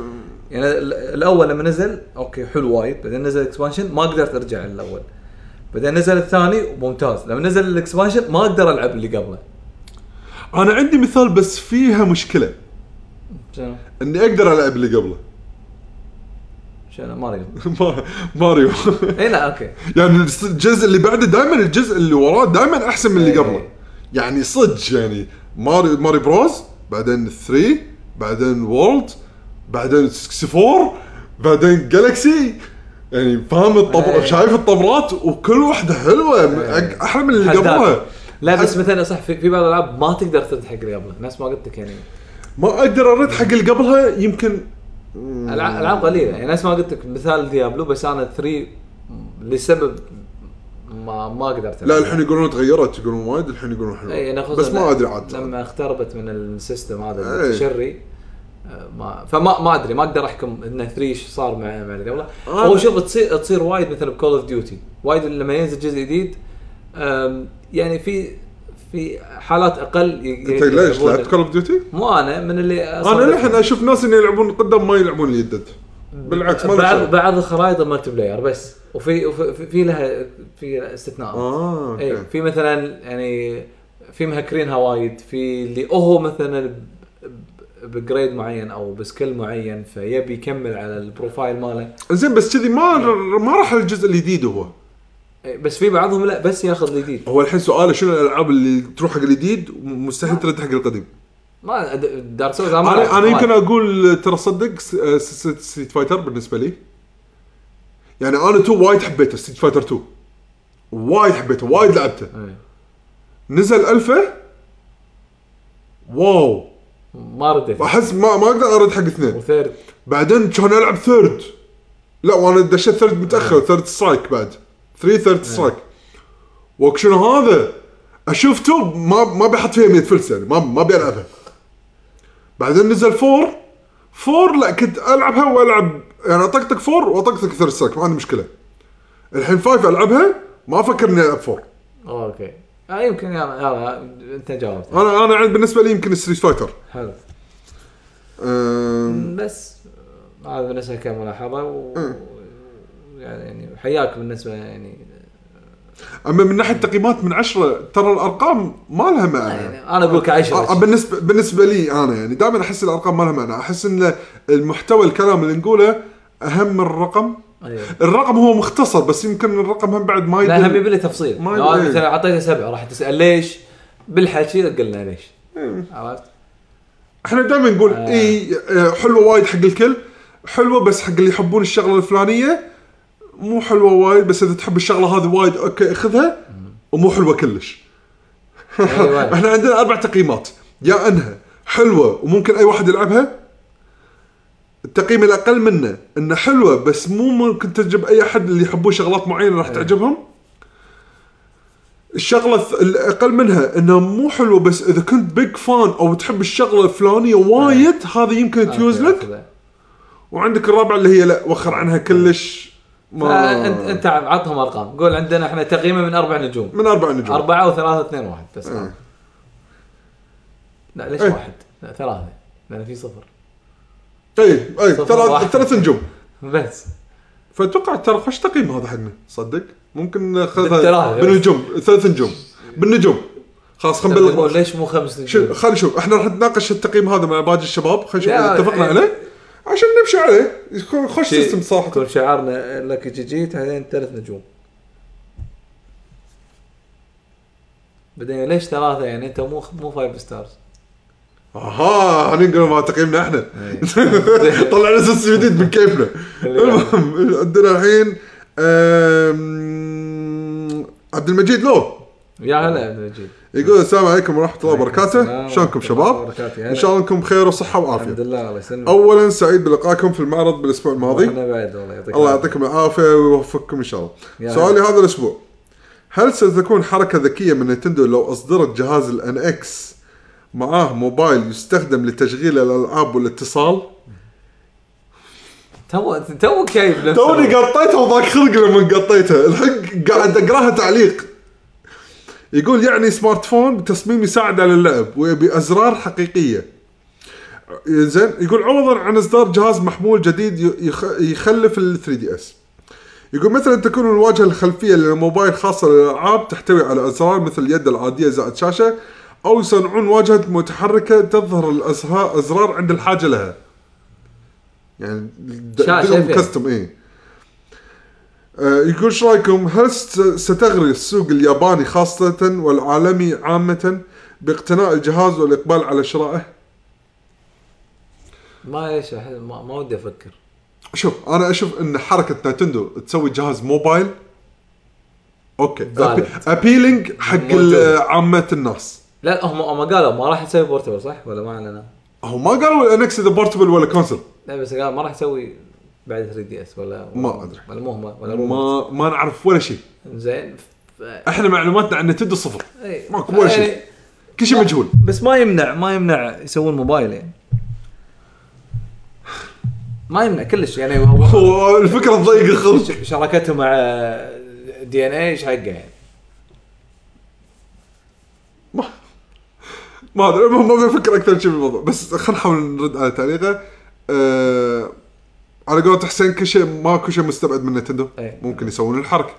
S3: يعني ال- الاول لما نزل اوكي حلو وايد بعدين نزل اكسبانشن ما قدرت ارجع للاول بعدين نزل الثاني ممتاز لما نزل الاكسبانشن ما اقدر العب اللي قبله
S2: انا عندي مثال بس فيها مشكله
S3: شنو
S2: اني اقدر العب اللي قبله
S3: شنو ماريو
S2: ما- ماريو
S3: اي لا اوكي
S2: يعني الجزء اللي بعده دائما الجزء اللي وراه دائما احسن من اللي
S3: إيه.
S2: قبله يعني صدق يعني ماري ماري بروز بعدين 3 بعدين وورلد بعدين 64 بعدين جالكسي يعني فاهم الطبر
S3: إيه.
S2: شايف الطبرات وكل واحده حلوه
S3: إيه.
S2: احلى من اللي
S3: حداد.
S2: قبلها
S3: لا بس
S2: حد-
S3: مثلا صح في في بعض الالعاب ما تقدر ترد حق اللي قبله نفس ما قلت لك يعني
S2: ما اقدر ارد حق اللي قبلها يمكن
S3: الع- العاب قليله يعني نفس ما قلت لك مثال ديابلو بس انا 3 لسبب ما ما قدرت
S2: لا
S3: ألعبها.
S2: الحين يقولون تغيرت يقولون وايد الحين يقولون
S3: اي انا
S2: حلوه
S3: خصوصاً
S2: بس ما ادري عاد
S3: لما اختربت من السيستم هذا
S2: إي.
S3: التشري آه، ما فما ما ادري ما اقدر احكم ان 3 ايش صار مع مع اللي قبله
S2: آه.
S3: هو شوف تصير تصير وايد مثل بكول اوف ديوتي وايد لما ينزل جزء جديد آم، يعني في في حالات اقل ي-
S2: انت ليش
S3: يلعبون-
S2: لعبت كول اوف ديوتي؟
S3: مو انا من اللي
S2: انا للحين اشوف ناس اللي يلعبون قدام ما يلعبون اليدد بالعكس ما له شغل.
S3: بعض بعض الخرائط مالتي بلاير بس وفي وفي- في- في لها في استثناءات
S2: اه
S3: اي
S2: اوكي
S3: في مثلا يعني في مهكرينها وايد في اللي هو مثلا ب- ب- بجريد معين او بسكيل معين فيبي يكمل على البروفايل ماله
S2: زين بس كذي ما ما راح الجزء الجديد هو
S3: إي، إيه، بس في بعضهم لا بس ياخذ الجديد
S2: هو الحين سؤاله شنو الالعاب اللي تروح حق الجديد ومستحيل ترد حق القديم
S3: ما د- دارك سولز
S2: انا انا يمكن اقول ترى صدق آه، ستريت فايتر بالنسبه لي يعني انا تو وايد حبيته ستريت فايتر 2 وايد حبيته وايد لعبته
S3: إيه،
S2: نزل الفا واو
S3: ما رديت
S2: احس ما ما اقدر ارد حق اثنين
S3: وثيرد
S2: بعدين كان العب ثيرد لا وانا دشيت ثيرد متاخر ثيرد سترايك بعد ثري ثيرد سترايك وك شنو هذا؟ اشوف توب ما ما بيحط فيها 100 فلس يعني ما ما بيلعبها بعدين نزل فور فور لا كنت العبها والعب يعني اطقطق فور واطقطق ثيرد سترايك ما عندي مشكله الحين فايف العبها ما افكر اني العب فور
S3: اوكي آه يمكن يلا يلا انت جاوبت
S2: انا انا عند بالنسبه يعني لي يمكن ستريت فايتر
S3: حلو
S2: أم،
S3: بس آه، هذا بالنسبه كملاحظه و... يعني يعني حياك بالنسبه يعني
S2: اما من ناحيه تقييمات من عشرة ترى الارقام ما لها معنى
S3: يعني انا اقول لك
S2: آه، آه،
S3: عشرة
S2: بالنسبه بالنسبه لي انا يعني دائما احس الارقام ما لها معنى احس ان المحتوى الكلام اللي نقوله اهم من الرقم
S3: أيوه.
S2: الرقم هو مختصر بس يمكن الرقم هم بعد ما
S3: لا هم
S2: يدل
S3: يبي له تفصيل
S2: ما
S3: لو
S2: يدري.
S3: مثلا اعطيته سبعه راح تسال ليش بالحكي قلنا ليش عرفت؟
S2: احنا دائما نقول آه. اي آه، حلوه وايد حق الكل حلوه بس حق اللي يحبون الشغله الفلانيه مو حلوه وايد بس اذا تحب الشغله هذه وايد اوكي اخذها ومو حلوه كلش
S3: أيوة.
S2: احنا عندنا اربع تقييمات يا انها حلوه وممكن اي واحد يلعبها التقييم الاقل منه انه حلوه بس مو ممكن تعجب اي احد اللي يحبون شغلات معينه
S3: إيه.
S2: راح تعجبهم الشغله الث- الاقل منها انها مو حلوه بس اذا كنت بيج فان او تحب الشغله الفلانيه
S3: إيه.
S2: وايد هذه يمكن تيوز لك وعندك الرابعه اللي هي لا وخر عنها كلش
S3: آه، انت
S2: ما
S3: انت عطهم ارقام قول عندنا احنا تقييمه من اربع نجوم
S2: من اربع نجوم
S3: اربعه وثلاثه اثنين واحد بس لا ليش
S2: إيه.
S3: واحد؟ لا ثلاثه لان في صفر
S2: اي اي
S3: صفر
S2: طيب، ثلاث
S3: واحد.
S2: ثلاث نجوم
S3: بس
S2: فاتوقع ترى خوش تقييم هذا حقنا صدق ممكن ناخذها
S3: بالثلاثة.
S2: بالنجوم ثلاث نجوم بالنجوم خلاص خلينا
S3: يقول
S2: نبلغ
S3: ليش مو خمس
S2: شو-
S3: نجوم؟
S2: خلينا نشوف احنا راح نتناقش التقييم هذا مع باقي الشباب خلينا نشوف
S3: يا-
S2: اذا اتفقنا
S3: أي-
S2: عليه عشان نمشي عليه يكون خوش سيستم صراحه
S3: يكون شعارنا لك جي جي بعدين ثلاث نجوم بعدين ليش ثلاثه يعني انت مو مو فايف ستارز
S2: اها هننقل مع تقييمنا احنا
S3: إيه.
S2: طلعنا سيستم جديد من كيفنا المهم عندنا الحين أم، عبد المجيد لو
S3: يا هلا يا عبد المجيد
S2: يقول السلام عليكم ورحمه الله وبركاته
S3: السلام
S2: شلونكم
S3: ورحمة الله
S2: شباب
S3: وبركاته.
S2: ان شاء الله انكم بخير وصحه
S3: الحمد
S2: وعافيه
S3: لله الله يسلمك
S2: اولا إيه. سعيد بلقائكم في المعرض بالاسبوع الماضي
S3: احنا بعد الله يعطيك
S2: الله
S3: العافية.
S2: يعطيكم العافيه ويوفقكم ان شاء الله
S3: يا
S2: سؤالي هذا الاسبوع هل ستكون حركه ذكيه من نتندو لو اصدرت جهاز الان اكس معاه موبايل يستخدم لتشغيل الالعاب والاتصال
S3: تو تو كيف نفسه.
S2: توني قطيتها وضاق خلقي لما قطيتها الحين قاعد اقراها تعليق يقول يعني سمارت فون بتصميم يساعد على اللعب وبازرار حقيقيه زين يقول عوضا عن اصدار جهاز محمول جديد يخ- يخلف ال 3 دي اس يقول مثلا تكون الواجهه الخلفيه للموبايل خاصه للالعاب تحتوي على ازرار مثل اليد العاديه زائد شاشه او يصنعون واجهه متحركه تظهر الازرار أزرار عند الحاجه لها يعني
S3: شاشة فين؟
S2: كاستم اي إيه. آه، يقول ايش رايكم هل ست- ستغري السوق الياباني خاصه والعالمي عامه باقتناء الجهاز والاقبال على شرائه؟
S3: ما ايش أحس- ما, ما ودي افكر
S2: شوف انا اشوف ان حركه نتندو تسوي جهاز موبايل اوكي
S3: ضالت.
S2: ابيلينج حق
S3: موجود.
S2: ال- عامه الناس
S3: لا هم هم قالوا ما راح تسوي بورتبل صح ولا ما اعلنوا؟
S2: هو ما قالوا الانكس اذا بورتبل ولا كونسل
S3: لا بس قال ما راح يسوي بعد 3 دي اس ولا
S6: ما أدري.
S3: ولا مهمه ولا روما
S2: ما ما نعرف ولا شيء
S3: زين ف...
S2: احنا معلوماتنا عن نتندو صفر
S3: إيه.
S2: ماكو ولا شيء.
S3: يعني
S2: كل شيء مجهول
S3: بس ما يمنع ما يمنع يسوون موبايل يعني ما يمنع كلش يعني هو
S2: أوه، الفكره تضيق الخلق
S3: ش- شراكته مع دي ان اي ايش حقه يعني
S2: ما ادري المهم ما بفكر اكثر شيء بالموضوع بس خلينا نحاول نرد على تعليقه أه على قولة حسين كل شيء ماكو شيء مستبعد من نتندو
S3: إيه.
S2: ممكن يسوون الحركه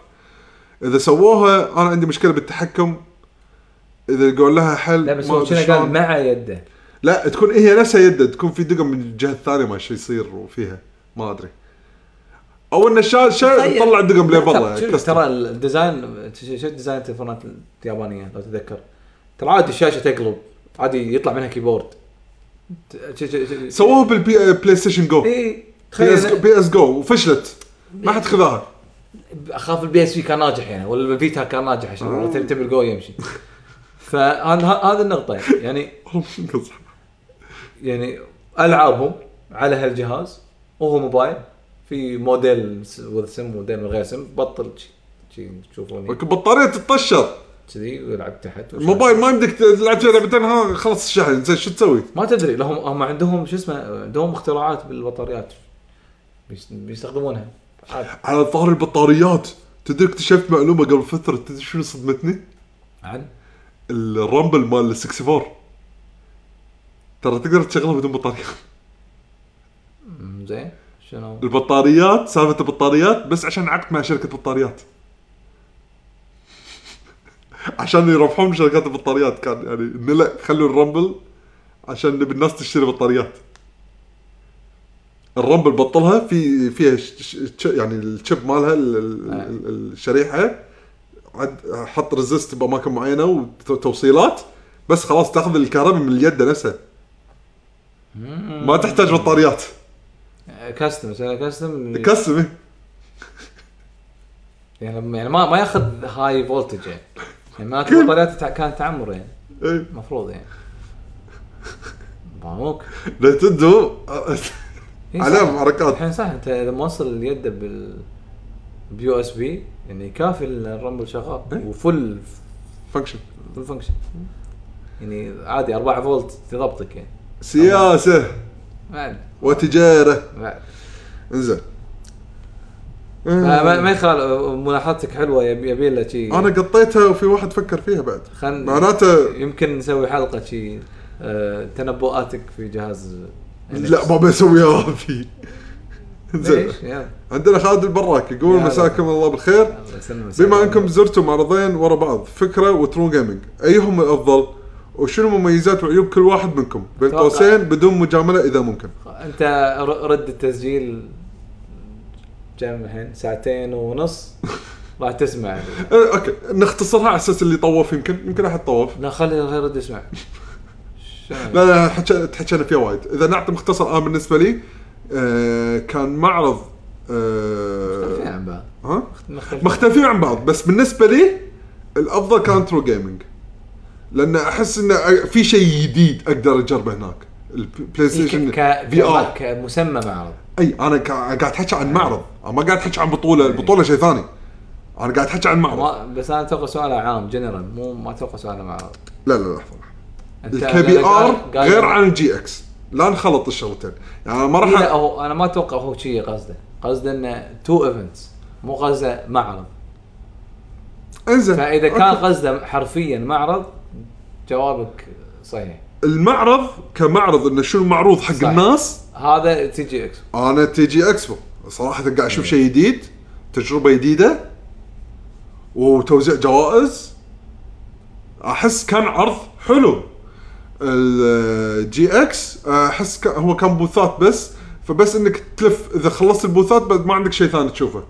S2: اذا سووها انا عندي مشكله بالتحكم اذا قول لها حل
S3: لا بس
S2: ما
S3: هو
S2: أدري
S3: كنا
S2: شلون.
S3: قال مع يده
S2: لا تكون هي نفسها يده تكون في دقم من الجهه الثانيه ما شي يصير وفيها ما ادري او ان الشا شا طيب. طلع الدقم ليه
S3: ترى- شوف،
S2: بالله
S3: ترى الديزاين شو شو ديزاين التليفونات اليابانيه لو تتذكر ترى عادي الشاشه تقلب عادي يطلع منها كيبورد ت- ش- ش- ش-
S2: سووها آه، بالبلاي بلاي ستيشن جو
S3: اي
S2: بي اس
S3: إيه، تخيل
S2: بي اس جو وفشلت ما حد خذاها
S3: اخاف البي اس في كان ناجح يعني ولا الفيتا كان ناجح عشان والله تبي تبي الجو يمشي فهذا هذا النقطه يعني يعني العابهم على هالجهاز وهو موبايل في موديل س- وذ سم موديل من غير سم بطل شي- شي تشوفوني
S2: البطاريه تتطشر
S3: كذي ويلعب تحت
S2: الموبايل ما يمديك تلعب فيها لعبتين ها خلص الشحن زين شو تسوي؟
S3: ما تدري لهم هم عندهم شو اسمه عندهم اختراعات بالبطاريات بيس- بيستخدمونها عادي.
S2: على ظهر البطاريات تدري اكتشفت معلومه قبل فتره تدري شنو صدمتني؟
S3: عن
S2: الرامبل مال ال 64 ترى تقدر تشغله بدون بطاريه
S3: مم، زين شنو
S2: البطاريات سالفه البطاريات بس عشان عقد مع شركه بطاريات عشان يربحون شركات البطاريات كان يعني إن لا خلوا الرامبل عشان نبي الناس تشتري بطاريات الرامبل بطلها في فيها ش- ش- ش- يعني الشيب مالها ال- ال- ال- الشريحه عد- حط ريزست باماكن معينه وتوصيلات بس خلاص تاخذ الكهرباء من اليد نفسها ما تحتاج بطاريات
S3: آه، كاستم سوي كاستم
S2: كسم إيه.
S3: يعني يعني ما ما ياخذ هاي فولتج يعني يعني معناته البطاريات تع- كانت تعمر يعني
S2: إيه.
S3: المفروض يعني باموك
S2: نتندو
S3: إيه، صح.
S2: عليهم حركات
S3: الحين صح انت اذا موصل اليد بال بيو اس بي يعني كافي الرامبل
S2: إيه.
S3: شغال وفل
S2: فانكشن
S3: فول فانكشن يعني عادي 4 فولت تضبطك يعني
S2: سياسه
S3: بعد
S2: وتجاره
S3: بعد
S2: انزين
S3: ما ما- ما يخال ملاحظتك حلوه يبي يبي لها شيء
S2: انا آه، قطيتها وفي واحد فكر فيها بعد
S3: خل
S2: معناته
S3: يمكن نسوي حلقه شيء آه، تنبؤاتك في جهاز NX.
S2: لا ما بسويها هذه انزين
S3: ليش؟ يلا
S2: عندنا خالد البراك يقول
S3: يا
S2: مساكم الله بالخير
S3: الله يسلمك
S2: بما انكم زرتوا معرضين ورا بعض فكره وترو جيمنج ايهم الافضل وشنو مميزات وعيوب كل واحد منكم بين
S3: أتوقع.
S2: قوسين بدون مجامله اذا ممكن
S3: انت ر- رد التسجيل كم الحين ساعتين ونص راح تسمع
S2: أه، اوكي نختصرها على اساس اللي طوف يمكن يمكن احد طوف
S3: لا خلي الغير رد يسمع شنو؟
S2: لا لا حكينا تحكينا فيها وايد اذا نعطي مختصر انا بالنسبه لي آه كان معرض
S3: مختلفين
S2: آه
S3: عن بعض
S2: ها
S3: مختلفين.
S2: مختلفين عن بعض بس بالنسبه لي الافضل كان ترو جيمنج لان احس انه في شيء جديد اقدر اجربه هناك البلاي ستيشن
S3: إيه، ك- ك-
S2: في ار
S3: كمسمى معرض
S2: اي انا كا- قاعد احكي عن معرض أنا ما قاعد احكي عن بطوله البطوله شيء ثاني انا قاعد احكي عن معرض
S3: ما بس انا اتوقع سؤاله عام جنرال مو ما اتوقع سؤاله معرض
S2: لا لا لحظه
S3: أنت-
S2: الكي بي
S3: أنا قال-
S2: ار
S3: قال-
S2: غير عن الجي اكس لا نخلط الشغلتين يعني أنا ما
S3: إيه، لا
S2: راح
S3: هو انا ما اتوقع هو شيء قصده قصده انه تو ايفنتس مو قصده معرض
S2: انزين
S3: فاذا كان
S2: أوكي.
S3: قصده حرفيا معرض جوابك صحيح
S2: المعرض كمعرض انه شنو المعروض حق
S3: صح.
S2: صح. الناس
S3: هذا تي جي اكس
S2: انا تي جي اكسبو صراحه قاعد اشوف شيء جديد تجربه جديده وتوزيع جوائز احس كان عرض حلو الجي اكس احس كان- هو كان بوثات بس فبس انك تلف اذا خلصت البوثات بعد ما عندك شيء ثاني تشوفه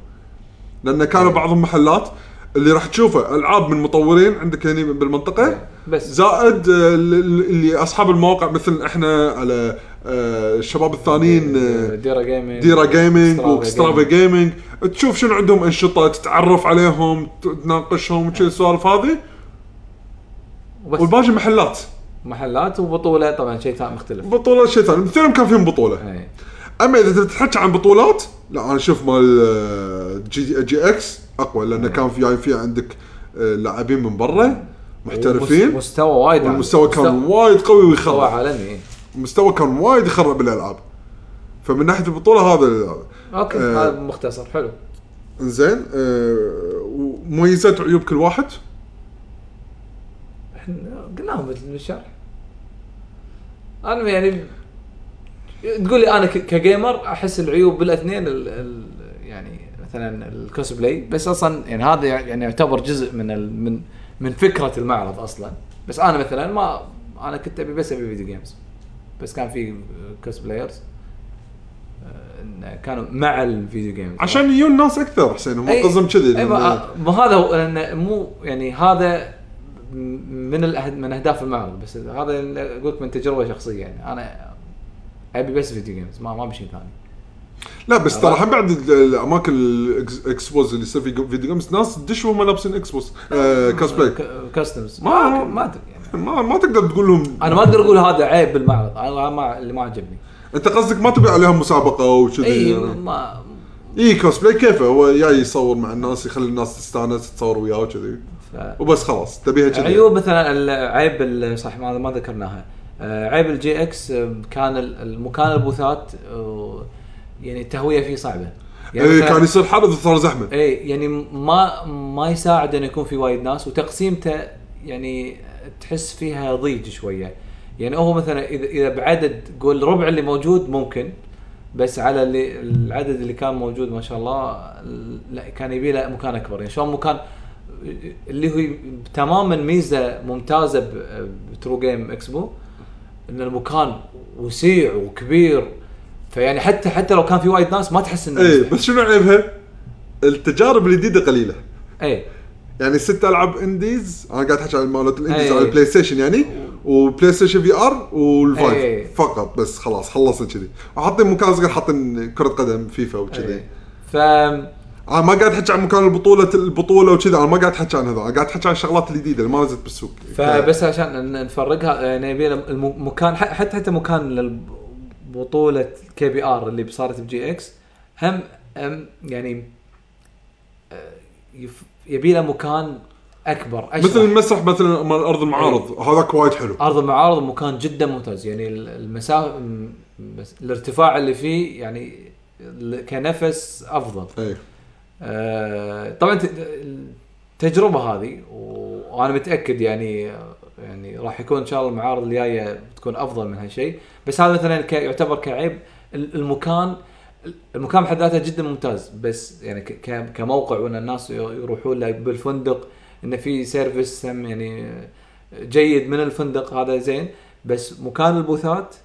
S2: لان كانوا بعضهم محلات اللي راح تشوفه العاب من مطورين عندك هنا بالمنطقه
S3: بس
S2: زائد آه، ال- ال- اللي اصحاب المواقع مثل احنا على آه، الشباب الثانيين آه،
S3: ديرا جيمنج
S2: ديرا جيمنج
S3: سترافا
S2: وسترافا
S3: جيمنج.
S2: جيمنج تشوف شنو عندهم انشطه تتعرف عليهم ت- تناقشهم
S3: إيه.
S2: وشي السوالف هذه
S3: وبس
S2: والباقي محلات
S3: محلات وبطوله طبعا شيء ثاني مختلف
S2: بطوله شيء ثاني مثلهم كان فيهم بطوله
S3: إيه.
S2: اما اذا تبي تحكي عن بطولات لا انا اشوف مال آه، جي, جي اكس اقوى
S3: إيه.
S2: لانه كان في في عندك آه، لاعبين من برا محترفين
S3: مستوى وايد عالي.
S2: والمستوى كان
S3: مستوى-
S2: وايد قوي
S3: مستوى
S2: ويخرب
S3: عالمي
S2: المستوى كان وايد يخرب الالعاب فمن ناحيه البطوله هذا ال-
S3: اوكي
S2: آه.
S3: هذا مختصر حلو
S2: زين آه، ومميزات وعيوب كل واحد
S3: احنا قلناهم بالشرح انا يعني تقول لي انا ك- كجيمر احس العيوب بالاثنين ال ال يعني مثلا الكوسبلاي بس اصلا يعني هذا يعني يعتبر جزء من ال من من فكره المعرض اصلا بس انا مثلا ما انا كنت ابي بس ابي فيديو جيمز بس كان في كوسبلايرز كانوا مع الفيديو جيمز
S2: عشان يجون الناس اكثر حسين هم
S3: أي- أيوة، آه.
S2: قصدهم كذي
S3: أي
S2: لأن-
S3: إيه. ما ما هذا هو لان مو يعني هذا م- من الأهد من اهداف المعرض بس هذا اللي اقول لك من تجربه شخصيه يعني انا ابي بس فيديو جيمز ما ما بشيء ثاني
S2: لا بس
S3: آه.
S2: ترى الحين بعد ال- الاماكن الاكسبوز اللي يصير في فيديو جيمز ناس تدش وهم لابسين اكسبوز آه كوسبلاي
S3: كاستمز
S2: ما-
S3: ما ما ادري يعني
S2: ما ما تقدر تقول لهم
S3: انا ما اقدر اقول هذا عيب بالمعرض انا ما اللي ما عجبني
S2: انت قصدك ما تبي عليهم مسابقه وكذي
S3: اي
S2: يعني.
S3: ما
S2: اي كوسبلاي كيفه هو جاي يصور مع الناس يخلي الناس تستانس تتصور وياه وكذي
S3: ف-
S2: وبس خلاص تبيها كذي
S3: عيوب مثلا ال- عيب ال- صح ما ما ذكرناها آه، عيب الجي اكس آه، كان ال- المكان البوثات آه، يعني التهويه فيه صعبه يعني
S2: اي
S3: مثلاً-
S2: إيه، كان يصير حرب وصار زحمه
S3: اي يعني ما ما يساعد انه يكون في وايد ناس وتقسيمته يعني تحس فيها ضيج شويه يعني هو مثلا اذا اذا بعدد قول ربع اللي موجود ممكن بس على اللي العدد اللي كان موجود ما شاء الله لا كان يبي له مكان اكبر يعني شلون مكان اللي هو تماما ميزه ممتازه ب- بترو جيم اكسبو ان المكان وسيع وكبير فيعني حتى حتى لو كان في وايد ناس ما تحس انه
S2: اي
S3: مزدحم.
S2: إيه، بس شنو عيبها؟ التجارب الجديده قليله
S3: اي
S2: يعني ست العاب انديز انا قاعد احكي عن مالت الانديز
S3: أي.
S2: على البلاي ستيشن يعني وبلاي ستيشن في ار
S3: أي. إيه.
S2: والفايف فقط بس خلاص خلصنا كذي وحاطين مكان صغير حاطين كره قدم فيفا وكذي
S3: إيه. ف
S2: انا ما قاعد احكي عن مكان البطوله البطوله وكذا انا ما قاعد احكي عن هذا انا قاعد احكي عن الشغلات الجديده اللي ما نزلت بالسوق إيه.
S3: فبس عشان ن- نفرقها يعني يبي لنا الم- مكان ح- حتى حتى مكان للبطوله كي بي ار اللي صارت بجي اكس هم هم يعني آه، يف- يبي له مكان اكبر
S2: ف- مثل
S3: اشرح
S2: المسرح مثلا مال ارض المعارض
S3: إيه.
S2: هذاك وايد حلو
S3: ارض المعارض مكان جدا ممتاز يعني ال- المسافه م- بس- الارتفاع اللي فيه يعني ال- كنفس افضل
S2: اي
S3: آه، طبعا ت- التجربه هذه و- وانا متاكد يعني يعني راح يكون ان شاء الله المعارض الجايه بتكون افضل من هالشيء بس هذا مثلا ك- يعتبر كعيب ال- المكان المكان بحد ذاته جدا ممتاز بس يعني ك- ك- كموقع وان الناس ي- يروحون له بالفندق انه في سيرفيس هم يعني جيد من الفندق هذا زين بس مكان البوثات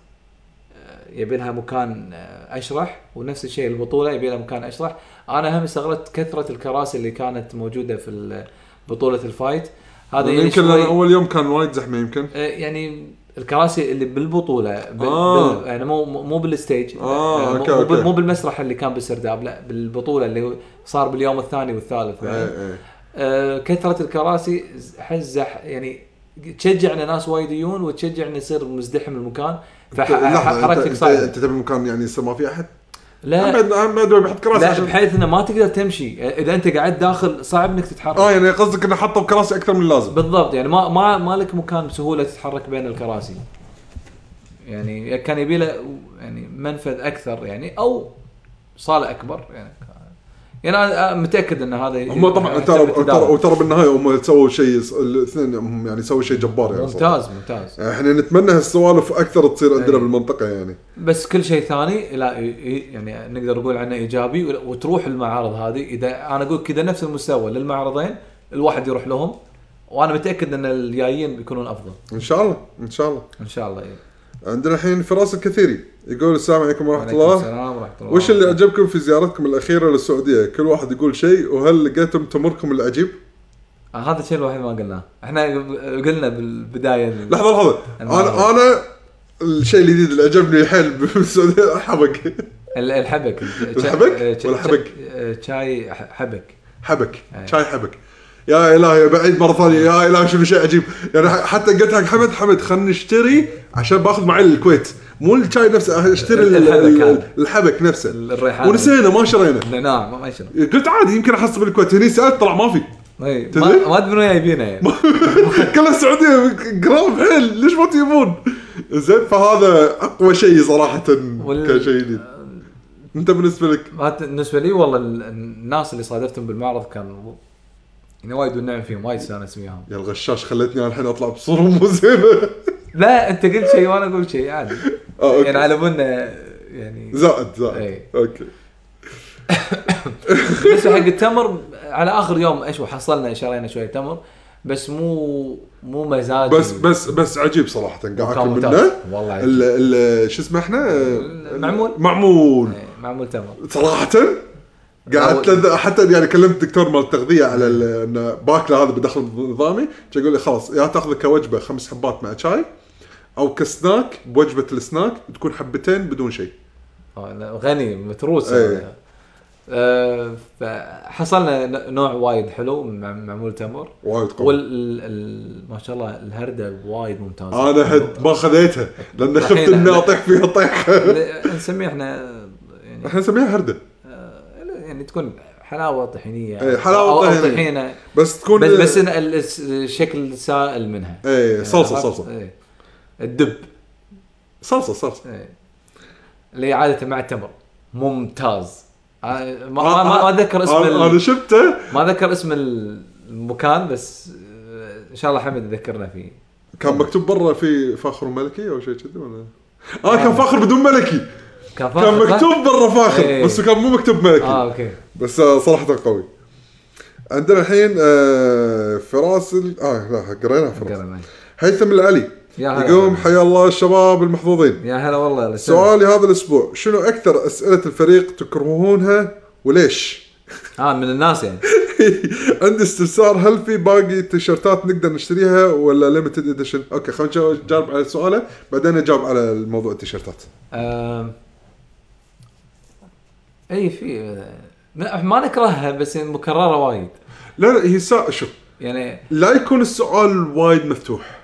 S3: آه، يبي لها مكان آه، اشرح ونفس الشيء البطوله يبي لها مكان اشرح انا هم استغربت كثره الكراسي اللي كانت موجوده في ال- بطوله الفايت هذا يعني
S2: يمكن
S3: شوي-
S2: لأن اول يوم كان وايد زحمه يمكن
S3: آه، يعني الكراسي اللي بالبطوله بال
S2: آه.
S3: بال يعني مو مو مو بالستيج يعني
S2: آه،
S3: مو-
S2: أوكي،
S3: مو بال-
S2: أوكي.
S3: مو بالمسرح اللي كان بالسرداب لا بالبطوله اللي هو صار باليوم الثاني والثالث
S2: اي اي
S3: آه، كثره الكراسي حزح يعني تشجع ان ناس وايد يجون وتشجع انه يصير مزدحم المكان
S2: لحظة، أنت-
S3: فحركتك
S2: أنت-
S3: صعبه
S2: انت تبي مكان يعني يصير ما في احد؟
S3: لا
S2: بعد ما ادري بحط كراسي
S3: لا
S2: عشان-
S3: بحيث انه ما تقدر تمشي اذا انت قاعد داخل صعب انك تتحرك
S2: اه يعني قصدك انه حطوا كراسي اكثر من اللازم
S3: بالضبط يعني ما ما ما لك مكان بسهوله تتحرك بين الكراسي يعني كان يبي له يعني منفذ اكثر يعني او صاله اكبر يعني يعني انا متاكد ان هذا
S2: هم طبعا ترى ترى وترى بالنهايه هم سووا شيء الاثنين هم يعني سووا شيء جبار يعني صراحة.
S3: ممتاز ممتاز إيه.
S2: احنا نتمنى هالسوالف اكثر تصير عندنا
S3: أي.
S2: بالمنطقه يعني
S3: بس كل شيء ثاني لا ي- ي- يعني نقدر نقول عنه ايجابي ولا- وتروح المعارض هذه اذا انا اقول كذا نفس المستوى للمعرضين الواحد يروح لهم وانا متاكد ان الجايين بيكونون افضل
S2: ان شاء الله ان شاء الله
S3: ان شاء الله إيه.
S2: عندنا الحين فراس الكثيري يقول السلام عليكم ورحمه
S3: عليكم
S2: الله
S3: السلام ورحمه الله
S2: وش اللي عجبكم في زيارتكم الاخيره للسعوديه؟ كل واحد يقول شيء وهل لقيتم تمركم العجيب؟
S3: آه، هذا الشيء الوحيد ما قلناه احنا قلنا بالبدايه
S2: لحظه لحظه انا انا الشيء الجديد اللي عجبني حيل بالسعوديه الحبك
S3: ال- الحبك
S2: الحبك؟
S3: آه، شا-
S2: ولا
S3: شا-
S2: حبك؟
S3: آه، شاي ح- حبك
S2: حبك
S3: أي.
S2: شاي حبك يا الهي بعيد مره ثانيه يا الهي شنو شيء عجيب يعني حتى قلت حق حمد حمد خلنا نشتري عشان باخذ معي للكويت مو الشاي نفسه اشتري ال-
S3: الحبك
S2: ال-
S3: هذا.
S2: الحبك نفسه
S3: الريحان
S2: ونسينا ما شرينا
S3: نعم ما شنو
S2: قلت عادي يمكن احصل بالكويت هني سالت طلع ما في
S3: إي، ما-
S2: تدري؟
S3: ما تدري وين جايبينه يعني
S2: كل السعوديه قراب حيل ليش ما تجيبون؟ زين فهذا اقوى شيء صراحه
S3: وال-
S2: كشيء جديد انت بالنسبه لك
S3: ما ت- بالنسبه لي والله ال- الناس اللي صادفتهم بالمعرض كان يعني وايد والنعم فيهم وايد استانس وياهم
S2: يا الغشاش خلتني الحين اطلع بصوره مو زينه
S3: لا انت قلت شيء وانا اقول شيء عادي
S2: آه، أوكي.
S3: يعني على بالنا يعني
S2: زائد زائد
S3: إي.
S2: اوكي
S3: بالنسبه حق التمر على اخر يوم ايش حصلنا شرينا شويه تمر بس مو مو مزاجي
S2: بس بس بس عجيب صراحه قاعد اكل
S3: ممتاز.
S2: منه
S3: والله عجيب.
S2: ال ال شو اسمه احنا
S3: معمول. إيه.
S2: معمول
S3: إي، يعني معمول تمر
S2: صراحه قاعد أتلذ- حتى يعني كلمت الدكتور مال التغذيه على ال- انه باكله هذا بدخل نظامي كان يقول لي خلاص يا تاخذه كوجبه خمس حبات مع شاي او كسناك بوجبه السناك تكون حبتين بدون شيء
S3: آه، لا، غني متروس
S2: إي.
S3: يعني. آه، فحصلنا ن- نوع وايد حلو من مع- معمول تمر
S2: وايد قوي
S3: وال ال- ال- ما شاء الله الهرده وايد ممتازه
S2: انا هد ما خذيتها لان خفت
S3: الحين-
S2: اني اطيح فيها طيحه
S3: ل- نسميه احنا يعني
S2: احنا نسميها هرده
S3: يعني تكون حلاوه طحينيه
S2: إيه، حلاوة
S3: أو- أو
S2: طحينية.
S3: طحينه
S2: بس تكون إيه.
S3: بس بس إن ال- الس- الشكل سائل منها
S2: ايه صلصه
S3: عرفت؟
S2: صلصه
S3: إيه. الدب
S2: صلصه صلصه
S3: إيه. اللي عاده مع التمر ممتاز آه، ما- ما
S2: آه،
S3: ما- ما
S2: آه،
S3: اتذكر اسم
S2: انا أنا
S3: ال-
S2: شفته
S3: ما اتذكر اسم ال- المكان بس آه، ان شاء الله حمد يذكرنا فيه
S2: كان مكتوب برا في فاخر وملكي او شيء كذي ولا اه كان فاخر بدون ملكي
S3: كان آه. فاخر،
S2: كان
S3: صح؟
S2: مكتوب برا فاخر
S3: إيه.
S2: بس كان مو مكتوب
S3: اه
S2: ملكي
S3: اوكي
S2: بس آه، صراحه قوي عندنا الحين آه، فراس ال- اه لا قريناها فراس
S3: ذكرنا.
S2: هيثم العلي
S3: يا هلا.
S2: يقوم حيا الله الشباب المحظوظين
S3: يا هلا والله
S2: سؤالي هذا الاسبوع شنو اكثر اسئله الفريق تكرهونها وليش؟
S3: اه من الناس يعني
S2: عندي استفسار هل في باقي تيشرتات نقدر نشتريها ولا ليمتد اديشن؟ اوكي خلينا نجاوب- نجاوب على سؤاله بعدين نجاوب على الموضوع التيشرتات.
S3: آم، آه، اي في آه، ما نكرهها بس يعني مكرره وايد
S2: لا لا هي سا... شوف
S3: يعني
S2: لا يكون السؤال وايد مفتوح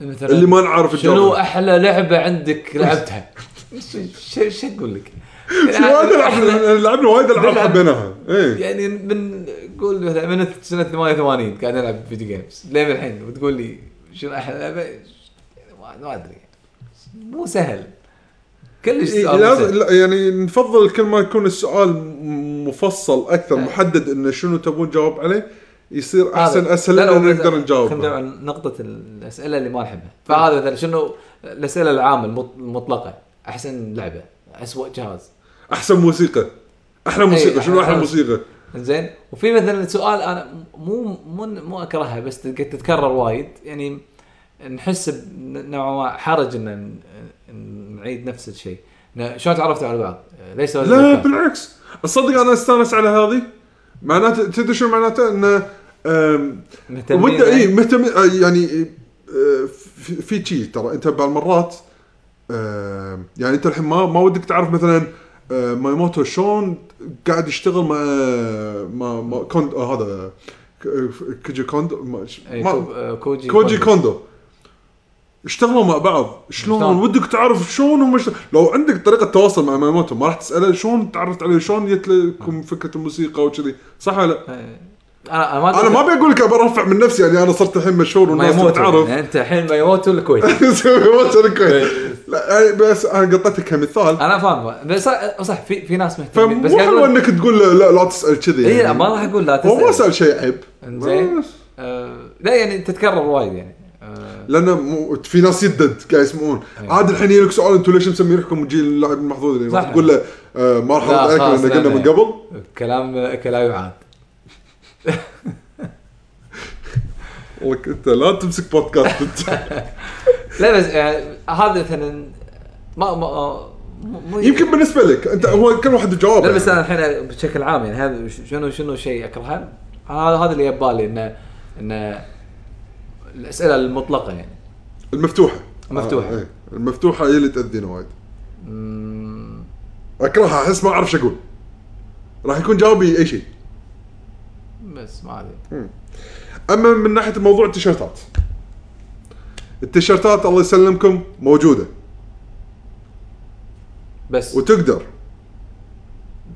S3: مثلا
S2: اللي ما نعرف
S3: شنو
S2: الجواب
S3: احلى لعبه عندك لعبتها؟ شو اقول لك؟
S2: وايد العاب
S3: أحلى-
S2: لعبنا وايد العاب
S3: نلعب.
S2: حبيناها إيه. اي
S3: يعني من قول مثلا من سنه 88 قاعد العب فيديو جيمز لين الحين وتقول لي شنو احلى لعبه؟ يعني ما- ما ادري مو سهل كلش
S2: إيه،
S3: سؤال مو
S2: لازم
S3: سهل.
S2: لا، يعني نفضل كل ما يكون السؤال م- مفصل اكثر
S3: إيه.
S2: محدد انه شنو تبون جواب عليه يصير احسن
S3: هذا.
S2: اسهل
S3: لا، لا،
S2: لأن
S3: بس-
S2: نقدر نجاوب
S3: خلينا نجاوب عن نقطة الأسئلة اللي ما نحبها فهذا مثلا شنو الأسئلة العامة المط- المطلقة أحسن لعبة أسوأ جهاز
S2: احسن موسيقى احلى موسيقى
S3: إيه،
S2: شنو احلى
S3: أحلى-
S2: موسيقى؟
S3: زين وفي مثلا سؤال أنا مو مو مو أكرهها بس تلقى- تتكرر وايد يعني نحس بنوع ما حرج إن ن- ن- نعيد نفس الشيء إن شلون تعرفتوا على بعض؟ ليس
S2: لا بالعكس اصدق انا استانس على هذه معناته تدري شو معناته انه أم،
S3: مهتمين يعني؟
S2: وده اي مهتم آه، يعني آه، في- في شيء ترى انت بالمرات آم، يعني انت الحين ما ما ودك تعرف مثلا آه، مايموتو شلون قاعد يشتغل مع مع, مع كوند آه، هذا ك- كوجي كوندو ما-
S3: إيه،
S2: ما-
S3: كو- آه، كوجي
S2: كوجي كوندو اشتغلوا مع بعض شلون
S3: شلون؟
S2: ودك تعرف شلون هم اشتغل... لو عندك طريقه تواصل مع ماموتو ما راح تساله شلون تعرفت عليه شلون جت
S3: آه.
S2: لكم فكره الموسيقى وكذي صح ولا لا؟
S3: إيه. انا انا ما
S2: انا ما ابي اقول لك ابي ارفع من نفسي يعني انا صرت الحين مشهور والناس
S3: مايموتو
S2: تعرف
S3: يعني إيه. انت الحين مايموتو الكويت
S2: مايموتو الكويت لا يعني بس انا قطيتك كمثال
S3: انا فاهم بس صح- صح في في ناس مهتمين آه. بس
S2: فمو
S3: قاعد
S2: حلو
S3: اقول
S2: انك تقول لا, لا, لا تسال كذي يعني.
S3: اي لا، ما راح اقول لا
S2: هو ما
S3: تسال
S2: سال شيء عيب
S3: انزين
S2: بس.
S3: آه، لا يعني تتكرر وايد يعني آه،
S2: لانه مو في ناس يدد قاعد يسمعون عاد الحين يجيك سؤال انتم ليش مسمينكم جيل اللاعب المحظوظ اللي
S3: إيه. صح.
S2: تقول له آه، ما راح
S3: لا،
S2: ارد عليك
S3: خلاص،
S2: لان
S3: إيه. لا،
S2: قلنا
S3: لا.
S2: من قبل
S3: كلام كلام يعاد
S2: لك انت لا تمسك بودكاست انت
S3: لا بس يعني هذا مثلا ما ما مو- مو-
S2: يمكن بالنسبه لك انت هو كل واحد يعني. جواب
S3: لا بس انا الحين بشكل عام يعني هذا ش- شنو شنو شيء اكرهه هذا هذا اللي يبالي انه انه الاسئله المطلقه يعني
S2: المفتوحه
S3: مفتوحة.
S2: آه، إيه. المفتوحه هي اللي تاذينا وايد اكرهها احس ما اعرف شو اقول راح يكون جوابي اي شيء
S3: بس ما ادري
S2: اما من ناحيه موضوع التيشيرتات التيشيرتات الله يسلمكم موجوده
S3: بس
S2: وتقدر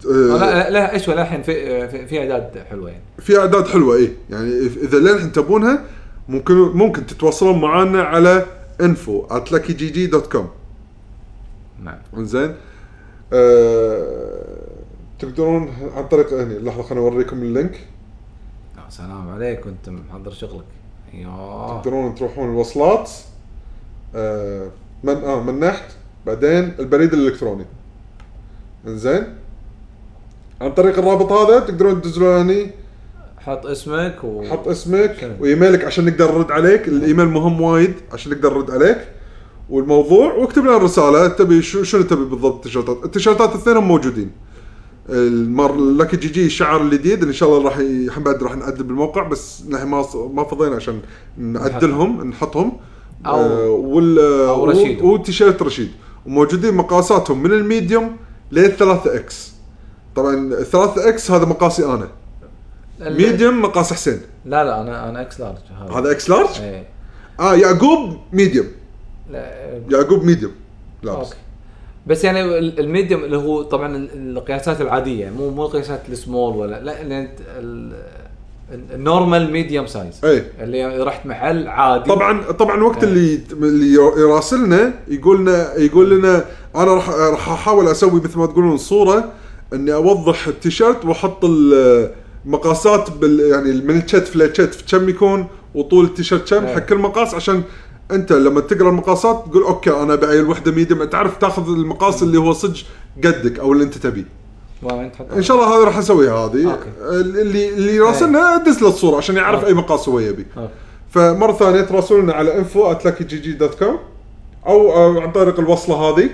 S3: لا-
S2: آه،
S3: لا لا ايش ولا الحين في في- في اعداد حلوه يعني
S2: في اعداد حلوه ايه يعني إف- اذا للحين تبونها ممكن ممكن تتواصلون معنا على info at luckygg.com
S3: نعم
S2: انزين آه... تقدرون عن طريق هني لحظه خليني اوريكم اللينك
S3: يا سلام عليك انت محضر شغلك يوه
S2: تقدرون تروحون الوصلات آه... من اه من نحت بعدين البريد الالكتروني انزين عن طريق الرابط هذا تقدرون تدزلون هني
S3: حط اسمك و
S2: حط اسمك
S3: شنو؟
S2: وايميلك عشان نقدر نرد عليك الايميل مهم وايد عشان نقدر نرد عليك والموضوع واكتب لنا رساله تبي شو شنو تبي بالضبط التيشيرتات التيشيرتات الاثنين موجودين المر لك جي جي الشعر الجديد ان شاء الله راح ي- الحين بعد راح نعدل بالموقع بس نحن ما ص- ما فضينا عشان نعدلهم نحطهم
S3: أو-
S2: آه، وال
S3: أو رشيد.
S2: و- والتيشيرت رشيد وموجودين مقاساتهم من الميديوم للثلاثة اكس طبعا الثلاثة اكس هذا مقاسي انا
S3: ال-
S2: ميديوم مقاس حسين
S3: لا لا انا انا اكس لارج هذا
S2: هذا اكس لارج؟
S3: ايه
S2: اه يعقوب ميديوم
S3: لا
S2: يعقوب ميديوم لابس
S3: اوكي بس يعني ال- الميديوم اللي هو طبعا ال- القياسات العاديه مو مو القياسات السمول ولا لا لان ال- ال- النورمال ميديوم سايز
S2: اي
S3: اللي رحت محل عادي
S2: طبعا طبعا إيه. وقت
S3: آه.
S2: اللي اللي يراسلنا يقول لنا يقول لنا انا راح راح احاول اسوي مثل ما تقولون صوره اني اوضح التيشيرت واحط ال- المقاسات بال يعني من الكتف للكتف كم يكون وطول التيشيرت كم
S3: آه.
S2: حق كل مقاس عشان انت لما تقرا المقاسات تقول اوكي انا بعين الوحده ميديم تعرف تاخذ المقاس اللي هو صدق قدك او اللي انت تبيه
S3: ما انت حط
S2: ان شاء الله هذا راح اسويها هذه
S3: أوكي. إيه.
S2: اللي اللي راسلنا ادز له الصوره عشان يعرف اي مقاس هو يبي
S3: أوكي.
S2: فمره ثانيه تراسلونا على info at كوم او آه، عن طريق الوصله هذه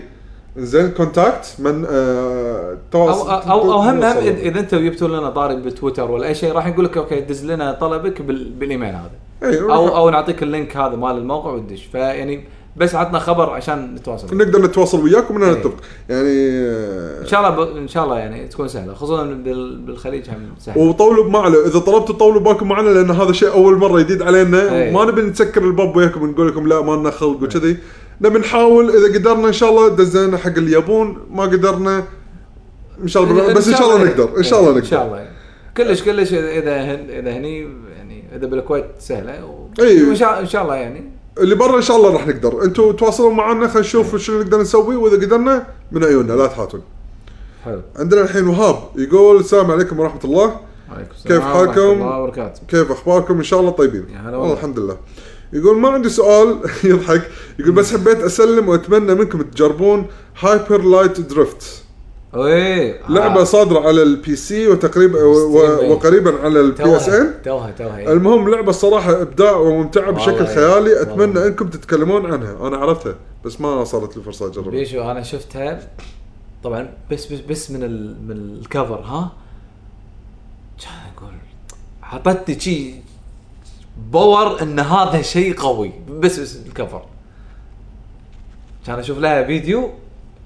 S2: زين كونتاكت من آه،
S3: او
S2: تواصل
S3: او او هم هم إذ- اذا انت جبتوا لنا طالب بتويتر ولا اي شيء راح نقول لك اوكي دز لنا طلبك بال- بالايميل هذا او
S2: او
S3: او نعطيك اللينك هذا مال الموقع وتدش فيعني بس عطنا خبر عشان نتواصل
S2: نقدر نتواصل وياك ومن هنا
S3: إيه.
S2: نتفق يعني آه،
S3: ان شاء الله ب... ان شاء الله يعني تكون سهله خصوصا بال... بالخليج هم سهله
S2: وطولوا بمعله اذا طلبتوا طولوا بالكم معنا لان هذا شيء اول مره جديد علينا
S3: أي.
S2: ما نبي نسكر الباب وياكم ونقول لكم لا ما لنا خلق وكذي نبي نحاول اذا قدرنا ان شاء الله دزينا حق اللي يبون ما قدرنا ان شاء الله بس ان شاء الله نقدر ان شاء الله
S3: ان إيه، شاء
S2: نقدر
S3: الله يعني. كلش كلش اذا هن... اذا هني يعني اذا بالكويت سهله و...
S2: أي.
S3: وان شاء ان شاء الله يعني
S2: اللي برا ان شاء الله راح نقدر انتم تواصلوا معنا خلينا نشوف شنو نقدر نسوي واذا قدرنا من عيوننا لا تحاتون
S3: حلو
S2: عندنا الحين وهاب يقول السلام عليكم ورحمه الله
S3: عليكم السلام
S2: كيف حالكم؟
S3: ورحمة الله وبركاته
S2: كيف اخباركم ان شاء الله طيبين
S3: يا هلا
S2: والله
S3: والله.
S2: الحمد لله يقول ما عندي سؤال يضحك يقول بس حبيت اسلم واتمنى منكم تجربون هايبر لايت درفت
S3: آه. ايه
S2: لعبه صادره على البي سي وتقريبا و-
S3: إيه.
S2: و- وقريبا على البي اس ان
S3: توها توها توها إيه.
S2: المهم لعبه صراحه ابداع وممتعه بشكل
S3: والله.
S2: خيالي اتمنى
S3: والله.
S2: انكم تتكلمون عنها انا عرفتها بس ما صارت لي فرصه اجربها
S3: بيشو انا شفتها طبعا بس بس, بس من ال من الكفر ها كان اقول حطتني شي باور ان هذا شيء قوي بس بس الكفر كان اشوف لها فيديو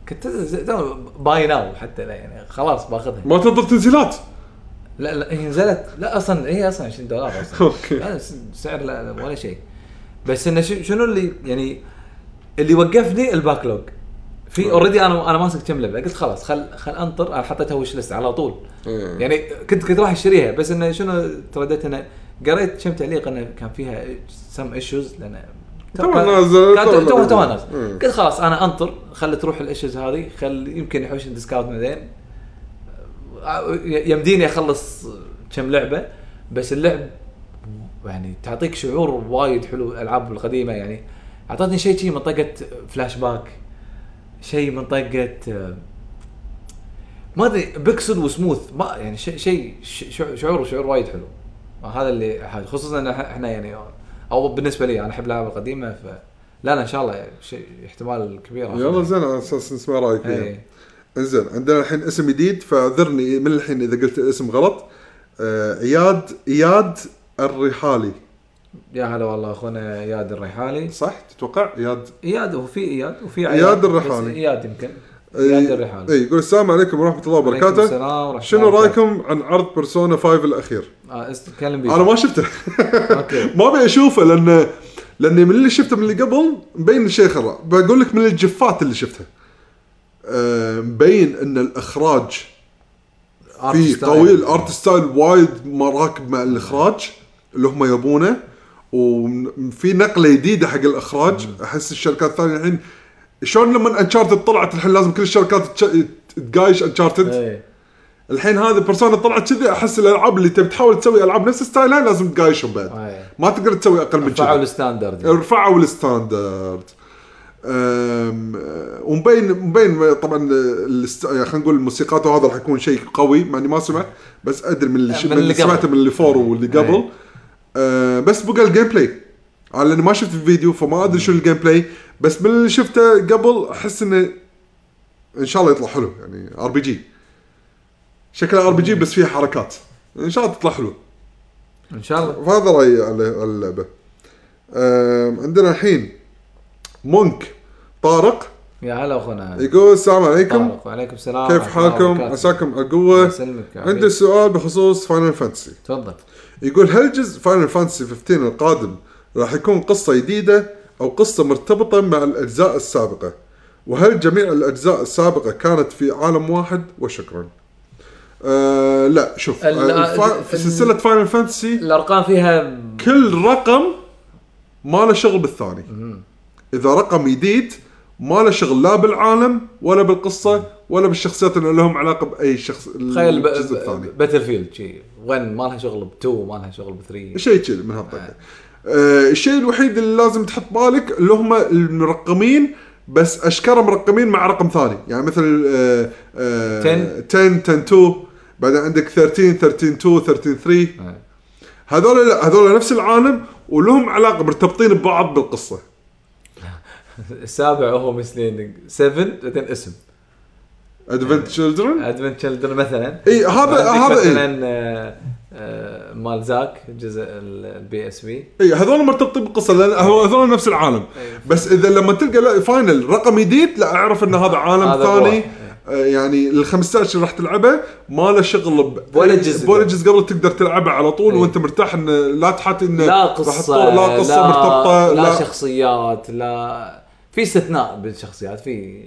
S3: كنت ز- تو باي ناو حتى لا يعني خلاص باخذها
S2: ما تنطر تنزيلات
S3: لا لا هي نزلت لا اصلا هي اصلا 20 دولار اصلا
S2: أوكي.
S3: لا، س- سعر لا لا ولا شيء بس انه شو- شنو اللي يعني اللي وقفني الباك لوج في اوريدي انا انا ماسك كم لعبه قلت خلاص خل خل انطر انا حطيتها وش ليست على طول
S2: إيه.
S3: يعني كنت كنت راح اشتريها بس انه شنو ترددت انه قريت كم تعليق انه كان فيها سم ايشوز لان
S2: توها نازلة، توها
S3: كانت توها توها
S2: نازلة.
S3: نازلة.
S2: إيه.
S3: قلت خلاص انا انطر خل تروح الايشوز هذه خل يمكن يحوشني ديسكاونت بعدين آه، يمديني اخلص كم لعبه بس اللعب يعني تعطيك شعور وايد حلو الالعاب القديمه يعني اعطتني شيء شيء منطقه فلاش باك شيء منطقه آه، ما ادري بيكسل وسموث ما يعني شيء شيء شع- شعور شعور وايد حلو هذا اللي أحد- خصوصا إن إح- احنا يعني او بالنسبه لي انا احب الالعاب القديمه ف لا لا ان شاء الله شيء احتمال كبير آخذها.
S2: يلا زين على اساس نسمع رايك فيها
S3: إيه.
S2: انزين عندنا الحين اسم جديد فاعذرني من الحين اذا قلت اسم غلط آه اياد اياد الرحالي
S3: يا هلا والله اخونا اياد الريحالي
S2: صح تتوقع اياد
S3: اياد وفي اياد وفي
S2: إياد
S3: عياد، بس
S2: الرحالي.
S3: اياد يمكن اياد الرحالي
S2: اي إيه، يقول السلام عليكم ورحمه الله
S3: عليكم
S2: وبركاته
S3: السلام ورحمة
S2: شنو
S3: الله
S2: رايكم عن عرض بيرسونا 5 الاخير؟
S3: وبركاته. آه، است- تكلم بي
S2: انا ما شفته
S3: اوكي
S2: ما ابي اشوفه لان لاني من اللي شفته من اللي قبل مبين إن شيء خرا بقول لك من الجفات اللي شفتها آه، مبين ان الاخراج في
S3: Art style.
S2: قوي الارت ستايل وايد مراكب مع الاخراج اللي هم يبونه وفي نقله جديده حق الاخراج احس الشركات الثانيه الحين شلون لما انشارتد طلعت الحين لازم كل الشركات تش- تقايش انشارتد
S3: إيه.
S2: الحين هذه بيرسونا طلعت كذي احس الالعاب اللي تبي تحاول تسوي العاب نفس ستايلها لازم تقايشهم بعد
S3: إيه.
S2: ما تقدر تسوي اقل من
S3: رفعوا
S2: كذي
S3: الستاندرد
S2: رفعوا الستاندرد أم، أه، ومبين مبين طبعا الست- يعني خلينا نقول الموسيقات وهذا راح يكون شيء قوي مع اني ما سمعت بس ادري من اللي,
S3: من
S2: ش... من اللي
S3: اللي
S2: سمعته
S3: قبل.
S2: من اللي فور واللي قبل
S3: أي.
S2: أه بس بقى الجيم بلاي على اني ما شفت الفيديو فما ادري شو الجيم بلاي بس من اللي شفته قبل احس انه ان شاء الله يطلع حلو يعني ار بي جي شكله ار بي جي بس فيها حركات ان شاء الله تطلع حلو
S3: ان شاء الله
S2: فهذا رايي على على اللعبه أم، عندنا الحين مونك طارق
S3: يا هلا اخونا هلا.
S2: يقول السلام عليكم
S3: طارق، وعليكم السلام
S2: إيه، كيف
S3: ورحمة الله
S2: حالكم
S3: وبركاته.
S2: عساكم على قوه
S3: يسلمك يا حبيبي.
S2: عندي سؤال بخصوص فاينل فانتسي
S3: تفضل
S2: يقول هل جزء فاينل فانتسي 15 القادم راح يكون قصه جديده او قصه مرتبطه مع الاجزاء السابقه وهل جميع الاجزاء السابقه كانت في عالم واحد وشكرا أه لا شوف
S3: ال- آه،
S2: الف-
S3: ال-
S2: في سلسله فاينل فانتسي
S3: الارقام فيها
S2: كل رقم ما له شغل بالثاني اذا رقم جديد ما له شغل لا بالعالم ولا بالقصه ولا بالشخصيات اللي لهم علاقه باي شخص
S3: تخيل ب-
S2: الجزء الثاني
S3: ب- باتل فيلد شي 1 ما لها شغل ب 2 ما لها شغل ب 3
S2: شيء كذي من هالطقه آه الشيء الوحيد اللي لازم تحط بالك اللي هم المرقمين بس اشكال مرقمين مع رقم ثاني يعني مثل آه آه
S3: 10.
S2: 10 10 2 بعدين عندك 13 13 2 13 3
S3: آه.
S2: هذول لا هذول نفس العالم ولهم علاقه مرتبطين ببعض بالقصه
S3: السابع هو مثلين 7 بعدين اسم
S2: ادفنت
S3: إيه.
S2: تشيلدرن
S3: ادفنت تشلدرن مثلا
S2: اي هذا
S3: عندك
S2: هذا اي
S3: مثلا آه، آه، مال زاك جزء البي اس بي
S2: اي إيه، هذول مرتبطين بالقصه لان هو- هذول نفس العالم
S3: إيه.
S2: بس اذا لما تلقى لا فاينل رقم جديد لا اعرف ان هذا عالم
S3: هذا
S2: ثاني
S3: هو.
S2: آه، يعني ال 15 اللي راح تلعبه ما له شغل ب-
S3: ولا جزء
S2: ولا
S3: قبل.
S2: جزء قبل تقدر تلعبه على طول
S3: إي.
S2: وانت مرتاح ان لا تحط ان
S3: لا
S2: راح
S3: قصه
S2: تطور- لا قصه مرتبطه
S3: لا,
S2: لا
S3: شخصيات لا في استثناء بالشخصيات في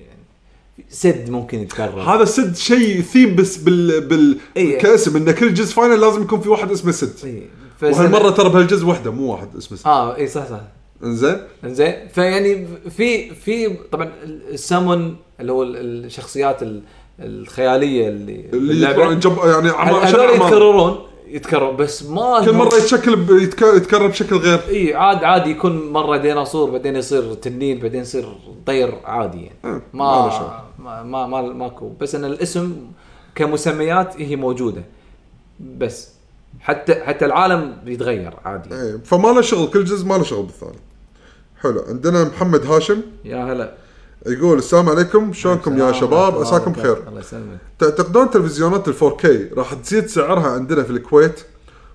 S3: سد ممكن يتكرر
S2: هذا سد شيء ثيم بس بال بال
S3: إي.
S2: كاسم ان كل جزء فاينل لازم يكون في واحد اسمه سد
S3: إي.
S2: وهالمره ترى بهالجزء وحده مو واحد اسمه سد
S3: اه اي صح صح
S2: انزين
S3: إيه. زين فيعني في في طبعا السمون اللي هو ال- الشخصيات ال- الخياليه اللي
S2: اللي
S3: باللعبة.
S2: يطلعون جب يعني
S3: هل-
S2: عمار عشان
S3: هذول
S2: عمار.
S3: يتكررون يتكرر بس ما
S2: كل مره يتشكل ب... يتك... يتكرر بشكل غير
S3: اي عاد عادي يكون مره ديناصور بعدين يصير تنين بعدين يصير طير عادي يعني
S2: إيه، ما له
S3: ما
S2: شغل.
S3: ما ما, ما ماكو بس ان الاسم كمسميات هي موجوده بس حتى حتى العالم بيتغير عادي
S2: ايه فما له شغل كل جزء ما له شغل بالثاني حلو عندنا محمد هاشم
S3: يا هلا
S2: يقول السلام عليكم شلونكم يا
S3: السلام ورحمة
S2: شباب
S3: الله
S2: عساكم
S3: وبركاته.
S2: بخير
S3: الله يسلمك
S2: تعتقدون تلفزيونات ال 4K راح تزيد سعرها عندنا في الكويت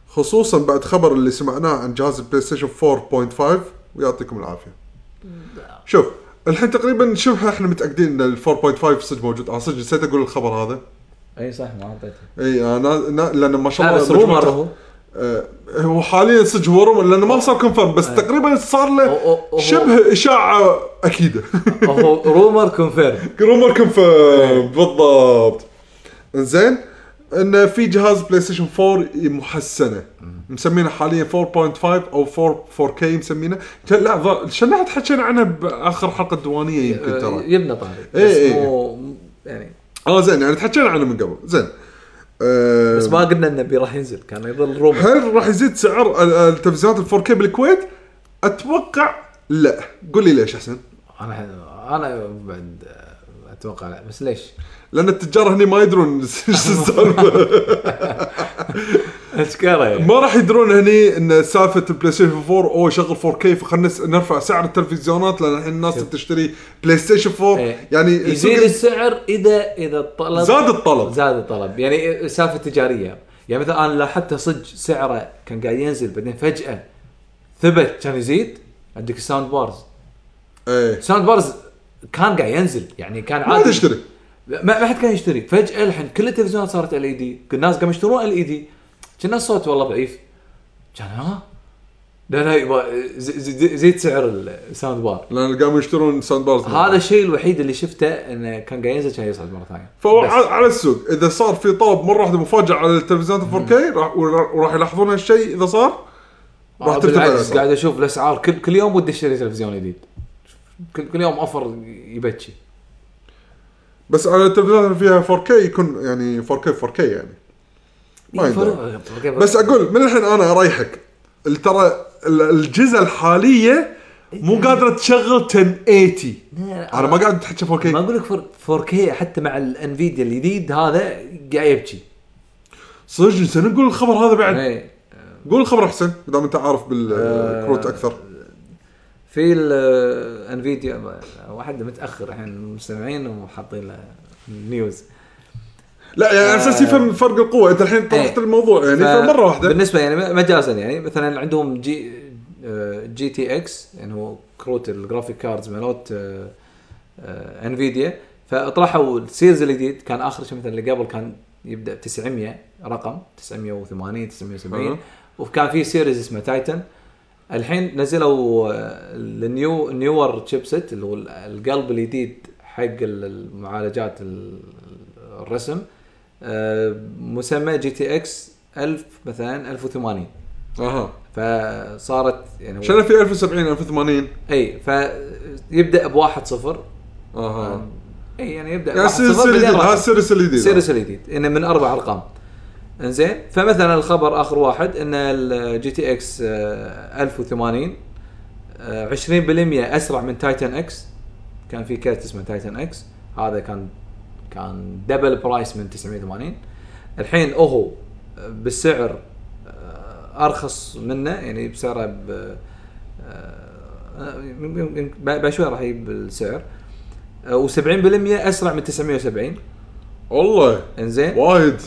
S2: خصوصا بعد خبر اللي سمعناه عن جهاز البلاي ستيشن 4.5 ويعطيكم العافيه شوف الحين تقريبا شبه احنا متاكدين ان ال 4.5 صدق موجود انا صدق نسيت اقول الخبر هذا آه،
S3: اي صح ما اعطيته
S2: اي انا أنا- لان ما شاء
S3: لا
S2: الله
S3: بس رومر
S2: مجموعة-
S3: هو
S2: آه، هو حاليا صدق هو رومر لانه ما صار كونفيرم بس تقريبا صار
S3: آه. أو-
S2: له
S3: أو- هو-
S2: شبه اشاعه اكيده
S3: هو رومر كونفيرم
S2: رومر
S3: إيه.
S2: كونفيرم بالضبط زين انه في جهاز بلاي ستيشن 4 محسنه مسمينه حاليا 4.5 او 4 4K مسمينه لا ظ- شنها حكينا عنها باخر حلقه
S3: إيه،
S2: الديوانيه يمكن ترى
S3: آه،
S2: إيه،
S3: يبنى طاري
S2: إي
S3: بس
S2: إي.
S3: مو يعني
S2: اه زين يعني تحكينا عنه من قبل زين آه،
S3: بس ما قلنا انه بي راح ينزل كان يظل رومر
S2: هل راح يزيد سعر ال- التلفزيونات ال 4K بالكويت؟ اتوقع لا قول لي ليش احسن
S3: انا انا بعد اتوقع لا بس ليش؟
S2: لان التجار هني ما يدرون ايش السالفه
S3: اشكاله يعني
S2: ما راح يدرون هني ان سالفه البلاي ستيشن 4 او شغل 4K فخلنا نس- نرفع سعر التلفزيونات لان الحين الناس بتشتري بلاي ستيشن 4
S3: إيه.
S2: يعني
S3: يزيد
S2: السوق-
S3: السعر اذا اذا الطلب
S2: زاد الطلب.
S3: زاد الطلب يعني سالفه تجاريه يعني مثلا انا لاحظت صدق سعره كان قاعد ينزل بعدين فجاه ثبت كان يزيد عندك الساوند بارز
S2: ايه
S3: ساوند بارز كان قاعد ينزل يعني كان
S2: ما
S3: عادي
S2: تشتري
S3: ما ما حد كان يشتري فجاه الحين كل التلفزيونات صارت E ال اي E آه. دي الناس قاموا يشترون ال اي دي كنا الصوت والله ضعيف كان ها لانه يبغى زي- زي- زيد سعر الساوند بار
S2: لان قاموا يشترون ساند بارز
S3: هذا الشيء الوحيد اللي شفته انه كان قاعد ينزل كان يصعد مره ثانيه
S2: فهو
S3: بس.
S2: على على السوق اذا صار في طلب مره واحده مفاجاه على التلفزيونات 4K راح وراح- وراح يلاحظون هالشيء اذا صار راح
S3: آه،
S2: ترتفع
S3: بالعكس
S2: الاسعار
S3: قاعد اشوف الاسعار كل كل يوم ودي اشتري تلفزيون جديد كل, كل يوم اوفر يبكي
S2: بس على التلفزيونات اللي فيها 4K يكون يعني 4K 4K يعني
S3: إيه،
S2: ما يندرى. بس اقول من الحين انا اريحك ال- ترى ال- الجزء الحاليه مو قادره تشغل 1080 انا ما قاعد احكي 4K
S3: ما اقول لك فور- 4K حتى مع الانفيديا الجديد هذا قاعد يبكي
S2: صدق نسينا نقول الخبر هذا بعد
S3: إيه. آه.
S2: قول الخبر احسن دام انت عارف بالكروت اكثر
S3: في الانفيديا واحد متاخر الحين المستمعين وحاطين له النيوز
S2: لا يعني على اساس يفهم فرق القوه انت الحين طرحت
S3: آه. إيه.
S2: الموضوع يعني
S3: ف-
S2: فمره واحده
S3: بالنسبه يعني مجازا يعني مثلا عندهم جي آه، جي تي اكس يعني هو كروت الجرافيك كاردز مالت آه، آه، انفيديا فاطرحوا السيريز الجديد كان اخر شيء مثلا اللي قبل كان يبدا ب 900 رقم 980 970
S2: أها.
S3: وكان في سيريز اسمه تايتن الحين نزلوا آه، النيو نيور تشيبسيت اللي هو ال- القلب الجديد حق ال- المعالجات ال- الرسم آه، مسمى جي تي اكس 1000 مثلا 1080
S2: اها
S3: فصارت يعني هو-
S2: شنو في 1070 1080
S3: اي فيبدا بواحد صفر
S2: اها
S3: اي يعني يبدا
S2: يعني
S3: بواحد
S2: السيريس
S3: صفر
S2: الجديد
S3: بعدين
S2: هذا
S3: رقم.
S2: السيريس الجديد
S3: سيريس الجديد انه من اربع ارقام انزين فمثلا الخبر اخر واحد ان الجي تي اكس 1080 آه، 20% اسرع من تايتن اكس كان في كرت اسمه تايتن اكس هذا كان كان دبل برايس من 980 الحين هو بالسعر آه، ارخص منه يعني بسعره ب آه، يم- يم- يم- بعد شوي راح يجيب السعر آه، و70% اسرع من 970
S2: والله
S3: انزين
S2: وايد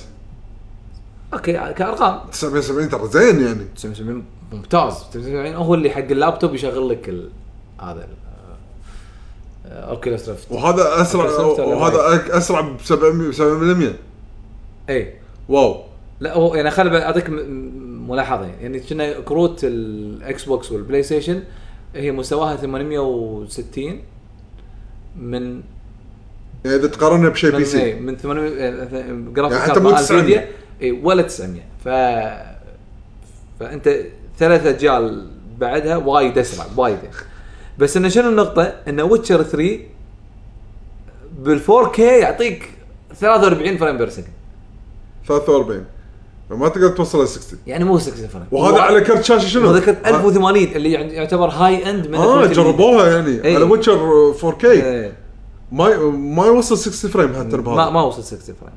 S3: اوكي كارقام
S2: 970 ترى زين يعني
S3: 970 ممتاز 970 هو اللي حق اللابتوب يشغل لك ال... آه، هذا اوكيلس ريفت
S2: وهذا اسرع
S3: أكثر ولا
S2: وهذا أك- اسرع ب 700
S3: اي
S2: واو
S3: إيه. لا هو يعني خل اعطيك م- م- ملاحظه يعني كنا كروت الاكس بوكس والبلاي ستيشن هي مستواها 860 من
S2: يعني اذا تقارنها بشيء بي
S3: من,
S2: سي
S3: إيه، من 800 جرافيك
S2: يعني حتى
S3: كارد
S2: مو
S3: مع
S2: 900.
S3: انفيديا اي ولا 900 ف فانت ثلاث اجيال بعدها وايد اسرع وايد بس انه شنو النقطه؟ ان ويتشر 3 بال 4K يعطيك 43 فريم بير سكند
S2: 43 ما تقدر توصل ل 60
S3: يعني مو 60 فريم
S2: وهذا على كرت شاشه شنو؟
S3: هذا كرت 1080 اللي يعني يعتبر هاي اند من
S2: اه
S3: الكروت
S2: جربوها يعني
S3: إيه.
S2: على ويتشر 4K
S3: الجديدة. إيه.
S2: ما ما يوصل 60 فريم حتى
S3: ما
S2: بهذا
S3: ما وصل 60 فريم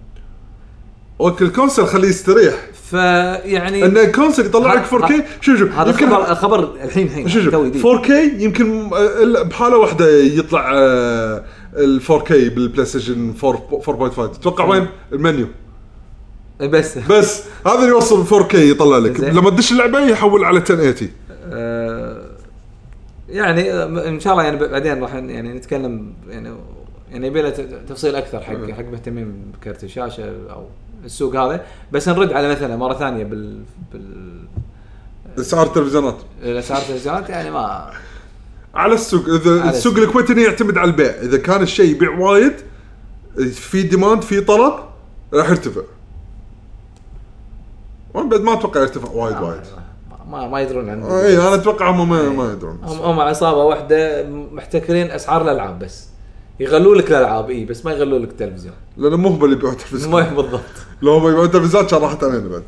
S2: اوكي الكونسل خليه يستريح
S3: فيعني
S2: ان الكونسل يطلع لك
S3: إيه. ه-
S2: 4K شوف شوف
S3: يعني هذا
S2: يمكن
S3: الخبر الخبر الحين الحين
S2: شوف
S3: تو جديد.
S2: شوف 4K يمكن آه، إلا بحاله واحده يطلع آه، ال 4K بالبلاي ستيشن 4 4.5 تتوقع وين؟ المنيو
S3: إيه، بس
S2: بس هذا اللي يوصل 4K يطلع لك
S3: زين.
S2: لما تدش اللعبه يحول على 1080
S3: آه، يعني ان شاء الله يعني بعدين راح يعني نتكلم يعني يعني يبي له ت- تفصيل اكثر حق حق مهتمين بكرت الشاشه او السوق هذا بس نرد على مثلا مره ثانيه بال بال
S2: اسعار التلفزيونات
S3: الاسعار التلفزيونات يعني ما
S2: على السوق اذا
S3: على
S2: السوق
S3: السوق.
S2: الكويتي يعتمد على البيع اذا كان الشيء يبيع وايد في ديماند في طلب راح يرتفع وانا بعد ما اتوقع يرتفع وايد وايد
S3: ما- ما, ما يدرون عن
S2: اي انا اتوقع هم ما, ما يدرون
S3: آه. هم هم عصابه واحده محتكرين اسعار الالعاب بس يغلوا لك الالعاب اي بس ما يغلوا لك التلفزيون
S2: لان مو هم اللي يبيعون
S3: ما
S2: تلفزيون
S3: بالضبط
S2: لو هم يبيعون تلفزيون كان راحت علينا بعد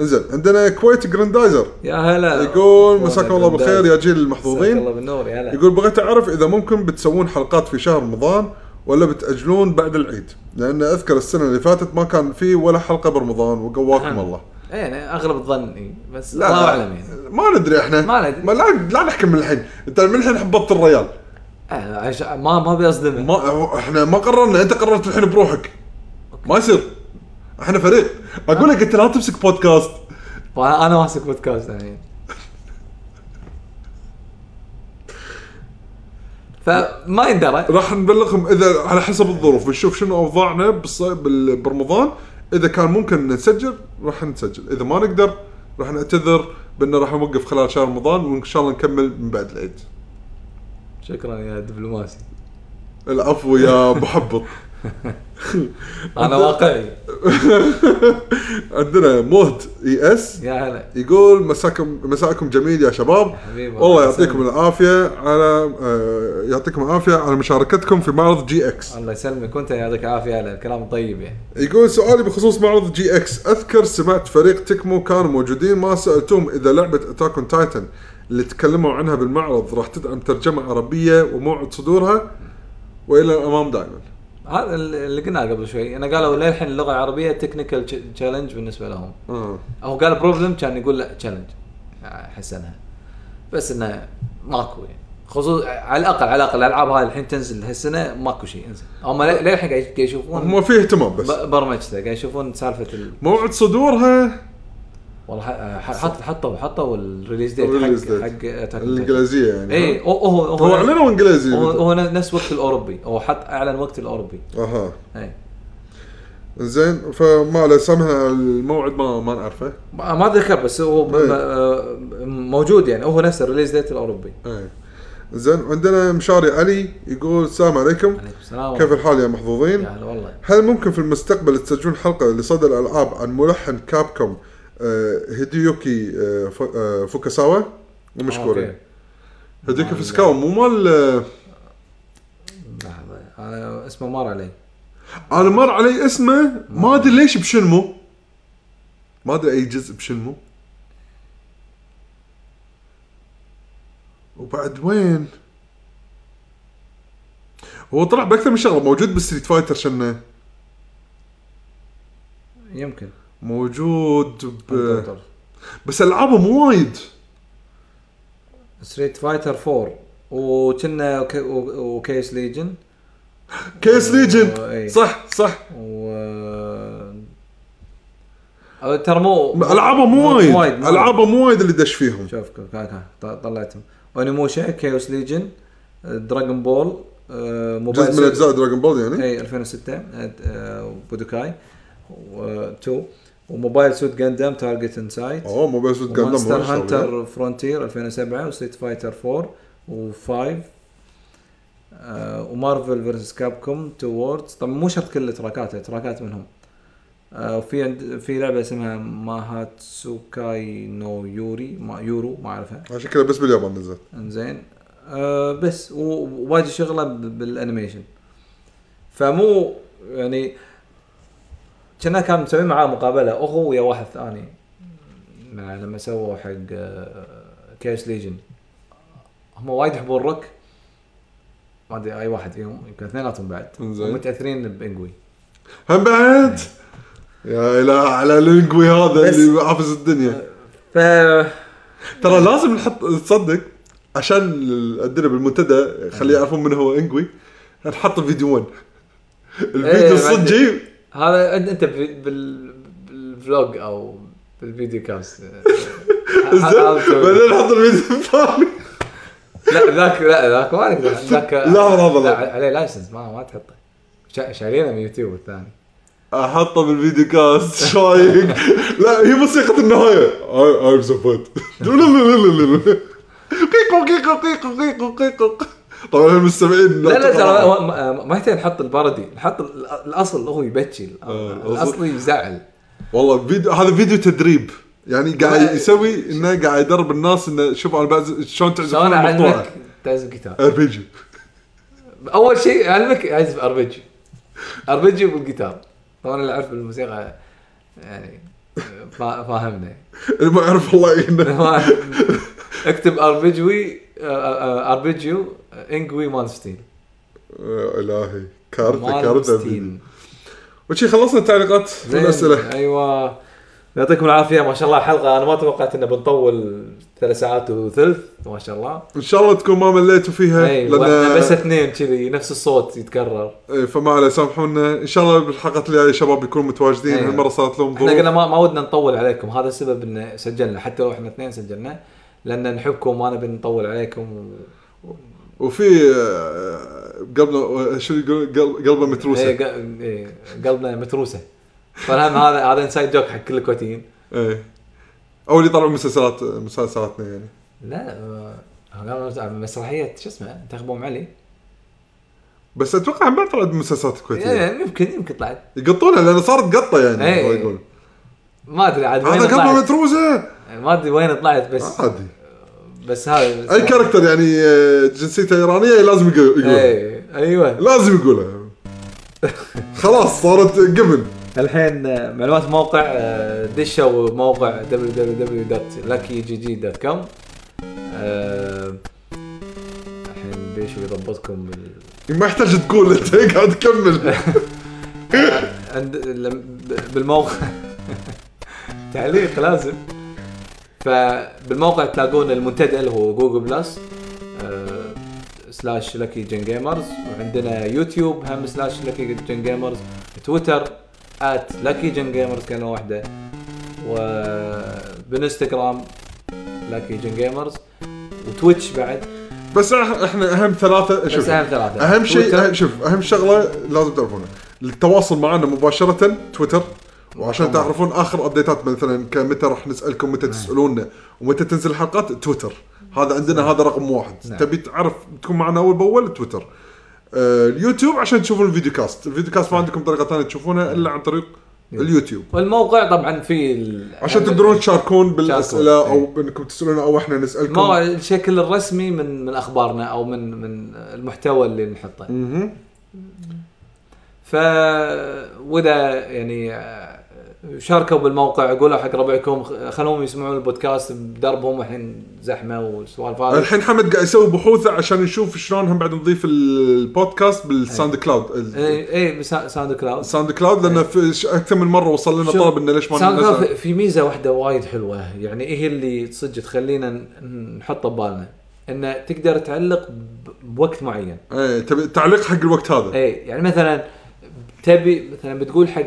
S2: انزين عندنا كويت جراندايزر
S3: يا هلا
S2: يقول مساكم الله بالخير يا جيل
S3: مساك آه. الله
S2: المحظوظين
S3: بالنور يا هلا
S2: يقول بغيت اعرف اذا ممكن بتسوون حلقات في شهر رمضان ولا بتاجلون بعد العيد لان اذكر السنه اللي فاتت ما كان في ولا حلقه برمضان وقواكم الله
S3: إيه، يعني اغلب الظن إي، بس الله اعلم يعني
S2: ما ندري احنا
S3: ما ندري.
S2: لا, لا نحكم من الحين انت من الحين حبطت الريال
S3: آه، عش... ما ما بيصدمه
S2: ما احنا ما قررنا انت قررت الحين بروحك ما يصير احنا فريق اقول لك انت لا تمسك بودكاست
S3: وأنا- انا ماسك بودكاست يعني. الحين فما يندرى
S2: راح نبلغهم اذا على حسب الظروف بنشوف شنو اوضاعنا بالص- بال- برمضان اذا كان ممكن نسجل راح نسجل اذا ما نقدر راح نعتذر بانه راح نوقف خلال شهر رمضان وان شاء الله نكمل من بعد العيد
S3: شكرا يا دبلوماسي
S2: العفو يا محبط
S3: انا واقعي
S2: عندنا مهد اي اس
S3: يا هلا
S2: يقول مساكم مساءكم جميل يا شباب
S3: حبيبي
S2: والله
S3: الله
S2: يعطيكم
S3: يسلمك.
S2: العافيه على آه، يعطيكم العافيه على مشاركتكم في معرض جي اكس
S3: الله يسلمك وانت يعطيك العافيه على الكلام الطيب يعني
S2: يقول سؤالي بخصوص معرض جي اكس اذكر سمعت فريق تكمو كانوا موجودين ما سالتهم اذا لعبه اتاك اون تايتن اللي تكلموا عنها بالمعرض راح تدعم ترجمه عربيه وموعد صدورها والى الامام دائما
S3: هذا اللي قلناه قبل شوي انا قالوا للحين اللغه العربيه تكنيكال تشالنج بالنسبه لهم
S2: آه.
S3: هو قال بروبلم كان يقول لا تشالنج حسنها بس انه ماكو يعني خصوصا على الاقل على الاقل الالعاب هاي الحين تنزل هالسنه ماكو شيء انزين هم ل- للحين قاعد قاعد يشوفون
S2: هم في اهتمام بس
S3: ب- برمجته قاعد يشوفون سالفه ال...
S2: موعد صدورها
S3: والله ح- ح- حط حطوا حطوا الريليز
S2: الريليز
S3: ديت
S2: ديت.
S3: حق حق Attack on Titan.
S2: الانجليزيه يعني
S3: اي هو إيه، هو
S2: هو اعلنوا انجليزي
S3: هو, هو نفس وقت الاوروبي هو حط اعلن وقت إيه. الاوروبي
S2: اها
S3: اي
S2: زين فما عليه سامحنا الموعد ما ما نعرفه
S3: ما ما ذكر بس هو ب-
S2: إيه.
S3: ب- آه، موجود يعني هو نفس الريليز ديت الاوروبي
S2: ايه زين عندنا مشاري علي يقول السلام عليكم
S3: عليكم السلام
S2: كيف الحال يا
S3: يا
S2: محظوظين؟
S3: هلا والله
S2: هل ممكن في المستقبل تسجلون حلقه لصدى الالعاب عن ملحن كابكوم آه هيديوكي آه ف- آه فوكاساوا؟
S3: أوكي.
S2: ومشكورين. هيديوكي فوكاساوا مو مال آه،
S3: لحظه انا اسمه مر علي
S2: انا مر علي اسمه ما ادري ليش بشنمو ما ادري اي جزء بشنمو وبعد وين؟ هو طلع باكثر من شغله موجود بالستريت فايتر شنه
S3: يمكن
S2: موجود ب... بس العابه مو وايد
S3: ستريت فايتر 4 وكنا وك- و- وكيس ليجن
S2: كيس
S3: إيه.
S2: ليجن صح صح
S3: و أو ترى مو
S2: العابه مو وايد
S3: مو وايد.
S2: العابه مو وايد اللي دش فيهم
S3: شوف كا- كا- كا- طلعتهم اونيموشا كيوس ليجن دراجون بول آه، موبايل
S2: جزء من
S3: سي-
S2: اجزاء دراجون بول يعني
S3: اي 2006 آه، آه، بودوكاي 2 وموبايل سوت جاندام تارجت انسايت
S2: اوه مو بس
S3: ومونستر هانتر فرونتير 2007 وستريت فايتر 4 و5 آه ومارفل فيرسس كابكوم تو ووردز طبعا مو شرط كل تراكات تراكات منهم آه وفي عند في لعبه اسمها ماهاتسوكاي نو يوري ما يورو ما اعرفها
S2: عشان كذا بس باليابان نزل
S3: انزين آه بس و- وواجد شغله ب- بالانيميشن فمو يعني كنا كان مسوي معاه مقابله اخو ويا واحد ثاني مع لما سووا حق كاش ليجن هم وايد يحبون الروك ما ادري اي واحد فيهم يمكن اثنيناتهم بعد
S2: إنزين.
S3: متاثرين بانجوي
S2: هم بعد يا اله على لينجوي هذا
S3: بس- آه.
S2: اللي عافز الدنيا
S3: ف
S2: ترى لازم نحط تصدق عشان عندنا بالمنتدى
S3: آه.
S2: خليه يعرفون من هو انجوي نحط فيديوين
S3: إيه،
S2: الفيديو
S3: بعد-
S2: الصجي
S3: هذا انت أنت بال- بال- بالفلوج او بالفيديو كاست آه، هذا
S2: زين؟
S3: مسوي.
S2: بعدين نحط الفيديو الثاني
S3: لا ذاك لا ذاك ما نقدر ذاك
S2: لا، لا، لا.
S3: عليه لايسنس ما ما تحطه شا- شارينه من يوتيوب الثاني
S2: احطه بالفيديو كاست شايق لا هي موسيقى النهايه اي ام سو فات قيقو قيقو قيقو قيقو قيقو طبعا المستمعين
S3: لا لا ترى هو- ما- ما يحتاج نحط الباردي نحط ال- الاصل هو يبكي ال-
S2: آه،
S3: الاصل يزعل
S2: والله فيديو هذا فيديو تدريب يعني قاعد يسوي انه قاعد يدرب الناس انه شوف انا بعزف شلون تعزف إيه،
S3: شلون اعلمك
S2: ار
S3: تعزف جيتار
S2: بي جي
S3: اول شيء اعلمك اعزف اربجي اربجي بالجيتار طبعا اللي اعرف بالموسيقى يعني فا- فاهمنا
S2: اللي إيه، ما يعرف الله يعينه
S3: اكتب اربجوي آه، اربجيو انجوي مانستين
S2: يا الهي كارثه كارثه فيديو. وشي خلصنا التعليقات والاسئله
S3: ايوه يعطيكم العافيه ما شاء الله حلقه انا ما توقعت ان بنطول ثلاث ساعات وثلث ما شاء الله
S2: ان شاء الله تكون ما مليتوا فيها
S3: اي
S2: لأن-
S3: واحنا إيه، بس اثنين كذي نفس الصوت يتكرر
S2: إيه، فما عليه سامحونا ان شاء الله بالحلقات الجايه شباب بيكونوا متواجدين
S3: أيوة.
S2: هالمره صارت لهم
S3: احنا قلنا
S2: ظروف
S3: ما, ما ودنا نطول عليكم هذا السبب ان سجلنا حتى لو احنا اثنين سجلنا لان نحبكم ما نبي نطول عليكم
S2: وفي آه، قلبنا آه، شو يقول قل- قلبه متروسه
S3: إيه، ق- إيه، قلبنا متروسه فالهم هذا هذا انسايد جوك حق كل الكويتيين
S2: ايه او اللي يطلعون مسلسلات مسلسلاتنا يعني
S3: لا آه، مسرحيه شو اسمه تخبوم علي
S2: بس اتوقع هم بعد طلعت مسلسلات كويتيه
S3: يعني يمكن يمكن طلعت
S2: يقطونها لان صارت قطه يعني
S3: إيه.
S2: هو يقول
S3: ما ادري عاد وين
S2: هذا قطه
S3: طلعت
S2: متروسه
S3: يعني ما ادري وين طلعت بس
S2: عادي
S3: بس هذا
S2: اي كاركتر يعني آه، جنسيته ايرانيه لازم يقو- يقولها
S3: إيه، ايوه
S2: لازم يقولها خلاص صارت جبن
S3: الحين معلومات موقع آه، دشوا موقع www.luckygg.com آه، الحين بيشو يضبطكم بال...
S2: ما يحتاج تقول انت قاعد تكمل
S3: عند لم- بالموقع تعليق لازم فبالموقع تلاقون المنتدى اللي هو جوجل بلس آه، سلاش لكي جن جيمرز وعندنا يوتيوب هم سلاش لكي جن جيمرز تويتر ات لكي جن جيمرز كلمه واحده وبالانستغرام لكي جن جيمرز وتويتش بعد
S2: بس إح- احنا اهم ثلاثه
S3: بس
S2: شوف
S3: اهم ثلاثه
S2: اهم شيء
S3: تويتر،
S2: أهم- شوف اهم شغله لازم تعرفونها التواصل معنا مباشره تويتر وعشان تعرفون اخر ابديتات مثلا كمتى راح نسالكم متى
S3: نعم.
S2: تسالونا ومتى تنزل الحلقات تويتر هذا عندنا هذا رقم واحد
S3: نعم.
S2: تبي تعرف تكون معنا اول باول تويتر آه، اليوتيوب عشان تشوفون الفيديو كاست الفيديو كاست
S3: نعم.
S2: ما عندكم طريقه ثانيه تشوفونها الا عن طريق اليوتيوب
S3: والموقع طبعا فيه ال-
S2: عشان تقدرون تشاركون بالاسئله
S3: تشاركون،
S2: او انكم تسالونا او احنا نسالكم
S3: ما هو الشكل الرسمي من من اخبارنا او من من المحتوى اللي نحطه
S2: مهم.
S3: ف واذا يعني آه، شاركوا بالموقع قولوا حق ربعكم خ- خلوهم يسمعون البودكاست بدربهم الحين زحمه والسوالف هذه
S2: آه، الحين حمد قاعد يسوي بحوثه عشان نشوف شلون هم بعد نضيف البودكاست
S3: إيه.
S2: بالساوند كلاود ال-
S3: اي اي بسا- إيه، ساوند كلاود
S2: الساوند كلاود لان في ش- اكثر من مره وصل لنا
S3: شوف،
S2: طلب انه ليش ما
S3: إيه. ساوند كلاود
S2: ننزل
S3: في- في ميزه واحده وايد حلوه يعني هي اللي صدق تخلينا ن- نحطه ببالنا انه تقدر تعلق ب- بوقت معين
S2: ايه تبي تعليق حق الوقت هذا
S3: اي يعني مثلا تبي مثلا بتقول حق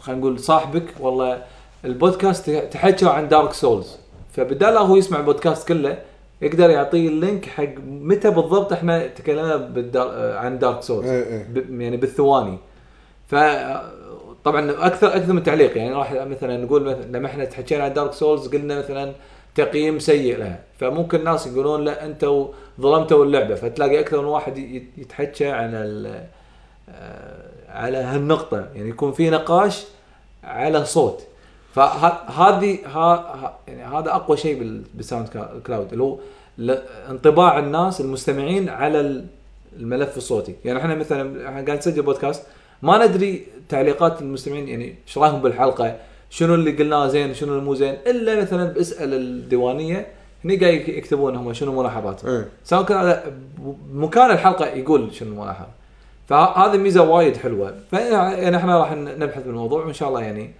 S3: خلينا نقول صاحبك والله البودكاست تحكوا عن دارك سولز فبدال هو يسمع البودكاست كله يقدر يعطيه اللينك حق متى بالضبط احنا تكلمنا بالدار... عن دارك سولز
S2: إيه إيه.
S3: ب... يعني بالثواني ف طبعا اكثر اكثر من تعليق يعني راح مثلا نقول مثلا لما احنا تحكينا عن دارك سولز قلنا مثلا تقييم سيء لها فممكن الناس يقولون لا انتوا ظلمتوا اللعبه فتلاقي اكثر من واحد ي- يتحكى عن ال... آه، على هالنقطه يعني يكون في نقاش على صوت فهذه ها ها- يعني هذا اقوى شيء بال- بالساوند كلا- كلاود اللي هو ل- انطباع الناس المستمعين على ال- الملف الصوتي يعني احنا مثلا احنا قاعد نسجل بودكاست ما ندري تعليقات المستمعين يعني ايش رايهم بالحلقه شنو اللي قلناه زين شنو اللي مو زين الا مثلا باسال الديوانيه هني قاعد يكتبون هم شنو ملاحظاتهم
S2: ايه
S3: سواء كان على- بمكان الحلقه يقول شنو الملاحظه فهذه ميزه وايد حلوه فيعني احنا راح نبحث بالموضوع وان شاء الله يعني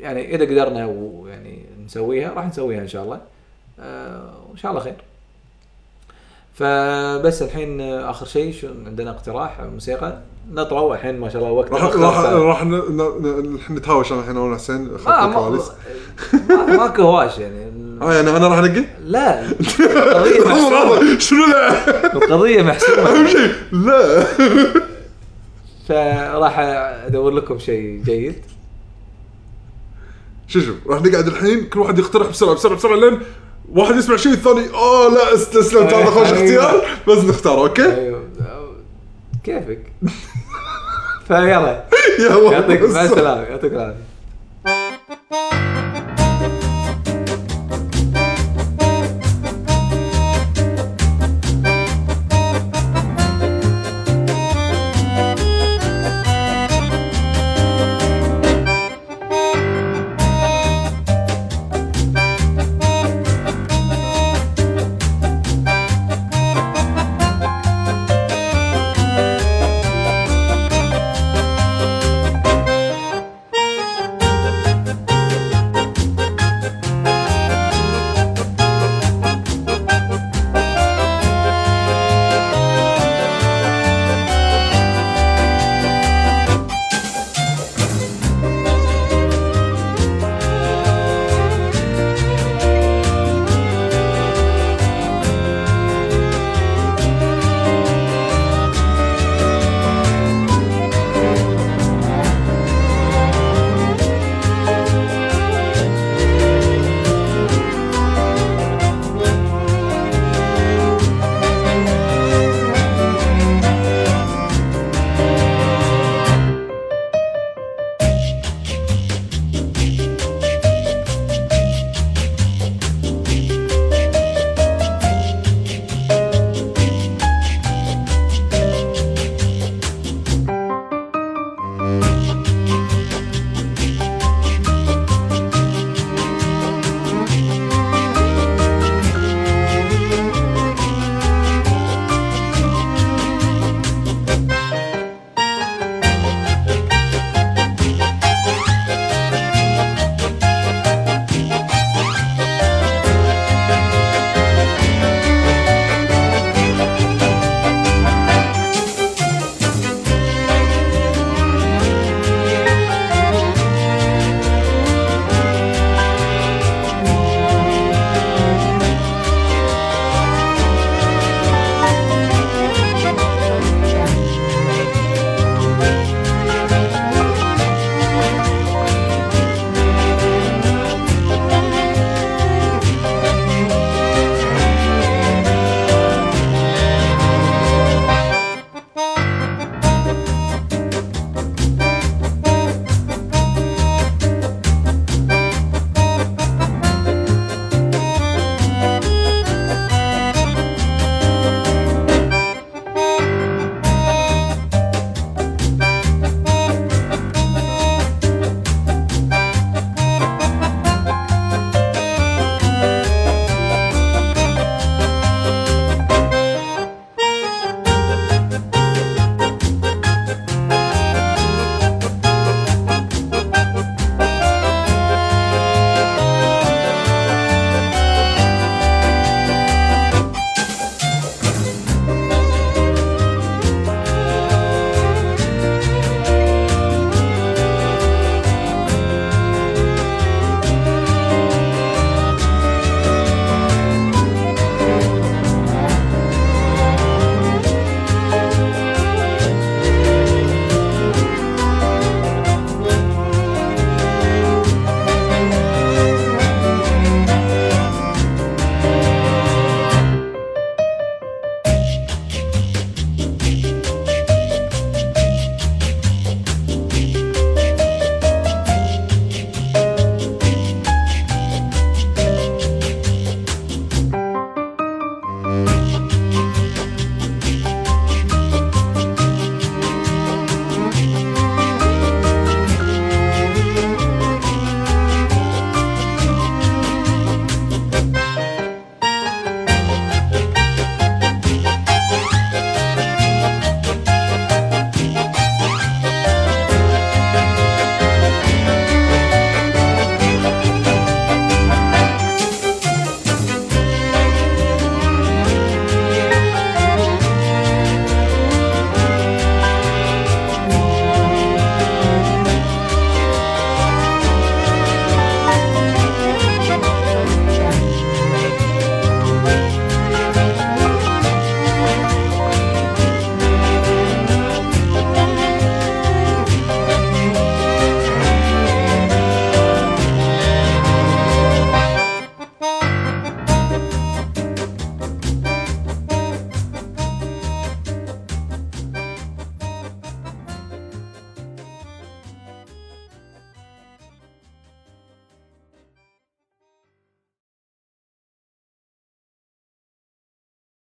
S3: يعني اذا قدرنا ويعني نسويها راح نسويها ان شاء الله آه، وان شاء الله خير فبس الحين آه، اخر شيء شو عندنا اقتراح موسيقى نطروا الحين ما شاء الله وقت
S2: راح راح راح ن- ن- ن- نتهاوش انا الحين انا وحسين خلف
S3: آه ما
S2: الكواليس
S3: ما- ماكو هواش يعني
S2: اه يعني انا راح انقي
S3: لا القضيه محسومه
S2: شنو لا
S3: القضيه محسومه
S2: اهم شيء لا
S3: فراح ادور لكم شيء جيد
S2: شو شوف راح نقعد الحين كل واحد يقترح بسرعه بسرعه بسرعه لين واحد يسمع شيء الثاني اه لا استسلمت
S3: إيه.
S2: هذا خوش اختيار بس نختار اوكي
S3: ايوه كيفك فيلا
S2: يلا
S3: يعطيك مع
S2: بس.
S3: السلامه يعطيك العافيه